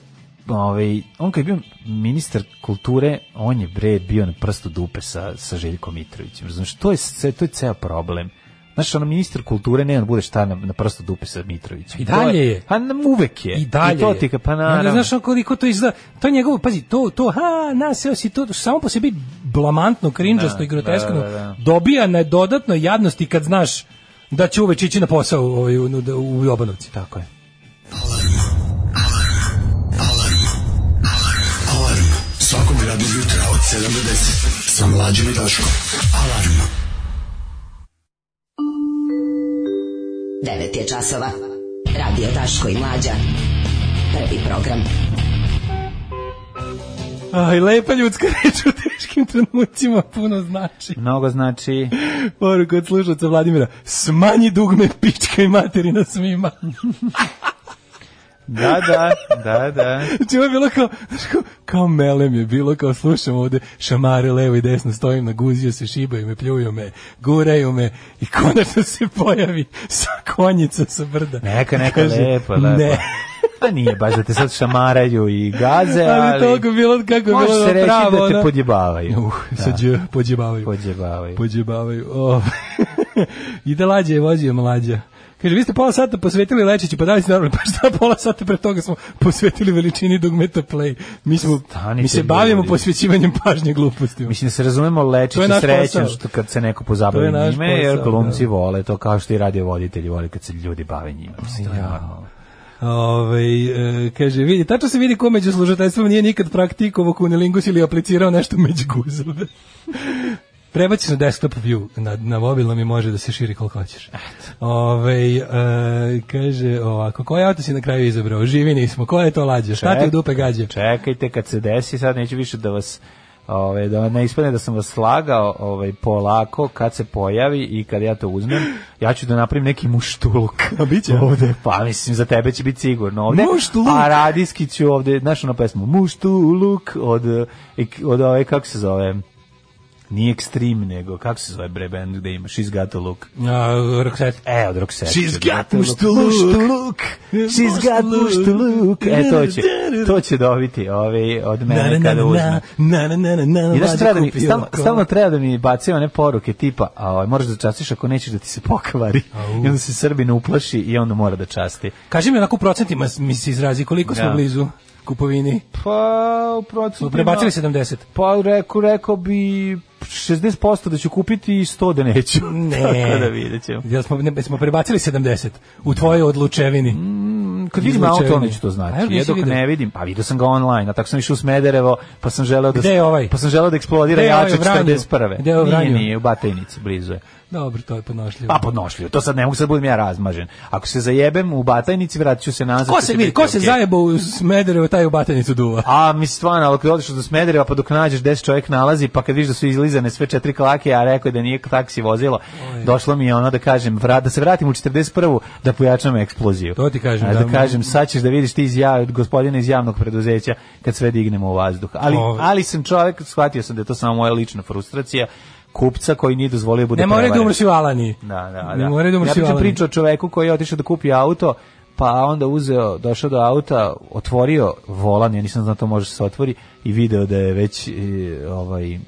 [SPEAKER 6] ovaj, on kad je bio ministar kulture, on je bre bio na prstu dupe sa, sa Željkom Mitrovićem. Razumiješ, to je, sve- to je ceo problem. Znaš, ono, ministar kulture ne on bude šta na, na prstu dupe sa Mitrovićem.
[SPEAKER 5] I
[SPEAKER 6] To je-
[SPEAKER 5] dalje je.
[SPEAKER 6] A nam uvek je.
[SPEAKER 5] I dalje.
[SPEAKER 6] I to
[SPEAKER 5] je.
[SPEAKER 6] ti ka, pa
[SPEAKER 5] I onda
[SPEAKER 6] naravno.
[SPEAKER 5] znaš on koliko to izgleda. To je njegovo, pazi, to to ha, naseo si to samo po sebi blamantno, krindžasto
[SPEAKER 6] Da,
[SPEAKER 5] i groteskno.
[SPEAKER 6] da, da, da.
[SPEAKER 5] Dobija na dodatnoj jadnosti kad znaš da će uveć ići na posao ovaj, u, u, u Jobanovci.
[SPEAKER 6] Tako je.
[SPEAKER 3] Svakog radnog jutra od 7 do 10 sa mlađom i Daškom. Alarm.
[SPEAKER 4] 9 je časova. Radio Daško i Mlađa. Prvi program.
[SPEAKER 5] Aj, lepa ljudska reč u teškim trenucima puno znači.
[SPEAKER 6] Mnogo znači...
[SPEAKER 5] Poruka od slušalca Vladimira, smanji dugme pička i materina svima.
[SPEAKER 6] Da, da, da, da.
[SPEAKER 5] Znači, ovo je bilo kao, znaš, kao, kao melem je bilo, kao slušam ovde šamare levo i desno, stojim na guziju se, šibaju me, pljuju me, guraju me i konačno se pojavi sa konjica sa brda.
[SPEAKER 6] Neka, neka,
[SPEAKER 5] Kaže,
[SPEAKER 6] lepo, lepo.
[SPEAKER 5] Ne,
[SPEAKER 6] Pa nije baš da te sad šamaraju i gaze, ali...
[SPEAKER 5] ali toliko je bilo, kako je
[SPEAKER 6] Može
[SPEAKER 5] bilo
[SPEAKER 6] se reći
[SPEAKER 5] pravo.
[SPEAKER 6] da te
[SPEAKER 5] ono.
[SPEAKER 6] podjebavaju.
[SPEAKER 5] Uh, sad je pođebavaju.
[SPEAKER 6] Podjebavaju.
[SPEAKER 5] Pođebavaju. O. I da oh. lađe je vozio mlađa. Kaže, vi ste pola sata posvetili Lečiću, pa da li ste normalni? Pa šta pola sata pre toga smo posvetili veličini dugmeta play. Mi, smo,
[SPEAKER 6] Stanite,
[SPEAKER 5] mi se bavimo
[SPEAKER 6] ljudi.
[SPEAKER 5] posvećivanjem pažnje glupostima.
[SPEAKER 6] Mislim da se razumemo
[SPEAKER 5] To je
[SPEAKER 6] lečiće
[SPEAKER 5] naš
[SPEAKER 6] srećem
[SPEAKER 5] posao.
[SPEAKER 6] što kad se neko
[SPEAKER 5] To
[SPEAKER 6] pozabavi
[SPEAKER 5] je naš
[SPEAKER 6] njime, jer
[SPEAKER 5] posao,
[SPEAKER 6] glumci
[SPEAKER 5] da.
[SPEAKER 6] vole to kao što i radio voditelji vole kad se ljudi bave njima. Mislim, to je normalno.
[SPEAKER 5] Ove, e, kaže, vidi, tačno se vidi ko među služateljstvom nije nikad praktikovao kunilingus ili aplicirao nešto među guzove. Prebaci na desktop view, na, na mobilnom i može da se širi koliko hoćeš. Ove, kaže ovako, koji auto si na kraju izabrao? Živi nismo, koja je to lađa? Šta ti u dupe gađa?
[SPEAKER 6] Čekajte, kad se desi, sad neću više da vas Ove, da ne ispane da sam vas slagao ovaj, polako kad se pojavi i kad ja to uzmem, ja ću da napravim neki muštuluk.
[SPEAKER 5] A biće?
[SPEAKER 6] Ovde, pa mislim, za tebe će biti sigurno ovde.
[SPEAKER 5] Muštuluk?
[SPEAKER 6] A radijski ću ovde, znaš ono pesmu, muštuluk od, eh, ek- od ove, kako se zove, nije ekstrem, nego, kako se zove bre band gde ima, She's Got a Look.
[SPEAKER 5] A, Roxette.
[SPEAKER 6] E, od Roxette.
[SPEAKER 5] She's got
[SPEAKER 6] Znate,
[SPEAKER 5] muštuluk.
[SPEAKER 6] muštuluk. She's got muštuluk. E, to će, to će dobiti ovaj, od mene kada uzme.
[SPEAKER 5] na, na, na, na, na,
[SPEAKER 6] I znaš,
[SPEAKER 5] Vlada
[SPEAKER 6] treba da mi,
[SPEAKER 5] kupila
[SPEAKER 6] stalno,
[SPEAKER 5] kola.
[SPEAKER 6] stalno treba da mi bace one poruke tipa, a ovaj, moraš da častiš ako nećeš da ti se pokvari. I onda se Srbin uplaši i onda mora da časti.
[SPEAKER 5] Kaži mi onako u procentima mi se izrazi koliko smo
[SPEAKER 6] Da.
[SPEAKER 5] blizu kupovini.
[SPEAKER 6] Pa, u procentima...
[SPEAKER 5] Prebacili 70.
[SPEAKER 6] Pa, rekao, rekao bi 60% da ću kupiti i 100 da neću.
[SPEAKER 5] Ne.
[SPEAKER 6] Tako da vidjet ćemo.
[SPEAKER 5] Jel smo, ne, smo prebacili 70 u tvojoj odlučevini?
[SPEAKER 6] Mm. Kad vidim
[SPEAKER 5] Izvučeni.
[SPEAKER 6] auto, onda ću to
[SPEAKER 5] ono, A jel
[SPEAKER 6] znati.
[SPEAKER 5] nisi
[SPEAKER 6] Ja dok
[SPEAKER 5] video?
[SPEAKER 6] ne vidim, pa vidio sam ga online, a tako sam išao u Smederevo, pa sam želeo da,
[SPEAKER 5] Gde je ovaj?
[SPEAKER 6] pa sam želeo da eksplodira
[SPEAKER 5] Gde je ovaj
[SPEAKER 6] jače
[SPEAKER 5] u Vranju?
[SPEAKER 6] 41.
[SPEAKER 5] Gde je ovaj u
[SPEAKER 6] nije,
[SPEAKER 5] Vranju?
[SPEAKER 6] nije, u Batajnici, blizu je.
[SPEAKER 5] Dobro, to je ponošljivo.
[SPEAKER 6] Pa podnošljivo, to sad ne mogu, sad budem ja razmažen. Ako se zajebem u Batajnici, vratit ću se nazad.
[SPEAKER 5] ko
[SPEAKER 6] to
[SPEAKER 5] se
[SPEAKER 6] će
[SPEAKER 5] vidi,
[SPEAKER 6] biti Pa,
[SPEAKER 5] ko se
[SPEAKER 6] okej.
[SPEAKER 5] zajebao u Smederevo, taj u batanicu duva.
[SPEAKER 6] A mi stvarno, ali kad odeš do Smedereva, pa dok nađeš gde se čovjek nalazi, pa kad vidiš da su izlizane sve četiri klake, a rekao je da nije taksi vozilo, došlo mi je ono da kažem, vra, da se vratim u 41. da pojačam eksploziju.
[SPEAKER 5] To ti kažem,
[SPEAKER 6] A,
[SPEAKER 5] da.
[SPEAKER 6] da, kažem, sad ćeš da vidiš ti iz ja, gospodina iz javnog preduzeća kad sve dignemo u vazduh. Ali,
[SPEAKER 5] Ovaj.
[SPEAKER 6] ali sam čovjek, shvatio sam da je to samo moja lična frustracija, kupca koji nije dozvolio da bude
[SPEAKER 5] Ne moraju da
[SPEAKER 6] prevaren.
[SPEAKER 5] umreš u Alani.
[SPEAKER 6] Da, da, da.
[SPEAKER 5] Ne moraju da umreš
[SPEAKER 6] ja
[SPEAKER 5] u
[SPEAKER 6] pričam
[SPEAKER 5] Alani.
[SPEAKER 6] priču o čoveku koji je otišao da kupi auto, pa onda uzeo, došao do auta, otvorio volan, ja nisam znao to može se otvori, i video da je već, e, ovaj,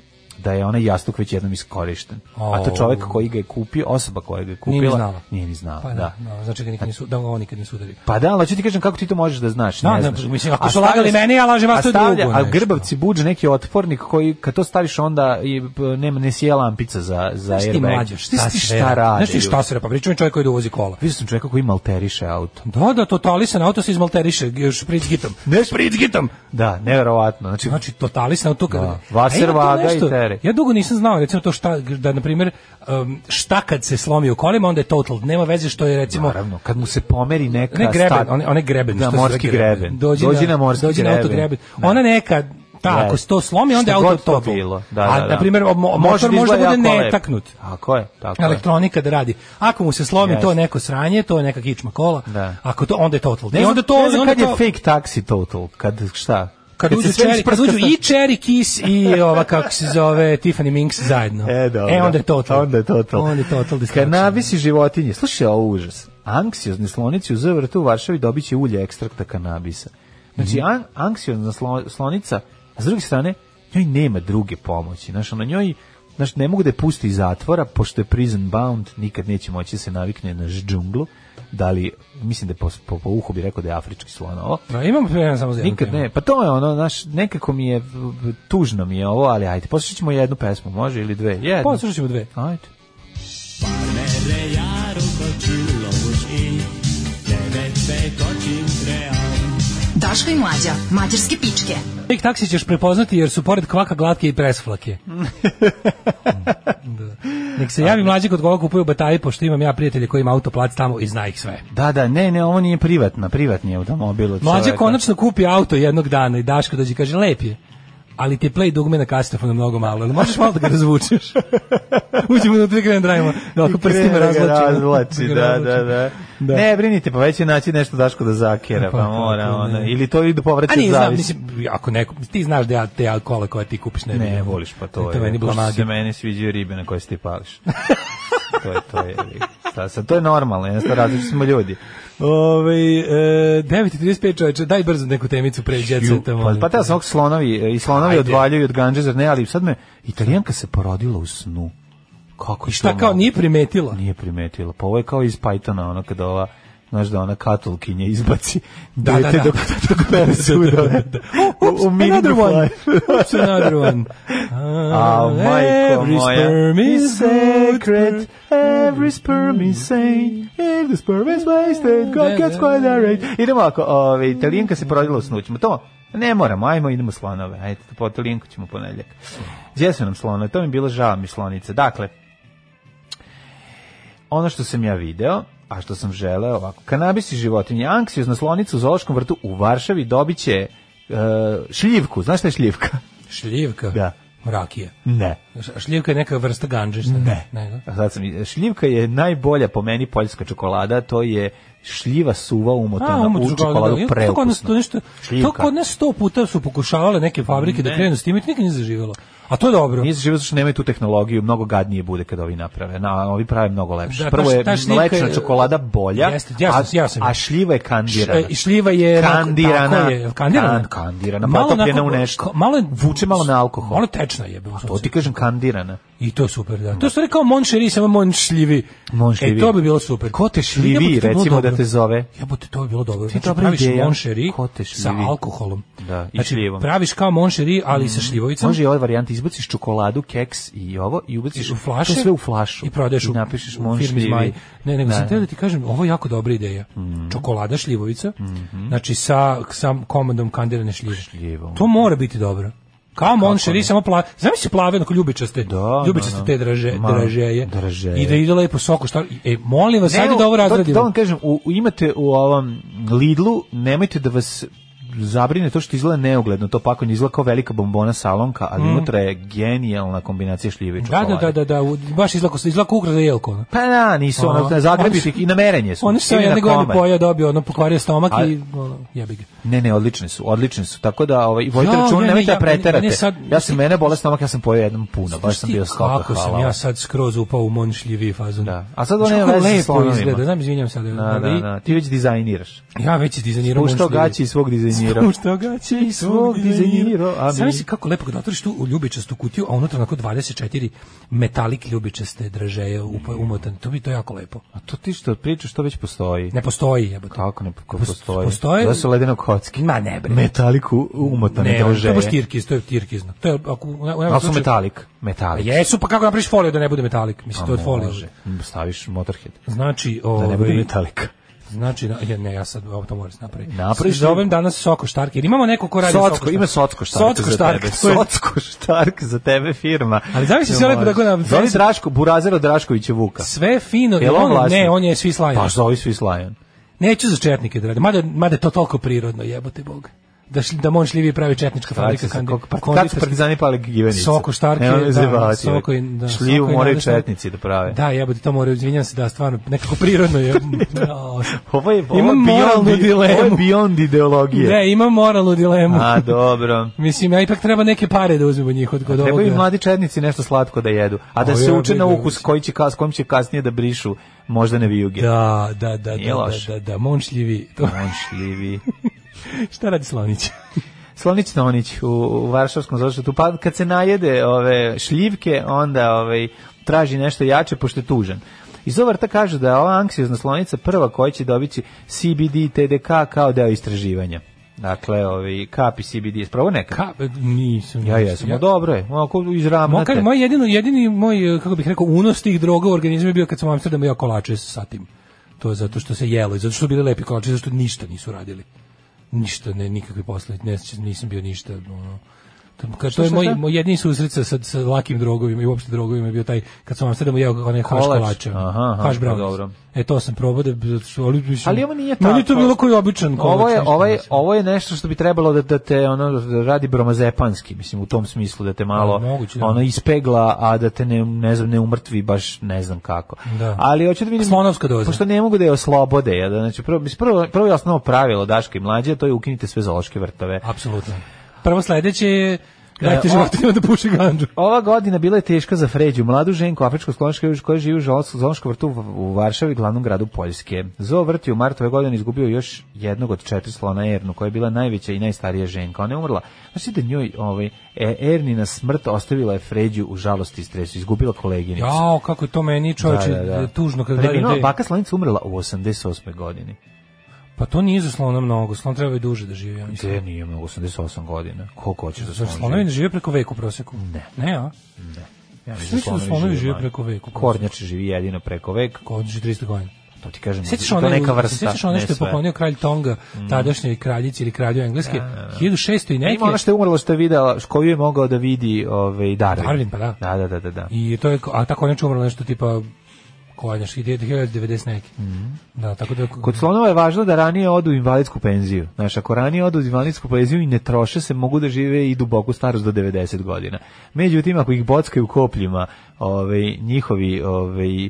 [SPEAKER 6] da je onaj jastuk već jednom iskorišten. A to čovek koji ga je kupio, osoba koja ga je kupila,
[SPEAKER 5] Nije ni znala.
[SPEAKER 6] Nije ni znala,
[SPEAKER 5] Pa da,
[SPEAKER 6] da.
[SPEAKER 5] da, znači ga nikad nisu, da ga oni nikad nisu udarili.
[SPEAKER 6] Pa da, ali hoću ti kažem kako ti to možeš da znaš,
[SPEAKER 5] Da,
[SPEAKER 6] ne
[SPEAKER 5] da,
[SPEAKER 6] znaš.
[SPEAKER 5] mislim, ako
[SPEAKER 6] A
[SPEAKER 5] su lagali
[SPEAKER 6] stavlja-
[SPEAKER 5] meni, ja lažem vas, to je
[SPEAKER 6] a stavlja-
[SPEAKER 5] drugo
[SPEAKER 6] A
[SPEAKER 5] nešto.
[SPEAKER 6] grbavci budže neki otpornik koji, kad to staviš onda, i, p, nema, ne sije lampica za, za
[SPEAKER 5] Znaš ti
[SPEAKER 6] airbag.
[SPEAKER 5] mlađe, šta,
[SPEAKER 6] Znaš ti šta radi?
[SPEAKER 5] radi? Znaš ti šta se radi? Pa pričam je čovjek koji dovozi kola.
[SPEAKER 6] Vidio sam čovjeka koji malteriše auto.
[SPEAKER 5] Da, da, totalisan auto se izmalteriše, još pric gitom.
[SPEAKER 6] Ne špric gitam. Da, neverovatno. Znači,
[SPEAKER 5] Znači totalisno to kad.
[SPEAKER 6] Da. Vaser,
[SPEAKER 5] A ima tu
[SPEAKER 6] vaga i
[SPEAKER 5] nešto-
[SPEAKER 6] teret.
[SPEAKER 5] Ja dugo nisam znao recimo to šta da na primjer um, šta kad se slomi u kolima onda je total. Nema veze što je recimo
[SPEAKER 6] naravno, kad mu se pomeri neka
[SPEAKER 5] ne greben,
[SPEAKER 6] stat-
[SPEAKER 5] one one greben,
[SPEAKER 6] da,
[SPEAKER 5] što se zove
[SPEAKER 6] morski greben.
[SPEAKER 5] Dođi, na,
[SPEAKER 6] morski
[SPEAKER 5] dođi na auto greben. Ona neka Ta,
[SPEAKER 6] Da.
[SPEAKER 5] ako se to slomi, onda je
[SPEAKER 6] Šta
[SPEAKER 5] auto
[SPEAKER 6] god to
[SPEAKER 5] total.
[SPEAKER 6] bilo. Da,
[SPEAKER 5] A,
[SPEAKER 6] da, da.
[SPEAKER 5] na primjer, mo- motor
[SPEAKER 6] Može da
[SPEAKER 5] može da
[SPEAKER 6] izgleda
[SPEAKER 5] bude
[SPEAKER 6] jako lepo.
[SPEAKER 5] netaknut.
[SPEAKER 6] Tako je, tako je.
[SPEAKER 5] Elektronika da radi. Ako mu se slomi,
[SPEAKER 6] Jeste.
[SPEAKER 5] to je neko sranje, to je neka kičma kola.
[SPEAKER 6] Da.
[SPEAKER 5] Ako to, onda je total.
[SPEAKER 6] Ne
[SPEAKER 5] I
[SPEAKER 6] znam-
[SPEAKER 5] onda to,
[SPEAKER 6] ne znam
[SPEAKER 5] onda
[SPEAKER 6] kad je
[SPEAKER 5] to-
[SPEAKER 6] fake taxi total, kad šta?
[SPEAKER 5] Kad uđu,
[SPEAKER 6] se sve
[SPEAKER 5] Cherry, kad
[SPEAKER 6] isprska
[SPEAKER 5] uđu
[SPEAKER 6] sta-
[SPEAKER 5] i Cherry Kiss i ova, kako se zove, Tiffany Minx zajedno.
[SPEAKER 6] E, dobro.
[SPEAKER 5] E, onda je total.
[SPEAKER 6] Onda je total.
[SPEAKER 5] Onda je total destruction.
[SPEAKER 6] Kanabis i životinje. Slušaj, ovo je užas. Anksiozni slonici u zavrtu u Varšavi dobit će ulje ekstrakta kanabisa. Znači, an, anksiozna slo- slonica, a s druge strane, njoj nema druge pomoći. Znaš, ona njoj, znaš, ne mogu da je pusti iz zatvora, pošto je prison bound, nikad neće moći da se navikne na ž- džunglu. Da li, mislim da je po, po, po uhu bi rekao da je afrički slon ovo.
[SPEAKER 5] No, imamo jedan samo za jednu
[SPEAKER 6] Nikad
[SPEAKER 5] temu.
[SPEAKER 6] ne, pa to je ono, znaš, nekako mi je, tužno mi je ovo, ali ajde, poslušat ćemo jednu pesmu, može, ili dve? Jednu.
[SPEAKER 5] Poslušat ćemo dve.
[SPEAKER 6] Ajde.
[SPEAKER 4] Daško i mlađa, mađarske pičke.
[SPEAKER 5] Tek taksi ćeš prepoznati jer su pored kvaka glatke i presflake. da. Nek se javi mlađi kod koga kupuju bataje, pošto imam ja prijatelje koji ima autoplac tamo i zna ih sve.
[SPEAKER 6] Da, da, ne, ne, ovo nije privatna, privatni je automobil. od
[SPEAKER 5] Mlađa
[SPEAKER 6] čoveka.
[SPEAKER 5] konačno kupi auto jednog dana i Daško dođe i kaže, lep je. Ali ti play dugme na kasetofonu mnogo malo, ali možeš malo da ga razvučeš. Uđemo da ti krenem da radimo. Da, ako
[SPEAKER 6] I krene
[SPEAKER 5] prstima
[SPEAKER 6] da ga
[SPEAKER 5] razvlači.
[SPEAKER 6] razvlači, da, da, da,
[SPEAKER 5] Da.
[SPEAKER 6] Ne, brinite, pa već će naći nešto Daško da zakjera,
[SPEAKER 5] Pa,
[SPEAKER 6] pa mora,
[SPEAKER 5] kako ne.
[SPEAKER 6] ono, ili to idu
[SPEAKER 5] A
[SPEAKER 6] povraćati
[SPEAKER 5] nije, znam,
[SPEAKER 6] zavis.
[SPEAKER 5] mislim, ako neko, ti znaš da ja te kola koje ti kupiš ne,
[SPEAKER 6] Ne,
[SPEAKER 5] vidim.
[SPEAKER 6] voliš, pa to je.
[SPEAKER 5] To meni
[SPEAKER 6] pošto
[SPEAKER 5] blamaga.
[SPEAKER 6] se meni sviđaju ribe na koje se ti pališ. to je, to je. Sad, sad, to je normalno, jednostavno različiti smo ljudi.
[SPEAKER 5] Ove, e, 9.35 čoveče, daj brzo neku temicu pre
[SPEAKER 6] Ju,
[SPEAKER 5] djeceta.
[SPEAKER 6] pa, pa te sam slonovi, e, i slonovi
[SPEAKER 5] Ajde.
[SPEAKER 6] odvaljuju od ganđe, zar ne, ali sad me, italijanka se porodila u snu. Kako je to
[SPEAKER 5] Šta kao,
[SPEAKER 6] moguće?
[SPEAKER 5] nije primetila?
[SPEAKER 6] Nije primetila. Pa ovo je kao iz Pythona, ono kada ova znaš da ona katolkinja izbaci
[SPEAKER 5] Da,
[SPEAKER 6] da,
[SPEAKER 5] da,
[SPEAKER 6] dete da,
[SPEAKER 5] da.
[SPEAKER 6] dok, dok pere suda.
[SPEAKER 5] Oh, oops,
[SPEAKER 6] U- u meaning
[SPEAKER 5] another
[SPEAKER 6] of
[SPEAKER 5] one.
[SPEAKER 6] life.
[SPEAKER 5] Oops, another one. Ah,
[SPEAKER 6] A, majko
[SPEAKER 5] every
[SPEAKER 6] moja.
[SPEAKER 5] sperm is sacred.
[SPEAKER 6] secret, every sperm is sane, if the sperm is wasted, God gets quite alright. Idemo ako, ove, italijanka se porodila u snu, ćemo to? Ne moramo, ajmo, idemo slonove, ajde, po italijanku ćemo ponedljak. Gdje su nam slonove? To mi je bilo žao mi slonice. Dakle, ono što sam ja video, a što sam želeo ovako, kanabis i životinje, anksiozna slonica u Zološkom vrtu u Varšavi dobit će e, šljivku, znaš šta je šljivka?
[SPEAKER 5] Šljivka?
[SPEAKER 6] Da.
[SPEAKER 5] Rakija.
[SPEAKER 6] Ne.
[SPEAKER 5] Š- Šljivka je neka vrsta ganđe. šta? Nego?
[SPEAKER 6] A Sad sam, šljivka je najbolja po meni poljska čokolada, to je šljiva suva umotana
[SPEAKER 5] umot
[SPEAKER 6] u
[SPEAKER 5] čokoladu,
[SPEAKER 6] čokoladu
[SPEAKER 5] da. Jel To kod nas, to,
[SPEAKER 6] preukusno.
[SPEAKER 5] nešto, to
[SPEAKER 6] Šljivka.
[SPEAKER 5] kod nas sto puta su pokušavale neke fabrike da
[SPEAKER 6] Ne.
[SPEAKER 5] krenu s tim i to nikad nije zaživjelo. A to je dobro.
[SPEAKER 6] Nije živo zato što nemaju tu tehnologiju, mnogo gadnije bude kad ovi naprave. Na, ovi prave mnogo lepše.
[SPEAKER 5] Da, ta
[SPEAKER 6] Prvo
[SPEAKER 5] š-
[SPEAKER 6] je
[SPEAKER 5] ta šljivka
[SPEAKER 6] mlečna
[SPEAKER 5] je-
[SPEAKER 6] čokolada bolja,
[SPEAKER 5] Jeste, ja sam- ja sam
[SPEAKER 6] a,
[SPEAKER 5] je.
[SPEAKER 6] a šljiva je kandirana.
[SPEAKER 5] Š- e, i šljiva je onako-
[SPEAKER 6] kandirana.
[SPEAKER 5] tako je, jel kandirana?
[SPEAKER 6] Kan- kandirana,
[SPEAKER 5] Malo
[SPEAKER 6] potopljena
[SPEAKER 5] onako-
[SPEAKER 6] u nešto.
[SPEAKER 5] ka- malo je-
[SPEAKER 6] Vuče malo na alkohol.
[SPEAKER 5] Malo tečna je. bilo
[SPEAKER 6] To ti kažem kandirana.
[SPEAKER 5] I to je super, da. To su rekao Mon Cheri, samo Mon Šljivi.
[SPEAKER 6] Mon Šljivi.
[SPEAKER 5] E, to bi bilo super.
[SPEAKER 6] Ko te šljivi,
[SPEAKER 5] Jebote, to bi bilo
[SPEAKER 6] recimo,
[SPEAKER 5] dobro.
[SPEAKER 6] da te zove?
[SPEAKER 5] Jebote, to bi bilo dobro. Znači,
[SPEAKER 6] dobra
[SPEAKER 5] praviš
[SPEAKER 6] ideja.
[SPEAKER 5] Mon Cheri
[SPEAKER 6] Ko te šljivi?
[SPEAKER 5] sa alkoholom.
[SPEAKER 6] Da, i
[SPEAKER 5] znači,
[SPEAKER 6] šljivom.
[SPEAKER 5] praviš kao Mon Cheri, ali sa šljivovicom.
[SPEAKER 6] Može i ovaj varijant, izbaciš čokoladu, keks i ovo i ubaciš
[SPEAKER 5] u flaše.
[SPEAKER 6] to sve u flašu.
[SPEAKER 5] I prodaješ u,
[SPEAKER 6] I napišeš
[SPEAKER 5] u
[SPEAKER 6] Mon
[SPEAKER 5] firmi
[SPEAKER 6] Šljivi.
[SPEAKER 5] Zmaj. Ne, nego
[SPEAKER 6] Da. Mhm.
[SPEAKER 5] sam htio da ti kažem, ovo je jako dobra ideja. Čokolada šljivovica, znači sa, sa komandom kandirane šljive.
[SPEAKER 6] Šljivom.
[SPEAKER 5] To mora biti dobro. Kao Mon Cheri, samo plave. Zamisli plave, onako ljubičaste.
[SPEAKER 6] Da,
[SPEAKER 5] ljubičaste
[SPEAKER 6] da, da.
[SPEAKER 5] te draže,
[SPEAKER 6] Ma,
[SPEAKER 5] dražeje.
[SPEAKER 6] dražeje.
[SPEAKER 5] I da ide lepo soko. Šta, e, molim vas,
[SPEAKER 6] Ne,
[SPEAKER 5] ajde da ovo
[SPEAKER 6] to-
[SPEAKER 5] razradimo.
[SPEAKER 6] To vam kažem, u, u- imate u ovom Lidlu, nemojte da vas zabrine to što izgleda neugledno, to pakovanje izgleda kao velika bombona salonka, ali unutra je genijalna kombinacija šljive i
[SPEAKER 5] Mm. Da,
[SPEAKER 6] čokolade.
[SPEAKER 5] da, da, da, da, u- baš izlako, izlako ukrada jelko. Ono.
[SPEAKER 6] Pa da, nisu
[SPEAKER 5] Aha.
[SPEAKER 6] ono, na zagrebi
[SPEAKER 5] Oni su-
[SPEAKER 6] i na merenje su.
[SPEAKER 5] Oni su
[SPEAKER 6] Ili na
[SPEAKER 5] jedne godine
[SPEAKER 6] komad.
[SPEAKER 5] poja dobio, ono, pokvario stomak
[SPEAKER 6] A-
[SPEAKER 5] i ono, jebi ga.
[SPEAKER 6] Ne, ne, odlične su, odlične su. Tako da, ovaj, vojte
[SPEAKER 5] Ja,
[SPEAKER 6] računa,
[SPEAKER 5] ne, ne,
[SPEAKER 6] nemojte
[SPEAKER 5] ja-
[SPEAKER 6] da preterate.
[SPEAKER 5] ne, sad-
[SPEAKER 6] ja sam mene bolest stomak, ja sam pojeo jednom puno, baš sam
[SPEAKER 5] Znaš ti
[SPEAKER 6] bio stoka,
[SPEAKER 5] Kako sam
[SPEAKER 6] hvala.
[SPEAKER 5] ja sad skroz upao u monšljivi fazon.
[SPEAKER 6] Da. A sad ovo
[SPEAKER 5] Znaš
[SPEAKER 6] nema
[SPEAKER 5] kako
[SPEAKER 6] veze sa
[SPEAKER 5] lepo
[SPEAKER 6] slonovima.
[SPEAKER 5] izgleda, znam, izvinjam se. Da,
[SPEAKER 6] Da, da, da, ti već dizajniraš.
[SPEAKER 5] Ja već izdizajnirao
[SPEAKER 6] Puštao
[SPEAKER 5] monšljivi.
[SPEAKER 6] gaći i svog dizajnirao.
[SPEAKER 5] Puštao gaće i svog
[SPEAKER 6] svog
[SPEAKER 5] dizajnirao.
[SPEAKER 6] dizajnirao, a
[SPEAKER 5] Sam
[SPEAKER 6] mi-
[SPEAKER 5] si kako lepo kad otvoriš tu ljubičastu kutiju, a unutra onako 24 metalik ljubičaste dražeje upo- umotan. To bi to je jako lepo.
[SPEAKER 6] A to ti što pričaš, to već postoji.
[SPEAKER 5] Ne postoji, jebote.
[SPEAKER 6] Kako ne kako
[SPEAKER 5] Pos-
[SPEAKER 6] postoji?
[SPEAKER 5] postoji-
[SPEAKER 6] Da su ledeno kocki.
[SPEAKER 5] Ma ne bre.
[SPEAKER 6] Metaliku umotane
[SPEAKER 5] Ne,
[SPEAKER 6] ne,
[SPEAKER 5] to je
[SPEAKER 6] dražeje.
[SPEAKER 5] baš tirkiz, to je tirkizno. To je, ako, u- u- u-
[SPEAKER 6] Ali su metalik.
[SPEAKER 5] Pa
[SPEAKER 6] Metalik.
[SPEAKER 5] jesu, pa kako napraviš foliju da ne bude metalik? Mislim, to je
[SPEAKER 6] A,
[SPEAKER 5] folija.
[SPEAKER 6] može. Staviš motorhead.
[SPEAKER 5] Znači,
[SPEAKER 6] Da ne bude
[SPEAKER 5] ovaj,
[SPEAKER 6] metalik.
[SPEAKER 5] Znači, na- ja, ne, ja sad ovo to moram se napraviti.
[SPEAKER 6] Napraviš
[SPEAKER 5] Zovem danas Soko Štark, jer imamo neko ko radi u
[SPEAKER 6] Socko, ima Socko štark
[SPEAKER 5] Socko
[SPEAKER 6] za
[SPEAKER 5] Štark,
[SPEAKER 6] tebe.
[SPEAKER 5] to je-
[SPEAKER 6] Socko štark za tebe firma.
[SPEAKER 5] Ali zamisli sve lepo da go na-
[SPEAKER 6] Zoli Draško, Burazero Draškovića Vuka.
[SPEAKER 5] Sve fino,
[SPEAKER 6] Jel
[SPEAKER 5] jel
[SPEAKER 6] on Pa
[SPEAKER 5] on,
[SPEAKER 6] vlasnik?
[SPEAKER 5] ne, on je svi slajan.
[SPEAKER 6] Pa zovi svi Slajan.
[SPEAKER 5] Neću za četnike da radi, mada, mada je to toliko prirodno, jebote Bog. da šli, da Mon Šljivi pravi četnička fabrika
[SPEAKER 6] Kako-
[SPEAKER 5] kandi.
[SPEAKER 6] kako- pa- Kako su
[SPEAKER 5] konditorski-
[SPEAKER 6] partizani pali givenice?
[SPEAKER 5] Soko štarke,
[SPEAKER 6] Nemoj me
[SPEAKER 5] da,
[SPEAKER 6] zajebavati,
[SPEAKER 5] soko i-
[SPEAKER 6] bre.
[SPEAKER 5] da,
[SPEAKER 6] ovaj. Šljivu
[SPEAKER 5] soko i
[SPEAKER 6] moraju
[SPEAKER 5] nadastak.
[SPEAKER 6] četnici da prave.
[SPEAKER 5] Da, jebote, to moraju, izvinjam se, da, stvarno, nekako prirodno je. Jao,
[SPEAKER 6] Ovo je, ovo je
[SPEAKER 5] Imam moralnu
[SPEAKER 6] beyond, ovo je
[SPEAKER 5] dilemu.
[SPEAKER 6] beyond ideologije.
[SPEAKER 5] Ne, imam moralnu dilemu.
[SPEAKER 6] A, dobro.
[SPEAKER 5] Mislim, ja ipak treba neke pare da uzmem od njih od kod
[SPEAKER 6] Trebaju i
[SPEAKER 5] ovoga.
[SPEAKER 6] mladi četnici nešto slatko da jedu, a da
[SPEAKER 5] O,
[SPEAKER 6] se
[SPEAKER 5] ja
[SPEAKER 6] uče
[SPEAKER 5] bih
[SPEAKER 6] na
[SPEAKER 5] da
[SPEAKER 6] ukus
[SPEAKER 5] uči.
[SPEAKER 6] koji će, kas- kojim će kasnije da brišu moždane vijuge.
[SPEAKER 5] Da, da, da,
[SPEAKER 6] Nije
[SPEAKER 5] da, da,
[SPEAKER 6] loše.
[SPEAKER 5] da, da, monšljivi. To,
[SPEAKER 6] On šljivi.
[SPEAKER 5] šta radi Slonić?
[SPEAKER 6] Slonić Tonić u, u Varšavskom zaštitu. Pa kad se najede ove šljivke, onda ove, traži nešto jače, pošto je tužan. Iz Ovarta kažu da je ova anksiozna slonica prva koja će dobiti CBD i TDK kao deo istraživanja. Dakle, ovi kapi CBD, spravo neka.
[SPEAKER 5] Ka, nisam.
[SPEAKER 6] Ja jesam, ja. dobro je, onako izravnate.
[SPEAKER 5] Moj, moj jedino, jedini moj, eh, kako bih rekao, unos tih droga u organizmu je bio kad sam u Amsterdamu jeo kolače sa tim. To je zato što se jelo i zato što su bili lepi kolači, zato što ništa nisu radili. Ništa, ne, nikakvi posle, ne, sećam- nisam bio ništa, ono, To, kad, to je
[SPEAKER 6] šta,
[SPEAKER 5] moj,
[SPEAKER 6] šta?
[SPEAKER 5] moj jedini susret sa, sa, sa lakim drogovima i uopšte drogovima je bio taj kad sam u Amsterdamu jeo onaj haš
[SPEAKER 6] Kolač,
[SPEAKER 5] kolače.
[SPEAKER 6] aha, aha,
[SPEAKER 5] haš
[SPEAKER 6] pa
[SPEAKER 5] brownies.
[SPEAKER 6] dobro.
[SPEAKER 5] E, to sam probao da... zato što- Ali, mislim,
[SPEAKER 6] Ali ovo nije tako.
[SPEAKER 5] Meni je to bilo koji običan kolač.
[SPEAKER 6] Ovo je,
[SPEAKER 5] ništa
[SPEAKER 6] ovo, je,
[SPEAKER 5] nisam.
[SPEAKER 6] ovo je nešto što bi trebalo da, da te ono da radi bromazepanski, mislim u tom smislu da te malo
[SPEAKER 5] Da, Pa, moguće, da.
[SPEAKER 6] ono ispegla, a da te ne, ne znam ne umrtvi baš ne znam kako.
[SPEAKER 5] Da.
[SPEAKER 6] Ali hoću da vidim
[SPEAKER 5] Slonovska doza.
[SPEAKER 6] Pošto ne mogu da je oslobode, ja da znači prvo mislim, prvo prvo je osnovno pravilo Daška i mlađe, to je ukinite sve zoološke vrtove.
[SPEAKER 5] Apsolutno. Prvo sledeće je dajte
[SPEAKER 6] E, o-
[SPEAKER 5] životinjama da puši ganđu.
[SPEAKER 6] Ova godina bila je teška za Fređu, mladu ženku afričkog skloniška koja živi u Žolotskom zoološkom vrtu u- u Varšavi, glavnom gradu Poljske. Zoo vrt je u martu ove godine izgubio još jednog od četiri slona Ernu, koja je bila najveća i najstarija ženka. Ona je umrla. Znači da njoj ovaj, e, Ernina smrt ostavila je Fređu u žalosti i stresu, izgubila koleginicu.
[SPEAKER 5] Jao, kako je to meni čoveče tužno kad gledam.
[SPEAKER 6] Preminula
[SPEAKER 5] te-
[SPEAKER 6] baka slonica umrla u 88. godini.
[SPEAKER 5] Pa to nije za slona mnogo, slon treba i duže da živi, ja mislim.
[SPEAKER 6] Gde nije imala 88 godina? Koliko hoćeš da
[SPEAKER 5] Zar
[SPEAKER 6] slon
[SPEAKER 5] slonovi ne žive preko veku u proseku? Ne. Ne, a?
[SPEAKER 6] Ja mislim
[SPEAKER 5] Mislim da slonovi žive
[SPEAKER 6] manje.
[SPEAKER 5] preko veka.
[SPEAKER 6] Kornjači živi jedino preko veka.
[SPEAKER 5] Ko odživi 300 godina.
[SPEAKER 6] To ti kažem,
[SPEAKER 5] Sećaš
[SPEAKER 6] to je
[SPEAKER 5] one,
[SPEAKER 6] neka vrsta.
[SPEAKER 5] sećaš one
[SPEAKER 6] ne
[SPEAKER 5] što je
[SPEAKER 6] sve. Mm.
[SPEAKER 5] poklonio kralj Tonga, tadašnjoj kraljici ili kralju Engleske, 1600 i neke.
[SPEAKER 6] Ima ona što je umrla što je videla, š- koju je mogao da vidi ovaj, Darwin.
[SPEAKER 5] Darwin, pa da.
[SPEAKER 6] Da, da, da, da. da.
[SPEAKER 5] I to je, a tako neče umrlo nešto tipa koja je 1990 neki. Da, tako da...
[SPEAKER 6] Mm. Kod slonova je važno da ranije odu u invalidsku penziju. Znaš, ako ranije odu u invalidsku penziju i ne troše se, mogu da žive i duboku starost do 90 godina. Međutim, ako ih bockaju kopljima ovaj, njihovi ovaj, eh,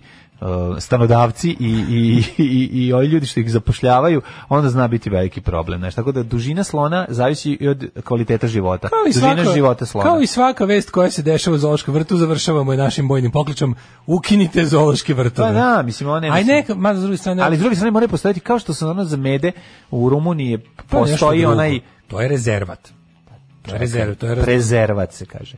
[SPEAKER 6] stanodavci i, i, i, i ovi ljudi što ih zapošljavaju, onda zna biti veliki problem. Znaš, tako da dužina slona zavisi i od kvaliteta života.
[SPEAKER 5] Kao i,
[SPEAKER 6] dužina
[SPEAKER 5] svaka,
[SPEAKER 6] života slona.
[SPEAKER 5] kao i svaka vest koja se dešava u Zološkom vrtu, završavamo je našim bojnim pokličom, ukinite Zološki vrtove.
[SPEAKER 6] Pa da, mislim, one...
[SPEAKER 5] Aj
[SPEAKER 6] mislim-
[SPEAKER 5] neka, ma s druge strane,
[SPEAKER 6] Ali s druge strane mora postojati kao što su ono za mede u Rumuniji
[SPEAKER 5] to je nešto
[SPEAKER 6] postoji
[SPEAKER 5] drugo.
[SPEAKER 6] onaj
[SPEAKER 5] To je rezervat. To je rezervat, to je rezervat.
[SPEAKER 6] prezervat se kaže.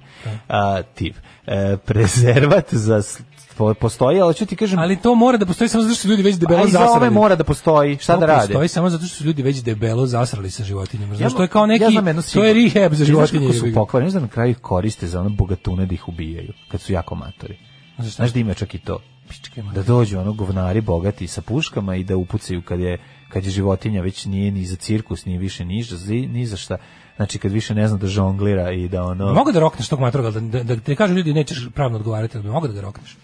[SPEAKER 6] A, tip. E, prezervat za s- po- postoji, ali ću ti kažem
[SPEAKER 5] Ali to mora da postoji samo zato što su ljudi već debelo
[SPEAKER 6] a i za
[SPEAKER 5] zasrali.
[SPEAKER 6] ove mora da postoji. Šta
[SPEAKER 5] To
[SPEAKER 6] da rade?
[SPEAKER 5] Postoji samo zato što su ljudi već debelo zasrali sa životinjama.
[SPEAKER 6] Ja
[SPEAKER 5] Znaš, to je kao neki,
[SPEAKER 6] ja znam jednu
[SPEAKER 5] to je
[SPEAKER 6] sigurno.
[SPEAKER 5] rehab za
[SPEAKER 6] Ti znaš
[SPEAKER 5] životinje.
[SPEAKER 6] kako su
[SPEAKER 5] jebi ga.
[SPEAKER 6] pokvareni, znaš da na kraju ih koriste za ono bogatune da ih ubijaju, kad su jako matori.
[SPEAKER 5] Znaš šta?
[SPEAKER 6] Znaš da ima čak i to.
[SPEAKER 5] Pičke mate.
[SPEAKER 6] Da dođu ono govnari bogati sa puškama i da upucaju kad je, kad je životinja već nije ni za cirkus, ni više ni za, ni za šta. Znači kad više ne zna da žonglira i da ono...
[SPEAKER 5] Mogu da rokneš tog matroga, ali da, da, da ti kažu ljudi nećeš pravno odgovarati, ali bi mogu da ga rokneš.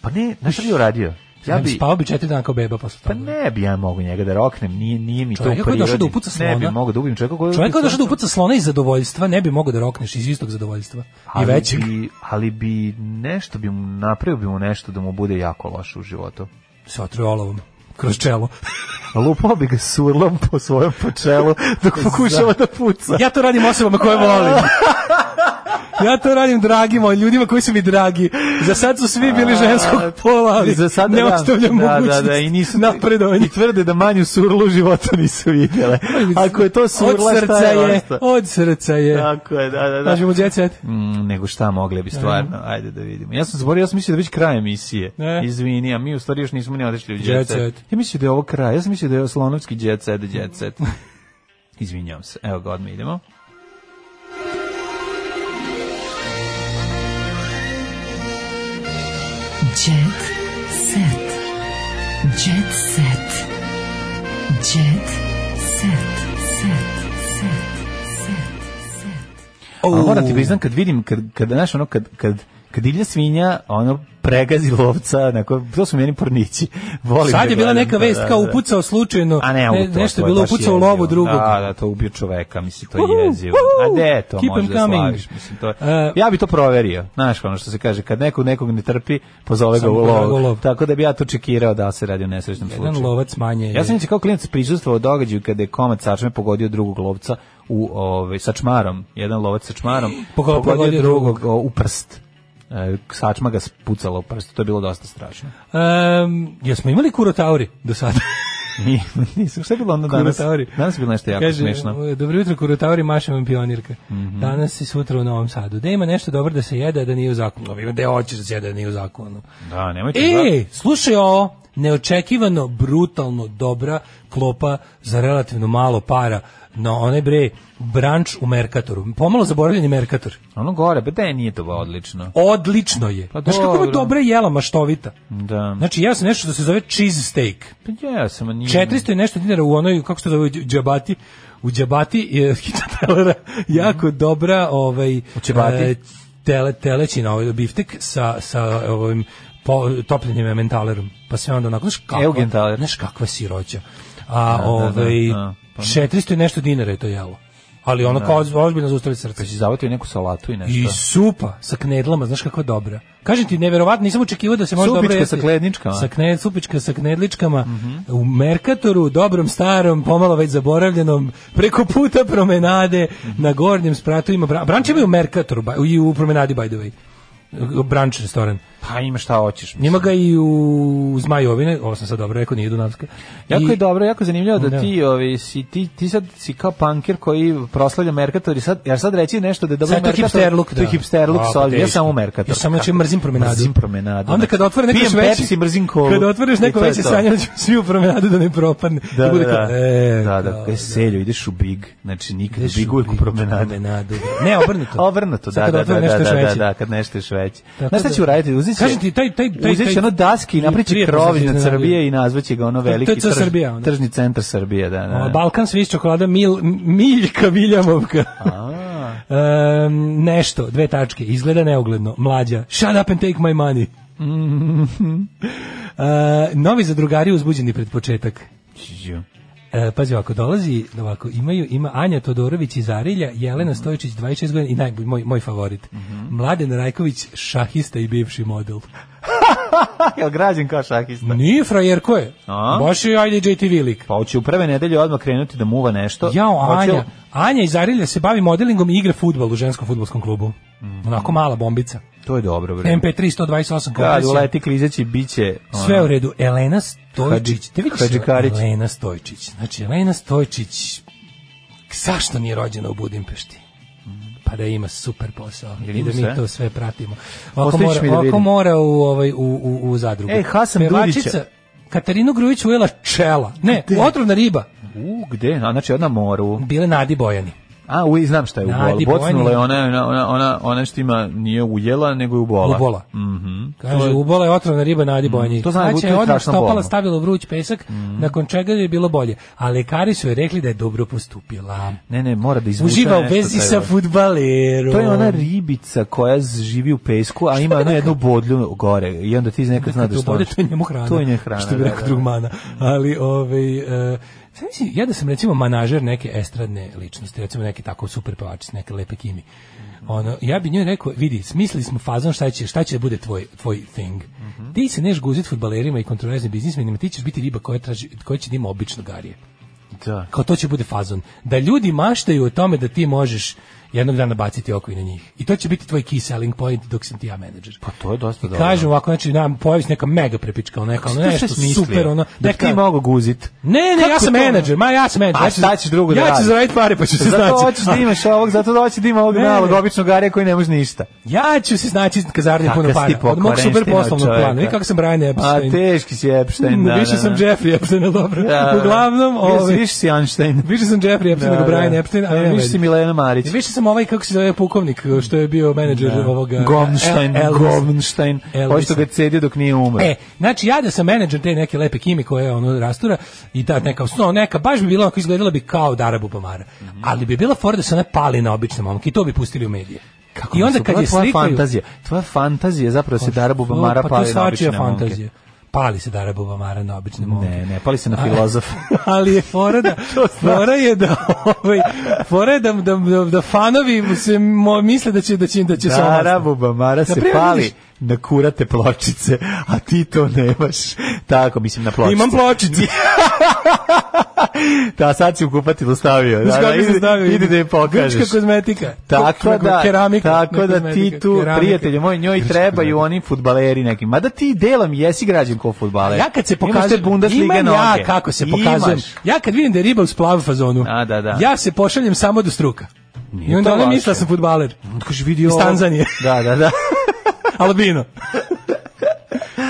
[SPEAKER 6] Pa ne, znaš šta bi uradio? Ja bi...
[SPEAKER 5] Spao bi četiri dana kao beba posle
[SPEAKER 6] Pa
[SPEAKER 5] toga.
[SPEAKER 6] ne bi ja mogu njega da roknem, nije, nije mi to u
[SPEAKER 5] Čovjeka
[SPEAKER 6] prirodi.
[SPEAKER 5] koji je došao da upuca
[SPEAKER 6] Ne bi
[SPEAKER 5] slona.
[SPEAKER 6] mogu da ubim čovjeka koji je
[SPEAKER 5] Čovjek koji je
[SPEAKER 6] upucao
[SPEAKER 5] došao da upuca slona iz zadovoljstva, ne bi mogao da rokneš iz istog zadovoljstva. I
[SPEAKER 6] ali
[SPEAKER 5] većeg.
[SPEAKER 6] Bi, ali bi nešto bi mu napravio bi mu nešto da mu bude jako loše u životu.
[SPEAKER 5] Se otruje olovom. Kroz čelo.
[SPEAKER 6] Lupao bi ga surlom po svojem počelu dok pokušava da puca.
[SPEAKER 5] Ja to radim osobama koje volim. Ja to radim dragima, ljudima koji su mi dragi. Za sad su svi bili ženskog pola, ali
[SPEAKER 6] Za sada
[SPEAKER 5] ne
[SPEAKER 6] da.
[SPEAKER 5] ostavljam
[SPEAKER 6] da,
[SPEAKER 5] mogućnost
[SPEAKER 6] da, da, i nisu
[SPEAKER 5] napredovanja.
[SPEAKER 6] I tvrde da manju surlu u životu nisu vidjele. Ako je to surla,
[SPEAKER 5] od srca
[SPEAKER 6] šta je,
[SPEAKER 5] je,
[SPEAKER 6] ostalo?
[SPEAKER 5] od srca je.
[SPEAKER 6] Tako je, da, da, da.
[SPEAKER 5] Kažemo jet set.
[SPEAKER 6] Mm, nego šta mogli bi stvarno. Ajde da vidimo. Ja sam zaboravio, ja sam mislio da je već kraj emisije.
[SPEAKER 5] Ne.
[SPEAKER 6] Izvini, a mi u stvari još nismo ni otišli u
[SPEAKER 5] Jet
[SPEAKER 6] Jet set.
[SPEAKER 5] set.
[SPEAKER 6] Ja mislim da je ovo kraj. Ja sam mislio da je Oslonovski Jet set, Jet set. Izvinjavam se. Evo ga, odmah idemo.
[SPEAKER 4] Jet set. Jet set. Jet set. Set. Set. Set.
[SPEAKER 6] A moram ti priznam kad vidim kad kad znaš ono kad kad kad divlja svinja, ono, pregazi lovca, neko, to su meni pornići. Volim
[SPEAKER 5] Sad
[SPEAKER 6] da
[SPEAKER 5] je bila
[SPEAKER 6] gledam,
[SPEAKER 5] neka
[SPEAKER 6] da,
[SPEAKER 5] vest
[SPEAKER 6] da,
[SPEAKER 5] kao
[SPEAKER 6] da.
[SPEAKER 5] upucao slučajno,
[SPEAKER 6] A ne,
[SPEAKER 5] ne,
[SPEAKER 6] auto,
[SPEAKER 5] nešto
[SPEAKER 6] to
[SPEAKER 5] je
[SPEAKER 6] je
[SPEAKER 5] bilo
[SPEAKER 6] baš
[SPEAKER 5] upucao u
[SPEAKER 6] jezivo.
[SPEAKER 5] lovu drugog.
[SPEAKER 6] Da, da, to ubio čoveka, mislim, to
[SPEAKER 5] Uhu,
[SPEAKER 6] je jezivo.
[SPEAKER 5] uhu.
[SPEAKER 6] A de, to
[SPEAKER 5] Keep
[SPEAKER 6] možeš
[SPEAKER 5] em
[SPEAKER 6] da
[SPEAKER 5] coming.
[SPEAKER 6] slaviš, mislim, to je.
[SPEAKER 5] E,
[SPEAKER 6] ja bi to proverio, znaš, ono što se kaže, kad nekog nekog ne trpi, pozove ga
[SPEAKER 5] Samo
[SPEAKER 6] u
[SPEAKER 5] pozove ga u
[SPEAKER 6] lov.
[SPEAKER 5] lov.
[SPEAKER 6] Tako da bi ja to čekirao da se radi o nesrećnom
[SPEAKER 5] Jedan
[SPEAKER 6] slučaju.
[SPEAKER 5] lovac manje. je-
[SPEAKER 6] Ja sam inače kao klinac prisustvovao događaju kada je komad sačme pogodio drugog lovca u ovaj sačmarom, jedan lovac sačmarom
[SPEAKER 5] Pogo- pogodio
[SPEAKER 6] drugog o, u prst. E, sačma ga spucala u prst, to je bilo dosta strašno.
[SPEAKER 5] Em, jesmo imali kurotauri do sada?
[SPEAKER 6] Nije, Nisam, šta je bilo onda danas?
[SPEAKER 5] Kurotauri.
[SPEAKER 6] Danas je bilo nešto jako
[SPEAKER 5] Kaže,
[SPEAKER 6] smešno. Mhm.
[SPEAKER 5] e, dobro jutro, kurotauri, maša vam pionirka. Danas i sutra u Novom Sadu. Da ima nešto dobro da se jede, a da nije u zakonu. Ima da hoćeš da se jede, a da nije u zakonu.
[SPEAKER 6] Da, nemojte.
[SPEAKER 5] E, slušaj ovo, neočekivano, brutalno dobra klopa za relativno malo para na onaj bre branč u Merkatoru. Pomalo zaboravljeni Merkator.
[SPEAKER 6] Ono gore, pa da je nije to ba odlično.
[SPEAKER 5] Odlično je.
[SPEAKER 6] Pa
[SPEAKER 5] Znaš kako je
[SPEAKER 6] dobro.
[SPEAKER 5] dobra jela maštovita.
[SPEAKER 6] Da.
[SPEAKER 5] Znači, ja sam nešto što se zove cheese steak.
[SPEAKER 6] Pa ja sam a nije.
[SPEAKER 5] 400 i nešto dinara u onoj, kako se to zove, u džabati, u džabati je telera, jako dobra, ovaj, u
[SPEAKER 6] Mhm. džabati?
[SPEAKER 5] tele, telećina, ovaj biftek sa, sa ovim po, topljenim mentalerom. Pa sve onda onako, znaš kakva,
[SPEAKER 6] Eugentaler.
[SPEAKER 5] znaš kakva siroća. A, ovaj,
[SPEAKER 6] da, pa-
[SPEAKER 5] 400 i nešto dinara je to jelo. Ali ono kao ozbiljno zaustavi srce.
[SPEAKER 6] Pa si zavatio neku salatu i
[SPEAKER 5] I
[SPEAKER 6] nešto.
[SPEAKER 5] supa sa knedlama, znaš kakva dobra. Kažem ti, neverovatno, nisam očekivao da se može
[SPEAKER 6] Supička
[SPEAKER 5] dobro jesti.
[SPEAKER 6] sa Mhm. knedničkama.
[SPEAKER 5] Sa kne- supička sa knedličkama, u Merkatoru, dobrom, starom, pomalo već zaboravljenom, preko puta promenade,
[SPEAKER 6] Mhm.
[SPEAKER 5] na gornjem spratu ima... Bra branč ima i u Merkatoru, ba- i u promenadi, by the way. Branč restoran.
[SPEAKER 6] Pa ima šta hoćeš. mislim.
[SPEAKER 5] Ima ga i u Zmajovine, ovo sam sad dobro rekao, nije Dunavska.
[SPEAKER 6] Jako
[SPEAKER 5] I-
[SPEAKER 6] je dobro, jako je zanimljivo da,
[SPEAKER 5] Da.
[SPEAKER 6] ti, ovi, si, ti, ti sad si kao punker koji proslavlja Merkator i sad, ja sad reći nešto da je dobro
[SPEAKER 5] Sad je to
[SPEAKER 6] Merkator.
[SPEAKER 5] hipsterluk,
[SPEAKER 6] To je
[SPEAKER 5] da.
[SPEAKER 6] hipsterluk,
[SPEAKER 5] A, pa
[SPEAKER 6] sad, ja
[SPEAKER 5] teško.
[SPEAKER 6] sam u Merkator.
[SPEAKER 5] Ja samo znači mrzim promenadu.
[SPEAKER 6] Mrzim promenadu.
[SPEAKER 5] A onda kad otvore neko
[SPEAKER 6] Pijem
[SPEAKER 5] još veće,
[SPEAKER 6] Pepsi, mrzim kolu.
[SPEAKER 5] Kad otvoreš neko
[SPEAKER 6] I to je
[SPEAKER 5] veće
[SPEAKER 6] to.
[SPEAKER 5] sanje, onda ćemo svi u promenadu da ne propadne.
[SPEAKER 6] Da,
[SPEAKER 5] I
[SPEAKER 6] da,
[SPEAKER 5] bude
[SPEAKER 6] da.
[SPEAKER 5] kao, e,
[SPEAKER 6] da, da,
[SPEAKER 5] kao,
[SPEAKER 6] da, selju, ideš u Big, znači nikad u
[SPEAKER 5] ideš
[SPEAKER 6] Big
[SPEAKER 5] u
[SPEAKER 6] uvijek u
[SPEAKER 5] Big
[SPEAKER 6] promenadu.
[SPEAKER 5] promenadu. Ne, obrnuto.
[SPEAKER 6] A Obrnuto,
[SPEAKER 5] Sad
[SPEAKER 6] da,
[SPEAKER 5] kad
[SPEAKER 6] da, da,
[SPEAKER 5] otvore
[SPEAKER 6] da,
[SPEAKER 5] nešto još
[SPEAKER 6] da,
[SPEAKER 5] veće.
[SPEAKER 6] da, kad nešto još veće.
[SPEAKER 5] Tako
[SPEAKER 6] Znaš šta
[SPEAKER 5] da-
[SPEAKER 6] će uraditi? Uzet će,
[SPEAKER 5] Kažem ti, taj- taj- taj-
[SPEAKER 6] uzet će
[SPEAKER 5] taj-
[SPEAKER 6] ono daske i naprijet će
[SPEAKER 5] prijatno
[SPEAKER 6] krov
[SPEAKER 5] se
[SPEAKER 6] iznad
[SPEAKER 5] iznenadio.
[SPEAKER 6] Srbije i nazvat će ga ono
[SPEAKER 5] To- to je
[SPEAKER 6] veliki
[SPEAKER 5] to
[SPEAKER 6] tržni-
[SPEAKER 5] Srbija, ono.
[SPEAKER 6] tržni centar Srbije. Da, da,
[SPEAKER 5] Ovo,
[SPEAKER 6] da.
[SPEAKER 5] Balkan sviz čokolada mil, Miljka Viljamovka. Em, nešto, dve tačke, izgleda neugledno, mlađa, shut up and take my money.
[SPEAKER 6] Mhm.
[SPEAKER 5] E, novi zadrugari uzbuđeni pred početak.
[SPEAKER 6] Ću.
[SPEAKER 5] E, pazi ovako, dolazi, ovako, imaju, ima Anja Todorović iz Arilja, Jelena
[SPEAKER 6] Mhm.
[SPEAKER 5] Stojičić 26 godina i najbolj, moj, moj favorit. Mladen Rajković, šahista i bivši model.
[SPEAKER 6] Jel građen kao šahista?
[SPEAKER 5] Nije frajer ko je.
[SPEAKER 6] A?
[SPEAKER 5] Baš je ajde JTV lik.
[SPEAKER 6] Pa hoće u prve nedelje odmah krenuti da muva nešto.
[SPEAKER 5] Jao,
[SPEAKER 6] Hoće-
[SPEAKER 5] Anja. Anja iz Arilja se bavi modelingom i igra futbol u ženskom futbolskom klubu. Onako mala bombica.
[SPEAKER 6] To je dobro, bre.
[SPEAKER 5] MP3 128
[SPEAKER 6] Mhm. Kad
[SPEAKER 5] kompresija.
[SPEAKER 6] uleti klizeći, bit će... ono,
[SPEAKER 5] Sve u redu. Elena Stojčić.
[SPEAKER 6] Hadži-
[SPEAKER 5] Te vidiš
[SPEAKER 6] Hadžikarić.
[SPEAKER 5] Elena Stojčić. Znači, Elena Stojčić zašto nije rođena u Budimpešti? pa da ima super posao
[SPEAKER 6] Jel
[SPEAKER 5] i da
[SPEAKER 6] ima
[SPEAKER 5] mi
[SPEAKER 6] sve?
[SPEAKER 5] to sve pratimo. Oko
[SPEAKER 6] Ostaviš
[SPEAKER 5] mora,
[SPEAKER 6] mi da
[SPEAKER 5] ovako
[SPEAKER 6] vidim.
[SPEAKER 5] mora u, ovaj, u, u, u zadrugu.
[SPEAKER 6] Ej, Hasan
[SPEAKER 5] Pevačica
[SPEAKER 6] Dulića.
[SPEAKER 5] Katarinu Grujić ujela čela. Ne, otrovna riba.
[SPEAKER 6] U, gde? A, znači, od na moru.
[SPEAKER 5] Bile Nadi Bojani.
[SPEAKER 6] A, u, znam šta je u bolu.
[SPEAKER 5] Nadi
[SPEAKER 6] Bocnula
[SPEAKER 5] Bojani.
[SPEAKER 6] je ona, ona, ona, ona, ona što ima, nije ujela, nego je ubola.
[SPEAKER 5] Ubola.
[SPEAKER 6] Mhm. To
[SPEAKER 5] Kaže,
[SPEAKER 6] je- Mm,
[SPEAKER 5] ubola je otrovna riba na Adi Bonji.
[SPEAKER 6] to znam, to je
[SPEAKER 5] odmah
[SPEAKER 6] strašno
[SPEAKER 5] stopala
[SPEAKER 6] bolno.
[SPEAKER 5] stavila u vruć pesak,
[SPEAKER 6] Mm.
[SPEAKER 5] nakon čega je bilo bolje. A lekari su joj rekli da je dobro postupila.
[SPEAKER 6] Ne, ne, mora da izvuče
[SPEAKER 5] Uživa u
[SPEAKER 6] nešto
[SPEAKER 5] vezi
[SPEAKER 6] taj
[SPEAKER 5] sa
[SPEAKER 6] rod.
[SPEAKER 5] futbalerom.
[SPEAKER 6] To je ona ribica koja z- živi u pesku, a ima ono jednu bodlju gore. I onda ti nekad znaš da
[SPEAKER 5] Kad
[SPEAKER 6] što
[SPEAKER 5] obode, to je njemu hrana.
[SPEAKER 6] To je njemu hrana,
[SPEAKER 5] Što bi
[SPEAKER 6] da,
[SPEAKER 5] rekao
[SPEAKER 6] da.
[SPEAKER 5] drug mana. Ali, ovaj, e, sad mislim, ja da sam recimo manažer neke estradne ličnosti, recimo neke tako super pevačice, neke lepe kimi. Ono, ja bi njoj rekao, vidi, smislili smo fazon šta će, šta će da bude tvoj, tvoj thing.
[SPEAKER 6] Mhm.
[SPEAKER 5] Ti se neš guzit futbalerima i kontroverznim biznismenima, ti ćeš biti riba koja, traži, koja će da ima obično garije
[SPEAKER 6] Da.
[SPEAKER 5] kao to će bude fazon. Da ljudi maštaju o tome da ti možeš jednog dana baciti oko i na njih. I to će biti tvoj key selling point dok sam ti ja menadžer.
[SPEAKER 6] Pa to je dosta dobro.
[SPEAKER 5] Kažem ovako, znači, nam pojavi se neka mega prepička, ono, neka, ono,
[SPEAKER 6] Šta
[SPEAKER 5] nešto
[SPEAKER 6] si mislio?
[SPEAKER 5] super, ono,
[SPEAKER 6] da bi
[SPEAKER 5] neka-
[SPEAKER 6] ti mogu guzit.
[SPEAKER 5] Ne, ne,
[SPEAKER 6] Kako
[SPEAKER 5] ja sam
[SPEAKER 6] to?
[SPEAKER 5] menadžer, ma ja sam menadžer.
[SPEAKER 6] A
[SPEAKER 5] ja ću-
[SPEAKER 6] šta ćeš drugo da
[SPEAKER 5] Ja ću
[SPEAKER 6] radiš?
[SPEAKER 5] zaraditi pare, pa ću se
[SPEAKER 6] Zato
[SPEAKER 5] snaći.
[SPEAKER 6] hoćeš da imaš ovog, zato da hoćeš da ima ovog
[SPEAKER 5] Ne, ne.
[SPEAKER 6] malog običnog garija koji ne može ništa.
[SPEAKER 5] Ja ću se snaći kad zaradim
[SPEAKER 6] Kakav
[SPEAKER 5] puno
[SPEAKER 6] si
[SPEAKER 5] para. Od mog
[SPEAKER 6] pokvarenština
[SPEAKER 5] super poslovnog
[SPEAKER 6] čoveka.
[SPEAKER 5] plana. Vidi kako sam Brian
[SPEAKER 6] A
[SPEAKER 5] Epstein. Mm,
[SPEAKER 6] teški si Epstein, da.
[SPEAKER 5] Više
[SPEAKER 6] da,
[SPEAKER 5] sam
[SPEAKER 6] da.
[SPEAKER 5] Jeffrey Epstein, ali dobro.
[SPEAKER 6] Da, da.
[SPEAKER 5] Uglavnom,
[SPEAKER 6] Više si-
[SPEAKER 5] ovaj,
[SPEAKER 6] Više si Einstein.
[SPEAKER 5] više sam Jeffrey Epstein nego Brian Epstein, ali
[SPEAKER 6] Ne,
[SPEAKER 5] nema
[SPEAKER 6] Više
[SPEAKER 5] veze.
[SPEAKER 6] si Milena Marić.
[SPEAKER 5] Ja, Više sam ovaj, kako se zove, pukovnik, što je bio menadžer ovoga... e,
[SPEAKER 6] Gomstein,
[SPEAKER 5] El- Elvisa.
[SPEAKER 6] Gomstein.
[SPEAKER 5] Elvisa.
[SPEAKER 6] Ovo što ga je cedio dok nije umro.
[SPEAKER 5] E, znači ja da sam menadžer te neke lepe kimi koja je ono rastura i ta neka, no, neka, baš bi bila
[SPEAKER 6] Mhm.
[SPEAKER 5] ako izgledala bi kao Darabu Pomara. Ali bi bila fora da se ona pali na obične momke i to bi pustili u medije.
[SPEAKER 6] Kako
[SPEAKER 5] I
[SPEAKER 6] mi
[SPEAKER 5] onda
[SPEAKER 6] se-
[SPEAKER 5] kad
[SPEAKER 6] tvoja
[SPEAKER 5] je slikaju...
[SPEAKER 6] fantazija, tvoja fantazija zapravo se Dara Bubamara
[SPEAKER 5] Pa to je
[SPEAKER 6] pali na
[SPEAKER 5] svačija
[SPEAKER 6] obične momke.
[SPEAKER 5] fantazija. Pali se Dara Bubamara na obične momke.
[SPEAKER 6] Ne, ne, pali se na filozofa.
[SPEAKER 5] ali je fora da fora je da ovaj fora je da da, da fanovi mu se mo, misle da će da će da će se
[SPEAKER 6] Dara
[SPEAKER 5] omasti.
[SPEAKER 6] Bubamara se
[SPEAKER 5] Naprimer,
[SPEAKER 6] pali
[SPEAKER 5] vidiš-
[SPEAKER 6] na kurate pločice, a ti to nemaš. Tako, mislim, na pločice.
[SPEAKER 5] Imam pločicu.
[SPEAKER 6] Da, sad si u kupatilu stavio. Da,
[SPEAKER 5] Znaš
[SPEAKER 6] da,
[SPEAKER 5] kako sam
[SPEAKER 6] idi,
[SPEAKER 5] stavio?
[SPEAKER 6] idi da je pokažeš.
[SPEAKER 5] Grčka kozmetika.
[SPEAKER 6] Tako
[SPEAKER 5] Kako-
[SPEAKER 6] da,
[SPEAKER 5] keramika,
[SPEAKER 6] tako
[SPEAKER 5] ne
[SPEAKER 6] da ti
[SPEAKER 5] kozmetika,
[SPEAKER 6] tu,
[SPEAKER 5] keramika.
[SPEAKER 6] prijatelju moj, njoj
[SPEAKER 5] Znači,
[SPEAKER 6] trebaju oni futbaleri neki. Mada ti delom jesi građan ko futbaler.
[SPEAKER 5] Ja kad se
[SPEAKER 6] Imaš te
[SPEAKER 5] pokažem,
[SPEAKER 6] Bundesliga
[SPEAKER 5] imam ja
[SPEAKER 6] noge.
[SPEAKER 5] kako se
[SPEAKER 6] Imaš.
[SPEAKER 5] pokazujem. Ja kad vidim da je riba u splavu fazonu,
[SPEAKER 6] A, da, da.
[SPEAKER 5] ja se pošaljem samo do struka.
[SPEAKER 6] Nije
[SPEAKER 5] I onda
[SPEAKER 6] to
[SPEAKER 5] ona
[SPEAKER 6] loše.
[SPEAKER 5] misla da sam futbaler.
[SPEAKER 6] Onda kaže, vidi
[SPEAKER 5] Iz
[SPEAKER 6] ovo.
[SPEAKER 5] Tanzanije.
[SPEAKER 6] Da, da, da.
[SPEAKER 5] Albino.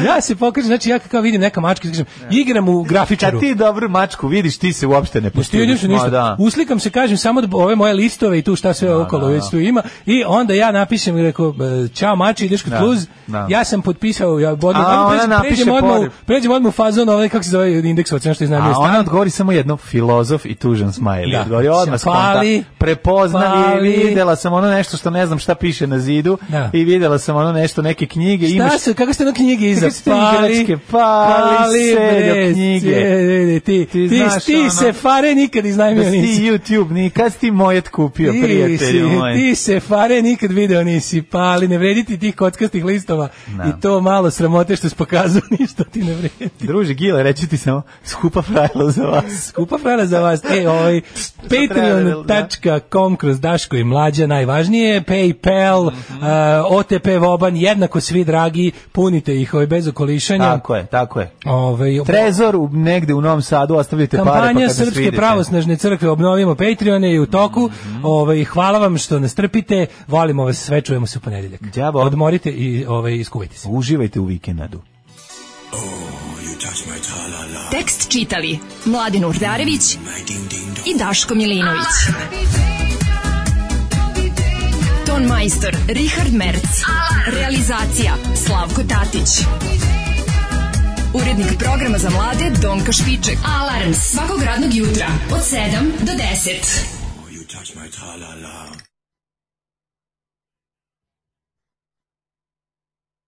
[SPEAKER 5] ja se pokažem, znači ja kako vidim neka mačka, kažem, igram u grafičaru.
[SPEAKER 6] Kad ti dobru mačku vidiš, ti se uopšte ne
[SPEAKER 5] Pošto ja
[SPEAKER 6] postidiš.
[SPEAKER 5] se
[SPEAKER 6] Ma,
[SPEAKER 5] ništa.
[SPEAKER 6] Da.
[SPEAKER 5] Uslikam se, kažem samo da ove moje listove i tu šta sve okolo već tu ima i onda ja napišem i rekao e, čao mači ideš kod
[SPEAKER 6] Da,
[SPEAKER 5] Kluz.
[SPEAKER 6] da.
[SPEAKER 5] Ja sam potpisao ja bodno.
[SPEAKER 6] A, ona napiše
[SPEAKER 5] pređem odmah, u-
[SPEAKER 6] podiv.
[SPEAKER 5] pređem odmah u fazon ovaj kako se zove indeks ocena što iznajmljuje
[SPEAKER 6] A
[SPEAKER 5] stan.
[SPEAKER 6] ona odgovori samo jedno filozof i tužan smajli.
[SPEAKER 5] Da.
[SPEAKER 6] Odgovori odmah skonta.
[SPEAKER 5] Fali,
[SPEAKER 6] Prepozna
[SPEAKER 5] fali.
[SPEAKER 6] videla sam ono nešto što ne znam šta piše na zidu
[SPEAKER 5] Da.
[SPEAKER 6] i videla sam ono nešto neke knjige.
[SPEAKER 5] Šta
[SPEAKER 6] imaš
[SPEAKER 5] su, kako ste na knjige iza?
[SPEAKER 6] Kako ste igračke, pali, seljo knjige.
[SPEAKER 5] se, ti,
[SPEAKER 6] Ti
[SPEAKER 5] ti, ti,
[SPEAKER 6] znaš ono-
[SPEAKER 5] ti se fare nikad
[SPEAKER 6] Da
[SPEAKER 5] iznajmio
[SPEAKER 6] si
[SPEAKER 5] nisi.
[SPEAKER 6] ti YouTube, ni kad si ti mojet kupio,
[SPEAKER 5] Ti,
[SPEAKER 6] prijatelju
[SPEAKER 5] si-
[SPEAKER 6] moj.
[SPEAKER 5] ti se fare nikad video nisi, pa ali ne vredi ti tih kockastih listova
[SPEAKER 6] Da.
[SPEAKER 5] i to malo sramote što si pokazao, ništa ti ne vredi.
[SPEAKER 6] Druže Gile, reći ti samo, skupa frajla za vas.
[SPEAKER 5] Skupa frara za vas. E, ovaj,
[SPEAKER 6] treba da-
[SPEAKER 5] patreon.com kroz Daško i Mlađa, najvažnije, Paypal,
[SPEAKER 6] Mhm.
[SPEAKER 5] eh, OTP Voban, jednako svi dragi, punite ih ovaj, bez okolišanja.
[SPEAKER 6] Tako je, tako je.
[SPEAKER 5] Ovaj,
[SPEAKER 6] Trezor u, negde u Novom Sadu, ostavljate pare pa kad
[SPEAKER 5] Kampanja
[SPEAKER 6] nas
[SPEAKER 5] Srpske
[SPEAKER 6] vidite. Mhm.
[SPEAKER 5] pravosnažne crkve obnovimo Patreon je u toku. Ovaj hvala vam što nas trpite. Volimo vas sve, čujemo se u ponedeljak.
[SPEAKER 6] Đavo.
[SPEAKER 5] Odmorite i ovaj iskuvajte se.
[SPEAKER 6] Uživajte u vikendu.
[SPEAKER 4] Tekst čitali Mladin Urdarević i Daško Milinović. Ton majstor Richard Merc. Realizacija Slavko Tatić. Urednik programa za mlade Donka Špiček. Alarms svakog radnog jutra od 7 do 10.